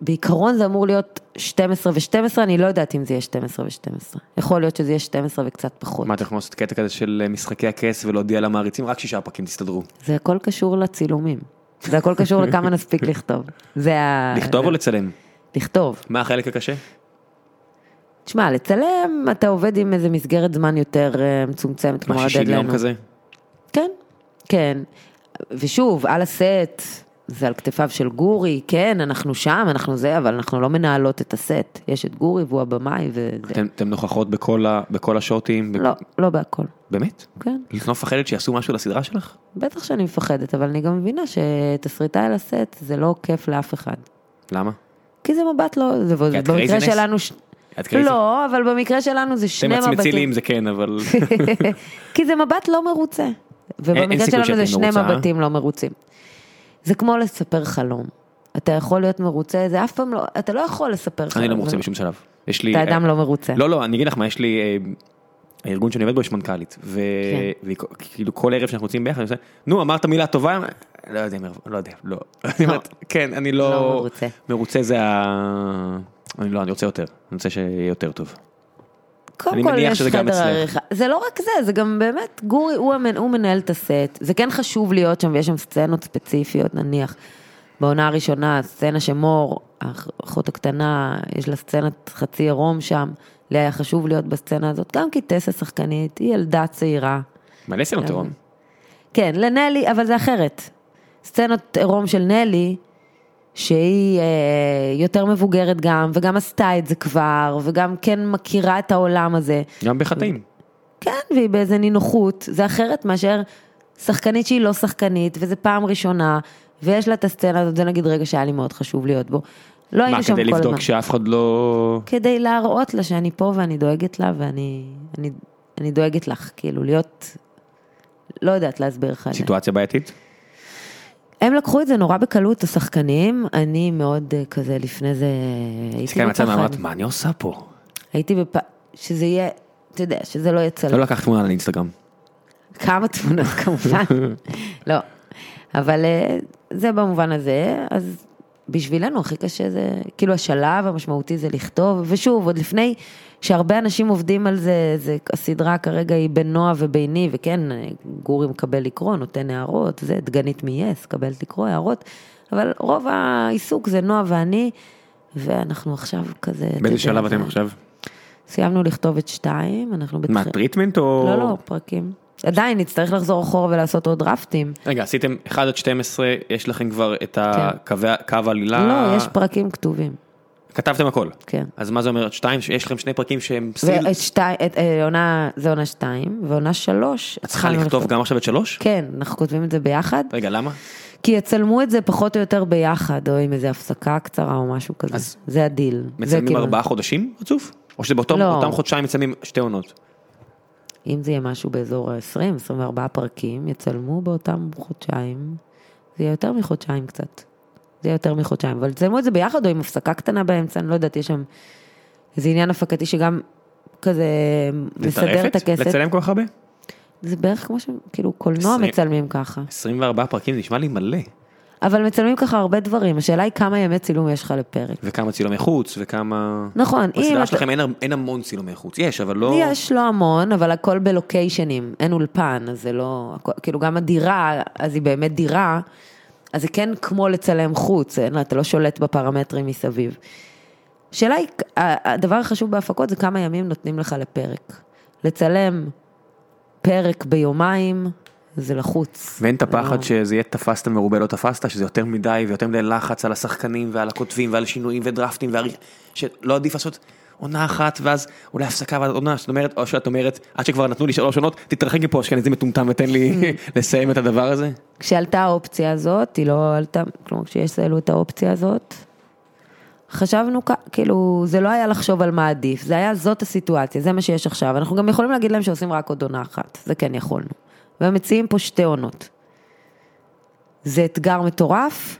S3: בעיקרון זה אמור להיות 12 ו-12, אני לא יודעת אם זה יהיה 12 ו-12. יכול להיות שזה יהיה 12 וקצת פחות.
S1: מה אתם יכולים לעשות קטע כזה של אה, משחקי הכס ולהודיע למעריצים? רק שישה פרקים תסתדרו.
S3: זה הכל קשור לצילומים. זה הכל קשור לכמה נספיק לכתוב. זה ה...
S1: לכתוב
S3: זה-
S1: או לצלם?
S3: לכתוב.
S1: מה החלק הקשה?
S3: תשמע, לצלם, אתה עובד עם איזה מסגרת זמן יותר אה, מצומצמת,
S1: מה,
S3: כלומר
S1: 60 יום
S3: הדדליין הוא-
S1: כזה?
S3: כן, כן. ושוב, על הסט, זה על כתפיו של גורי, כן, אנחנו שם, אנחנו זה, אבל אנחנו לא מנהלות את הסט. יש את גורי והוא הבמאי וזה.
S1: אתם- אתם נוכחות בכל ה- בכל השוטים?
S3: לא, לא בהכל,
S1: באמת?
S3: כן.
S1: את לא מפחדת שיעשו משהו לסדרה שלך?
S3: בטח שאני מפחדת, אבל אני גם מבינה שתסריטאי על הסט זה לא כיף לאף אחד.
S1: למה?
S3: כי זה מבט לא... זה
S1: את
S3: במקרה
S1: craziness?
S3: שלנו... ש-
S1: את crazy.
S3: לא, אבל במקרה שלנו זה
S1: אתם
S3: שני
S1: מצמצי לי
S3: מבטים.
S1: אם זה כן, אבל...
S3: כי זה מבט לא מרוצה.
S1: אין
S3: ובמקרה
S1: סיכוי
S3: שלנו
S1: שאת
S3: זה
S1: תהיי
S3: שני
S1: מרוצה, אה?
S3: מבטים לא מרוצים. זה כמו לספר חלום. אתה יכול להיות מרוצה, זה אף פעם לא... אתה לא יכול לספר חלום.
S1: אני לא
S3: זה-
S1: מרוצה בשום שלב. יש לי...
S3: אתה אדם לא מרוצה.
S1: לא, לא, אני אגיד לך מה, יש לי... אה, הארגון שאני עובד בו יש מנכ"לית, ו-
S3: כן.
S1: והיא כ- כאילו כל ערב שאנחנו יוצאים ביחד, אני עושה, נו אמרת מילה טובה, לא יודע, אם הר- לא יודע, לא, אני אומרת, כן, אני לא,
S3: לא מרוצה.
S1: מרוצה זה ה... אני לא, אני רוצה יותר, אני רוצה שיהיה יותר טוב.
S3: קודם
S1: אני
S3: כל
S1: מניח
S3: יש
S1: שזה גם
S3: חדר
S1: אצלך.
S3: עריכה. זה לא רק זה, זה גם באמת, גורי, הוא, המנ... הוא מנהל את הסט. זה כן חשוב להיות שם, ויש שם סצנות ספציפיות, נניח. בעונה הראשונה, סצנה שמור, האח- האחות הקטנה, יש לה סצנת חצי עירום שם. לי היה חשוב להיות בסצנה הזאת, גם כי טס השחקנית, היא ילדה צעירה.
S1: מלא סצנות עירום.
S3: כן, לנלי, אבל זה אחרת. סצנות עירום של נלי, שהיא אה, יותר מבוגרת גם, וגם עשתה את זה כבר, וגם כן מכירה את העולם הזה.
S1: גם בחטאים.
S3: כן, והיא באיזה נינוחות, זה אחרת מאשר שחקנית שהיא לא שחקנית, וזה פעם ראשונה, ויש לה את הסצנה הזאת, זה נגיד רגע שהיה לי מאוד חשוב להיות בו. לא
S1: מה,
S3: היינו שם כל
S1: כדי
S3: הזמן.
S1: לבדוק שאף אחד לא...
S3: כדי להראות לה שאני פה ואני דואגת לה, ואני אני, אני דואגת לך, כאילו, להיות... לא יודעת להסביר לך את זה.
S1: סיטואציה בעייתית?
S3: הם לקחו את זה נורא בקלות, השחקנים, אני מאוד אה, כזה, לפני זה הייתי
S1: הסתכלתי מהצד
S3: בפחד.
S1: ואמרת, מה אני עושה
S3: לא.
S1: פה?
S3: הייתי בפ... שזה יהיה, אתה יודע, שזה לא יהיה צלם.
S1: לא לקחת תמונה לאינסטגרם.
S3: כמה תמונות כמובן, לא. אבל אה, זה במובן הזה, אז בשבילנו הכי קשה זה, כאילו השלב המשמעותי זה לכתוב, ושוב, עוד לפני שהרבה אנשים עובדים על זה, זה הסדרה כרגע היא בין נועה וביני, וכן, אה, גורי מקבל לקרוא, נותן הערות, זה דגנית מ-yes, קבלת לקרוא הערות, אבל רוב העיסוק זה נועה ואני, ואנחנו עכשיו כזה... אתה יודע,
S1: באיזה שלב אתם עכשיו?
S3: סיימנו לכתוב את שתיים, אנחנו
S1: מה,
S3: בתח-
S1: טריטמנט או...
S3: לא, לא, פרקים. עדיין נצטרך לחזור אחורה ולעשות עוד דרפטים.
S1: רגע, עשיתם 1 עד 12, יש לכם כבר את הקו העלילה?
S3: כן. לא, יש פרקים כתובים.
S1: כתבתם הכל.
S3: כן.
S1: אז מה זה אומר עד 2? יש לכם שני פרקים שהם סיל?
S3: ואת שתי- את, אה, עונה, זה עונה שתיים, ועונה שלוש.
S1: את צריכה
S3: התחלנו
S1: לכתוב
S3: לכתוב.
S1: גם אוקיי. עכשיו את 3?
S3: כן, אנחנו כותבים את זה ביחד,
S1: רגע, למה?
S3: כי יצלמו את זה פחות או יותר ביחד, או עם איזו הפסקה קצרה או משהו כזה.
S1: אז-
S3: זה הדיל. זה
S1: מצלמים
S3: כאילו-
S1: ארבעה חודשים רצוף? או שבאותם
S3: לא.
S1: אותם חודשיים מצלמים שתי עונות?
S3: אם זה יהיה משהו באזור ה-20, 24 פרקים, יצלמו באותם חודשיים. זה יהיה יותר מחודשיים קצת. זה יהיה יותר מחודשיים, אבל יצלמו את זה ביחד או עם הפסקה קטנה באמצע, אני לא יודעת, יש שם איזה עניין הפקתי שגם כזה
S1: זה
S3: מסדר את
S1: טרפת?
S3: הכסף.
S1: לצלם כל כך הרבה?
S3: זה בערך כמו ש... כאילו, קולנוע
S1: עשרים.
S3: מצלמים ככה.
S1: 24 פרקים זה נשמע לי מלא.
S3: אבל מצלמים ככה הרבה דברים, השאלה היא כמה ימי צילום יש לך לפרק.
S1: וכמה צילומי חוץ, וכמה...
S3: נכון, אם
S1: בסדרה
S3: אתה-
S1: שלכם אין הר- אין המון צילומי חוץ, יש, אבל לא...
S3: יש לא המון, אבל הכל בלוקיישנים, אין אולפן, אז זה לא, הכל, כאילו גם הדירה, אז היא באמת דירה, אז זה כן כמו לצלם חוץ, אין, אתה לא שולט בפרמטרים מסביב. השאלה היא, ה- הדבר החשוב בהפקות זה כמה ימים נותנים לך לפרק. לצלם פרק ביומיים, זה לחוץ.
S1: ואין את
S3: זה לא-
S1: הפחד שזה יהיה תפסת מרובה לא תפסת, שזה יותר מדי ויותר מדי לחץ על השחקנים ועל הכותבים ועל שינויים ודרפטים, והר... שלא עדיף לעשות עונה אחת ואז אולי הפסקה ואז עונה, שאת אומרת, או שאת אומרת, עד שכבר נתנו לי שלוש עונות, תתרחק מפה אשכנזי מטומטם ותן לי לסיים את הדבר הזה.
S3: כשעלתה האופציה הזאת, היא לא עלתה, כלומר כשהעלו את האופציה הזאת, חשבנו, כ- כאילו, זה לא היה לחשוב על מה עדיף, זה היה זאת הסיטואציה, זה מה שיש עכשיו. אנחנו גם יכולים להגיד להם שעושים רק עוד עונה אחת, זה כן יכולנו. והם מציעים פה שתי עונות. זה אתגר מטורף,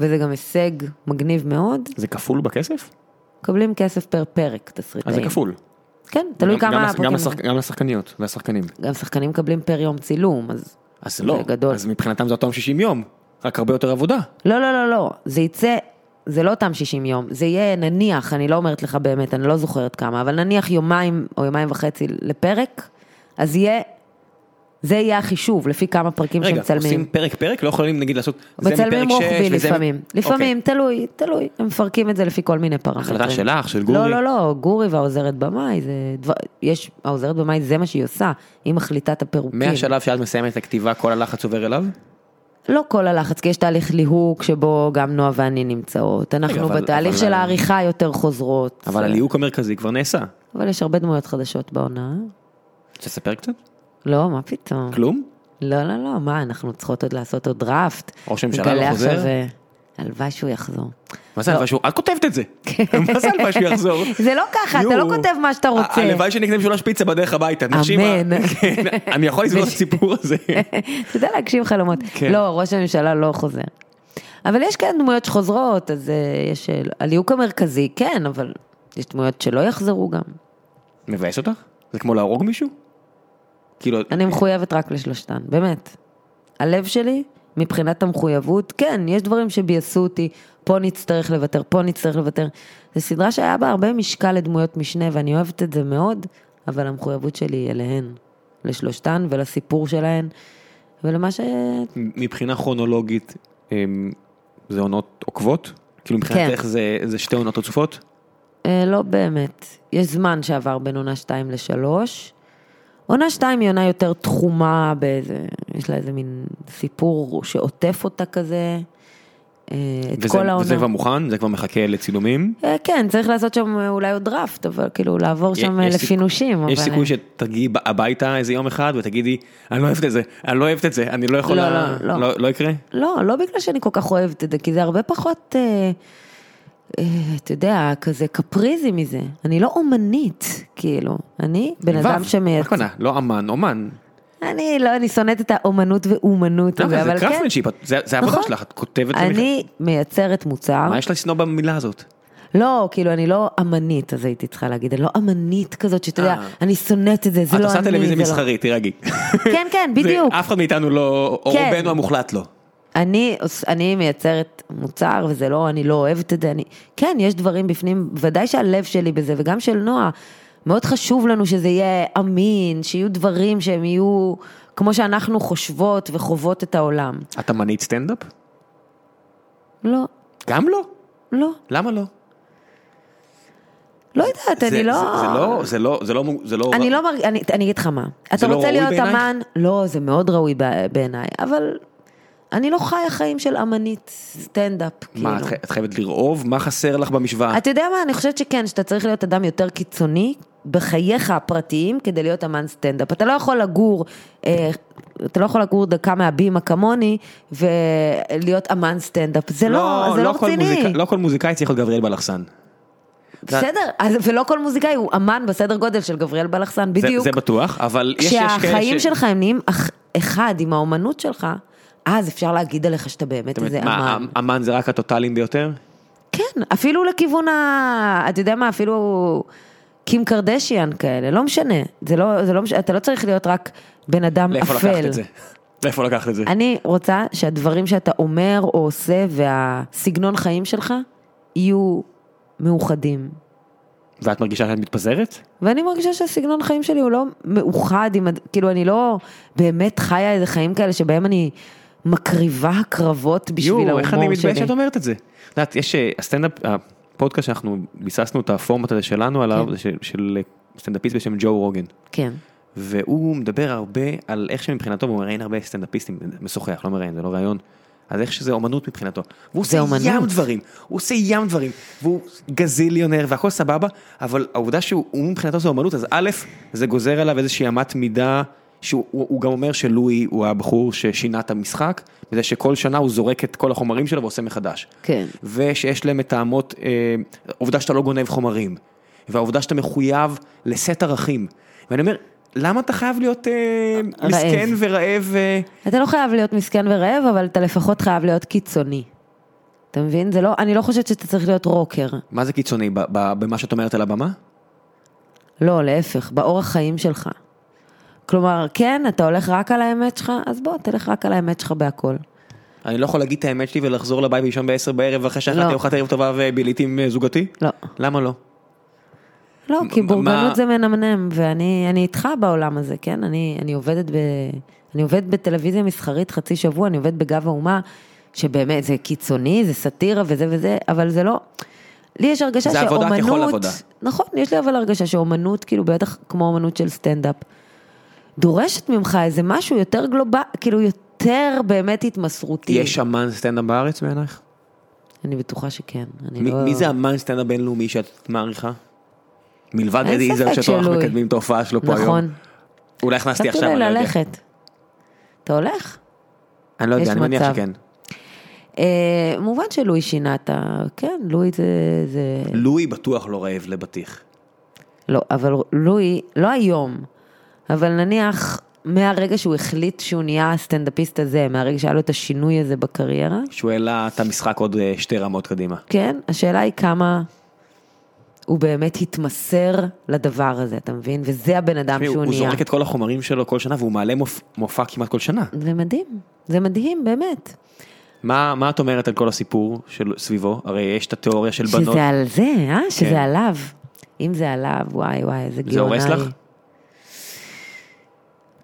S3: וזה גם הישג מגניב מאוד.
S1: זה כפול בכסף?
S3: מקבלים כסף פר פרק, תסריטאים.
S1: אז זה כפול.
S3: כן, תלוי
S1: גם- גם
S3: כמה...
S1: לש- גם
S3: הפרקים-
S1: לשחק- גם לשחקניות והשחקנים.
S3: גם שחקנים מקבלים פר יום צילום, אז...
S1: אז לא,
S3: גדול.
S1: אז מבחינתם זה אותם 60 יום, רק הרבה יותר עבודה.
S3: לא, לא, לא, לא, זה יצא, זה לא אותם 60 יום, זה יהיה נניח, אני לא אומרת לך באמת, אני לא זוכרת כמה, אבל נניח יומיים או יומיים וחצי לפרק, אז יהיה, זה יהיה החישוב, לפי כמה פרקים
S1: רגע, עושים
S3: שמצלמים.
S1: פרק פרק, לא יכולים נגיד לעשות, זה מפרק
S3: מצלמים רוחבי
S1: שש וזה- אוקיי.
S3: לפעמים, לפעמים, תלוי, תלוי, הם מפרקים את זה לפי כל מיני פרמטרים.
S1: החלטה שלך, של גורי.
S3: לא, לא, לא, גורי והעוזרת במאי, זה דבר, יש, העוזרת במאי זה מה שהיא עושה, היא מחליטה את הפירוקים.
S1: מהשלב שאת מסיימת את הכתיבה, כל הלחץ עובר אליו?
S3: לא כל הלחץ, כי יש תהליך ליהוק שבו גם נועה ואני נמצאות. אנחנו
S1: אבל-
S3: בתהליך
S1: אבל-
S3: של העריכה יותר חוזרות.
S1: אבל הליהוק המרכזי כבר נעשה.
S3: אבל יש הרבה דמויות חדשות בעונה.
S1: רוצה לספר קצת?
S3: לא, מה פתאום.
S1: כלום?
S3: לא, לא, לא, מה, אנחנו צריכות עוד לעשות עוד דראפט.
S1: ראש הממשלה לא
S3: גלי
S1: חוזר?
S3: החבר- הלוואי שהוא יחזור.
S1: מה זה הלוואי שהוא... את כותבת את זה. מה זה הלוואי שהוא יחזור?
S3: זה לא ככה, אתה לא
S1: יואו.
S3: כותב מה שאתה רוצה.
S1: ה- הלוואי שנקנה בשבילה שפיצה בדרך הביתה. נשים ה-
S3: אמן.
S1: כן, אני יכול לסגור את הסיפור הזה.
S3: אתה יודע להגשים חלומות.
S1: כן.
S3: לא, ראש הממשלה לא חוזר. אבל יש כאן דמויות שחוזרות, אז אה, יש... אה, הליהוק המרכזי, כן, אבל יש דמויות שלא יחזרו גם.
S1: מבאס אותך? זה כמו להרוג מישהו? כאילו,
S3: אני מחויבת רק לשלושתן, באמת. הלב שלי, מבחינת המחויבות, כן, יש דברים שביאסו אותי, פה נצטרך לוותר, פה נצטרך לוותר. זו סדרה שהיה בה הרבה משקל לדמויות משנה, ואני אוהבת את זה מאוד, אבל המחויבות שלי היא אליהן, לשלושתן ולסיפור שלהן, ולמה ש...
S1: מבחינה כרונולוגית, אמ, זה עונות עוקבות? כאילו מבחינתך
S3: כן.
S1: זה, זה שתי עונות רצופות?
S3: אה, לא באמת. יש זמן שעבר בין עונה 2 ל-3. עונה 2 היא עונה יותר תחומה באיזה, יש לה איזה מין סיפור שעוטף אותה כזה. אה, את
S1: וזה,
S3: כל העונה.
S1: וזה כבר מוכן? זה כבר מחכה לצילומים?
S3: אה, כן, צריך לעשות שם אה, אולי עוד דראפט, אבל כאילו לעבור שם
S1: יש
S3: לפינושים.
S1: סיכוי- יש
S3: אבל- אה,
S1: סיכוי שתגיעי ב- הביתה איזה יום אחד ותגידי, אני לא אוהבת את זה, אני לא אוהבת את זה, אני לא יכולה...
S3: לא, לא.
S1: לא, לא יקרה?
S3: לא, לא בגלל שאני כל כך אוהבת את זה, כי זה הרבה פחות, אה, אה, אתה יודע, כזה קפריזי מזה. אני לא אומנית, כאילו. אני בן
S1: וו,
S3: אדם
S1: מה
S3: שמייצר.
S1: הכוונה? לא אמן, אומן.
S3: אני לא, אני שונאת את האומנות ואומנות,
S1: למה?
S3: הזה,
S1: לא, זה
S3: אבל כן.
S1: קראפטמנשיפ, את- זה זה העבודה
S3: נכון.
S1: שלך, את כותבת... ומכ-
S3: אני מייצרת מוצר.
S1: מה יש לה לשנוא במילה הזאת?
S3: לא, כאילו, אני לא אמנית, אז הייתי צריכה להגיד. אני לא אמנית כזאת, שאתה יודע,
S1: אה.
S3: אני שונאת את זה, זה
S1: את
S3: לא אני.
S1: עושה טלוויזיה
S3: זה לא-
S1: מסחרית, תירגעי.
S3: כן, כן,
S1: זה-
S3: בדיוק.
S1: אף אחד מאיתנו לא, או
S3: כן.
S1: רובנו המוחלט לא.
S3: אני, עוש- אני מייצרת מוצר, וזה לא, אני לא אוהבת את זה, אני... כן, יש דברים בפנים, ודאי שהלב שלי בזה, וגם של נועה. מאוד חשוב לנו שזה יהיה אמין, שיהיו דברים שהם יהיו כמו שאנחנו חושבות וחוות את העולם.
S1: את אמנית סטנדאפ?
S3: לא,
S1: גם לא.
S3: לא,
S1: למה לא?
S3: לא יודעת,
S1: זה-
S3: אני לא...
S1: זה- זה לא, זה לא, זה לא, זה לא...
S3: אני לא מרגיש, אני, אני אגיד לך מה, אתה
S1: לא
S3: רוצה
S1: ראוי
S3: להיות
S1: בעינייך?
S3: אמן, לא, זה מאוד ראוי בע- בעיניי, אבל אני לא חיה חיים של אמנית סטנדאפ, כאילו.
S1: מה, אה. את חי- את חייבת לרעוב? מה חסר לך במשוואה?
S3: אתה יודע מה, אני חושבת שכן, שאתה צריך להיות אדם יותר קיצוני בחייך הפרטיים כדי להיות אמן סטנדאפ. אתה לא יכול לגור, אה, אתה לא יכול לגור דקה מהבימה כמוני ולהיות אמן סטנדאפ. זה לא, זה לא,
S1: כל
S3: רציני.
S1: מוזיקאי- לא כל מוזיקאי צריך להיות גבריאל בלחסן.
S3: בסדר, אז, ולא כל מוזיקאי הוא אמן בסדר גודל של גבריאל בלחסן,
S1: זה-
S3: בדיוק.
S1: זה בטוח, אבל יש יש כאלה ש...
S3: כשהחיים שלך הם נהיים אח- אחד עם האומנות שלך, אז אפשר להגיד עליך שאתה באמת
S1: זאת אומרת,
S3: איזה
S1: מה,
S3: אמן.
S1: אמן זה רק הטוטאלים ביותר?
S3: כן, אפילו לכיוון ה... אתה יודע מה, אפילו קים קרדשיאן כאלה, לא משנה. זה לא, זה לא משנה, אתה לא צריך להיות רק בן אדם אפל.
S1: לאיפה לקחת את זה? לאיפה לקחת את זה?
S3: אני רוצה שהדברים שאתה אומר או עושה והסגנון חיים שלך יהיו מאוחדים.
S1: ואת מרגישה שאת מתפזרת?
S3: ואני מרגישה שהסגנון חיים שלי הוא לא מאוחד עם, הד- כאילו אני לא באמת חיה איזה חיים כאלה שבהם אני מקריבה הקרבות בשביל ההומור
S1: יואו,
S3: שלי.
S1: איך אני מתבייש שאת אומרת את זה. את יודעת, יש אה, הסטנדאפ, הפודקאסט שאנחנו ביססנו את הפורמט הזה שלנו עליו,
S3: כן.
S1: זה של- של אה, סטנדאפיסט בשם ג'ו רוגן.
S3: כן,
S1: והוא מדבר הרבה על איך שמבחינתו, הוא מראיין הרבה סטנדאפיסטים, משוחח, לא מראיין, זה לא ראיון, אז איך שזה אומנות מבחינתו. והוא
S3: זה
S1: עושה
S3: אומנות.
S1: ים דברים, הוא עושה ים דברים, והוא גזיליונר והכל סבבה, אבל העובדה שהוא הוא מבחינתו זה אומנות, אז א', זה גוזר עליו איזושהי אמת מידה, שהוא הוא- הוא גם אומר שלואי הוא הבחור ששינה את המשחק, בזה שכל שנה הוא זורק את כל החומרים שלו ועושה מחדש.
S3: כן.
S1: ושיש להם מטעמות, אה, העובדה שאתה לא גונב חומרים, והעובדה שאתה מחויב לסט ערכים. ואני אומר, למה אתה חייב להיות אה,
S3: רעב.
S1: מסכן ורעב? אה,
S3: אתה לא חייב להיות מסכן ורעב, אבל אתה לפחות חייב להיות קיצוני. אתה מבין? זה לא, אני לא חושבת שאתה צריך להיות רוקר.
S1: מה זה קיצוני, ב- ב- במה שאת אומרת על הבמה?
S3: לא, להפך, באורח חיים שלך. כלומר, כן, אתה הולך רק על האמת שלך, אז בוא, תלך רק על האמת שלך בהכל.
S1: אני לא יכול להגיד את האמת שלי ולחזור לבית ולישון בעשר בערב אחרי שאכלתי
S3: לא.
S1: ארוחת ערב טובה וביליתי עם אה, זוגתי?
S3: לא.
S1: למה לא?
S3: לא, כי
S1: מה-
S3: בורגנות זה מנמנם, ואני אני איתך בעולם הזה, כן? אני, אני עובדת ב... אני עובדת בטלוויזיה מסחרית חצי שבוע, אני עובדת בגב האומה, שבאמת זה קיצוני, זה סאטירה וזה וזה, אבל זה לא... לי יש הרגשה
S1: זה
S3: שאומנות...
S1: עבודה ככל עבודה.
S3: נכון, יש לי אבל הרגשה שאומנות, כאילו בטח כמו אומנות של סטנדאפ, דורשת ממך איזה משהו יותר גלובל, כאילו יותר באמת התמסרותי.
S1: יש אמן סטנדאפ בארץ בעינייך?
S3: אני בטוחה שכן. אני
S1: מי-
S3: לא...
S1: מי זה אמן סטנדאפ בינלאומי שאת מעריכה? מלבד
S3: אין
S1: אדי
S3: ספק
S1: איזר שאותו אנחנו
S3: שלואי.
S1: מקדמים את ההופעה שלו פה היום.
S3: נכון.
S1: אולי הכנסתי
S3: חשבתי
S1: עכשיו, אני
S3: אולי
S1: לא יודע.
S3: ללכת. אתה הולך?
S1: אני לא
S3: יש
S1: יודע, אני מניח
S3: מצב. כן.
S1: שכן.
S3: אה, מובן שלואי שינה את ה... כן, לואי זה... זה...
S1: לואי בטוח לא רעב לבטיח.
S3: לא, אבל לואי, לא היום, אבל נניח מהרגע שהוא החליט שהוא נהיה הסטנדאפיסט הזה, מהרגע שהיה לו את השינוי הזה בקריירה,
S1: שהוא העלה את המשחק עוד אה, שתי רמות קדימה.
S3: כן, השאלה היא כמה הוא באמת התמסר לדבר הזה, אתה מבין? וזה הבן אדם
S1: תשמעי,
S3: שהוא
S1: הוא
S3: נהיה.
S1: זורק את כל החומרים שלו כל שנה והוא מעלה מופ- מופע כמעט כל שנה.
S3: זה מדהים, זה מדהים, באמת.
S1: מה מה את אומרת על כל הסיפור של סביבו? הרי יש את התיאוריה של בנות.
S3: שזה על זה, אה? שזה
S1: כן.
S3: עליו. אם זה עליו, וואי וואי, איזה
S1: זה
S3: גאונה
S1: הורס
S3: היא.
S1: לך?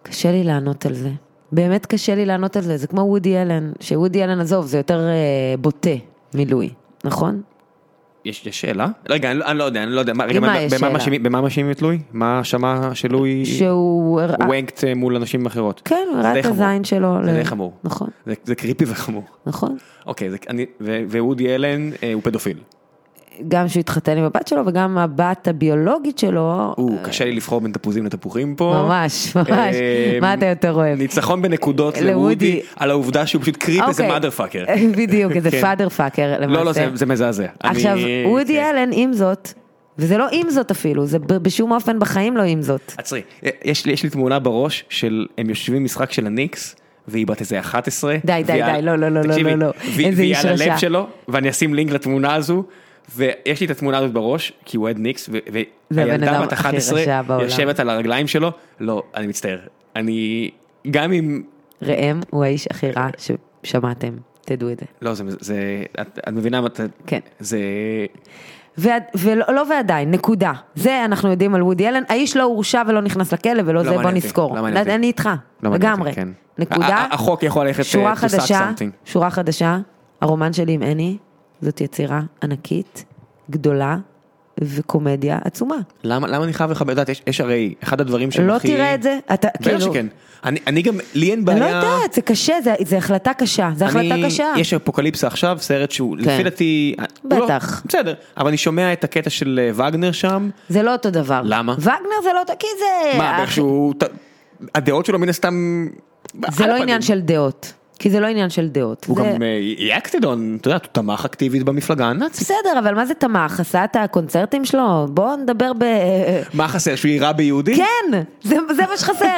S3: קשה לי לענות על זה. באמת קשה לי לענות על זה, זה כמו וודי אלן, שוודי אלן, עזוב, זה יותר אה, בוטה מלואי, נכון?
S1: יש יש שאלה? רגע, אני לא- אני לא יודע, אני לא יודע. מה, רגע,
S3: מה
S1: מה-
S3: יש
S1: במה
S3: שאלה?
S1: מאשימים- במה מאשימים את לואי? מה שמע שלואי
S3: שהוא הראה...
S1: וונקט אה, מול אנשים אחרות?
S3: כן, הוא
S1: זה
S3: הראה
S1: די
S3: את
S1: חמור.
S3: הזין שלו.
S1: זה
S3: ל-
S1: די חמור.
S3: נכון,
S1: זה- זה קריפי וחמור.
S3: נכון.
S1: אוקיי, זה- אני- ו- ווודי אלן אה, הוא פדופיל.
S3: גם שהוא התחתן עם הבת שלו, וגם הבת הביולוגית שלו. אה,
S1: הוא, קשה לי לבחור בין תפוזים לתפוחים פה.
S3: ממש, ממש.
S1: אה,
S3: מה אתה יותר אוהב?
S1: ניצחון בנקודות
S3: לוודי.
S1: לוודי על העובדה שהוא פשוט קריפ איזה
S3: אוקיי.
S1: מאדר פאקר.
S3: בדיוק, איזה
S1: כן.
S3: פאדר פאקר למעשה.
S1: לא, לא, זה- זה מזעזע.
S3: עכשיו,
S1: אני-
S3: וודי
S1: כן.
S3: אלן, עם זאת, וזה לא עם זאת אפילו, זה ב- בשום אופן בחיים לא עם זאת.
S1: עצרי, יש לי, יש לי תמונה בראש של הם יושבים משחק של הניקס והיא בת איזה 11.
S3: די, די,
S1: והיא
S3: די,
S1: על-
S3: לא, לא, לא, לא,
S1: תקשיבי,
S3: לא, לא.
S1: והיא-
S3: איזה
S1: והיא
S3: איש
S1: על הלב
S3: רשע.
S1: שלו ואני אשים לינק לתמונה הזו ויש לי את התמונה הזאת בראש כי הוא אוהד ניקס ו-
S3: זה הבן
S1: והילדה
S3: אדם
S1: בת
S3: הכי
S1: 11
S3: רשע בעולם.
S1: יושבת על הרגליים שלו לא אני מצטער אני גם אם
S3: ראם הוא האיש הכי רע ששמעתם, תדעו את זה.
S1: לא זה זה את, את מבינה מה אתה
S3: כן.
S1: זה
S3: ועד- ולא לא ועדיין, נקודה. זה אנחנו יודעים על וודי אלן, האיש לא הורשע ולא נכנס לכלא ולא זה, בוא
S1: מעניין אותי,
S3: נזכור.
S1: לא מעניין אותי.
S3: אני איתך,
S1: לא מעניין אותי,
S3: לגמרי.
S1: כן. ה-
S3: נקודה,
S1: ה- החוק יכול ללכת
S3: שורה
S1: to suck
S3: חדשה,
S1: something.
S3: שורה חדשה, הרומן שלי עם אני, זאת יצירה ענקית, גדולה וקומדיה עצומה.
S1: למה למה אני חייב לכבד את יודעת, יש, יש הרי אחד הדברים שהם
S3: לא
S1: הכי
S3: תראה את זה, אתה
S1: בטח
S3: כאילו,
S1: שכן. אני, אני גם, לי אין
S3: אני
S1: בעיה.
S3: לא יודעת, זה קשה, זה- זה החלטה קשה, זה החלטה
S1: אני-
S3: קשה.
S1: יש אפוקליפסה עכשיו, סרט שהוא
S3: כן.
S1: לפי דעתי... הוא לא-
S3: בטח.
S1: בסדר, אבל אני שומע את הקטע של אה, וגנר שם.
S3: זה לא אותו דבר.
S1: למה?
S3: וגנר זה לא אותו, כי זה...
S1: מה,
S3: אח-
S1: איכשהו... הדעות שלו מן הסתם...
S3: זה
S1: על
S3: לא
S1: הפנים.
S3: עניין של דעות. כי זה לא עניין של דעות.
S1: הוא
S3: זה-
S1: גם אה, יאקטד און, אתה יודע, הוא תמך אקטיבית במפלגה הנאצית.
S3: בסדר, אבל מה זה תמך? עשה את הקונצרטים שלו? בואו נדבר ב...
S1: מה חסר, שהוא יירה ביהודים?
S3: כן, זה, זה מה שחסר.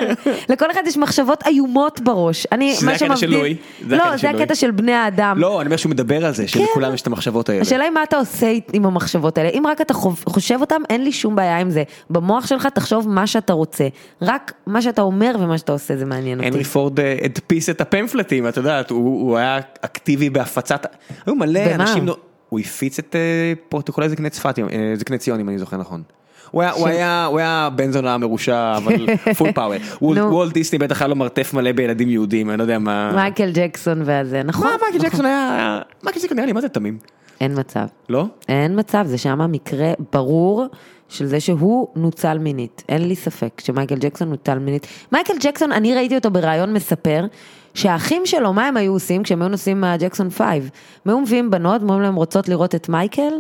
S3: לכל אחד יש מחשבות איומות בראש. אני,
S1: שזה
S3: מה
S1: הקטע של
S3: שמבדיל...
S1: לואי. זה הקטע
S3: לא,
S1: של
S3: זה
S1: לואי.
S3: הקטע של בני האדם.
S1: לא, אני אומר שהוא מדבר על זה,
S3: כן.
S1: שלכולם יש את המחשבות האלה.
S3: השאלה היא מה אתה עושה עם המחשבות האלה. אם רק אתה חוב- חושב אותם, אין לי שום בעיה עם זה. במוח שלך תחשוב מה שאתה רוצה. רק מה שאתה אומר ומה שאתה עושה זה מעניין אותי.
S1: הנרי פורד אה, הדפיס את הפמפלטים, את יודעת, הוא הוא היה אקטיבי בהפצת, היו מלא
S3: במה?
S1: אנשים, נו- הוא הפיץ את אה, פרוטוקולי זקני צפת, אה, זקני ציון אם אני זוכר נכון. הוא היה, הוא היה, הוא היה בן זונה מרושע, אבל פול פאוור. וולט-
S3: נו.
S1: וולט דיסני בטח היה לו מרתף מלא בילדים יהודים, אני לא יודע מה. מה
S3: מייקל ג'קסון והזה, נכון?
S1: מייקל ג'קסון היה, מייקל ג'קסון נראה לי מה זה תמים,
S3: אין מצב.
S1: לא?
S3: אין מצב, זה שם מקרה ברור של זה שהוא נוצל מינית. אין לי ספק שמייקל ג'קסון נוצל מינית. מייקל ג'קסון, אני ראיתי אותו בריאיון מספר, שהאחים שלו, מה הם היו עושים כשהם היו נוסעים מהג'קסון 5? הם היו מביאים בנות, אומרים להם רוצות לראות את מייקל,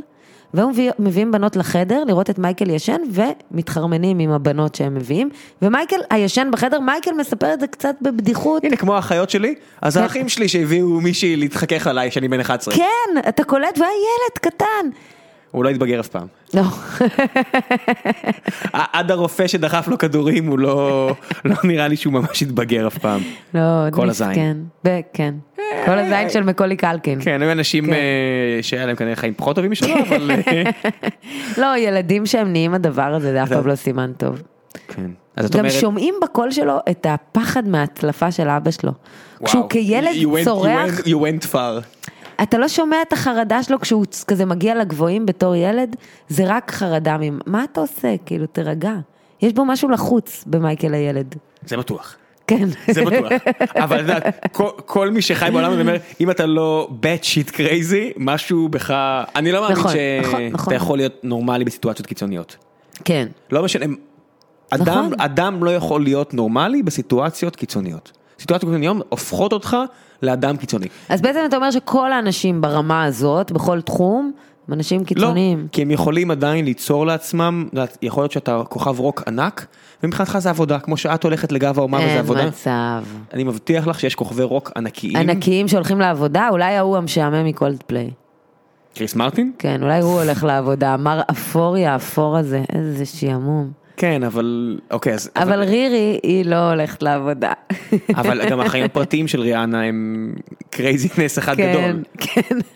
S3: והיו מביא- מביאים בנות לחדר לראות את מייקל ישן, ומתחרמנים עם הבנות שהם מביאים, ומייקל הישן בחדר, מייקל מספר את זה קצת בבדיחות.
S1: הנה כמו האחיות שלי, אז
S3: כן.
S1: האחים שלי שהביאו מישהי להתחכך עליי שאני בן 11,
S3: כן, אתה קולט, והיה ילד קטן.
S1: הוא לא התבגר אף פעם.
S3: לא,
S1: עד הרופא שדחף לו כדורים הוא לא, לא נראה לי שהוא ממש התבגר אף פעם.
S3: לא, עוד
S1: כל
S3: מיס-
S1: הזין.
S3: כן, ב- כן. כל הזין של מקולי קלקין.
S1: כן, היו אנשים
S3: כן.
S1: אה, שהיה להם כנראה חיים פחות טובים משלו, אבל... אה,
S3: לא, ילדים שהם נהיים הדבר הזה, זה אף
S1: אתה-
S3: פעם לא סימן טוב.
S1: כן. אז את
S3: גם
S1: אומרת,
S3: שומעים בקול שלו את הפחד מההצלפה של אבא שלו. כשהוא
S1: וואו, you went-
S3: כילד
S1: you
S3: צורח,
S1: went- You went far.
S3: אתה לא שומע את החרדה שלו כשהוא צ- כזה מגיע לגבוהים בתור ילד, זה רק חרדה ממ... מה אתה עושה? כאילו, תירגע. יש בו משהו לחוץ במייקל הילד.
S1: זה בטוח.
S3: כן.
S1: זה בטוח. אבל את יודעת, כל- כל מי שחי בעולם הזה אומר, אם אתה לא bad shit crazy, משהו בך... אני לא מאמין
S3: נכון, נכון, נכון.
S1: שאתה יכול להיות נורמלי בסיטואציות קיצוניות.
S3: כן.
S1: לא משנה, אדם,
S3: נכון.
S1: אדם לא יכול להיות נורמלי בסיטואציות קיצוניות. סיטואציות קיצוניות הופכות אותך לאדם קיצוני. לא,
S3: אז בעצם אתה אומר שכל האנשים ברמה הזאת, בכל תחום, הם אנשים קיצוניים.
S1: לא, כי הם יכולים עדיין ליצור לעצמם, את יודעת, יכול להיות שאתה כוכב רוק ענק, ומבחינתך זה עבודה, כמו שאת הולכת לגב האומה וזה
S3: אין
S1: עבודה.
S3: מצב.
S1: אני מבטיח לך שיש כוכבי רוק ענקיים.
S3: ענקיים שהולכים לעבודה, אולי ההוא המשעמם מקולדפליי.
S1: קריס מרטין?
S3: כן, אולי הוא הולך לעבודה, מר אפורי האפור הזה, איזה שעמום.
S1: כן, אבל... אוקיי, אז...
S3: אבל רירי, היא לא הולכת לעבודה.
S1: אבל גם החיים הפרטיים של ריאנה הם קרייזינס אחד
S3: כן,
S1: גדול.
S3: כן.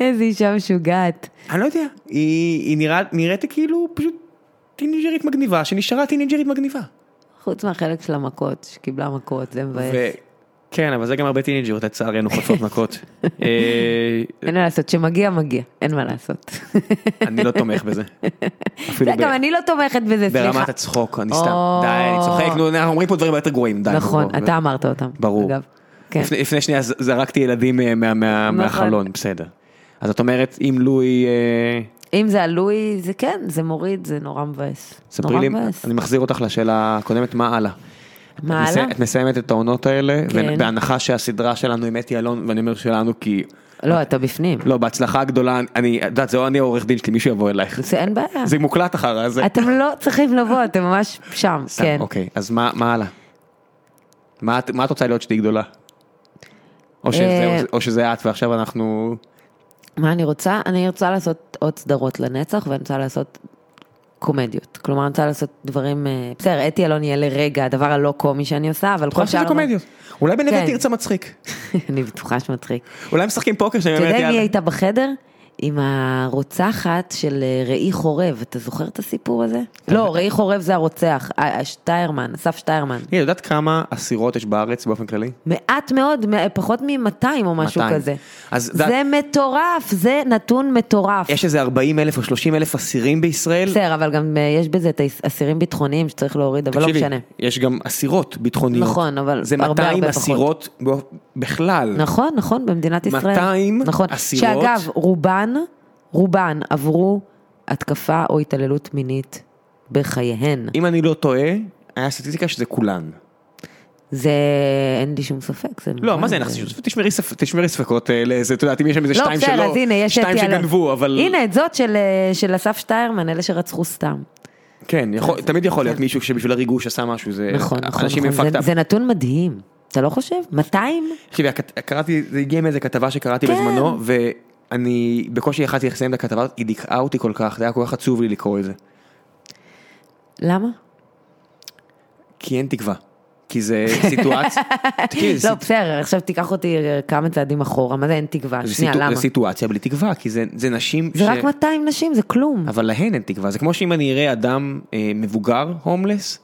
S3: איזה אישה משוגעת.
S1: אני לא יודע, היא, היא נראה, נראית כאילו פשוט טינג'רית מגניבה, שנשארה טינג'רית מגניבה.
S3: חוץ מהחלק של המכות, שקיבלה מכות, זה מבאס.
S1: כן, אבל זה גם הרבה טינג'ריות לצערנו חוטפות מכות. אה,
S3: אין מה לעשות, שמגיע מגיע, אין מה לעשות.
S1: אני לא תומך בזה. אפילו
S3: זה
S1: ב-
S3: גם אני לא תומכת בזה, סליחה.
S1: ברמת הצחוק, אני סתם,
S3: או.
S1: די, אני צוחק, נו, אנחנו אומרים פה דברים יותר גרועים, די. נו,
S3: נכון,
S1: בוא,
S3: אתה אמרת אותם.
S1: ברור.
S3: אגב. כן.
S1: לפני, לפני שנייה ז- זרקתי ילדים אה, מה, מה,
S3: נכון.
S1: מהחלון, בסדר. אז את אומרת, אם לואי... אה,
S3: אם זה עלוי, זה כן, זה מוריד, זה נורא מבאס.
S1: ספרי
S3: נורא
S1: לי,
S3: מבאס.
S1: אני מחזיר אותך לשאלה הקודמת, מה הלאה? את
S3: מה
S1: מסי-
S3: הלאה?
S1: את מסיימת את העונות האלה,
S3: כן.
S1: בהנחה שהסדרה שלנו עם אתי אלון, ואני אומר שלנו כי,
S3: לא, אתה בפנים.
S1: לא, בהצלחה הגדולה, אני, את יודעת, זה לא אני העורך דין שלי, מישהו יבוא אלייך.
S3: זה אין בעיה.
S1: זה מוקלט אחרי זה.
S3: אתם לא צריכים לבוא, אתם ממש שם,
S1: סתם,
S3: כן.
S1: אוקיי, אז מה מה הלאה? מה את- מה את רוצה להיות שתהיי גדולה? או שזה-
S3: אה, לא
S1: או שזה את ועכשיו אנחנו...
S3: מה אני רוצה? אני רוצה לעשות עוד סדרות לנצח, ואני רוצה לעשות קומדיות. כלומר, אני רוצה לעשות דברים... אה, בסדר, אתי אלון יהיה לרגע הדבר הלא קומי שאני עושה, אבל
S1: יכול
S3: כל
S1: להיות שזה
S3: שאר...
S1: קומדיות. אולי בנווה
S3: כן.
S1: תרצה מצחיק.
S3: אני בטוחה שמצחיק.
S1: אולי משחקים פוקר שאני
S3: אתה
S1: אומרת
S3: יודע מי
S1: יאללה.
S3: הייתה בחדר? עם הרוצחת של אה, ראי חורב, אתה זוכר את הסיפור הזה? לא, ראי חורב זה הרוצח, אה, אה, שטיירמן, אסף שטיירמן.
S1: תראי, יודעת כמה אסירות יש בארץ באופן כללי?
S3: מעט מאוד, מ- פחות מ-200 או משהו
S1: 200.
S3: כזה.
S1: אז דת-
S3: זה מטורף, זה נתון מטורף.
S1: יש איזה 40 אלף או 30 אלף אסירים בישראל.
S3: בסדר, אבל גם אה, יש בזה את האסירים ביטחוניים שצריך להוריד, אבל לא
S1: תקשיבי,
S3: משנה.
S1: יש גם אסירות ביטחוניות.
S3: נכון, אבל
S1: זה
S3: הרבה,
S1: 200
S3: הרבה פחות.
S1: אסירות באופ- בכלל.
S3: נכון, נכון, במדינת ישראל.
S1: 200
S3: נכון.
S1: אסירות.
S3: שאגב, רובן, רובן עברו התקפה או התעללות מינית בחייהן.
S1: אם אני לא טועה, היה סטטיסטיקה שזה כולן.
S3: זה, אין לי שום ספק. זה
S1: לא, מה זה
S3: מובן,
S1: אין לך ספק? תשמרי ספ- תשמרי ספקות אה, לאיזה, את יודעת, אם יש שם איזה
S3: לא,
S1: שתיים
S3: בסדר,
S1: שלא,
S3: אז הנה, יש
S1: שתיים
S3: אתי אלון.
S1: שגנבו, אבל...
S3: הנה, את זאת של, אה, של אסף שטיירמן, אלה שרצחו סתם.
S1: כן, יכול- תמיד יכול להיות מישהו שבשביל הריגוש עשה משהו, זה...
S3: נכון, נכון,
S1: אנשים
S3: נכון.
S1: הם
S3: זה,
S1: fucked up.
S3: זה נתון מדהים, אתה לא חושב? 200?
S1: תקשיבי, הכת- קראתי, זה הגיע מאיזה כתבה שקראתי
S3: כן.
S1: בזמנו, ואני בקושי יכלתי לסיים את הכתבה, היא דיכאה אותי כל כך, זה היה כל כך עצוב לי לקרוא את זה.
S3: למה?
S1: כי אין תקווה. כי זה סיטואציה, תקשיבי, זה
S3: לא,
S1: סיט-
S3: בסדר, עכשיו תיקח אותי אה, כמה צעדים אחורה, מה זה אין תקווה?
S1: זה
S3: שנייה,
S1: סיטו-
S3: למה?
S1: זה סיטואציה בלי תקווה, כי זה זה נשים
S3: זה רק 200 נשים, זה כלום.
S1: אבל להן אין תקווה, זה כמו שאם אני אראה אדם אה, מבוגר, הומלס,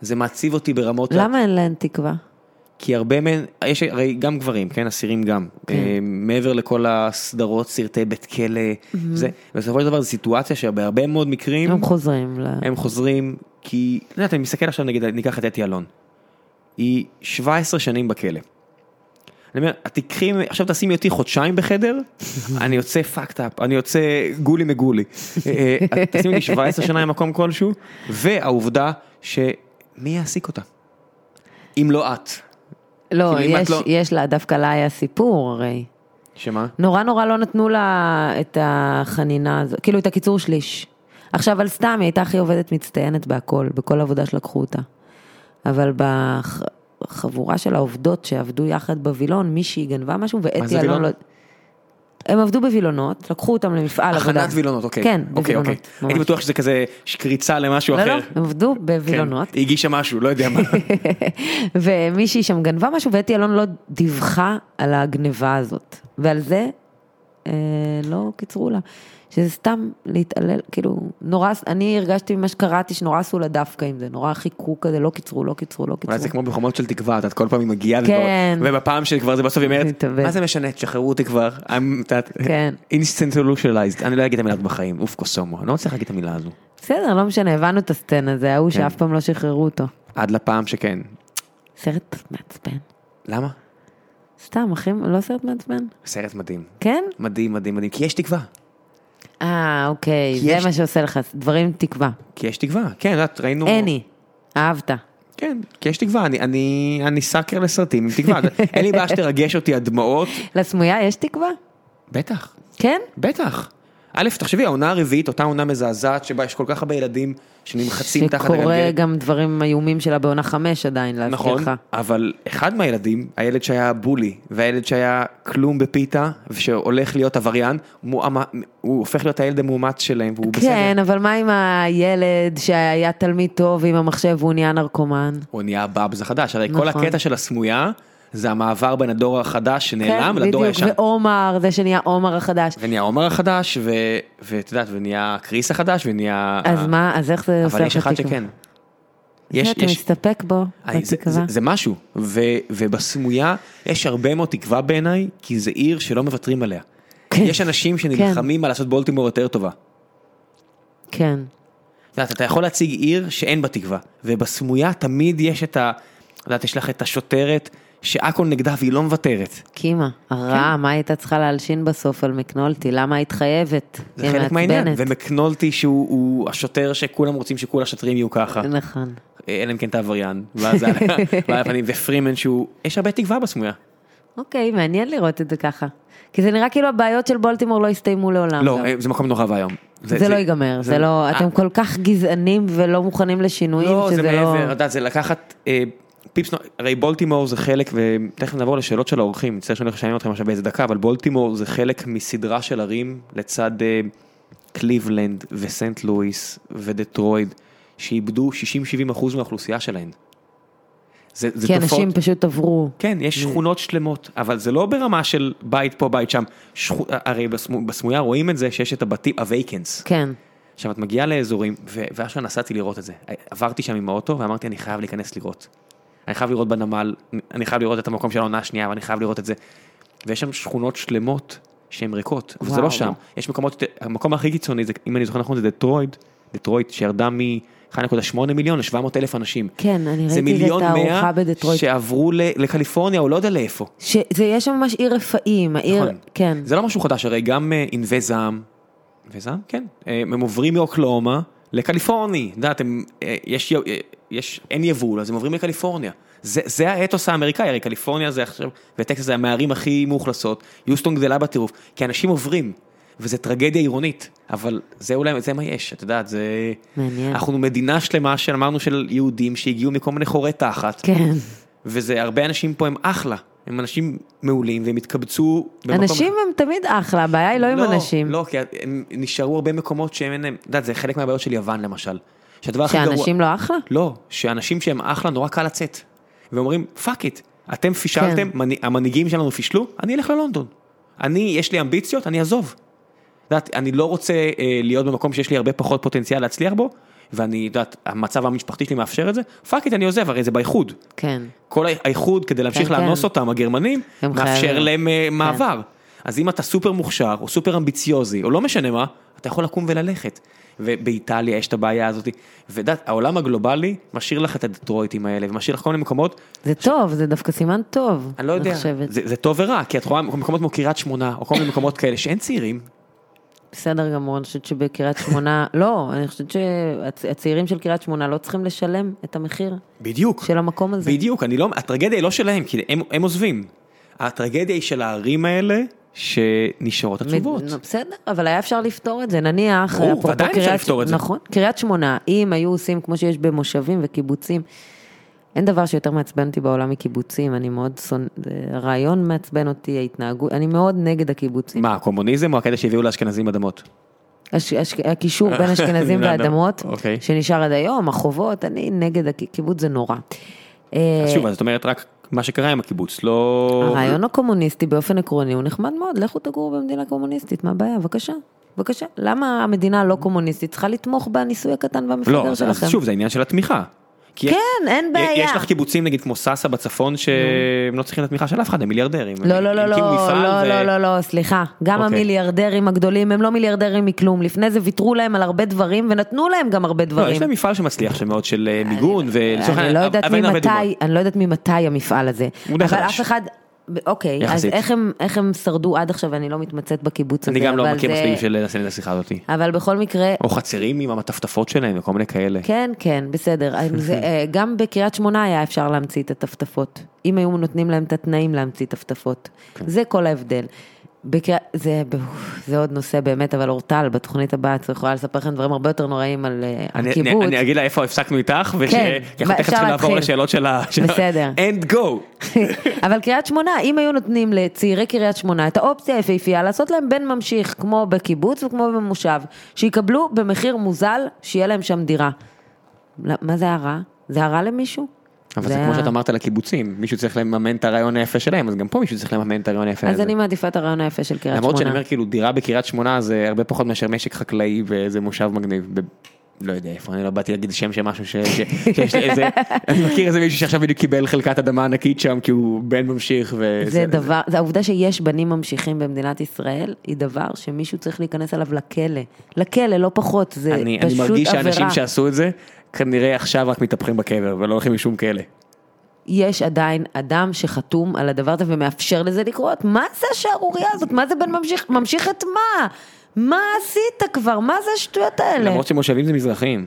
S1: זה מעציב אותי ברמות...
S3: למה אין להן תקווה?
S1: כי הרבה מהן, יש הרי גם גברים, כן, אסירים גם, אה, מעבר לכל הסדרות, סרטי בית כלא, זה, בסופו של דבר זו סיטואציה שבהרבה מאוד מקרים
S3: Mm-hmm. הם חוזרים. ל-
S1: הם חוזרים, כי, את יודעת, אני מסתכל עכשיו נגיד, ניקח את אתי אלון, היא 17 שנים בכלא. אני אומר, את תיקחי, עכשיו תשימי אותי חודשיים בחדר, אני יוצא fucked up, אני יוצא גולי מגולי. אה, את תשימי אותי 17 שנה במקום כלשהו, והעובדה שמי יעסיק אותה? אם לא את.
S3: לא,
S1: כאילו, אם את
S3: יש-
S1: לא-
S3: יש לה, דווקא לה היה סיפור הרי.
S1: שמה?
S3: נורא נורא לא נתנו לה את החנינה הזו, כאילו את הקיצור שליש. עכשיו על סתם, היא הייתה הכי עובדת מצטיינת בהכל, בכל עבודה שלקחו אותה. אבל בחבורה של העובדות שעבדו יחד בווילון, מישהי גנבה משהו,
S1: זה
S3: ואתי אלון
S1: וילון?
S3: לא... הם עבדו בווילונות, לקחו אותם למפעל עבודה.
S1: הכנת וילונות, אוקיי.
S3: כן,
S1: אוקיי,
S3: בווילונות.
S1: אוקיי.
S3: ממש.
S1: הייתי בטוח שזה כזה קריצה למשהו
S3: לא,
S1: אחר.
S3: לא, הם עבדו
S1: כן,
S3: בווילונות.
S1: היא הגישה משהו, לא יודע מה.
S3: ומישהי שם גנבה משהו, ואתי אלון לא דיווחה על הגניבה הזאת. ועל זה אה, לא קיצרו לה. שזה סתם להתעלל, כאילו, נורא, אני הרגשתי ממה שקראתי שנורא עשו לה דווקא עם זה, נורא חיכו כזה, לא קיצרו, לא קיצרו, לא קיצרו.
S1: אולי זה כמו בחומות של תקווה, את יודעת, כל פעם היא מגיעה,
S3: כן.
S1: וכבר- ובפעם שכבר זה בסוף היא
S3: היא
S1: אומרת,
S3: תאבד.
S1: מה זה משנה, תשחררו אותי כבר, I'm- את יודעת,
S3: כן.
S1: instant solutionized, אני לא אגיד את המילה הזאת בחיים, אוף קוסומו, אני לא מצליח להגיד את המילה הזו,
S3: בסדר, לא משנה, הבנו את הסצנה, זה ההוא
S1: כן.
S3: שאף פעם לא שחררו אותו.
S1: עד לפעם שכן,
S3: סרט מעצבן.
S1: למה?
S3: סתם, אחים, לא סרט מעצבן?
S1: סרט מדהים,
S3: כן?
S1: מדהים מדהים מדהים, כי יש תקווה,
S3: אה, אוקיי,
S1: כי יש-
S3: זה מה שעושה לך, דברים עם תקווה.
S1: כי יש תקווה, כן, את יודעת, ראינו,
S3: אני, אהבת.
S1: כן, כי יש תקווה, אני- אני אני סאקר לסרטים עם תקווה, אין לי בעיה שתרגש אותי הדמעות,
S3: לסמויה יש תקווה?
S1: בטח,
S3: כן?
S1: בטח. א', תחשבי, העונה הרביעית, אותה עונה מזעזעת שבה יש כל כך הרבה ילדים שנמחצים תחת
S3: שקורה
S1: הגלגלת.
S3: גם דברים איומים שלה בעונה חמש עדיין, להזכיר
S1: נכון,
S3: לך.
S1: אבל אחד מהילדים, הילד שהיה בולי, והילד שהיה כלום בפיתה, ושהולך להיות עבריין, מועמד, הוא הופך להיות הילד המאומץ שלהם, והוא
S3: כן,
S1: בסדר.
S3: אבל מה עם הילד שהיה תלמיד טוב עם המחשב והוא נהיה נרקומן?
S1: הוא נהיה הבאבז החדש, הרי כל
S3: נכון.
S1: הקטע של הסמויה, זה המעבר בין הדור החדש שנעלם
S3: כן,
S1: לדור הישן.
S3: בדיוק, ועומר, זה שנהיה עומר החדש.
S1: ונהיה עומר החדש, ו- ואת יודעת, ונהיה קריס החדש, ונהיה...
S3: אז מה, אז איך זה עושה
S1: אה, אבל
S3: לך
S1: יש אחד
S3: תקווה?
S1: שכן.
S3: זה אתה מסתפק בו,
S1: אני- אה, זה, זה,
S3: בתקווה.
S1: זה משהו, ו, ובסמויה יש הרבה מאוד תקווה בעיניי, כי זה עיר שלא מוותרים עליה.
S3: כן.
S1: יש אנשים שנלחמים על לעשות בולטימור יותר טובה.
S3: כן.
S1: את יודעת, אתה יכול להציג עיר שאין בה תקווה, ובסמויה תמיד יש את ה... את יודעת, יש לך את השוטרת שהכל נגדה והיא לא מוותרת.
S3: קימה, הרעה,
S1: כן.
S3: מה הייתה צריכה להלשין בסוף על מקנולטי? למה היית חייבת?
S1: זה חלק מהעניין. ומקנולטי שהוא הוא השוטר שכולם רוצים שכל השוטרים יהיו ככה,
S3: נכון.
S1: אלא אם כן אתה עבריין, ואז על ועל הפנים, ופרימן שהוא, יש הרבה תקווה בסמויה.
S3: אוקיי, מעניין לראות את זה ככה. כי זה נראה כאילו הבעיות של בולטימור לא הסתיימו לעולם.
S1: לא,
S3: גם.
S1: אה, זה מקום נורא ואיום. אה,
S3: זה לא ייגמר, זה לא, אתם כל כך גזענים ולא מוכנים לשינויים,
S1: לא, זה
S3: שזה לא...
S1: מעבר, את יודעת, זה לקחת אה, פיפס, הרי בולטימור זה חלק, ותכף נעבור לשאלות של האורחים, מצטער שאני הולך לשעניין אתכם עכשיו באיזה דקה, אבל בולטימור זה חלק מסדרה של ערים לצד אה, קליבלנד וסנט לואיס ודטרויד, שאיבדו 60-70% מהאוכלוסייה שלהן. זה, זה
S3: כי
S1: תופעות-
S3: כן, אנשים פשוט עברו.
S1: כן, יש שכונות שלמות, אבל זה לא ברמה של בית פה, בית שם. שכו... הרי בסמו... בסמויה רואים את זה שיש את הבתים, הווייקנס.
S3: כן.
S1: עכשיו, את מגיעה לאזורים, ו- ואשכרה נסעתי לראות את זה. עברתי שם עם האוטו ואמרתי, אני חייב להיכנס לראות. אני חייב לראות בנמל, אני חייב לראות את המקום של העונה השנייה, ואני חייב לראות את זה. ויש שם שכונות שלמות שהן ריקות, אבל זה לא
S3: וואו.
S1: שם. יש מקומות, יותר- המקום הכי קיצוני, זה, אם אני זוכר נכון, זה דטרויד, דטרויד שירדה מ-1.8 מיליון ל-700 אלף אנשים.
S3: כן, אני ראיתי את
S1: מיליון
S3: התערוכה
S1: מאה
S3: בדטרויט.
S1: שעברו ל- לקליפורניה, או לא יודע לאיפה.
S3: שזה יש שם ממש עיר רפאים, העיר,
S1: נכון.
S3: כן.
S1: זה לא משהו חדש, הרי גם אה, ענבי זעם, ענבי זעם? כן. אה, הם עוברים מאוקלאומה לקליפורני. את יודעת, הם, אה, יש, יו- אה, יש, אין יבול, אז הם עוברים לקליפורניה. זה, זה האתוס האמריקאי, הרי קליפורניה זה עכשיו, וטקסס זה המערים הכי מאוכלסות, יוסטון גדלה בטירוף, כי אנשים עוברים, וזו טרגדיה עירונית, אבל זה אולי, זה מה יש, את יודעת, זה...
S3: מעניין.
S1: אנחנו מדינה שלמה שאמרנו של יהודים שהגיעו מכל מיני חורי תחת,
S3: כן.
S1: וזה הרבה אנשים פה הם אחלה, הם אנשים מעולים והם התקבצו במקום...
S3: אנשים הם תמיד אחלה, הבעיה היא לא עם אנשים.
S1: לא, כי הם נשארו הרבה מקומות שהם אין להם, את יודעת, זה חלק מהבעיות של יוון למשל. שהדבר הכי גרוע...
S3: שאנשים לא אחלה?
S1: לא, שאנשים שהם אחלה נורא קל לצאת. ואומרים, פאק איט, אתם פישלתם, כן. המנהיגים שלנו פישלו, אני אלך ללונדון. אני, יש לי אמביציות, אני אעזוב. את יודעת, אני לא רוצה אה, להיות במקום שיש לי הרבה פחות פוטנציאל להצליח בו, ואני, את יודעת, המצב המשפחתי שלי מאפשר את זה, פאק איט, אני עוזב, הרי זה באיחוד.
S3: כן.
S1: כל האי- האיחוד כדי להמשיך
S3: כן, כן.
S1: לאנוס אותם, הגרמנים,
S3: הם
S1: מאפשר
S3: חייבים. כן.
S1: להם אה, מעבר. אז אם אתה סופר מוכשר, או סופר אמביציוזי, או לא משנה מה, אתה יכול לקום וללכת. ובאיטליה יש את הבעיה הזאת, ודעת, העולם הגלובלי משאיר לך את הדטרויטים האלה, ומשאיר לך כל מיני מקומות,
S3: זה טוב, זה דווקא סימן טוב.
S1: אני לא יודע,
S3: חושבת.
S1: זה, זה טוב ורע, כי את רואה מקומות כמו קריית שמונה, או כל מיני מקומות כאלה שאין צעירים,
S3: בסדר גמור, אני חושבת שבקריית שמונה, לא, אני חושבת שהצעירים של קריית שמונה לא צריכים לשלם את המחיר
S1: בדיוק,
S3: של המקום הזה.
S1: בדיוק, אני לא, הטרגדיה היא לא שלהם, כי הם, הם עוזבים. הטרגדיה היא של הערים האלה, שנשארות
S3: מ-
S1: עצובות.
S3: נו, בסדר, אבל היה אפשר לפתור את זה, נניח,
S1: ברור,
S3: אפרופו
S1: ודאי אפשר
S3: קריית-
S1: לפתור את זה.
S3: נכון, קריית שמונה, אם היו עושים כמו שיש במושבים וקיבוצים, אין דבר שיותר מעצבן אותי בעולם מקיבוצים, אני מאוד שונא, זה- הרעיון מעצבן אותי, ההתנהגות, אני מאוד נגד הקיבוצים.
S1: מה, הקומוניזם או הקטע שהביאו לאשכנזים אדמות?
S3: הש- הש- הקישור בין אשכנזים
S1: בני אדם,
S3: ואדמות,
S1: אוקיי.
S3: שנשאר עד היום, החובות, אני נגד, הק- קיבוץ זה נורא.
S1: אז
S3: אה,
S1: שוב, אז את אומרת רק מה שקרה עם הקיבוץ, לא...
S3: הרעיון הקומוניסטי באופן עקרוני הוא נחמד מאוד, לכו תגורו במדינה קומוניסטית, מה הבעיה? בבקשה, בבקשה. למה המדינה הלא קומוניסטית צריכה לתמוך בניסוי הקטן
S1: לא,
S3: והמפגר
S1: אז אז
S3: שלכם?
S1: שוב, זה עניין של התמיכה. כי
S3: כן, אין בעיה.
S1: יש לך כאילו קיבוצים נגיד כמו סאסא בצפון שהם לא צריכים את התמיכה של אף אחד, הם מיליארדרים.
S3: לא,
S1: הם-
S3: לא,
S1: הם
S3: לא, לא,
S1: הקימו
S3: לא,
S1: מפעל
S3: לא,
S1: ו-
S3: לא, לא, לא, סליחה. גם
S1: אוקיי.
S3: המיליארדרים הגדולים הם לא מיליארדרים מכלום. לפני זה ויתרו להם על הרבה דברים ונתנו להם גם הרבה
S1: לא, יש
S3: דברים.
S1: להם מפעל שמצליח שם מאוד של אה, מיגון ולצורך
S3: אני לא יודעת
S1: אבן אבן
S3: ממתי,
S1: דומות.
S3: אני לא יודעת ממתי המפעל הזה.
S1: הוא די
S3: אבל
S1: חדש.
S3: אף אחד, אוקיי, אז
S1: יחסית.
S3: איך הם- איך הם שרדו עד עכשיו, אני לא מתמצאת בקיבוץ הזה.
S1: אני גם לא
S3: אבל
S1: מכיר
S3: זה-
S1: מספיק של לעשות את השיחה הזאתי.
S3: אבל בכל מקרה,
S1: או חצרים עם המטפטפות שלהם וכל מיני כאלה.
S3: כן, כן, בסדר. אז זה, אה, גם בקריית שמונה היה אפשר להמציא את הטפטפות. אם היו נותנים להם את התנאים להמציא טפטפות.
S1: כן.
S3: זה כל ההבדל. בקרי... זה, זה עוד נושא באמת, אבל אורטל, בתוכנית הבאה, את יכולה לספר לכם דברים הרבה יותר נוראים על, אה, על
S1: אני- אני-
S3: קיבוץ.
S1: אני אגיד לה איפה הפסקנו איתך, וש-
S3: כן,
S1: כי אנחנו
S3: אפשר
S1: תכף צריכים לעבור
S3: להתחיל.
S1: לשאלות של ה... של ה-
S3: בסדר.
S1: And go.
S3: אבל קריית שמונה, אם היו נותנים לצעירי קריית שמונה את האופציה היפהפייה לעשות להם בן ממשיך, כמו בקיבוץ וכמו במושב, שיקבלו במחיר מוזל, שיהיה להם שם דירה. לא, מה זה היה רע? זה היה רע למישהו?
S1: אבל זה
S3: היה-
S1: כמו שאת אמרת על הקיבוצים, מישהו צריך לממן את הרעיון היפה שלהם, אז גם פה מישהו צריך לממן את הרעיון היפה הזה.
S3: אז אני מעדיפה את הרעיון היפה של קריית שמונה.
S1: למרות שאני אומר כאילו דירה בקריית שמונה זה הרבה פחות מאשר משק חקלאי ואיזה מושב מגניב. ב- לא יודע איפה, אני לא באתי להגיד שם של משהו ש... ש- שיש לי איזה... אני מכיר איזה מישהו שעכשיו בדיוק קיבל חלקת אדמה ענקית שם כי הוא בן ממשיך ו...
S3: זה דבר, זה העובדה שיש בנים ממשיכים במדינת ישראל, היא דבר שמישהו צריך להיכנס עליו לכלא. לכלא, לא פחות, זה פשוט
S1: אני,
S3: עבירה.
S1: אני מרגיש שאנשים שעשו את זה, כנראה עכשיו רק מתהפכים בקבר ולא הולכים לשום כלא.
S3: יש עדיין אדם שחתום על הדבר הזה ומאפשר לזה לקרות. מה זה השערורייה הזאת? מה זה בן ממשיך, ממשיך את מה? מה עשית כבר? מה זה השטויות האלה?
S1: למרות שמושבים זה מזרחים.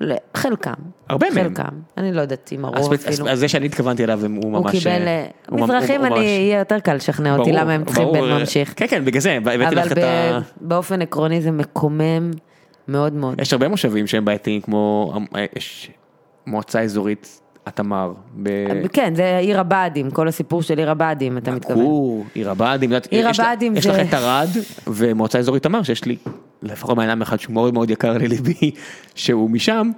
S3: ל- חלקם.
S1: הרבה מהם.
S3: חלקם. אני לא יודעת אם הרוב
S1: הספצ-
S3: אפילו.
S1: אז- אז זה שאני התכוונתי אליו הוא ממש...
S3: הוא קיבל...
S1: אה,
S3: אה,
S1: הוא ממ-
S3: מזרחים,
S1: הוא
S3: אני,
S1: ממש-
S3: יהיה יותר קל לשכנע אותי
S1: ברור,
S3: למה הם צריכים
S1: ברור,
S3: בן
S1: אה,
S3: ממשיך.
S1: כן, כן, בגלל זה, הבאתי
S3: אבל
S1: לך את ה...
S3: ב- באופן עקרוני זה מקומם מאוד מאוד.
S1: יש הרבה מושבים שהם בעייתיים, כמו אה, יש מועצה אזורית התמר. ב...
S3: כן, זה עיר הבה"דים, כל הסיפור של עיר הבה"דים, אתה מתכוון.
S1: כור, עיר הבה"דים, את יודעת,
S3: עיר
S1: יש לה-
S3: הבה"דים
S1: יש
S3: זה-
S1: לך את ערד ומועצה אזורית תמר שיש לי לפחות בן אדם אחד שהוא מאוד מאוד יקר לליבי שהוא משם,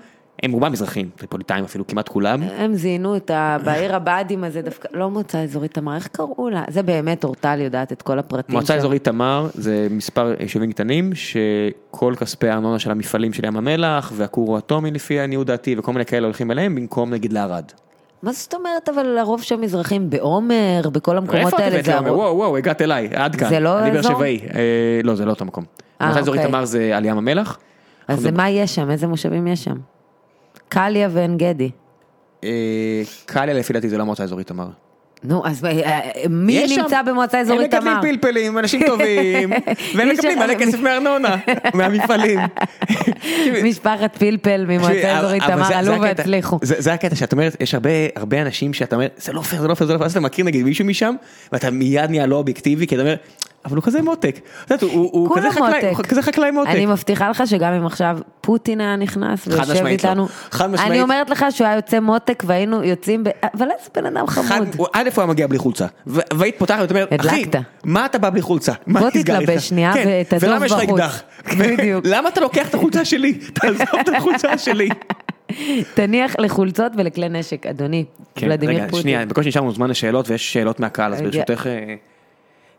S1: הם רובם מזרחים, טריפוליטאים אפילו כמעט כולם,
S3: הם זיהינו את ה... בעיר הבה"דים הזה דווקא, לא מועצה אזורית תמר, איך קראו לה? זה באמת, אורטל יודעת את כל הפרטים.
S1: מועצה
S3: כן, שם.
S1: אזורית תמר זה מספר יישובים קטנים שכל כספי הארנונה של המפעלים של ים המלח והכור האטומי לפי עניות דעתי וכל מיני כאלה הולכים אליהם במקום נגיד לערד.
S3: מה זאת אומרת, אבל לרוב שם מזרחים בעומר, בכל המקומות
S1: איפה את
S3: האלה
S1: הבאת לי?
S3: זה
S1: אומר,
S3: הרוב.
S1: וואו וואו הגעת אליי עד כאן.
S3: זה לא
S1: אני באר
S3: אזור?
S1: שבעי. אה, לא זה לא אותו מקום.
S3: אה,
S1: מועצה אזורית
S3: אוקיי.
S1: תמר זה על ים המלח.
S3: אז זה מה יש שם? איזה מושבים יש שם? קליה ועין גדי.
S1: אה, קליה לפי דעתי זה לא מועצה אזורית תמר.
S3: נו, אז אה, אה, מי
S1: יש שם-
S3: נמצא במועצה אזורית
S1: הם
S3: תמר?
S1: מגדלים פלפלים, אנשים טובים, והם
S3: יש-
S1: מקבלים מלא כסף מארנונה, מהמפעלים.
S3: משפחת פלפל ממועצה
S1: אבל-
S3: אזורית
S1: אבל זה-
S3: תמר,
S1: זה
S3: עלו
S1: הקטע.
S3: והצליחו.
S1: זה זה הקטע שאת אומרת, יש הרבה הרבה אנשים שאתה אומר, זה לא פייר, זה לא פייר, זה לא פייר, אז אתה מכיר נגיד מישהו משם, ואתה מיד נהיה לא אובייקטיבי, כי אתה אומר, אבל הוא כזה מותק. את יודעת, הוא- הוא הוא
S3: כולם
S1: כזה חקלאי, הוא
S3: מותק.
S1: כזה חקלאי מותק.
S3: אני מבטיחה לך שגם אם עכשיו פוטין היה נכנס ויושב
S1: משמעית לא.
S3: איתנו,
S1: חד משמעית.
S3: אני אומרת לך שהוא היה יוצא מותק והיינו יוצאים, ב... אבל איזה בן אדם
S1: אחד,
S3: חמוד.
S1: הוא- א' הוא היה מגיע בלי חולצה, ו- והיית פותחת ואתה אומר, אחי,
S3: הדלקת.
S1: מה אתה בא בלי חולצה? מה
S3: בוא
S1: נסגר איתך?"
S3: תתלבש שנייה
S1: כן,
S3: ותעזוב
S1: ולמה יש לך
S3: בחוץ.
S1: אקדח?
S3: בדיוק.
S1: למה אתה לוקח את החולצה שלי? תעזוב את החולצה שלי.
S3: תניח לחולצות ולכלי נשק, אדוני, כן, ולדימיר
S1: כן, רגע,
S3: פוטין.
S1: שנייה, בקושי נשארנו זמן לשאלות ויש שאלות מהקהל, אז
S3: רגע.
S1: ברשותך... אה,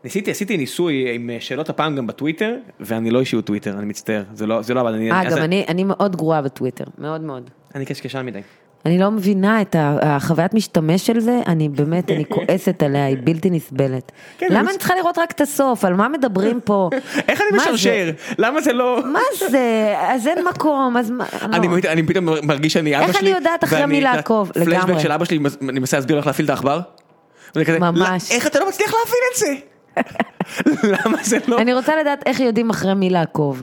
S1: ניסיתי, עשיתי ניסוי עם אה, שאלות הפעם גם בטוויטר, ואני לא אישיות טוויטר, אני מצטער, זה לא, זה לא, אבל אני...
S3: אה,
S1: אז
S3: גם אני, אני מאוד גרועה בטוויטר, מאוד מאוד.
S1: אני קשקשן מדי.
S3: אני לא מבינה את ה- החוויית משתמש של זה, אני באמת, אני כועסת עליה, היא בלתי נסבלת.
S1: כן, זה
S3: למה
S1: מס-
S3: אני צריכה לראות רק את הסוף? על מה מדברים פה?
S1: איך אני
S3: מה זה?
S1: משרשר? למה זה לא...
S3: מה זה? אז אין מקום, אז מה? לא.
S1: אני, מת- אני פתאום מרגיש שאני אבא שלי.
S3: איך אני יודעת אחרי
S1: ואני-
S3: מי לעקוב?
S1: פלשבק
S3: לגמרי.
S1: של אבא שלי, אני מנסה להסביר לך להפעיל את העכבר. ואני כזה,
S3: ממש.
S1: "לא, איך אתה לא מצליח להפעיל את זה? למה זה לא?
S3: אני רוצה לדעת איך יודעים אחרי מי לעקוב.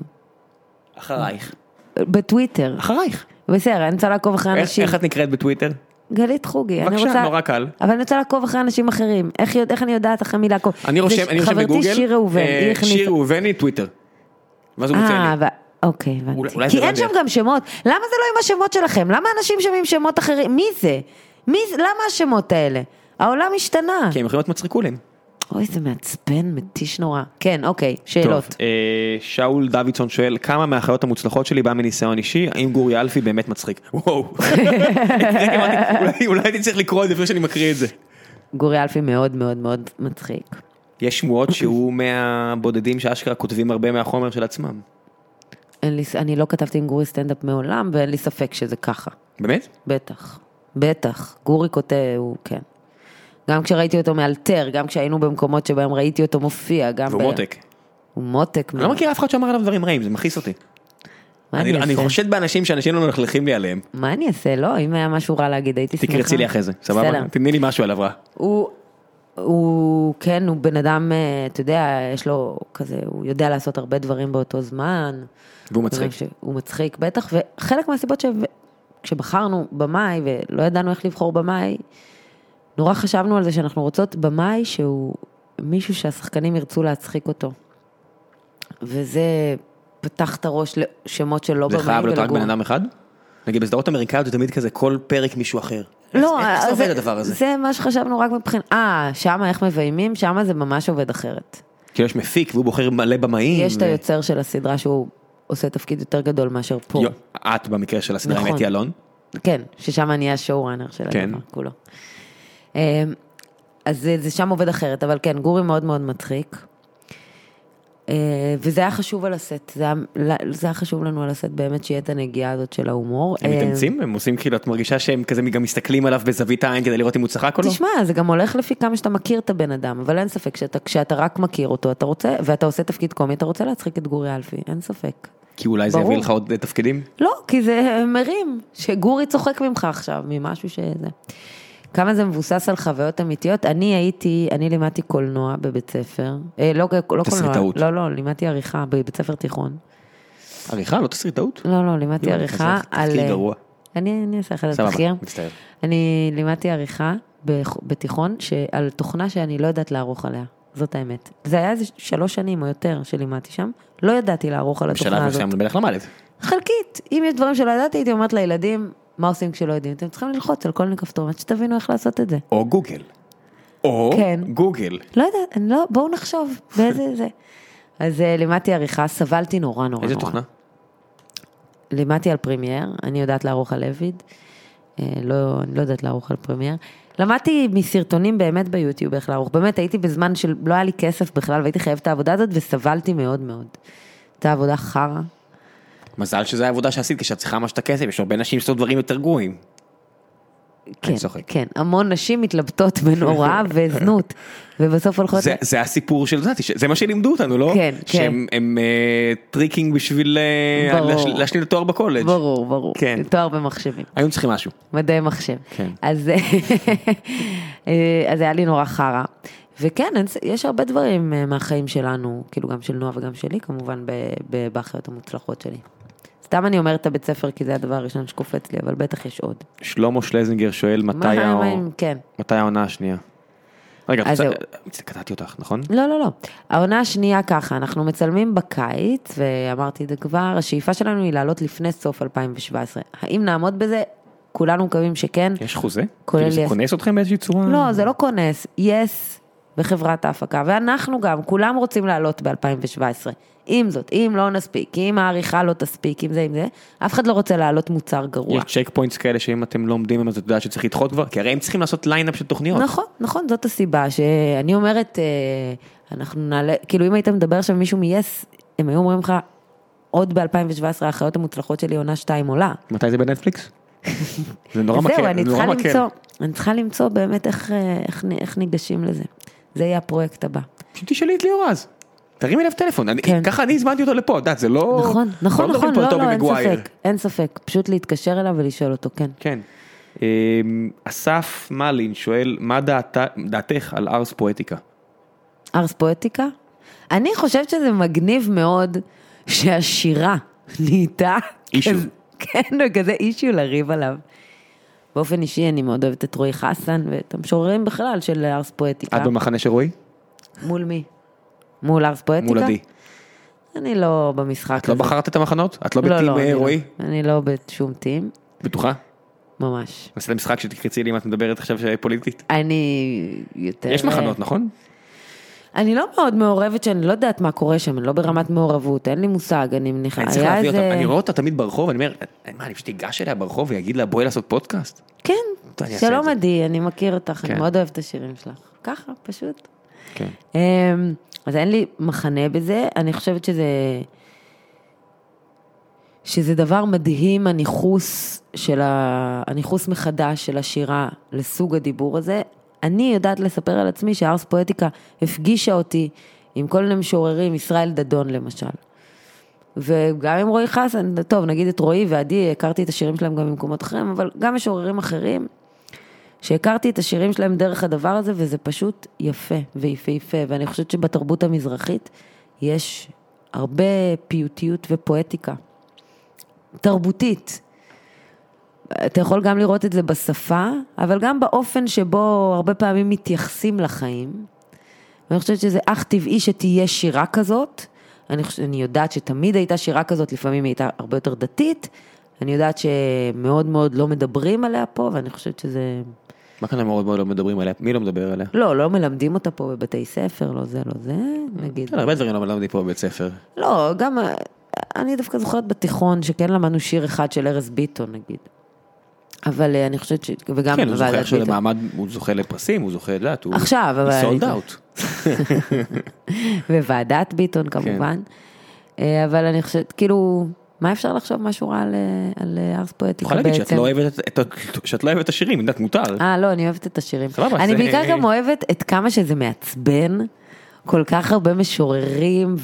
S1: אחרייך.
S3: בטוויטר.
S1: אחרייך.
S3: בסדר, אני רוצה לעקוב אחרי
S1: איך
S3: אנשים.
S1: איך את נקראת בטוויטר?
S3: גלית חוגי. אני
S1: בבקשה,
S3: רוצה-
S1: נורא קל.
S3: אבל אני רוצה לעקוב אחרי אנשים אחרים. איך יודע- איך אני יודעת אחרי מי לעקוב?
S1: אני
S3: זה
S1: רושם,
S3: ש-
S1: אני רושם בגוגל.
S3: חברתי שיר ראובן,
S1: אה,
S3: היא הכניסה.
S1: שיר ראובני, טוויטר. ואז הוא מוצא
S3: אה,
S1: לי.
S3: ו- אוקיי,
S1: אולי-
S3: הבנתי.
S1: אולי זה
S3: כי
S1: לא
S3: אין שם
S1: הדרך.
S3: גם שמות. למה זה לא עם השמות שלכם? למה אנשים שם עם שמות אחרים? מי זה? מי זה? למה השמות האלה? העולם השתנה.
S1: כי הם יכולים להיות מצחיקולים.
S3: אוי, זה מעצבן, מתיש נורא. כן, אוקיי, שאלות.
S1: אה, שאול דוידסון שואל, כמה מהחיות המוצלחות שלי בא מניסיון אישי, האם גורי אלפי באמת מצחיק? וואו. אולי- אולי הייתי צריך לקרוא את זה לפני שאני מקריא את זה.
S3: גורי אלפי מאוד מאוד מאוד מצחיק.
S1: יש שמועות שהוא מהבודדים שאשכרה כותבים הרבה מהחומר של עצמם.
S3: אין לי, ס- אני לא כתבתי עם גורי סטנדאפ מעולם, ואין לי ספק שזה ככה.
S1: באמת?
S3: בטח. בטח. גורי כותב, הוא, כן. גם כשראיתי אותו מאלתר, גם כשהיינו במקומות שבהם ראיתי אותו מופיע, גם...
S1: והוא
S3: ב-
S1: מותק.
S3: הוא מותק.
S1: אני לא מכיר אף אחד שאמר עליו דברים רעים, זה מכעיס אותי.
S3: מה
S1: אני- לא-
S3: אני
S1: אני
S3: אעשה?
S1: חושד באנשים שאנשים לא מלכלכים לי עליהם.
S3: מה אני אעשה? לא, אם היה משהו רע להגיד, הייתי שמחה.
S1: תקרצי לי אחרי זה, סבבה?
S3: נכון. בסדר.
S1: תתני לי משהו עליו רע.
S3: הוא, הוא, כן, הוא בן אדם, אה, אתה יודע, יש לו כזה, הוא יודע לעשות הרבה דברים באותו זמן.
S1: והוא מצחיק.
S3: ש- הוא מצחיק, בטח, וחלק מהסיבות שכשבחרנו במאי ולא ידענו איך לבחור במאי, נורא חשבנו על זה שאנחנו רוצות במאי שהוא מישהו שהשחקנים ירצו להצחיק אותו. וזה פתח את הראש לשמות שלא
S1: זה
S3: במאי
S1: חייב להיות רק
S3: ולגור.
S1: בן אדם אחד? נגיד בסדרות אמריקאיות זה תמיד כזה כל פרק מישהו אחר.
S3: לא,
S1: איך- איך זה
S3: אז
S1: עובד הדבר הזה?
S3: זה מה שחשבנו רק מבחינת, אה, שמה איך מביימים, שמה זה ממש עובד אחרת.
S1: כאילו יש מפיק והוא בוחר מלא במאים.
S3: יש את
S1: ו-
S3: היוצר של הסדרה שהוא עושה תפקיד יותר גדול מאשר פה.
S1: יו, את במקרה של הסדרה עם
S3: נכון.
S1: אתי אלון.
S3: כן, ששם אני השואו-ראנר של
S1: כן.
S3: הדבר כולו. אמ, אז זה, זה שם עובד אחרת, אבל כן, גורי מאוד מאוד מצחיק. אה, וזה היה חשוב על הסט, זה היה, זה היה חשוב לנו על הסט באמת שיהיה את הנגיעה הזאת של ההומור.
S1: הם
S3: אה,
S1: מתאמצים? הם עושים כאילו, את מרגישה שהם כזה גם מסתכלים עליו בזווית העין כדי לראות אם הוא צחק או לא?
S3: תשמע, זה גם הולך לפי כמה שאתה מכיר את הבן אדם, אבל אין ספק שאתה, כשאתה רק מכיר אותו, אתה רוצה, ואתה עושה תפקיד קומי, אתה רוצה להצחיק את גורי אלפי, אין ספק.
S1: כי אולי זה
S3: ברור.
S1: יביא לך עוד אה, תפקידים?
S3: לא, כי זה מרים, שגורי צוחק ממך עכשיו, ממשהו שזה. כמה זה מבוסס על חוויות אמיתיות. אני הייתי, אני לימדתי קולנוע בבית ספר. אה, לא, לא קולנוע.
S1: תסריטאות.
S3: לא, לא, לימדתי עריכה בבית ספר תיכון.
S1: עריכה? לא תסריטאות?
S3: לא, לא, לימדתי
S1: לא,
S3: עריכה
S1: תסריט-
S3: על...
S1: תסריט
S3: אה,
S1: גרוע.
S3: אני אני אעשה לך את
S1: סבבה,
S3: התחקיר.
S1: מצטער.
S3: אני לימדתי עריכה בח- בתיכון ש- על תוכנה שאני לא יודעת לערוך עליה. זאת האמת. זה היה איזה שלוש שנים או יותר שלימדתי שם, לא ידעתי לערוך על התוכנה
S1: בשלב
S3: הזאת.
S1: מסוים למלך למדת.
S3: חלקית. אם יש דברים שלא ידעתי, הייתי אומרת לילדים, מה עושים כשלא יודעים? אתם צריכים ללחוץ על כל מיני כפתורים עד שתבינו איך לעשות את זה.
S1: או גוגל. או
S3: כן.
S1: גוגל.
S3: לא יודעת, אני לא, בואו נחשוב באיזה זה. אז אה, לימדתי עריכה, סבלתי נורא נורא נורא.
S1: איזה תוכנה?
S3: לימדתי על פרמייר, אני יודעת לערוך על אביד. אה, לא, אני לא יודעת לערוך על פרמייר. למדתי מסרטונים באמת ביוטיוב איך לערוך. באמת, הייתי בזמן של, לא היה לי כסף בכלל, והייתי חייבת את העבודה הזאת, וסבלתי מאוד מאוד. הייתה עבודה חרא.
S1: מזל שזו העבודה שעשית כשאת צריכה ממש את הכסף, יש הרבה נשים שעושות דברים יותר גרועים.
S3: אוקיי. כן,
S1: צוחק.
S3: כן, המון נשים מתלבטות בין הוראה וזנות, ובסוף הולכות...
S1: זה, זה הסיפור של זה, זה מה שלימדו אותנו, לא?
S3: כן, כן.
S1: שהם הם, אה, טריקינג בשביל אה,
S3: ברור.
S1: להש, להשלים את התואר בקולג'.
S3: ברור, ברור.
S1: כן.
S3: תואר במחשבים,
S1: היו צריכים משהו.
S3: מדעי מחשב.
S1: כן.
S3: אז אה, אז היה לי נורא חרא. וכן, אין ס- יש הרבה דברים אה, מהחיים שלנו, כאילו גם של נועה וגם שלי, כמובן, ב- ב- באחיות המוצלחות שלי. סתם אני אומרת את הבית ספר, כי זה הדבר הראשון שקופץ לי, אבל בטח יש עוד.
S1: שלמה שלזינגר שואל מתי,
S3: מה-
S1: הא-
S3: מה עם- כן.
S1: מתי העונה השנייה. רגע, את
S3: אז
S1: רוצה- מצטער, קטעתי אותך, נכון?
S3: לא, לא, לא. העונה השנייה ככה, אנחנו מצלמים בקיץ, ואמרתי את זה כבר, השאיפה שלנו היא לעלות לפני סוף 2017. האם נעמוד בזה? כולנו מקווים שכן.
S1: יש חוזה?
S3: כולל
S1: כאילו זה
S3: לי-
S1: כונס אתכם באיזושהי צורה?
S3: לא, זה לא כונס, יס בחברת ההפקה, ואנחנו גם, כולם רוצים לעלות ב-2017. עם זאת, אם לא נספיק, אם העריכה לא תספיק, אם זה, אם זה, אף אחד לא רוצה להעלות מוצר גרוע.
S1: יש צ'ק פוינטס כאלה שאם אתם לא עומדים בהם אז את יודעת שצריך לדחות כבר? כי הרי הם צריכים לעשות ליינאפ של תוכניות.
S3: נכון, נכון, זאת הסיבה שאני אומרת, אה, אנחנו נעלה, כאילו אם היית מדבר שם עם מישהו מ-yes, הם היו אומרים לך, עוד ב-2017 האחיות המוצלחות שלי עונה 2 עולה.
S1: מתי זה בנטפליקס? זה נורא
S3: אז
S1: מקל,
S3: זהו, אני
S1: זה
S3: צריכה
S1: נורא מקל.
S3: למצוא, אני צריכה למצוא באמת איך, אה, איך, נ- איך ניגשים לזה. זה יהיה הפרויקט הבא.
S1: פשוט תשאלי את ליאור אז. תרימי אליו טלפון, אני-
S3: כן.
S1: ככה אני הזמנתי אותו לפה, את יודעת, זה לא...
S3: נכון, נכון,
S1: לא מדברים
S3: נכון,
S1: פה על
S3: לא,
S1: טובי
S3: לא, אין
S1: מגווייר.
S3: ספק, אין ספק, פשוט להתקשר אליו ולשאול אותו, כן.
S1: כן. אמ, אסף מלין שואל, מה דעת- דעתך על ארס פואטיקה?
S3: ארס פואטיקה? אני חושבת שזה מגניב מאוד שהשירה נהייתה...
S1: אישיו.
S3: כזה- כן, כזה אישיו לריב עליו. באופן אישי אני מאוד אוהבת את רועי חסן ואת המשוררים בכלל של ארס
S1: את
S3: פואטיקה.
S1: במחנה של רועי?
S3: מול מי? מול ארס פואטיקה?
S1: מול עדי.
S3: אני לא במשחק
S1: את לא בחרת את המחנות? את לא
S3: לא,
S1: בטים
S3: אני
S1: אה, רועי?
S3: אני לא בשום טים,
S1: בטוחה?
S3: ממש.
S1: עשית משחק שתקרצי לי אם את מדברת עכשיו שפוליטית?
S3: אני יותר...
S1: יש מחנות, נכון?
S3: אני לא מאוד מעורבת, שאני לא יודעת מה קורה שם, אני לא ברמת מעורבות, אין לי מושג, אני מניחה.
S1: אני צריך
S3: היה
S1: להביא אותה,
S3: איזה-
S1: אני רואה אותה תמיד ברחוב, אני אומר, מה, אני פשוט אגש אליה ברחוב ויגיד לה, בואי לעשות פודקאסט?
S3: כן,
S1: טוב, אני אעשה את
S3: שלום
S1: זה.
S3: עדי, אני מכיר אותך,
S1: כן.
S3: אני מאוד אוהבת את השירים שלך. ככה, פשוט.
S1: כן.
S3: אמ, אז אין לי מחנה בזה, אני חושבת שזה... שזה דבר מדהים, הניכוס של ה... הניכוס מחדש של השירה לסוג הדיבור הזה. אני יודעת לספר על עצמי שהארס פואטיקה הפגישה אותי עם כל מיני משוררים, ישראל דדון למשל. וגם עם רועי חסן, טוב, נגיד את רועי ועדי, הכרתי את השירים שלהם גם במקומות אחרים, אבל גם משוררים אחרים, שהכרתי את השירים שלהם דרך הדבר הזה, וזה פשוט יפה ויפהפה, ואני חושבת שבתרבות המזרחית יש הרבה פיוטיות ופואטיקה. תרבותית. אתה יכול גם לראות את זה בשפה, אבל גם באופן שבו הרבה פעמים מתייחסים לחיים. ואני חושבת שזה אך טבעי שתהיה שירה כזאת. אני, חוש... אני יודעת שתמיד הייתה שירה כזאת, לפעמים היא הייתה הרבה יותר דתית. אני יודעת שמאוד מאוד לא מדברים עליה פה, ואני חושבת שזה...
S1: מה כאן מאוד מאוד לא מדברים עליה? מי לא מדבר עליה?
S3: לא, לא מלמדים אותה פה בבתי ספר, לא זה, לא זה, נגיד.
S1: כן, הרבה דברים לא מלמדים פה בבית ספר.
S3: לא, גם... אה, אני דווקא זוכרת בתיכון שכן למדנו שיר אחד של ארז ביטון, נגיד. אבל אה, אני חושבת ש... וגם
S1: כן, הוא זוכה
S3: בוועדת
S1: עכשיו
S3: ביטון.
S1: למעמד, הוא זוכה לפרסים, הוא זוכר, את יודעת, הוא...
S3: עכשיו, אבל...
S1: הוא
S3: אני-
S1: סולד אאוט.
S3: וועדת ביטון
S1: כן.
S3: כמובן. אה, אבל אני חושבת, כאילו, מה אפשר לחשוב משהו רע על, אה, על אה, ארס פואטיקה
S1: יכולה
S3: בעצם?
S1: להגיד שאת לא אוהבת את- את- שאת לא אוהבת את השירים, את יודעת, מותר.
S3: אה, לא, אני אוהבת את השירים.
S1: סבבה,
S3: אני
S1: זה-
S3: בעיקר גם אוהבת את כמה שזה מעצבן, כל כך הרבה משוררים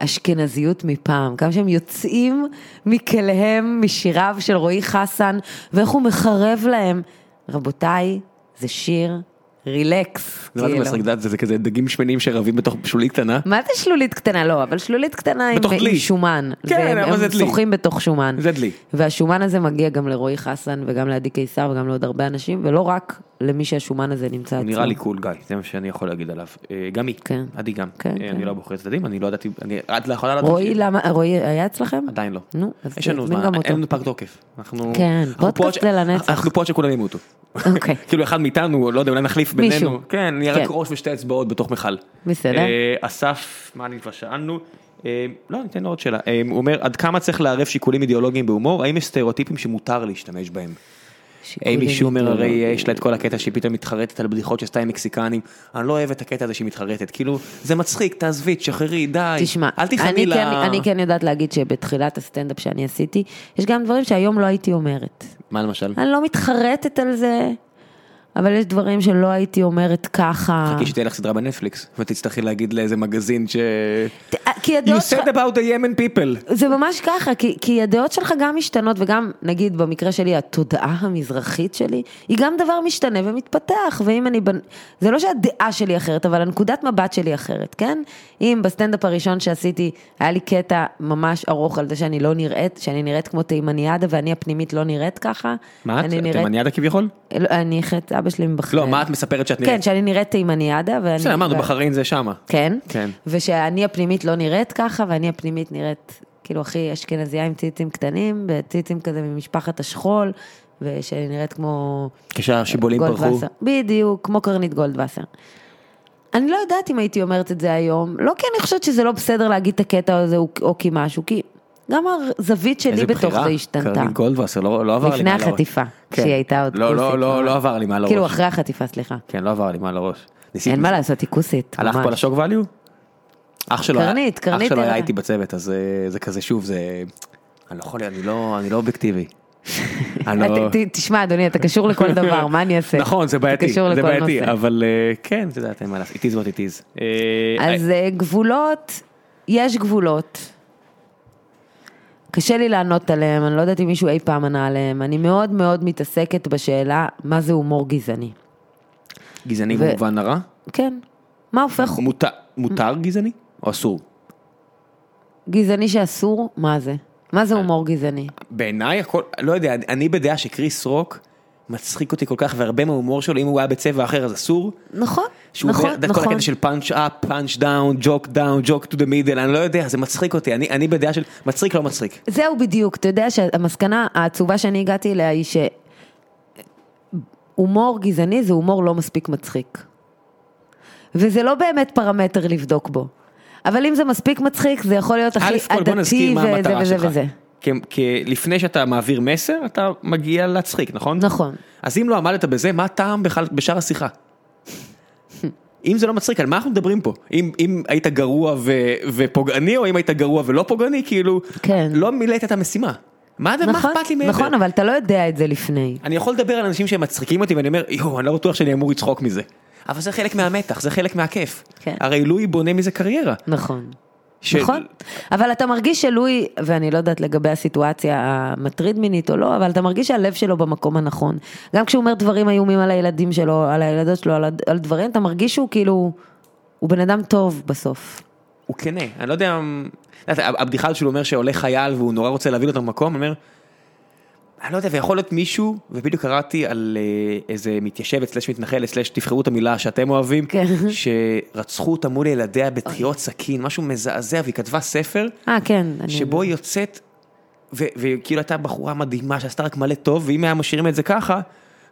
S3: ואשכנזיות מפעם, כמה שהם יוצאים מכליהם, משיריו של רועי חסן, ואיך הוא מחרב להם. רבותיי, זה שיר רילקס,
S1: זה מה זה
S3: כאילו.
S1: מסרק דת, זה כזה דגים שמנים שרבים בתוך שלולית קטנה.
S3: מה זה שלולית קטנה? לא, אבל שלולית קטנה עם,
S1: בתוך
S3: עם
S1: דלי.
S3: שומן.
S1: כן,
S3: והם-
S1: אבל זה
S3: הם
S1: דלי.
S3: שוחים בתוך שומן.
S1: זה דלי.
S3: והשומן הזה מגיע גם לרועי חסן וגם לעדי קיסר וגם לעוד הרבה אנשים, ולא רק למי שהשומן הזה נמצא אצלו.
S1: נראה לי קול גיא, זה מה שאני יכול להגיד עליו. אה, גם היא,
S3: כן.
S1: עדי גם.
S3: כן,
S1: אה,
S3: כן.
S1: אני לא בוחר צדדים, אני לא ידעתי, אני- את לא יכולה לדעת.
S3: רועי,
S1: ש-
S3: למה, רועי היה אצלכם?
S1: עדיין לא.
S3: נו, אז
S1: יש לנו
S3: תזמין
S1: זמן,
S3: גם אותו.
S1: אין לנו פג תוקף. אנחנו...
S3: כן,
S1: אנחנו
S3: פודקאסט
S1: פה עד ש-
S3: זה לנצח.
S1: אנחנו פה עד שכולם ימותו.
S3: אוקיי.
S1: כאילו אחד מאיתנו, לא יודע, אולי נחליף
S3: מישהו.
S1: בינינו. כן, נהיה רק
S3: כן.
S1: ראש ושתי אצבעות בתוך מכל.
S3: בסדר.
S1: אה, אסף, מה אני כבר שאלנו? אה, לא, ניתן לו עוד שאלה. אה, הוא אומר, עד כמה צריך לערב שיקולים אידיאולוגיים בהומור? האם יש סטריאוטיפים שמותר להשתמש בהם?
S3: שיקולים
S1: אימי שומר הרי
S3: אידיאולוגיים.
S1: יש לה את כל הקטע שהיא פתאום מתחרטת על בדיחות שעשתה עם מקסיקנים, אני לא אוהב את הקטע הזה שהיא מתחרטת, כאילו זה מצחיק, תעזבי, תשחררי, די,
S3: תשמע,
S1: אל
S3: אני
S1: תיכנעי
S3: כן-
S1: לה...
S3: אני כן יודעת להגיד שבתחילת הסטנדאפ שאני עשיתי, יש גם דברים שהיום לא הייתי אומרת.
S1: מה למשל?
S3: אני לא מתחרטת על זה, אבל יש דברים שלא הייתי אומרת ככה.
S1: כי שתהיה לך סדרה בנטפליקס, ותצטרכי להגיד לאיזה מגזין ש...
S3: ת- כי
S1: You
S3: לא הדעות שלך...
S1: said about the Yemen people.
S3: זה ממש ככה, כי, כי הדעות שלך גם משתנות, וגם, נגיד, במקרה שלי, התודעה המזרחית שלי, היא גם דבר משתנה ומתפתח, ואם אני... בנ... זה לא שהדעה שלי אחרת, אבל הנקודת מבט שלי אחרת, כן? אם בסטנדאפ הראשון שעשיתי, היה לי קטע ממש ארוך על זה שאני לא נראית, שאני נראית כמו תימניאדה, ואני הפנימית לא נראית ככה.
S1: מה את?
S3: אני
S1: אתם
S3: נראית...
S1: מניאדה כביכול?
S3: לא, אני אחרת אבא שלי מבחריין.
S1: לא, מה את מספרת שאת
S3: כן,
S1: נראית?
S3: שאני נראית תימניאדה, ואני...
S1: בסדר, אמרנו,
S3: ו-
S1: בחריין זה שמה.
S3: כן?
S1: כן.
S3: ושאני הפנימית לא נראית ככה, ואני הפנימית נראית כאילו הכי אשכנזייה עם ציצים קטנים, וציצים כזה ממשפחת השכול, ושאני נראית כמו...
S1: כשהשיבולים פרחו.
S3: גולדווסר. בדיוק, כמו קרנית גולדווסר. אני לא יודעת אם הייתי אומרת את זה היום, לא כי אני חושבת שזה לא בסדר להגיד את הקטע הזה, או- או כי משהו, כי גם הזווית שלי
S1: איזה
S3: בתוך
S1: בחירה.
S3: זה השתנתה.
S1: קרנית גולדווסר, לא לא עבר לי
S3: לפני
S1: מעל הראש.
S3: החטיפה,
S1: כן.
S3: כשהיא הייתה עוד
S1: לא, לא,
S3: כוסית,
S1: לא,
S3: לא?
S1: לא עבר לי מעל הראש.
S3: כאילו אחרי החטיפה, סליחה.
S1: כן, לא עבר לי מעל הראש. ניסיתי-
S3: אין מה לעשות, היא כוסית.
S1: הלך פה
S3: ממש.
S1: על השוק ואליו? אח שלו היה-
S3: קרנית, קרנית
S1: אח שלו היה
S3: ירה.
S1: איתי בצוות, אז אה, זה כזה שוב, זה... אני לא יכול, אני לא, אני לא אובייקטיבי. אני לא-
S3: אה, ת- ת- תשמע אדוני, אתה קשור לכל דבר, מה אני אעשה?
S1: נכון, זה
S3: אתה
S1: בעייתי,
S3: קשור
S1: זה
S3: לכל
S1: בעייתי,
S3: נושא.
S1: אבל אה, כן, את יודעת, אין מה לעשות, it is what it is. אה,
S3: אז אה, גבולות, יש גבולות. קשה לי לענות עליהם, אני לא יודעת אם מישהו אי פעם ענה עליהם. אני מאוד מאוד מתעסקת בשאלה מה זה הומור גזעני.
S1: גזעני
S3: ו-
S1: במובן הרע?
S3: כן. מה הופך
S1: מותר- מותר גזעני? או אסור?
S3: גזעני שאסור? מה זה? מה זה הומור גזעני?
S1: בעיניי הכל, לא יודע, אני בדעה שקריס רוק מצחיק אותי כל כך, והרבה מההומור שלו, אם הוא היה בצבע אחר אז אסור.
S3: נכון,
S1: שהוא
S3: נכון,
S1: אומר, את יודעת, כל
S3: נכון.
S1: הקטע של פאנץ' אפ, פאנץ' דאון, ג'וק דאון, ג'וק טו דה מידל, אני לא יודע, זה מצחיק אותי, אני, אני בדעה של מצחיק לא מצחיק.
S3: זהו בדיוק, אתה יודע שהמסקנה העצובה שאני הגעתי אליה היא שהומור גזעני זה הומור לא מספיק מצחיק. וזה לא באמת פרמטר לבדוק בו. אבל אם זה מספיק מצחיק, זה יכול להיות הכי
S1: א' כל בוא נזכיר
S3: עדתי
S1: מה
S3: וזה
S1: המטרה
S3: וזה
S1: שלך.
S3: וזה.
S1: כי, כי לפני שאתה מעביר מסר, אתה מגיע להצחיק, נכון?
S3: נכון.
S1: אז אם לא עמדת בזה, מה הטעם בכלל בשאר השיחה? אם זה לא מצחיק, על מה אנחנו מדברים פה? אם, אם היית גרוע ו, ופוגעני, או אם היית גרוע ולא פוגעני, כאילו,
S3: כן.
S1: לא מילאת את המשימה. מה זה, מה
S3: נכון,
S1: אכפת לי מעבר?
S3: נכון, אבל אתה לא יודע את זה לפני.
S1: אני יכול לדבר על אנשים שמצחיקים אותי ואני אומר, יואו, אני לא בטוח שאני אמור לצחוק מזה. אבל זה חלק מהמתח, זה חלק מהכיף.
S3: כן.
S1: הרי לואי בונה מזה קריירה.
S3: נכון.
S1: ש-
S3: נכון, אבל אתה מרגיש שלואי, ואני לא יודעת לגבי הסיטואציה המטריד מינית או לא, אבל אתה מרגיש שהלב שלו במקום הנכון. גם כשהוא אומר דברים איומים על הילדים שלו, על הילדות שלו, על, הד- על דברים, אתה מרגיש שהוא כאילו, הוא בן אדם טוב בסוף.
S1: הוא כנה, אני לא יודע, את יודעת, הבדיחה הזו שהוא אומר שעולה חייל והוא נורא רוצה להביא אותו למקום, אני אומר, אני לא יודע, ויכול להיות מישהו, ובדיוק קראתי על אה, איזה מתיישבת, סלש מתנחלת, סלש תבחרו את המילה שאתם אוהבים,
S3: כן.
S1: שרצחו אותה מול ילדיה בטריות סכין, משהו מזעזע, והיא כתבה ספר,
S3: אה, כן. אני-
S1: שבו היא יוצאת, ו- וכאילו הייתה בחורה מדהימה שעשתה רק מלא טוב, ואם היה משאירים את זה ככה,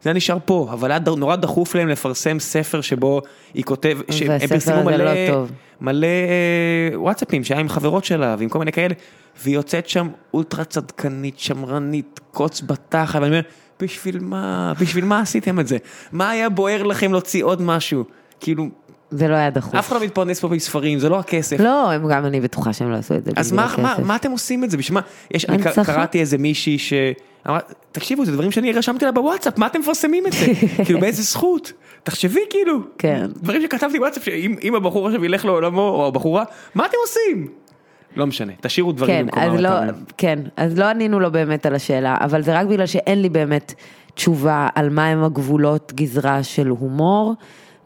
S1: זה היה נשאר פה, אבל היה ד- נורא דחוף להם לפרסם ספר שבו היא כותב,
S3: והספר
S1: שהם פרסמו
S3: הזה
S1: מלא,
S3: לא טוב.
S1: מלא אה, וואטסאפים שהיה עם חברות שלה ועם כל מיני כאלה, והיא יוצאת שם אולטרה צדקנית, שמרנית, קוץ בתחת, ואני אומר, בשביל מה, בשביל מה עשיתם את זה? מה היה בוער לכם להוציא עוד משהו? כאילו,
S3: זה לא היה דחוף.
S1: אף אחד לא מתפרנס פה מספרים, זה לא הכסף.
S3: לא, הם גם אני בטוחה שהם לא עשו את זה
S1: אז
S3: בגלל
S1: מה, מה,
S3: הכסף.
S1: מה אתם עושים את זה? בשביל מה? יש, אני
S3: הנצחה.
S1: ק- קראתי איזה מישהי שאמרה, תקשיבו, זה דברים שאני רשמתי לה בוואטסאפ, מה אתם מפרסמים את זה? כאילו, באיזה זכות? תחשבי כאילו.
S3: כן.
S1: דברים שכתבתי בוואטסאפ, שאם אם הבחור עכשיו ילך לעולמו, או הבחורה, מה אתם עושים? לא משנה, תשאירו דברים
S3: כן,
S1: במקומם.
S3: אז לא,
S1: אתה אומר.
S3: כן, אז לא ענינו לו באמת על השאלה, אבל זה רק בגלל שאין לי באמת תשובה על מהם הגבולות גזרה של הומור,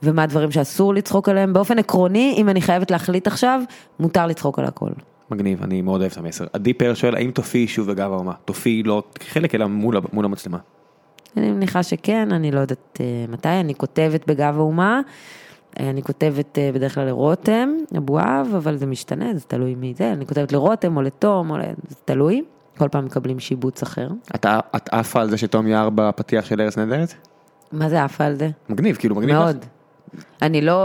S3: ומה הדברים שאסור לצחוק עליהם. באופן עקרוני, אם אני חייבת להחליט עכשיו, מותר לצחוק על הכל.
S1: מגניב, אני מאוד אוהב את המסר. עדי פרל שואל, האם תופיעי שוב בגב האומה? תופיעי לא כחלק, אלא מול, ה- מול המצלמה.
S3: אני מניחה שכן, אני לא יודעת אה, מתי, אני כותבת בגב האומה, אה, אני כותבת אה, בדרך כלל לרותם אבואב, אבל זה משתנה, זה תלוי מי זה, אני כותבת לרותם או לתום, או ל... זה תלוי, כל פעם מקבלים שיבוץ אחר.
S5: אתה- את עפה על זה שתום יער בפתיח של ארץ נהדרת?
S3: מה זה עפה על זה?
S1: מגניב, כאילו מגניב. לך?
S3: מאוד. אני לא,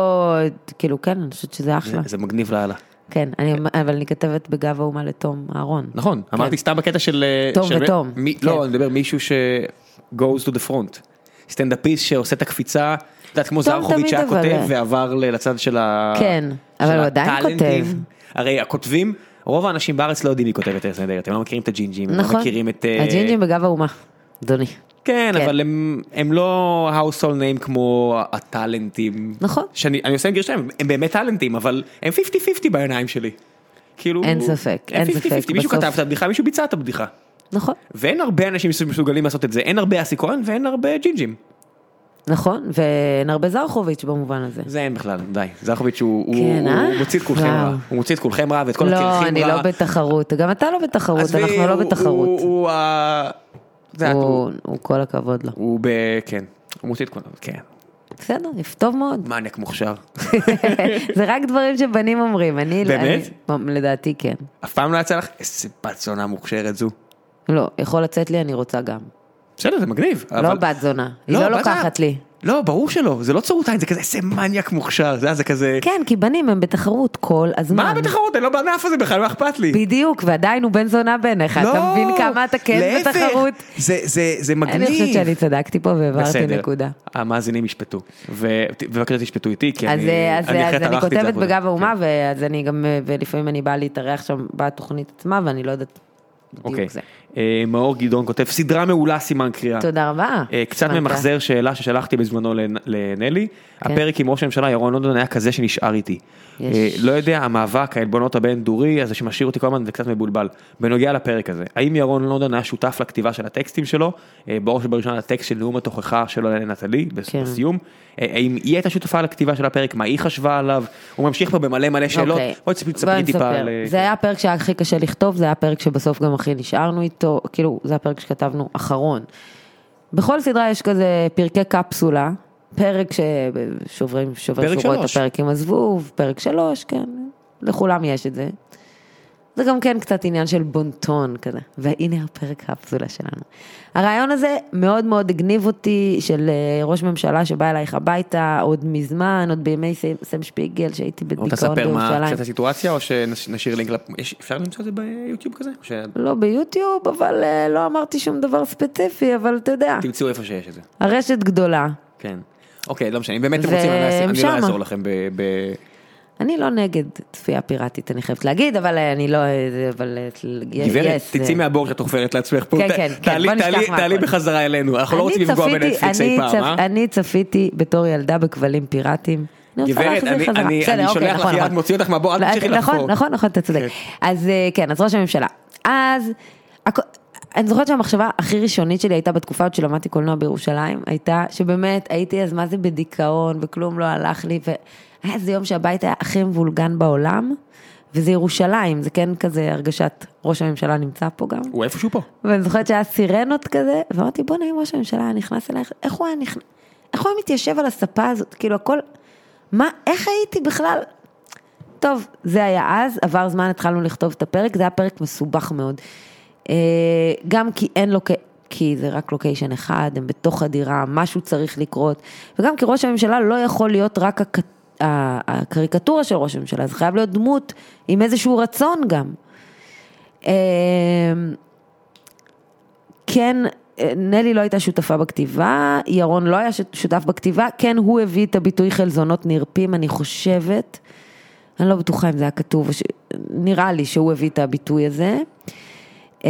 S3: כאילו כן, אני חושבת שזה
S1: זה,
S3: אחלה.
S1: זה מגניב לאללה.
S3: כן, אני, אבל אני כתבת בגב האומה לתום אהרון.
S1: נכון, אמרתי סתם בקטע של...
S3: כן.
S1: אה,
S3: תום
S1: של-
S3: ותום,
S1: מי-
S3: כן.
S1: לא, אני מדבר מישהו ש... goes to the front. סטנדאפיסט שעושה את הקפיצה, את יודעת, כמו
S3: תום
S1: זרחוביץ' שהיה
S3: תמיד אבל-
S1: כותב ועבר ל- לצד של ה...
S3: כן,
S1: של
S3: אבל הוא עדיין
S1: הטאלנטים.
S3: כותב.
S1: הרי הכותבים, רוב האנשים בארץ לא יודעים מי כותב את ארץ נהדרת, הם לא מכירים את הג'ינג'ים, הם לא
S3: נכון.
S1: מכירים את... אה,
S3: הג'ינג'ים בגב האומה, אדוני.
S1: כן,
S3: כן.
S1: אבל הם, הם לא household name כמו הטאלנטים.
S3: נכון.
S1: שאני אני עושה עם גרשיים, הם באמת טאלנטים, אבל הם 50-50 בעיניים שלי. כאילו...
S3: אין ספק,
S1: הם
S3: אין ספק,
S1: 50-50, מישהו
S3: בסוף-
S1: כתב את הבדיחה, מישהו ביצע את הבדיחה.
S3: נכון.
S1: ואין הרבה אנשים שמסוגלים לעשות את זה, אין הרבה אסי כהן ואין הרבה ג'ינג'ים.
S3: נכון, ואין הרבה זרחוביץ' במובן הזה.
S1: זה אין בכלל, די. זרחוביץ' הוא, הוא,
S3: כן,
S1: הוא,
S3: אה?
S1: הוא מוציא את כולכם
S3: וואו.
S1: רע, הוא מוציא את כולכם רע ואת כל
S3: לא,
S1: הקרחים
S3: אני
S1: רע.
S3: לא בתחרות, גם אתה לא בתחרות,
S1: עזבי,
S3: אנחנו לא
S1: הוא-
S3: בתחרות.
S1: הוא, הוא, ה- זה את, הוא,
S3: הוא- הוא כל הכבוד לו.
S1: הוא ב... כן, הוא מוציא את כולם, כן.
S3: בסדר, טוב מאוד.
S1: מניאק מוכשר.
S3: זה רק דברים שבנים אומרים, אני...
S1: באמת?
S3: אני- לדעתי כן.
S1: אף פעם לא יצא לך? איזה בת זונה מוכשרת זו.
S3: לא, יכול לצאת לי, אני רוצה גם.
S1: בסדר, זה מגניב.
S3: לא
S1: אבל-
S3: בת זונה, היא לא
S1: בת-
S3: לוקחת לי.
S1: לא, ברור שלא, זה לא צורות עין, זה כזה, איזה מניאק מוכשר, זה זה כזה...
S3: כן, כי בנים הם בתחרות כל הזמן.
S1: מה בתחרות? אני לא בענף הזה בכלל, מה אכפת לי?
S3: בדיוק, ועדיין הוא בן זונה בעיניך, אתה מבין כמה אתה כן
S1: לא, להפך.
S3: בתחרות?
S1: זה, זה, זה מגניב.
S3: אני חושבת שאני צדקתי פה והעברתי
S1: בסדר.
S3: נקודה.
S1: המאזינים ישפטו, ובבקשה תשפטו איתי, כי
S3: אז
S1: אני,
S3: אה, אז,
S1: אני
S3: אה, אז
S1: אחרת
S3: אני
S1: ערכתי את כן.
S3: כותבת
S1: העבודה.
S3: בגב האומה, ואז אני גם, אה, ולפעמים אני באה להתארח שם בתוכנית עצמה, ואני לא יודעת
S1: אוקיי.
S3: בדיוק זה.
S1: אה, מאור גדעון כותב, סדרה מעולה, סימן קריאה.
S3: תודה רבה.
S1: אה, קצת
S3: סימן קריאה.
S1: ממחזר שאלה ששלחתי בזמנו לנ- לנלי, הפרק עם ראש הממשלה ירון לונדון היה כזה שנשאר איתי.
S3: כן. יש.
S1: אה, לא יודע, המאבק, העלבונות הבין דורי, הזה שמשאיר אותי כל הזמן וקצת מבולבל. בנוגע לפרק הזה, האם ירון לונדון היה שותף לכתיבה של הטקסטים שלו, אה, בראש ובראשונה לטקסט של נאום התוכחה שלו לנטלי, בס-
S3: כן.
S1: בסיום, אה, האם היא הייתה שותפה לכתיבה של הפרק, מה היא חשבה עליו, הוא ממשיך פה במלא מלא שאלות,
S3: אוקיי.
S1: בואי תספרי-
S3: בואי
S1: תספרי טיפה
S3: נספר.
S1: על... אה,
S3: זה היה הפרק שהיה הכי קשה לכתוב, זה היה הפרק שבסוף גם הכי נשארנו איתו, כאילו, זה הפרק שכתבנו אחרון. בכל סדרה יש כזה פרקי קפסולה, פרק ששוברים, שובר
S1: פרק
S3: שורות,
S1: שלוש.
S3: הפרקים הזבוב, פרק שלוש, כן, לכולם יש את זה. זה גם כן קצת עניין של בונטון כזה, והנה הפרק הקפסולה שלנו. הרעיון הזה מאוד מאוד הגניב אותי, של אה, ראש ממשלה שבא אלייך הביתה עוד מזמן, עוד בימי סם- סם שפיגל, שהייתי
S1: רוצה
S3: בדיכאון
S1: לספר מה,
S3: בירושלים.
S1: קצת הסיטואציה, או שנשאיר לינק, לפ- יש- אפשר למצוא את זה ביוטיוב כזה? או ש-
S3: לא ביוטיוב, אבל אה, לא אמרתי שום דבר ספציפי, אבל אתה יודע,
S1: תמצאו איפה שיש את זה.
S3: הרשת גדולה.
S1: כן. אוקיי, לא משנה, אם באמת אתם
S3: זה-
S1: רוצים, אני לא אעשה-
S3: הם
S1: אני לא
S3: שמה.
S1: אעזור לכם ב... ב-
S3: אני לא נגד צפייה פיראטית, אני חייבת להגיד, אבל אה, אני לא... אה, זה- אבל... אה, yes, אה.
S1: גברת,
S3: זה-
S1: תצאי מהבור שאת חופרת לעצמך פה,
S3: כן,
S1: ת-
S3: כן, כן,
S1: תעלי-
S3: בוא נשכח
S1: תעלי-
S3: מהכל.
S1: תעלי בחזרה אלינו, אנחנו לא
S3: אני
S1: רוצים לפגוע
S3: צפיתי-
S1: בנטפליקס אי
S3: אני
S1: פעם,
S3: צפ-
S1: אה?
S3: אני צפיתי בתור ילדה בכבלים פיראטיים. אני רוצה
S1: גברת,
S3: להחזיר
S1: אני-
S3: חזרה.
S1: אני-
S3: בסדר,
S1: אני
S3: אוקיי,
S1: שולח לך
S3: נכון,
S1: יד,
S3: נכון.
S1: מוציא אותך מהבור, אל
S3: לא,
S1: תמשיכי לחפור.
S3: נכון, נכון, נכון, אתה צודק. אז אה, כן, אז ראש הממשלה. אז... הכ- אני זוכרת שהמחשבה הכי ראשונית שלי הייתה בתקופה עוד שלמדתי קולנוע בירושלים, הייתה שבאמת הייתי אז מה זה בדיכאון וכלום לא הלך לי, והיה איזה יום שהבית היה הכי מבולגן בעולם, וזה ירושלים, זה כן כזה הרגשת ראש הממשלה נמצא פה גם.
S1: הוא איפשהו פה.
S3: ואני זוכרת שהיה סירנות כזה, ואמרתי, בוא'נה, אם ראש הממשלה היה נכנס אלייך, איך הוא היה נכנס, איך הוא היה מתיישב על הספה הזאת, כאילו הכל, מה, איך הייתי בכלל? טוב, זה היה אז, עבר זמן, התחלנו לכתוב את הפרק, זה היה פרק מסובך מאוד. אה, גם כי אין לו, כי זה רק לוקיישן אחד, הם בתוך הדירה, משהו צריך לקרות, וגם כי ראש הממשלה לא יכול להיות רק הק... ה- הקריקטורה של ראש הממשלה, זה חייב להיות דמות עם איזשהו רצון גם. אה, כן אה, נלי לא הייתה שותפה בכתיבה, ירון לא היה שת- שותף בכתיבה, כן הוא הביא את הביטוי חלזונות נרפים, אני חושבת, אני לא בטוחה אם זה היה כתוב, או ש... נראה לי שהוא הביא את הביטוי הזה. אמ,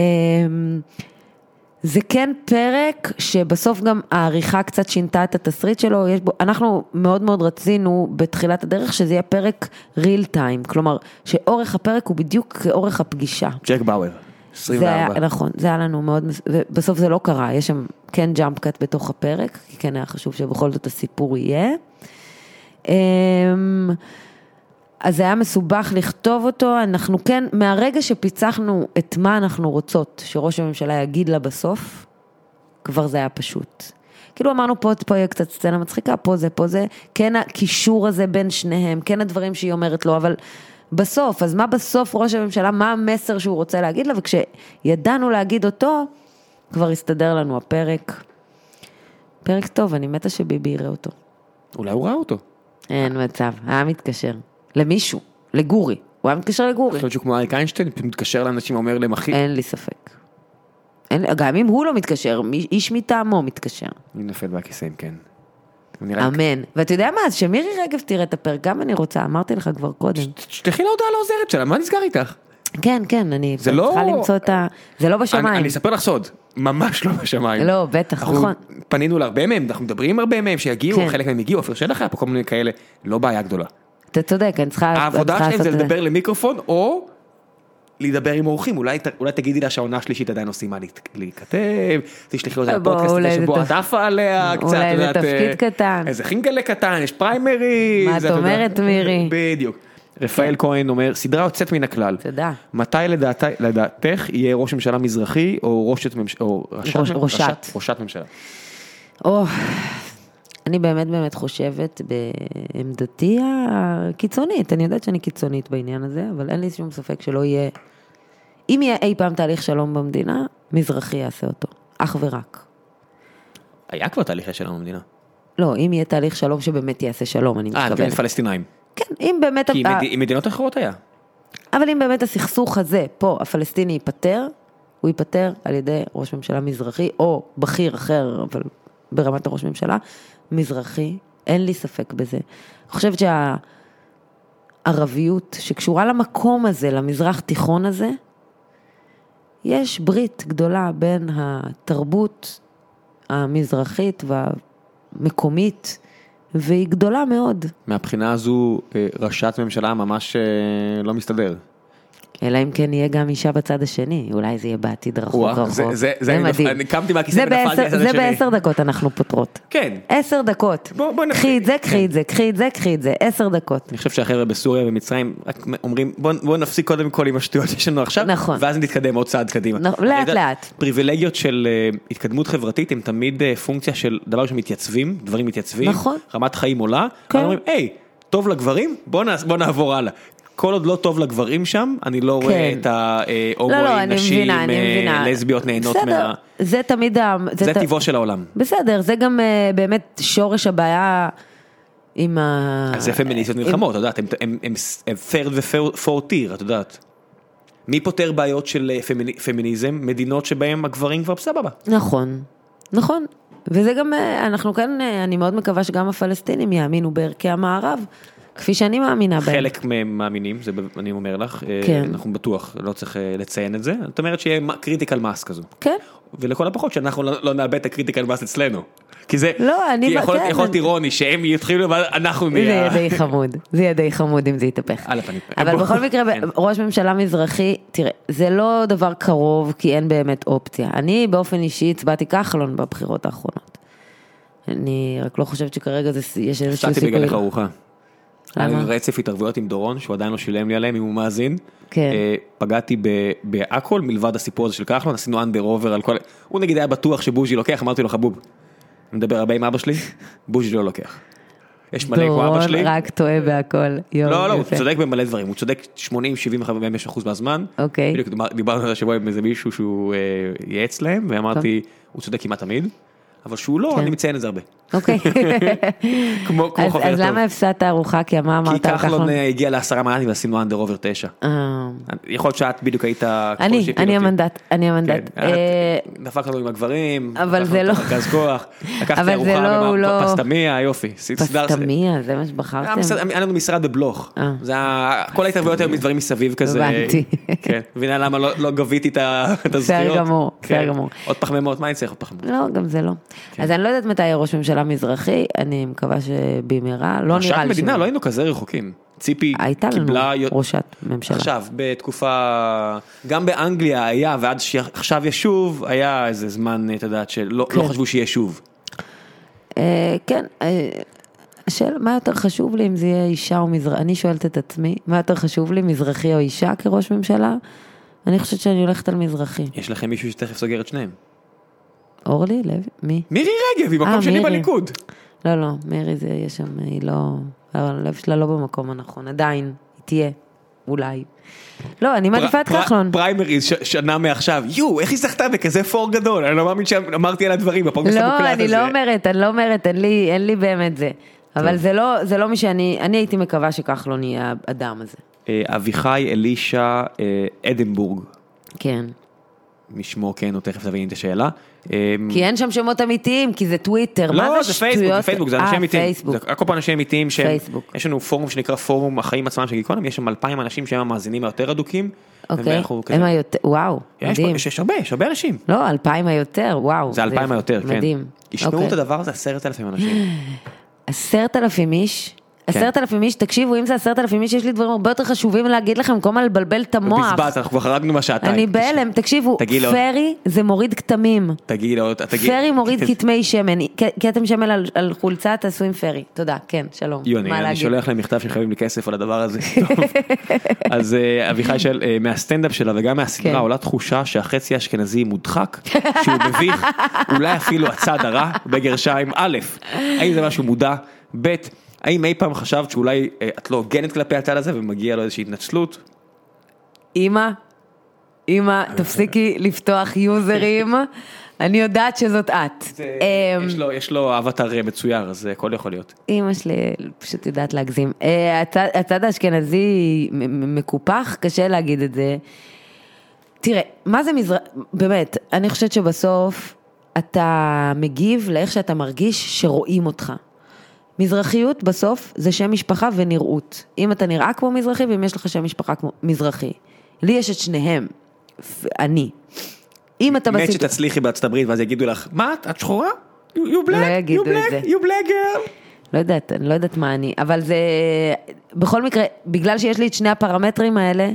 S3: זה כן פרק שבסוף גם העריכה קצת שינתה את התסריט שלו, יש בו, אנחנו מאוד מאוד רצינו בתחילת הדרך שזה יהיה פרק real time, כלומר שאורך הפרק הוא בדיוק כאורך הפגישה.
S1: ג'ק באואר,
S3: זה היה,
S1: 24.
S3: נכון, זה היה לנו מאוד, מס- ובסוף זה לא קרה, יש שם כן ג'אמפ קאט בתוך הפרק, כי כן היה חשוב שבכל זאת הסיפור יהיה. אמ, אז זה היה מסובך לכתוב אותו, אנחנו כן, מהרגע שפיצחנו את מה אנחנו רוצות שראש הממשלה יגיד לה בסוף, כבר זה היה פשוט. כאילו אמרנו פה, פה יהיה קצת סצנה מצחיקה, פה זה, פה זה, כן הקישור הזה בין שניהם, כן הדברים שהיא אומרת לו, אבל בסוף, אז מה בסוף ראש הממשלה, מה המסר שהוא רוצה להגיד לה, וכשידענו להגיד אותו, כבר הסתדר לנו הפרק. פרק טוב, אני מתה שביבי יראה אותו.
S1: אולי הוא ראה אותו.
S3: אין מצב, היה מתקשר. למישהו, לגורי, הוא היה מתקשר לגורי.
S1: יכול להיות שהוא כמו אריק איינשטיין, פתאום מתקשר לאנשים, אומר להם אחי,
S3: אין לי ספק. אין, גם אם הוא לא מתקשר, מי- איש מטעמו מתקשר.
S1: אני נופל מהכיסאים, כן. הוא נראה לי-
S3: אמן. ואתה יודע מה, אז שמירי רגב תראה את הפרק, גם אני רוצה, אמרתי לך כבר קודם.
S1: תשלחי לה הודעה לעוזרת שלה, מה נסגר איתך?
S3: כן, כן, אני
S1: זה לא-
S3: צריכה למצוא את ה... זה לא
S1: אני
S3: בשמיים.
S1: אני אספר לך סוד, ממש לא בשמיים.
S3: לא, בטח,
S1: אנחנו
S3: נכון.
S1: פנינו להרבה מהם, אנחנו מדברים עם הרבה מהם שיגיעו,
S3: כן.
S1: חלק מהם הגיעו, עופר שלח היה פה כל מיני כאלה, לא בעיה גדולה.
S3: אתה צודק, אני צריכה...
S1: העבודה
S3: אני צריכה
S1: שלהם זה
S3: לעשות את
S1: לדבר למיקרופון, או לדבר עם אורחים, אולי ת- אולי תגידי לה שהעונה השלישית עדיין עושים מה להת- להיכתב, תשלחי אותה
S3: בואו,
S1: לפודקאסט
S3: אולי
S1: הזה
S3: זה
S1: שבו
S3: תפ-
S1: את עפה עליה קצת,
S3: אולי
S1: את
S3: זה
S1: יודעת,
S3: תפקיד
S1: אה,
S3: קטן.
S1: איזה חינגלה קטן, יש פריימריז.
S3: מה את
S1: יודעת.
S3: אומרת, מירי? כן.
S1: בדיוק. רפאל כהן אומר, סדרה יוצאת מן הכלל.
S3: תודה.
S1: מתי לדעת, לדעתך יהיה ראש ממשלה מזרחי או ראשת ממשלה, או ראשת,
S3: ראש- ראשת.
S1: ראשת, ראשת ממשלה?
S3: או, אני באמת באמת חושבת בעמדתי הקיצונית, אני יודעת שאני קיצונית בעניין הזה, אבל אין לי שום ספק שלא יהיה... אם יהיה אי פעם תהליך שלום במדינה, מזרחי יעשה אותו, אך ורק.
S1: היה כבר תהליכי שלום במדינה.
S3: לא, אם יהיה תהליך שלום שבאמת יעשה שלום, אני
S1: אה, כן,
S3: מתכוונת.
S1: פלסטינאים.
S3: כן, אם באמת...
S1: כי
S3: ה-
S1: מד- עם מדינות אחרות היה.
S3: אבל אם באמת הסכסוך הזה, פה, הפלסטיני ייפתר, הוא ייפתר על ידי ראש ממשלה מזרחי, או בכיר אחר, אבל ברמת הראש ממשלה, מזרחי, אין לי ספק בזה. אני חושבת שהערביות שקשורה למקום הזה, למזרח תיכון הזה, יש ברית גדולה בין התרבות המזרחית והמקומית, והיא גדולה מאוד.
S1: מהבחינה הזו אה, ראשת ממשלה ממש אה, לא מסתדר.
S3: אלא אם כן יהיה גם אישה בצד השני, אולי זה יהיה בעתיד רחוק
S1: וואו,
S3: רחוק.
S1: זה- זה- זה אני נפ- אני קמתי מהכיסא
S3: זה
S1: ונפלתי
S3: בעשר-
S1: לצד
S3: זה
S1: השני.
S3: בעשר דקות אנחנו פותרות.
S1: כן.
S3: עשר דקות.
S1: בוא- בוא נתחיל. כן.
S3: קחי את זה, קחי את זה, קחי את זה, קחי את זה, עשר דקות.
S1: אני חושב שהחבר'ה בסוריה ומצרים רק אומרים בוא, בוא נפסיק קודם כל עם השטויות שיש לנו עכשיו,
S3: נכון.
S1: ואז נתקדם עוד צעד קדימה.
S3: נכון,
S1: אני
S3: לאט
S1: יודע,
S3: לאט.
S1: פריבילגיות של אה, התקדמות חברתית הם תמיד אה, פונקציה של דבר שמתייצבים, דברים מתייצבים,
S3: נכון.
S1: רמת חיים עולה,
S3: כן.
S1: כן. אומרים היי, טוב לגברים, בוא, נע, בוא נעבור הלאה. כל עוד לא טוב לגברים שם, אני לא רואה
S3: כן.
S1: את ההומואים,
S3: לא, לא, אני
S1: נשים,
S3: מבינה, אני
S1: אה,
S3: מבינה.
S1: לסביות נהנות
S3: בסדר,
S1: מה...
S3: זה תמיד ה...
S1: זה
S3: ת-
S1: טבעו של העולם.
S3: בסדר, זה גם אה, באמת שורש הבעיה עם ה...
S1: אז זה פמיניסטיות
S3: עם-
S1: נלחמות, את יודעת, הם- הם- הם הם third ו-fourth tier, את יודעת. מי פותר בעיות של אה, פמיני- פמיניזם? מדינות שבהן הגברים כבר סבבה.
S3: נכון, נכון. וזה גם, אה, אנחנו כאן, אה, אני מאוד מקווה שגם הפלסטינים יאמינו בערכי המערב, כפי שאני מאמינה בהם.
S1: חלק מהם מאמינים, זה ב- אני אומר לך, אה,
S3: כן.
S1: אנחנו בטוח, לא צריך אה, לציין את זה. זאת אומרת שיהיה קריטיקל מס כזו.
S3: כן.
S1: ולכל הפחות שאנחנו לא לא נאבד את הקריטיקל מס אצלנו. כי זה,
S3: לא, אני-
S1: כי יכול
S3: כן,
S1: יכול להיות
S3: אני-
S1: אירוני שהם יתחילו ואנחנו
S3: זה יהיה
S1: נהיה...
S3: די חמוד, זה יהיה די חמוד אם זה יתהפך.
S1: על הפנים.
S3: אבל
S1: בוא.
S3: בכל מקרה,
S1: כן.
S3: ראש ממשלה מזרחי, תראה, זה לא דבר קרוב, כי אין באמת אופציה. אני באופן אישי הצבעתי כחלון בבחירות האחרונות. אני רק לא חושבת שכרגע זה- יש איזשהו
S1: הפסדתי
S3: סיכוי.
S1: בגללך ארוחה. היה לי
S3: למה?
S1: רצף התערבויות עם דורון שהוא עדיין לא שילם לי עליהם אם הוא מאזין.
S3: כן.
S1: אה, פגעתי ב- בהכל מלבד הסיפור הזה של כחלון עשינו אנדר עובר על כל הוא נגיד היה בטוח שבוז'י לוקח אמרתי לו חבוב. אני מדבר הרבה עם אבא שלי בוז'י לא לוקח. יש מלא כמו אבא
S3: דורון
S1: שלי.
S3: רק טועה בהכל. יואו,
S1: לא לא הוא
S3: יפה.
S1: צודק במלא דברים הוא צודק 80 75 אחוז מהזמן.
S3: אוקיי.
S1: בדיוק דיבר- דיברנו על זה שבוע עם איזה מישהו שהוא אה, ייעץ להם ואמרתי הוא צודק כמעט תמיד. אבל שהוא לא
S3: כן.
S1: אני מציין את זה הרבה.
S3: אוקיי.
S1: כמו כמו
S3: אז-
S1: חבר
S3: אז
S1: טוב.
S3: למה הפסדת ארוחה? כי מה
S1: כי
S3: אמרת על
S1: כחלון
S3: כחלון?
S1: אה, הגיע לעשרה מנדטים ועשינו אנדר אובר תשע.
S3: אה,
S1: יכול להיות שאת בדיוק היית... כל
S3: אני,
S1: שהפיל
S3: אני
S1: אותי.
S3: המנדט, אני המנדט.
S1: כן,
S3: אה,
S1: את דפקת לנו עם הגברים,
S3: אבל
S1: דפקנו
S3: זה
S1: את
S3: לא-
S1: ארגז כוח,
S3: אבל
S1: לקחתי
S3: זה
S1: ארוחה
S3: לא-
S1: במה-
S3: הוא לא-
S1: פסטמיה, יופי, סידרתי.
S3: פסטמיה, זה מה
S1: היה
S3: שבחרתם?
S1: משרד- היה לנו משרד בבלוך,
S3: אה.
S1: זה היה- כל ההתערבויות היו מדברים מסביב כזה,
S3: הבנתי.
S1: כן, מבינה למה לא לא גביתי את ה- את הזכויות,
S3: גמור, בסדר
S1: כן.
S3: גמור.
S1: עוד פחמימות, מה אני צריך עוד פחמימות?
S3: לא, גם זה לא.
S1: כן.
S3: אז אני לא יודעת מתי יהיה ראש ממשלה מזרחי, אני מקווה שבמהרה, לא
S1: ראשת
S3: נראה לי
S1: מדינה
S3: שהוא-
S1: לא היינו כזה רחוקים, ציפי
S3: הייתה לנו
S1: קיבלה, יו-
S3: ראשת ממשלה.
S1: עכשיו בתקופה, גם באנגליה היה ועד שעכשיו יש שוב, היה איזה זמן, את יודעת, שלא לא
S3: כן.
S1: חשבו שיהיה שוב.
S3: אה, כן, אה, השאלה, מה יותר חשוב לי אם זה יהיה אישה או מזרחי? אני שואלת את עצמי, מה יותר חשוב לי, מזרחי או אישה כראש ממשלה? אני חושבת שאני הולכת על מזרחי.
S1: יש לכם מישהו שתכף סוגר את שניהם.
S3: אורלי לוי? מי?
S1: מירי רגב, היא
S3: אה,
S1: מקום שני
S3: מירי.
S1: בליכוד.
S3: לא, לא, מירי זה יהיה שם, היא לא... הלב שלה לא במקום הנכון, עדיין, היא תהיה, אולי. לא, אני מעדיפה את
S1: פר-
S3: כחלון.
S1: פריימריז ש- שנה מעכשיו, יואו, איך היא זכתה בכזה פור גדול, אני לא מאמין שאמרתי על הדברים בפודקאסט המוקלט
S3: לא,
S1: הזה.
S3: אני לא אומרת, אני לא אומרת, אין לי, אין לי באמת זה. אבל זה לא, זה לא מי שאני, אני הייתי מקווה שכחלון יהיה האדם הזה.
S1: אה, אביחי אלישע אה, אדנבורג,
S3: כן.
S1: משמו כן, או תכף תביני את השאלה. אה,
S3: כי אין שם שמות אמיתיים, כי זה טוויטר, מה
S1: לא,
S3: זה
S1: זה
S3: שטויות?
S1: פייסבוק, זה פייסבוק, זה אנשים
S3: אה,
S1: אמיתיים.
S3: פייסבוק.
S1: זה הכל פה אנשים אמיתיים שהם,
S3: פייסבוק.
S1: יש לנו פורום שנקרא פורום החיים עצמם של גיקונומי, יש שם 2,000 אנשים שהם המאזינים היותר אדוקים.
S3: אוקיי.
S1: ואנחנו כזה-
S3: הם היותר, וואו,
S1: יש
S3: מדהים.
S1: יש- יש הרבה, יש הרבה אנשים.
S3: לא, אלפיים היותר, וואו.
S1: זה 2,000 היותר, כן.
S3: מדהים.
S1: ישמעו
S3: אוקיי.
S1: את הדבר הזה 10,000 אנשים.
S3: עשרת אלפים
S1: כן.
S3: איש? עשרת אלפים איש, תקשיבו, אם זה עשרת אלפים איש, יש לי דברים הרבה יותר חשובים להגיד לכם, כל הזמן לבלבל את המוח.
S1: בזבז, אנחנו כבר חרגנו מהשעתיים.
S3: אני בהלם, תקשיבו,
S1: תגידי לו.
S3: פרי זה מוריד כתמים.
S1: תגידי לו, תגידי.
S3: פרי מוריד כתמי שמן, כ- כתם שמן על- על חולצה, תעשו עם פרי. תודה, כן, שלום.
S1: יוני,
S3: מה
S1: אני
S3: להגיד?
S1: שולח להם מכתב שחייבים לי כסף על הדבר הזה. טוב. אז אה, אביחי של, אה, מהסטנדאפ שלה וגם
S3: כן.
S1: מהסדרה עולה תחושה שהחצי האשכנזי מודחק, שהוא מביך, אולי אפילו הצד הרע, בגרשיים, א', האם זה משהו מודע, ב', האם אי פעם חשבת שאולי אה, את לא הוגנת כלפי הצד הזה ומגיע לו איזושהי התנצלות?
S3: אימא, אימא, תפסיקי לפתוח יוזרים, אני יודעת שזאת את.
S1: זה-
S3: אמ,
S1: יש לו- יש לו אבטר אה, מצויר, אז אה, הכל יכול להיות.
S3: אימא שלי פשוט יודעת להגזים. אה, הצד, הצד האשכנזי מ- מ- מקופח, קשה להגיד את זה. תראה, מה זה מזרח... באמת, אני חושבת שבסוף אתה מגיב לאיך שאתה מרגיש שרואים אותך. מזרחיות בסוף זה שם משפחה ונראות. אם אתה נראה כמו מזרחי ואם יש לך שם משפחה כמו מזרחי. לי יש את שניהם, ו- אני. אם אתה
S1: מת
S3: בסיטואציה...
S1: שתצליחי בארצות הברית ואז יגידו לך, מה את, את שחורה? You you
S3: לא
S1: black,
S3: יגידו
S1: you
S3: את זה.
S1: black, you black girl.
S3: לא יודעת, אני לא יודעת מה אני, אבל זה... בכל מקרה, בגלל שיש לי את שני הפרמטרים האלה,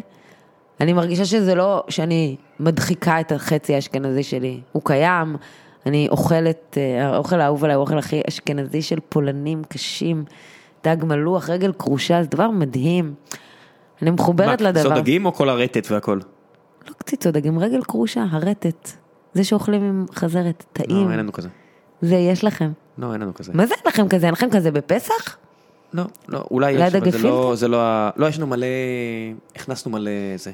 S3: אני מרגישה שזה לא שאני מדחיקה את החצי האשכנזי שלי. הוא קיים, אני אוכלת, אה, האוכל האהוב עליי הוא האוכל הכי אשכנזי של פולנים קשים, דג מלוח, רגל כרושה, זה דבר מדהים. אני מחוברת
S1: מה,
S3: לדבר.
S1: זאת דגים או כל הרטט והכל?
S3: לא קציצות דגים, רגל כרושה, הרטט. זה שאוכלים עם חזרת, טעים.
S1: לא, אין לנו כזה.
S3: זה יש לכם.
S1: לא, אין לנו כזה.
S3: מה זה אין לכם כזה? אין לכם כזה בפסח?
S1: לא, לא, אולי
S3: ליד
S1: יש, אבל זה לא,
S3: הגפילטע?
S1: זה לא, ה- לא, יש לנו מלא, הכנסנו מלא זה.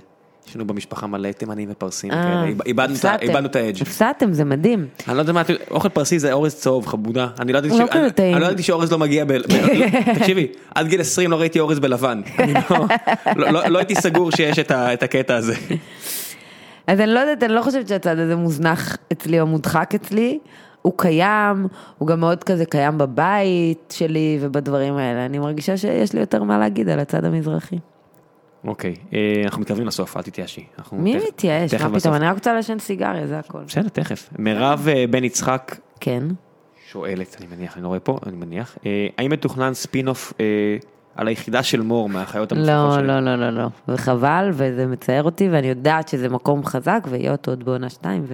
S1: יש לנו במשפחה מלא תימנים ופרסים,
S3: אה,
S1: כאלה, איב- כאילו, כן, איבדנו את ה-
S3: הפסדתם.
S1: איבדנו את האדג'.
S3: הפסדתם, זה מדהים.
S1: אני לא יודע מה, את- אוכל פרסי זה אורז צהוב, חבודה. אני לא ידעתי
S3: לא
S1: ש-
S3: כזה
S1: אני-
S3: טעים.
S1: אני לא ידעתי שאורז לא מגיע ב... ב- תקשיבי, עד גיל 20 לא ראיתי אורז בלבן. אני לא- לא- לא לא הייתי סגור שיש את ה- את הקטע הזה.
S3: אז אני לא יודעת, אני לא חושבת שהצד הזה מוזנח אצלי או מודחק אצלי. הוא קיים, הוא גם מאוד כזה קיים בבית שלי ובדברים האלה. אני מרגישה שיש לי יותר מה להגיד על הצד המזרחי.
S1: אוקיי, אה, אנחנו מתקרבים לסוף, אל תתייאשי. אנחנו
S3: מי
S1: תכף-
S3: מתייאש?
S1: תכף
S3: מה
S1: בסוף.
S3: פתאום? אני רק רוצה לעשן סיגריה, זה הכל.
S1: בסדר, תכף. מירב אה, בן יצחק
S3: כן.
S1: שואלת, אני מניח, אני לא רואה פה, אני מניח, אה, האם מתוכנן ספינוף אה, על היחידה של מור מהחיות המוצלחות
S3: לא,
S1: שלי?
S3: לא, לא, לא, לא. וחבל, וזה מצער אותי, ואני יודעת שזה מקום חזק, ויהיה אותו עוד בעונה שתיים,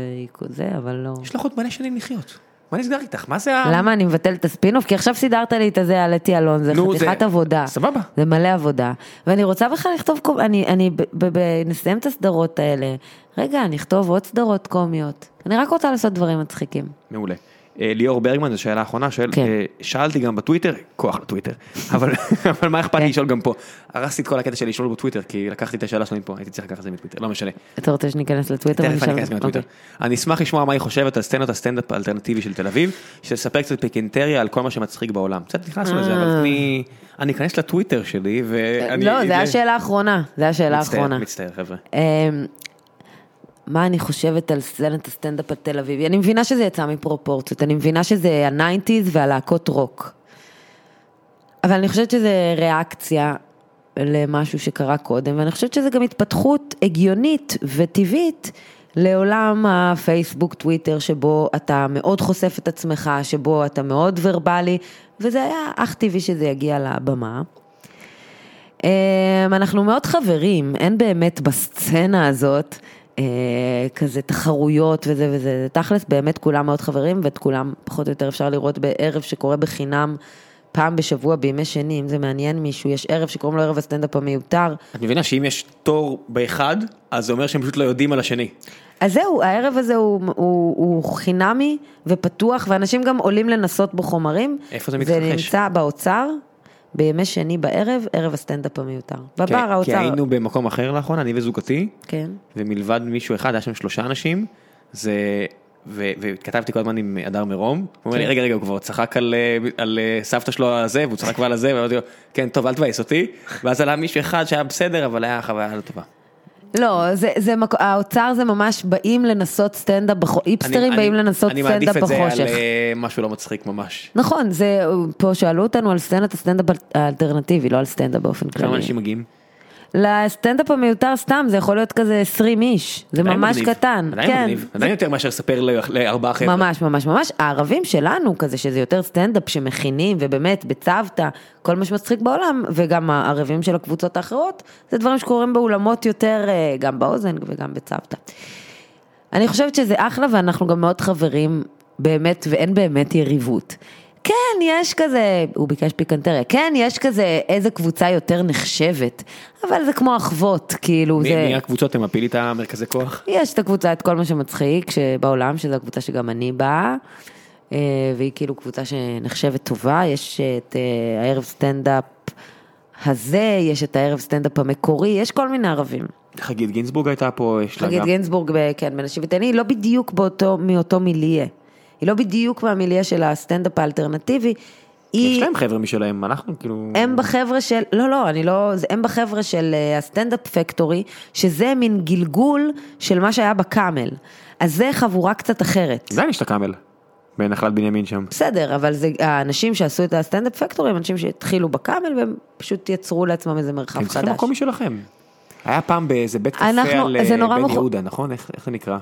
S3: וזה, אבל לא.
S1: יש לך עוד מלא שנים לחיות. מה נסגר איתך? מה זה ה...
S3: למה אני מבטלת את הספינוף? כי עכשיו סידרת לי את הזה על אתי אלון, זה
S1: נו,
S3: חתיכת
S1: זה-
S3: עבודה.
S1: סבבה.
S3: זה מלא עבודה. ואני רוצה בכלל לכתוב, קומ- אני, אני, ב- ב- ב- נסיים את הסדרות האלה. רגע, נכתוב עוד סדרות קומיות. אני רק רוצה לעשות דברים מצחיקים.
S1: מעולה. אה, ליאור ברגמן, זו שאלה אחרונה, שואל,
S3: כן.
S1: אה, שאלתי גם בטוויטר, כוח לטוויטר, אבל, אבל מה אכפת לי
S3: כן.
S1: לשאול גם פה? הרסתי את כל הקטע של לשאול בטוויטר, כי לקחתי את השאלה שלו מפה, הייתי צריך לקחת את זה מטוויטר, לא משנה.
S3: אתה רוצה שניכנס לטוויטר
S1: תכף אני
S3: ונשאל?
S1: אכנס מהטוויטר.
S3: אוקיי.
S1: אני אשמח לשמוע מה היא חושבת על סצנות הסטנדאפ האלטרנטיבי של תל אביב, שתספר קצת פיקנטריה על כל מה שמצחיק בעולם. קצת נכנסנו לזה, אבל
S3: אה.
S1: אני אני אכנס לטוויטר שלי, ואני...
S3: לא, זו השאלה האחרונה, זו השאלה
S1: מצטער,
S3: האחרונה.
S1: מצטער, חבר'ה.
S3: אמ, מה אני חושבת על סצנת הסטנדאפ התל אביבי? אני מבינה שזה יצא מפרופורציות, אני מבינה שזה הניינטיז והלהקות רוק. אבל אני חושבת שזה ריאקציה למשהו שקרה קודם, ואני חושבת שזה גם התפתחות הגיונית וטבעית לעולם הפייסבוק, טוויטר, שבו אתה מאוד חושף את עצמך, שבו אתה מאוד ורבלי, וזה היה אך טבעי שזה יגיע לבמה. אמ, אנחנו מאוד חברים, אין באמת בסצנה הזאת אה, כזה תחרויות וזה וזה, זה תכלס באמת כולם מאוד חברים ואת כולם פחות או יותר אפשר לראות בערב שקורה בחינם פעם בשבוע בימי שני, אם זה מעניין מישהו, יש ערב שקוראים לו ערב הסטנדאפ המיותר.
S1: את מבינה שאם יש תור באחד, אז זה אומר שהם פשוט לא יודעים על השני.
S3: אז זהו, הערב הזה הוא, הוא, הוא חינמי ופתוח ואנשים גם עולים לנסות בו חומרים.
S1: איפה זה
S3: זה
S1: מתרחש?
S3: נמצא באוצר. בימי שני בערב, ערב הסטנדאפ המיותר. בבר
S1: כי-
S3: האוצר.
S1: כי היינו במקום אחר לאחרונה, אני וזוגתי,
S3: כן.
S1: ומלבד מישהו אחד, היה שם שלושה אנשים, זה... ו- והתכתבתי כל הזמן עם הדר מרום, הוא אומר לי
S3: כן.
S1: רגע רגע הוא כבר צחק על, אה, על אה, סבתא שלו על זה והוא צחק כבר על זה ואמרתי לו כן טוב אל תבאס אותי ואז עלה מישהו אחד שהיה בסדר אבל היה חוויה לא טובה.
S3: לא, זה, זה, מק- האוצר זה ממש באים לנסות סטנדאפ, בחו- היפסטרים באים לנסות
S1: אני מעדיף
S3: סטנדאפ
S1: את זה על
S3: בחושך.
S1: אה, משהו לא מצחיק ממש.
S3: נכון, זה, פה שאלו אותנו על סצנת הסטנדאפ האלטרנטיבי, לא על סטנדאפ באופן
S1: כמה
S3: כללי.
S1: אנשים מגיעים?
S3: לסטנדאפ המיותר סתם, זה יכול להיות כזה 20 איש, זה
S1: עדיין
S3: ממש
S1: מגניב.
S3: קטן.
S1: עדיין
S3: כן.
S1: מגניב. עדיין יותר מאשר לספר ל- לארבעה חבר'ה.
S3: ממש ממש ממש, הערבים שלנו כזה שזה יותר סטנדאפ שמכינים ובאמת בצוותא, כל מה שמצחיק בעולם וגם הערבים של הקבוצות האחרות, זה דברים שקורים באולמות יותר אה, גם באוזן וגם בצוותא. אני חושבת שזה אחלה ואנחנו גם מאוד חברים באמת ואין באמת יריבות. כן, יש כזה, הוא ביקש פיקנטריה, כן, יש כזה איזה קבוצה יותר נחשבת, אבל זה כמו אחוות, כאילו
S1: מי
S3: זה...
S1: מי הקבוצות הם מפיל את המרכזי כוח?
S3: יש את הקבוצה, את כל מה שמצחיק שבעולם, שזו הקבוצה שגם אני באה, אה, והיא כאילו קבוצה שנחשבת טובה, יש את אה, הערב סטנדאפ הזה, יש את הערב סטנדאפ המקורי, יש כל מיני ערבים.
S1: חגית גינזבורג הייתה פה, יש לה
S3: חגית
S1: גם.
S3: גינזבורג, ב- כן, בנשים ותן, היא לא בדיוק באותו, מאותו מיליה. היא לא בדיוק מהמיליה של הסטנדאפ האלטרנטיבי.
S1: יש
S3: היא,
S1: להם חבר'ה משלהם, אנחנו כאילו...
S3: הם בחבר'ה של, לא, לא, אני לא, זה- הם בחבר'ה של אה, הסטנדאפ פקטורי, שזה מין גלגול של מה שהיה בקאמל. אז זה חבורה קצת אחרת.
S1: עדיין יש את הקאמל. בנחלת בנימין שם.
S3: בסדר, אבל זה, האנשים שעשו את הסטנדאפ פקטורי הם אנשים שהתחילו בקאמל והם פשוט יצרו לעצמם איזה מרחב
S1: הם צריכים
S3: חדש.
S1: מקום משלכם. היה פעם באיזה בית קפה
S3: אנחנו-
S1: על אה,
S3: זה נורא
S1: בן
S3: מכו-
S1: יהודה, נכון? איך איך זה נקרא?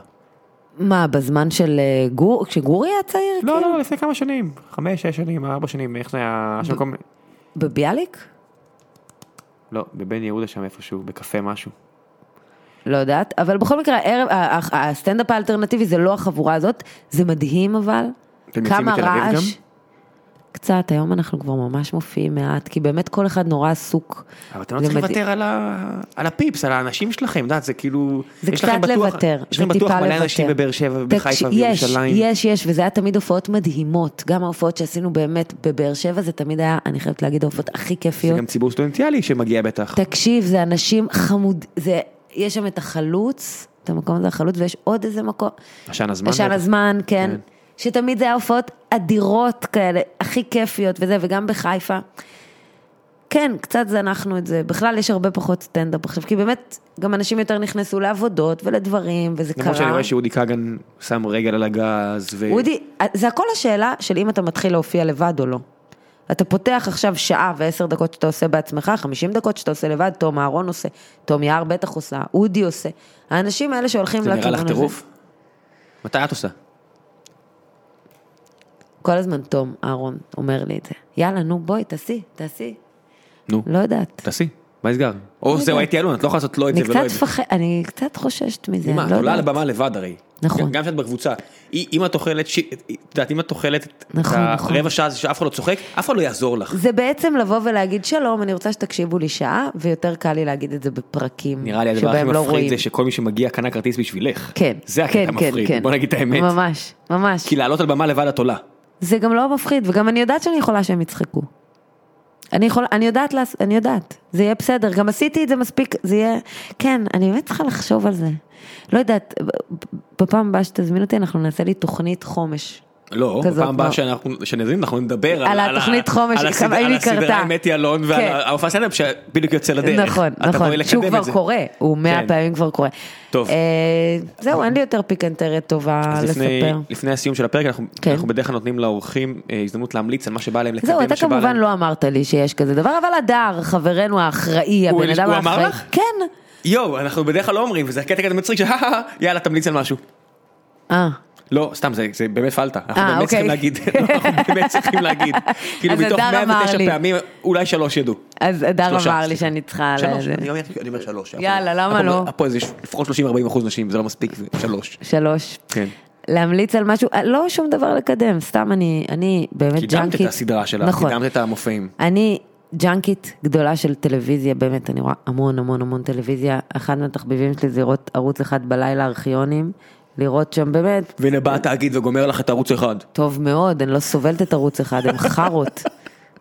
S3: מה, בזמן של אה, גור, כשגורי היה צעיר?
S1: לא,
S3: כאילו?
S1: לא, לא, לפני כמה שנים. חמש, שש שנים, ארבע שנים, איך זה היה? היה שם כל מיני...
S3: כן? בביאליק?
S1: לא, בבן יהודה שם איפשהו, בקפה משהו.
S3: לא יודעת, אבל בכל מקרה, הערב, ה- ה- הסטנדאפ האלטרנטיבי זה לא החבורה הזאת, זה מדהים אבל,
S1: אתם יוצאים
S3: כמה
S1: מתל אביב
S3: רעש.
S1: גם?
S3: קצת, היום אנחנו כבר ממש מופיעים מעט, כי באמת כל אחד נורא עסוק.
S1: אבל אתם לא
S3: זה
S1: צריכים
S3: מדהים.
S1: לוותר על ה- על הפיפס, על האנשים שלכם, את יודעת, זה כאילו...
S3: זה
S1: יש
S3: קצת
S1: לכם בטוח-
S3: לוותר,
S1: יש
S3: זה
S1: לכם בטוח
S3: טיפה
S1: מלא
S3: לוותר.
S1: אנשים בבאר שבע,
S3: תקש-
S1: ובחיפה, ובירושלים.
S3: יש, יש, יש, וזה היה תמיד הופעות מדהימות. גם ההופעות שעשינו באמת בבאר שבע, זה תמיד היה, אני חייבת להגיד, ההופעות הכי
S1: זה
S3: כיפיות.
S1: גם ציבור סטודנטיאלי שמגיע בטח.
S3: תקשיב, זה אנשים חמוד, זה, יש שם את החלוץ, את המקום הזה החלוץ, ויש עוד איזה מקום.
S1: עשן הזמן.
S3: ישן הזמן, כן.
S1: כן.
S3: שתמיד זה היה הופעות אדירות כאלה, הכי כיפיות וזה, וגם בחיפה. כן, קצת זנחנו את זה. בכלל יש הרבה פחות סטנדאפ עכשיו, כי באמת, גם אנשים יותר נכנסו לעבודות ולדברים, וזה קרה.
S1: למרות שאני רואה שאודי כגן שם רגל על הגז, ו...
S3: אודי, זה הכל השאלה של אם אתה מתחיל להופיע לבד או לא. אתה פותח עכשיו שעה ועשר דקות שאתה עושה בעצמך, 50 דקות שאתה עושה לבד, תום אהרון עושה, תום יער בטח עושה, אודי עושה. האנשים האלה שהולכים
S1: זה
S3: לכיוון הזה.
S1: נראה לך טירוף? מתי את עושה?
S3: כל הזמן תום אהרון אומר לי את זה. יאללה, נו, בואי, תעשי, תעשי.
S1: נו.
S3: לא יודעת.
S1: תעשי.
S6: מה נסגר? או זהו, הייתי אלון, את לא יכולה לעשות לא את זה
S3: אני
S6: ולא
S3: קצת
S6: את זה.
S3: פחד, אני קצת חוששת מזה,
S1: מה,
S3: אני
S1: את
S3: לא
S1: עולה על
S3: יודעת.
S1: הבמה לבד הרי.
S3: נכון.
S1: גם- גם כשאת בקבוצה. אי- אם את אוכלת, ש- את יודעת, אם את אוכלת את
S3: נכון, נכון.
S1: הרבע שעה שאף אחד לא צוחק, אף אחד לא יעזור לך.
S3: זה בעצם לבוא ולהגיד שלום, אני רוצה שתקשיבו לי שעה, ויותר קל לי להגיד את זה בפרקים
S1: נראה לי הדבר הכי
S3: שבהם לא
S1: מפחיד
S3: רואים.
S1: זה שכל מי שמגיע קנה כרטיס בשבילך.
S3: כן,
S1: זה הקטע
S3: כן, כן,
S1: המפחיד,
S3: כן.
S1: בוא נגיד את האמת.
S3: ממש, ממש.
S1: כי לעלות על במה לבד את עולה.
S3: זה גם לא מפחיד, וגם אני יודעת שאני יכולה שהם יצחקו. אני, יכול, אני יודעת, לעש, אני יודעת, זה יהיה בסדר, גם עשיתי את זה מספיק, זה יהיה, כן, אני באמת צריכה לחשוב על זה. לא יודעת, ב- בפעם הבאה שתזמין אותי, אנחנו נעשה לי תוכנית חומש.
S1: לא,
S3: כזאת,
S1: בפעם הבאה
S3: לא.
S1: שאנחנו- שנזמין אנחנו נדבר
S3: על התוכנית חומש,
S1: על
S3: כמה-
S1: הסדרה-
S3: האם
S1: על
S3: היא קרתה.
S1: הסדרה עם אתי אלון ועל
S3: כן.
S1: ההופעה סטנדאפ שבדיוק יוצא לדרך.
S3: נכון,
S1: את תבואי
S3: נכון,
S1: לקדם
S3: שהוא
S1: את
S3: כבר
S1: זה.
S3: קורה, הוא מאה
S1: כן.
S3: פעמים כבר קורה.
S1: טוב.
S3: אה, זהו, אין לי יותר פיקנטרת טובה
S1: אז לפני,
S3: אה, לספר.
S1: לפני הסיום של הפרק אנחנו,
S3: כן.
S1: אנחנו בדרך כלל נותנים לאורחים אה, הזדמנות להמליץ על מה שבא להם לקדם.
S3: זהו, אתה
S1: שבא
S3: כמובן
S1: להם.
S3: לא אמרת לי שיש כזה דבר, אבל הדר, חברנו האחראי,
S1: הוא-
S3: הבן אדם
S1: הוא אמר
S3: האחראי.
S1: לך?
S3: כן.
S1: יואו, אנחנו בדרך כלל לא אומרים, וזה הקטע כזה מצחיק, שהא, יאללה תמליץ על משהו.
S3: אה.
S1: לא, סתם, זה, זה באמת פלטה, אנחנו
S3: אה,
S1: באמת
S3: אוקיי.
S1: צריכים להגיד, לא, אנחנו באמת צריכים להגיד. כאילו
S3: אז
S1: מתוך
S3: הדר אמר
S1: 109
S3: לי.
S1: פעמים, אולי שלוש ידעו.
S3: אז הדר
S1: שלושה,
S3: אמר לי
S1: סליחה.
S3: שאני צריכה...
S1: שלוש,
S3: לזה.
S1: אני אומר- אני אומר שלוש.
S3: יאללה,
S1: אנחנו-
S3: למה
S1: אנחנו-
S3: לא?
S1: פה איזה ש- לפחות 30-40 אחוז נשים, זה לא מספיק, זה שלוש.
S3: שלוש.
S1: כן.
S3: להמליץ על משהו, אה, לא שום דבר לקדם, סתם אני, אני באמת ג'אנקית.
S1: קידמת את הסדרה שלה,
S3: נכון.
S1: קידמת את המופעים.
S3: אני ג'אנקית גדולה של טלוויזיה, באמת, אני רואה המון המון המון טלוויזיה. אחד מהתחביבים שלי זה לראות ערוץ אחד בלילה ארכיונים, לראות שם באמת
S1: והנה בא התאגיד וגומר לך את ערוץ אחד.
S3: טוב מאוד, אני לא סובלת את ערוץ אחד, הם חארות.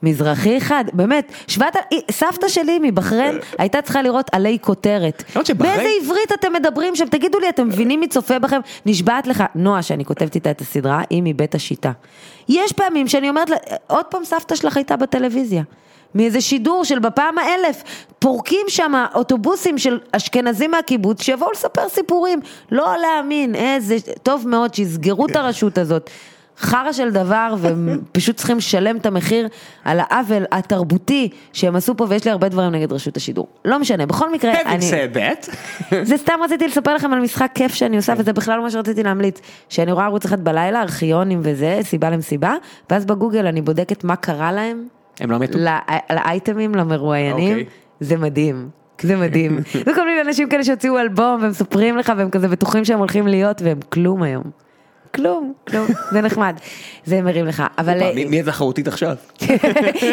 S3: מזרחי אחד, באמת, שבעת, אי, סבתא שלי מבחריין הייתה צריכה לראות עלי כותרת.
S1: כן. למרות שבחריין-
S3: באיזה עברית אתם מדברים שם? תגידו לי, אתם מבינים מי צופה בכם? נשבעת לך, נועה, שאני כותבת איתה את הסדרה, היא מבית השיטה. יש פעמים שאני אומרת לה, עוד פעם סבתא שלך הייתה בטלוויזיה. מאיזה שידור של בפעם האלף, פורקים שם אוטובוסים של אשכנזים מהקיבוץ שיבואו לספר סיפורים. לא להאמין, איזה, טוב מאוד, שיסגרו את הרשות הזאת. חרא של דבר, והם פשוט צריכים לשלם את המחיר על העוול התרבותי שהם עשו פה, ויש לי הרבה דברים נגד רשות השידור. לא משנה, בכל מקרה,
S1: Having
S3: אני...
S1: said that.
S3: זה סתם רציתי לספר לכם על משחק כיף שאני
S1: כן.
S3: עושה, וזה בכלל לא מה שרציתי להמליץ. שאני רואה ערוץ אחד בלילה, ארכיונים וזה, סיבה למסיבה, ואז בגוגל אני בודקת מה קרה להם,
S1: הם לא מתו.
S3: ל- אה, לאייטמים, למרואיינים,
S1: אוקיי.
S3: זה מדהים. זה מדהים. זה כל מיני אנשים כאלה שהוציאו אלבום והם מספרים לך והם כזה בטוחים שהם הולכים להיות והם כלום היום. כלום, כלום, זה נחמד. זה מרים לך, אבל אה,
S1: מה, מי- מי התחרותית עכשיו?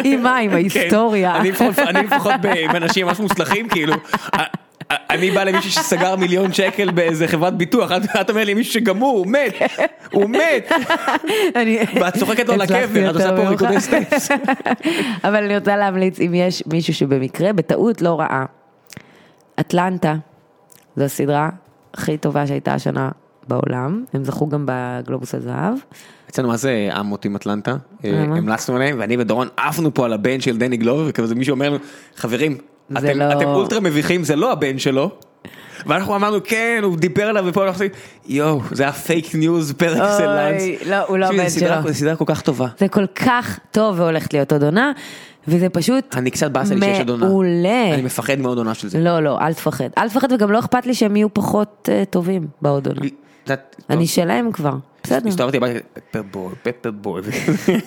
S3: עם מה, עם ההיסטוריה.
S1: כן, אני לפחות- אני לפחות ב- עם אנשים ממש מוצלחים, כאילו. א- א- אני בא למישהו שסגר מיליון שקל באיזה חברת ביטוח, את- את אומרת לי מישהו שגמור, הוא מת, הוא מת,
S3: אני-
S1: ואת צוחקת לו
S3: הצלחתי
S1: לקבר, את
S3: יותר
S1: עושה פה
S3: ממך.
S1: ריקודי סטייפס.
S3: אבל אני רוצה להמליץ, אם יש מישהו שבמקרה, בטעות לא ראה. אטלנטה, זו הסדרה הכי טובה שהייתה השנה בעולם, הם זכו גם בגלובוס הזהב.
S1: אצלנו מה זה אמות עם אטלנטה? אה,
S3: למה?
S1: המלצנו עליהם, ואני ודורון עפנו פה על הבן של דני גלובר, וכזה מישהו אומר לנו, חברים,
S3: זה
S1: אתם
S3: לא-
S1: אתם אולטרה מביכים, זה לא הבן שלו. ואנחנו אמרנו כן, הוא דיבר עליו ופה אנחנו עושים, יואו, זה היה פייק ניוז פר אקסלנס.
S3: לא, הוא לא
S1: תקשיבי,
S3: הבן
S1: זו סדרה-
S3: שלו.
S1: זו סדרה כל כך טובה.
S3: זה כל כך טוב והולכת להיות עוד עונה, וזה פשוט
S1: אני קצת באסה לי שיש עוד עונה.
S3: מעולה.
S1: אני מפחד מעוד עונה של זה.
S3: לא, לא, אל תפחד. אל תפחד וגם לא אכפת לי שהם יהיו פחות אה, טובים בעוד עונה.
S1: את יודעת, לא.
S3: אני שלהם כבר, בסדר,
S1: הסתובבתי הביתה, פפרבוי, פפרבוי.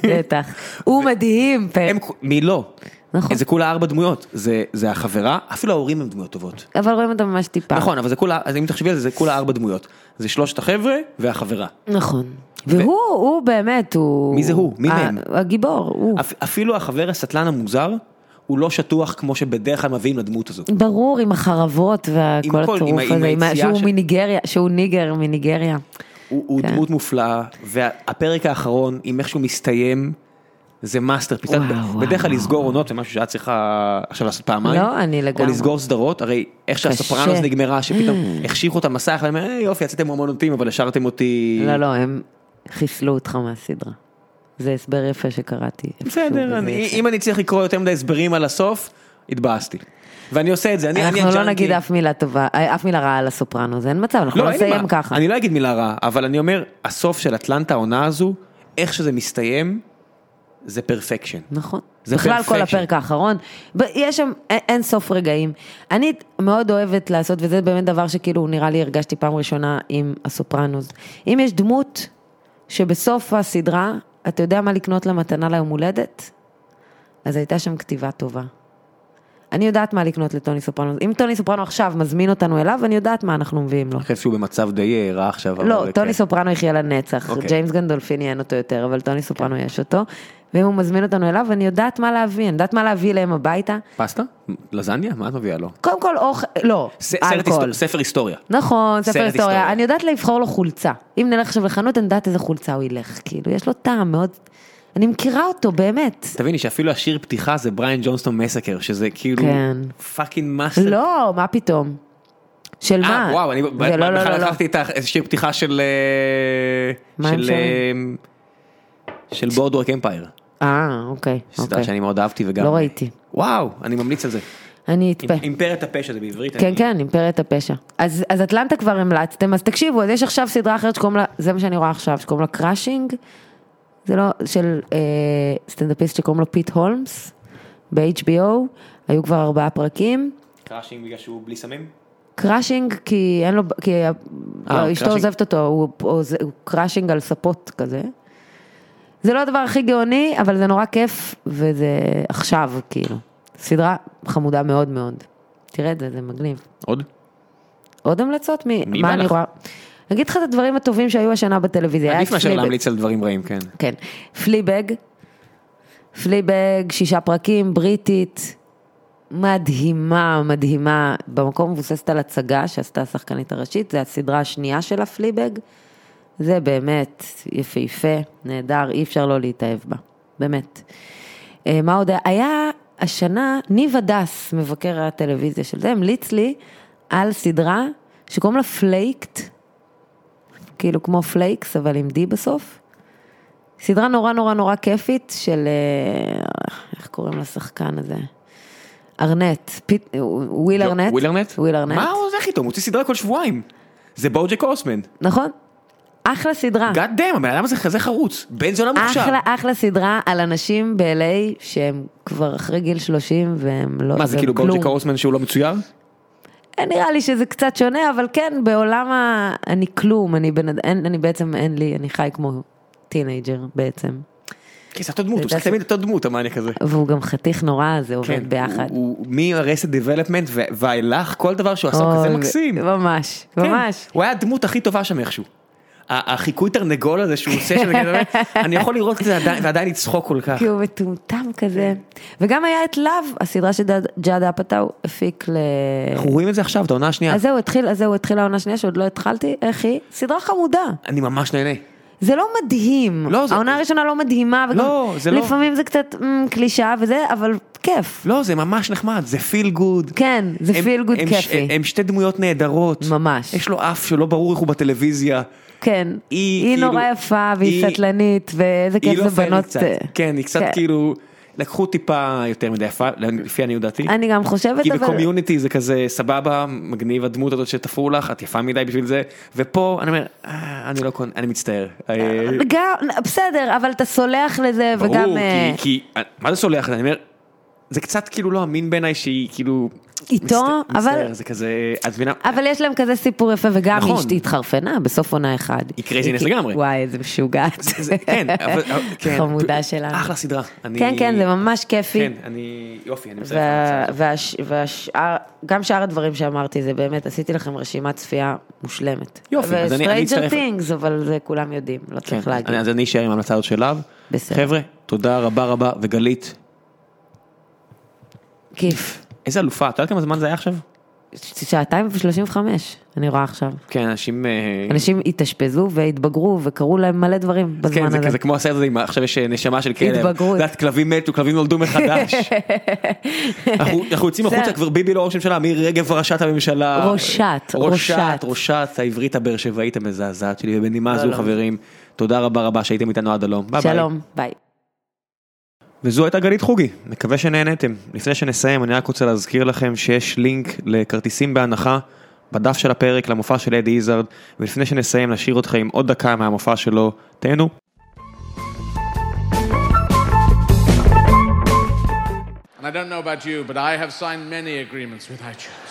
S3: בטח. הוא מדהים, פרק.
S1: הם, מי לא?
S3: אה. נכון.
S1: זה כולה ארבע דמויות. זה- זה החברה, אפילו ההורים הם דמויות טובות.
S3: אבל רואים אותם ממש טיפה.
S1: נכון, אבל זה כולה, אז אם תחשבי על זה, זה כולה ארבע דמויות. זה שלושת החבר'ה והחברה.
S3: נכון. והוא, הוא באמת, הוא...
S1: מי זה הוא? מי
S3: ה-
S1: מהם?
S3: הגיבור, הוא.
S1: אפ- אפילו החבר הסטלן המוזר, הוא לא שטוח כמו שבדרך כלל מביאים לדמות הזו.
S3: ברור, עם החרבות
S1: עם
S3: וכל
S1: כל- עם
S3: הטירוף
S1: ה- עם
S3: הזה, עם ה-
S1: היציאה
S3: שהוא
S1: של-
S3: מניגריה, שהוא ניגר מניגריה.
S1: הוא, הוא
S3: כן.
S1: דמות מופלאה, והפרק האחרון, עם איך שהוא מסתיים, זה מאסטרפיס.
S3: וואו,
S1: את יודעת,
S3: וואו,
S1: בדרך כלל
S3: וואו.
S1: לסגור עונות זה משהו שאת צריכה עכשיו לעשות פעמיים.
S3: לא, אני
S1: או
S3: לגמרי.
S1: לסגור סדרות, הרי איך שהסופרנוס נגמרה, שפתאום המשיכו את המסע, אחד אומר, "אה, יופי, יצאתם המון אותים, אבל השארתם אותי...
S3: לא, לא, הם חיסלו אותך מהסדרה. זה הסבר יפה שקראתי. איפשהו, וזה
S1: בסדר, אני-
S3: יפה.
S1: אם אני צריך לקרוא יותר מדי הסברים על הסוף, התבאסתי. ואני עושה את זה, אני אני
S3: אנחנו לא
S1: הג'אנקי.
S3: נגיד אף מילה טובה, אה, אף מילה רעה על הסופרנוס, אין מצב, אנחנו
S1: לא,
S3: לא
S1: אין לי
S3: נסיים
S1: מה.
S3: ככה.
S1: אני לא אגיד מילה רעה, אבל אני אומר, הסוף של אטלנטה העונה הזו, איך שזה מסתיים, זה פרפקשן.
S3: נכון.
S1: זה
S3: בכלל כל
S1: perfection.
S3: הפרק האחרון, ב- יש שם א- אין סוף רגעים. אני מאוד אוהבת לעשות, וזה באמת דבר שכאילו נראה לי הרגשתי פעם ראשונה עם הסופרנוס. אם יש דמות שבסוף הסדרה, אתה יודע מה לקנות לה מתנה ליום הולדת? אז הייתה שם כתיבה טובה. אני יודעת מה לקנות לטוני סופרנו. אם טוני סופרנו עכשיו מזמין אותנו אליו, אני יודעת מה אנחנו מביאים לו.
S1: אני חושב שהוא במצב די אה, רע עכשיו.
S3: לא,
S1: אבל,
S3: טוני
S1: כן.
S3: סופרנו יחיה לנצח,
S1: אוקיי. כן.
S3: ג'יימס גנדולפין יען אותו יותר, אבל טוני סופרנו יש אותו. ואם הוא מזמין אותנו אליו, אני יודעת מה להביא, אני יודעת מה להביא אליהם הביתה.
S1: פסטה? לזניה? מה את מביאה לו?
S3: קודם כל אוכל, לא,
S1: ס- סרט
S3: אלכוהול.
S1: היסטור- ספר היסטוריה.
S3: נכון, ספר
S1: סרט
S3: היסטוריה.
S1: היסטוריה.
S3: אני יודעת לבחור לו חולצה. אם נלך עכשיו לחנות, אני יודעת איזה חולצה הוא ילך. כאילו, יש לו טעם מאוד... אני מכירה אותו, באמת.
S1: תביני שאפילו השיר פתיחה זה בריין ג'ונסטון מסקר, שזה כאילו
S3: כן.
S1: פאקינג מאסטר.
S3: לא, מה פתאום? של מה?
S1: אה, וואו, אני ב-
S3: זה לא, לא, לא,
S1: בכלל
S3: לא.
S1: לקחתי את ה- איזה שיר פתיחה של... אה,
S3: מה הם
S1: של... אה, של בורדוורק אמפייר.
S3: אה, אוקיי.
S1: סדרה
S3: אוקיי.
S1: שאני מאוד אהבתי וגם...
S3: לא ראיתי.
S1: וואו, אני ממליץ על זה.
S3: אני אתפה.
S1: אימפרת הפשע זה בעברית.
S3: כן,
S1: אני-
S3: כן, אימפריית הפשע. אז, אז אטלנטה כבר המלצתם, אז תקשיבו, אז יש עכשיו סדרה אחרת שקוראים לה, זה מה שאני רואה עכשיו, שקוראים לה קראשינג, זה לא, של אה, סטנדאפיסט שקוראים לו פיט הולמס, ב-HBO, היו כבר ארבעה פרקים.
S1: קראשינג בגלל שהוא בלי סמים?
S3: קראשינג כי אין לו, כי ה-
S1: אה,
S3: אשתו
S1: קראשינג.
S3: עוזבת אותו, הוא, הוא, הוא קראשינג על ספות כזה. זה לא הדבר הכי גאוני, אבל זה נורא כיף, וזה עכשיו, כאילו. סדרה חמודה מאוד מאוד. תראה את זה, זה מגניב.
S1: עוד?
S3: עוד המלצות? מי,
S1: מי
S3: מה
S1: בא
S3: אני
S1: לך?
S3: רואה? אני אגיד לך את הדברים הטובים שהיו השנה בטלוויזיה. היה
S1: עדיף
S3: את
S1: מאשר
S3: פליבג.
S1: להמליץ על דברים רעים, כן.
S3: כן. פליבג. פליבג, שישה פרקים, בריטית. מדהימה, מדהימה. במקום מבוססת על הצגה שעשתה השחקנית הראשית, זו הסדרה השנייה של הפליבג. זה באמת יפהפה, נהדר, אי אפשר לא להתאהב בה. באמת. אה, מה עוד היה? היה השנה, ניב הדס, מבקר הטלוויזיה של זה, המליץ לי על סדרה שקוראים לה פלייקט, כאילו כמו פלייקס, אבל עם D בסוף. סדרה נורא נורא נורא כיפית של, אה, איך קוראים לשחקן הזה? ארנט, פיט, לא, וויל ארנט.
S1: ווילרנט?
S3: וויל ארנט.
S1: מה הוא הולך איתו? הוא מוציא סדרה כל שבועיים. זה בוג'ק הורסמן.
S3: נכון? אחלה סדרה.
S1: גאד דאם, הבן אדם הזה כזה חרוץ. בן זונה מוכשר.
S3: אה. אחלה, אחלה סדרה על אנשים ב-LA שהם כבר אחרי גיל 30 והם לא...
S1: מה זה
S3: והם
S1: כאילו
S3: כלום. אה,
S1: בוג'ק הורסמן שהוא לא מצויר?
S3: נראה לי שזה קצת שונה, אבל כן, בעולם ה... אני כלום, אני, בנ... אין, אני בעצם, אין לי, אני חי כמו טינג'ר בעצם.
S1: כן, זה אותו דמות, הוא
S3: זה
S1: עושה תמיד אותו דמות, המאניאק הזה.
S3: והוא גם חתיך נורא, זה עובד
S1: כן,
S3: ביחד.
S1: הוא הוא מ-Arrested Development ו- ואילך, כל דבר שהוא עשה הוא
S3: אוי,
S1: כזה
S3: זה-
S1: מקסים.
S3: ממש,
S1: כן,
S3: ממש.
S1: הוא היה הדמות הכי טובה שם איכשהו. ה- החיקוי תרנגול הזה שהוא עושה, שאני באמת- אני יכול לראות את זה עדיין- ועדיין לצחוק כל כך.
S3: כי הוא מטומטם כזה. וגם היה את להב, הסדרה שג'אד אפאטאו הפיק ל...
S1: אנחנו רואים את זה עכשיו, את העונה השנייה.
S3: אז זהו, התחיל, אז זהו, התחילה העונה השנייה שעוד לא התחלתי, איך היא? סדרה חמודה.
S1: אני ממש נהנה.
S3: זה לא מדהים.
S1: לא, זה-
S3: העונה הראשונה לא מדהימה, וגם
S1: לא, זה לא-
S3: לפעמים זה קצת אמ, קלישאה וזה, אבל כיף.
S1: לא, זה ממש נחמד, זה פיל גוד.
S3: כן, זה
S1: הם-
S3: פיל גוד
S1: הם ש-
S3: כיפי.
S1: הם שתי דמויות נהדרות.
S3: ממש.
S1: יש לו אף שלא ברור איך הוא בטלוויזיה.
S3: כן.
S1: היא
S3: היא
S1: כאילו-
S3: נורא יפה והיא
S1: היא-
S3: סטלנית, ואיזה
S1: היא
S3: כיף
S1: לא
S3: זה
S1: פיירית
S3: בנות...
S1: קצת.
S3: אה,
S1: כן, היא קצת
S3: כן.
S1: כאילו, לקחו טיפה יותר מדי יפה, לפי עניות דעתי.
S3: אני גם חושבת,
S1: כי
S3: אבל...
S1: בקומיוניטי זה כזה סבבה, מגניב הדמות הזאת שתפרו לך, את יפה מדי בשביל זה, ופה אני אומר, "אה, אני לא קונה, אני מצטער. אה,
S3: גם, בסדר, אבל אתה סולח לזה,
S1: ברור,
S3: וגם... אה,
S1: כי- כי, אה, מה זה סולח? אני אומר, זה קצת כאילו לא אמין בעיניי שהיא כאילו...
S3: איתו,
S1: מצט-
S3: אבל-
S1: מצטער, זה כזה, את מבינה?
S3: אבל יש להם כזה סיפור יפה, וגם
S1: נכון.
S3: היא התחרפנה בסוף עונה אחד.
S1: היא craziness
S3: כי-
S1: לגמרי.
S3: וואי, איזה משוגעת.
S1: זה- כן, אבל... כן,
S3: חמודה שלנו.
S1: אחלה סדרה. אני-
S3: כן, כן, זה ממש כיפי.
S1: כן, אני... יופי, אני מצטער.
S3: וה- והש- והשאר, גם שאר הדברים שאמרתי זה באמת, עשיתי לכם רשימת צפייה מושלמת.
S1: יופי, אז אני- אני
S3: ו-Stranger
S1: אצטרף-
S3: Things, אבל זה כולם יודעים, לא צריך
S1: כן,
S3: להגיד.
S1: אני- אז אני אשאר עם ההמלצה הזאת שלו.
S3: בסדר.
S1: חבר'ה, תודה רבה רבה, וגלית,
S3: כיף.
S1: איזה אלופה, את יודעת כמה זמן זה היה עכשיו?
S3: ש- שעתיים ושלושים וחמש, אני רואה עכשיו.
S1: כן, אנשים... אה,
S3: אנשים התאשפזו והתבגרו וקרו להם מלא דברים בזמן
S1: כן,
S3: הזה.
S1: זה כזה כמו הסרט הזה, עם ה- עכשיו יש אה, נשמה של כלב.
S3: התבגרות.
S1: את יודעת, כלבים מתו, כלבים נולדו מחדש. אנחנו אנחנו יוצאים
S3: בסדר.
S1: החוצה, כבר ביבי לא ראש ממשלה, מירי רגב ראשת הממשלה.
S3: ראשת, ראשת.
S1: ראשת, ראשת העברית הבאר שבעית המזעזעת שלי, ובנימה זו
S3: שלום. חברים,
S1: חברים, תודה רבה רבה שהייתם איתנו עד הלום. ביי ביי.
S3: שלום, ביי.
S1: וזו הייתה גלית חוגי, מקווה שנהנתם. לפני שנסיים, אני רק רוצה להזכיר לכם שיש לינק לכרטיסים בהנחה בדף של הפרק למופע של אדי איזרד, ולפני שנסיים נשאיר אותך עם עוד דקה מהמופע שלו, תהנו.
S2: And I don't know about you, but I have signed many agreements with iTunes.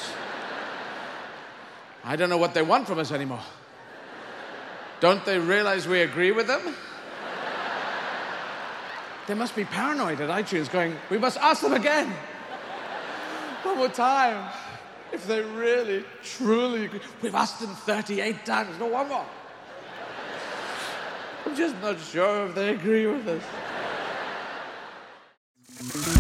S2: I don't know what they want from us anymore. Don't they realize we agree with them? They must be paranoid at iTunes going, we must ask them again. One more time. If they really, truly agree. We've asked them 38 times, not one more. I'm just not sure if they agree with us.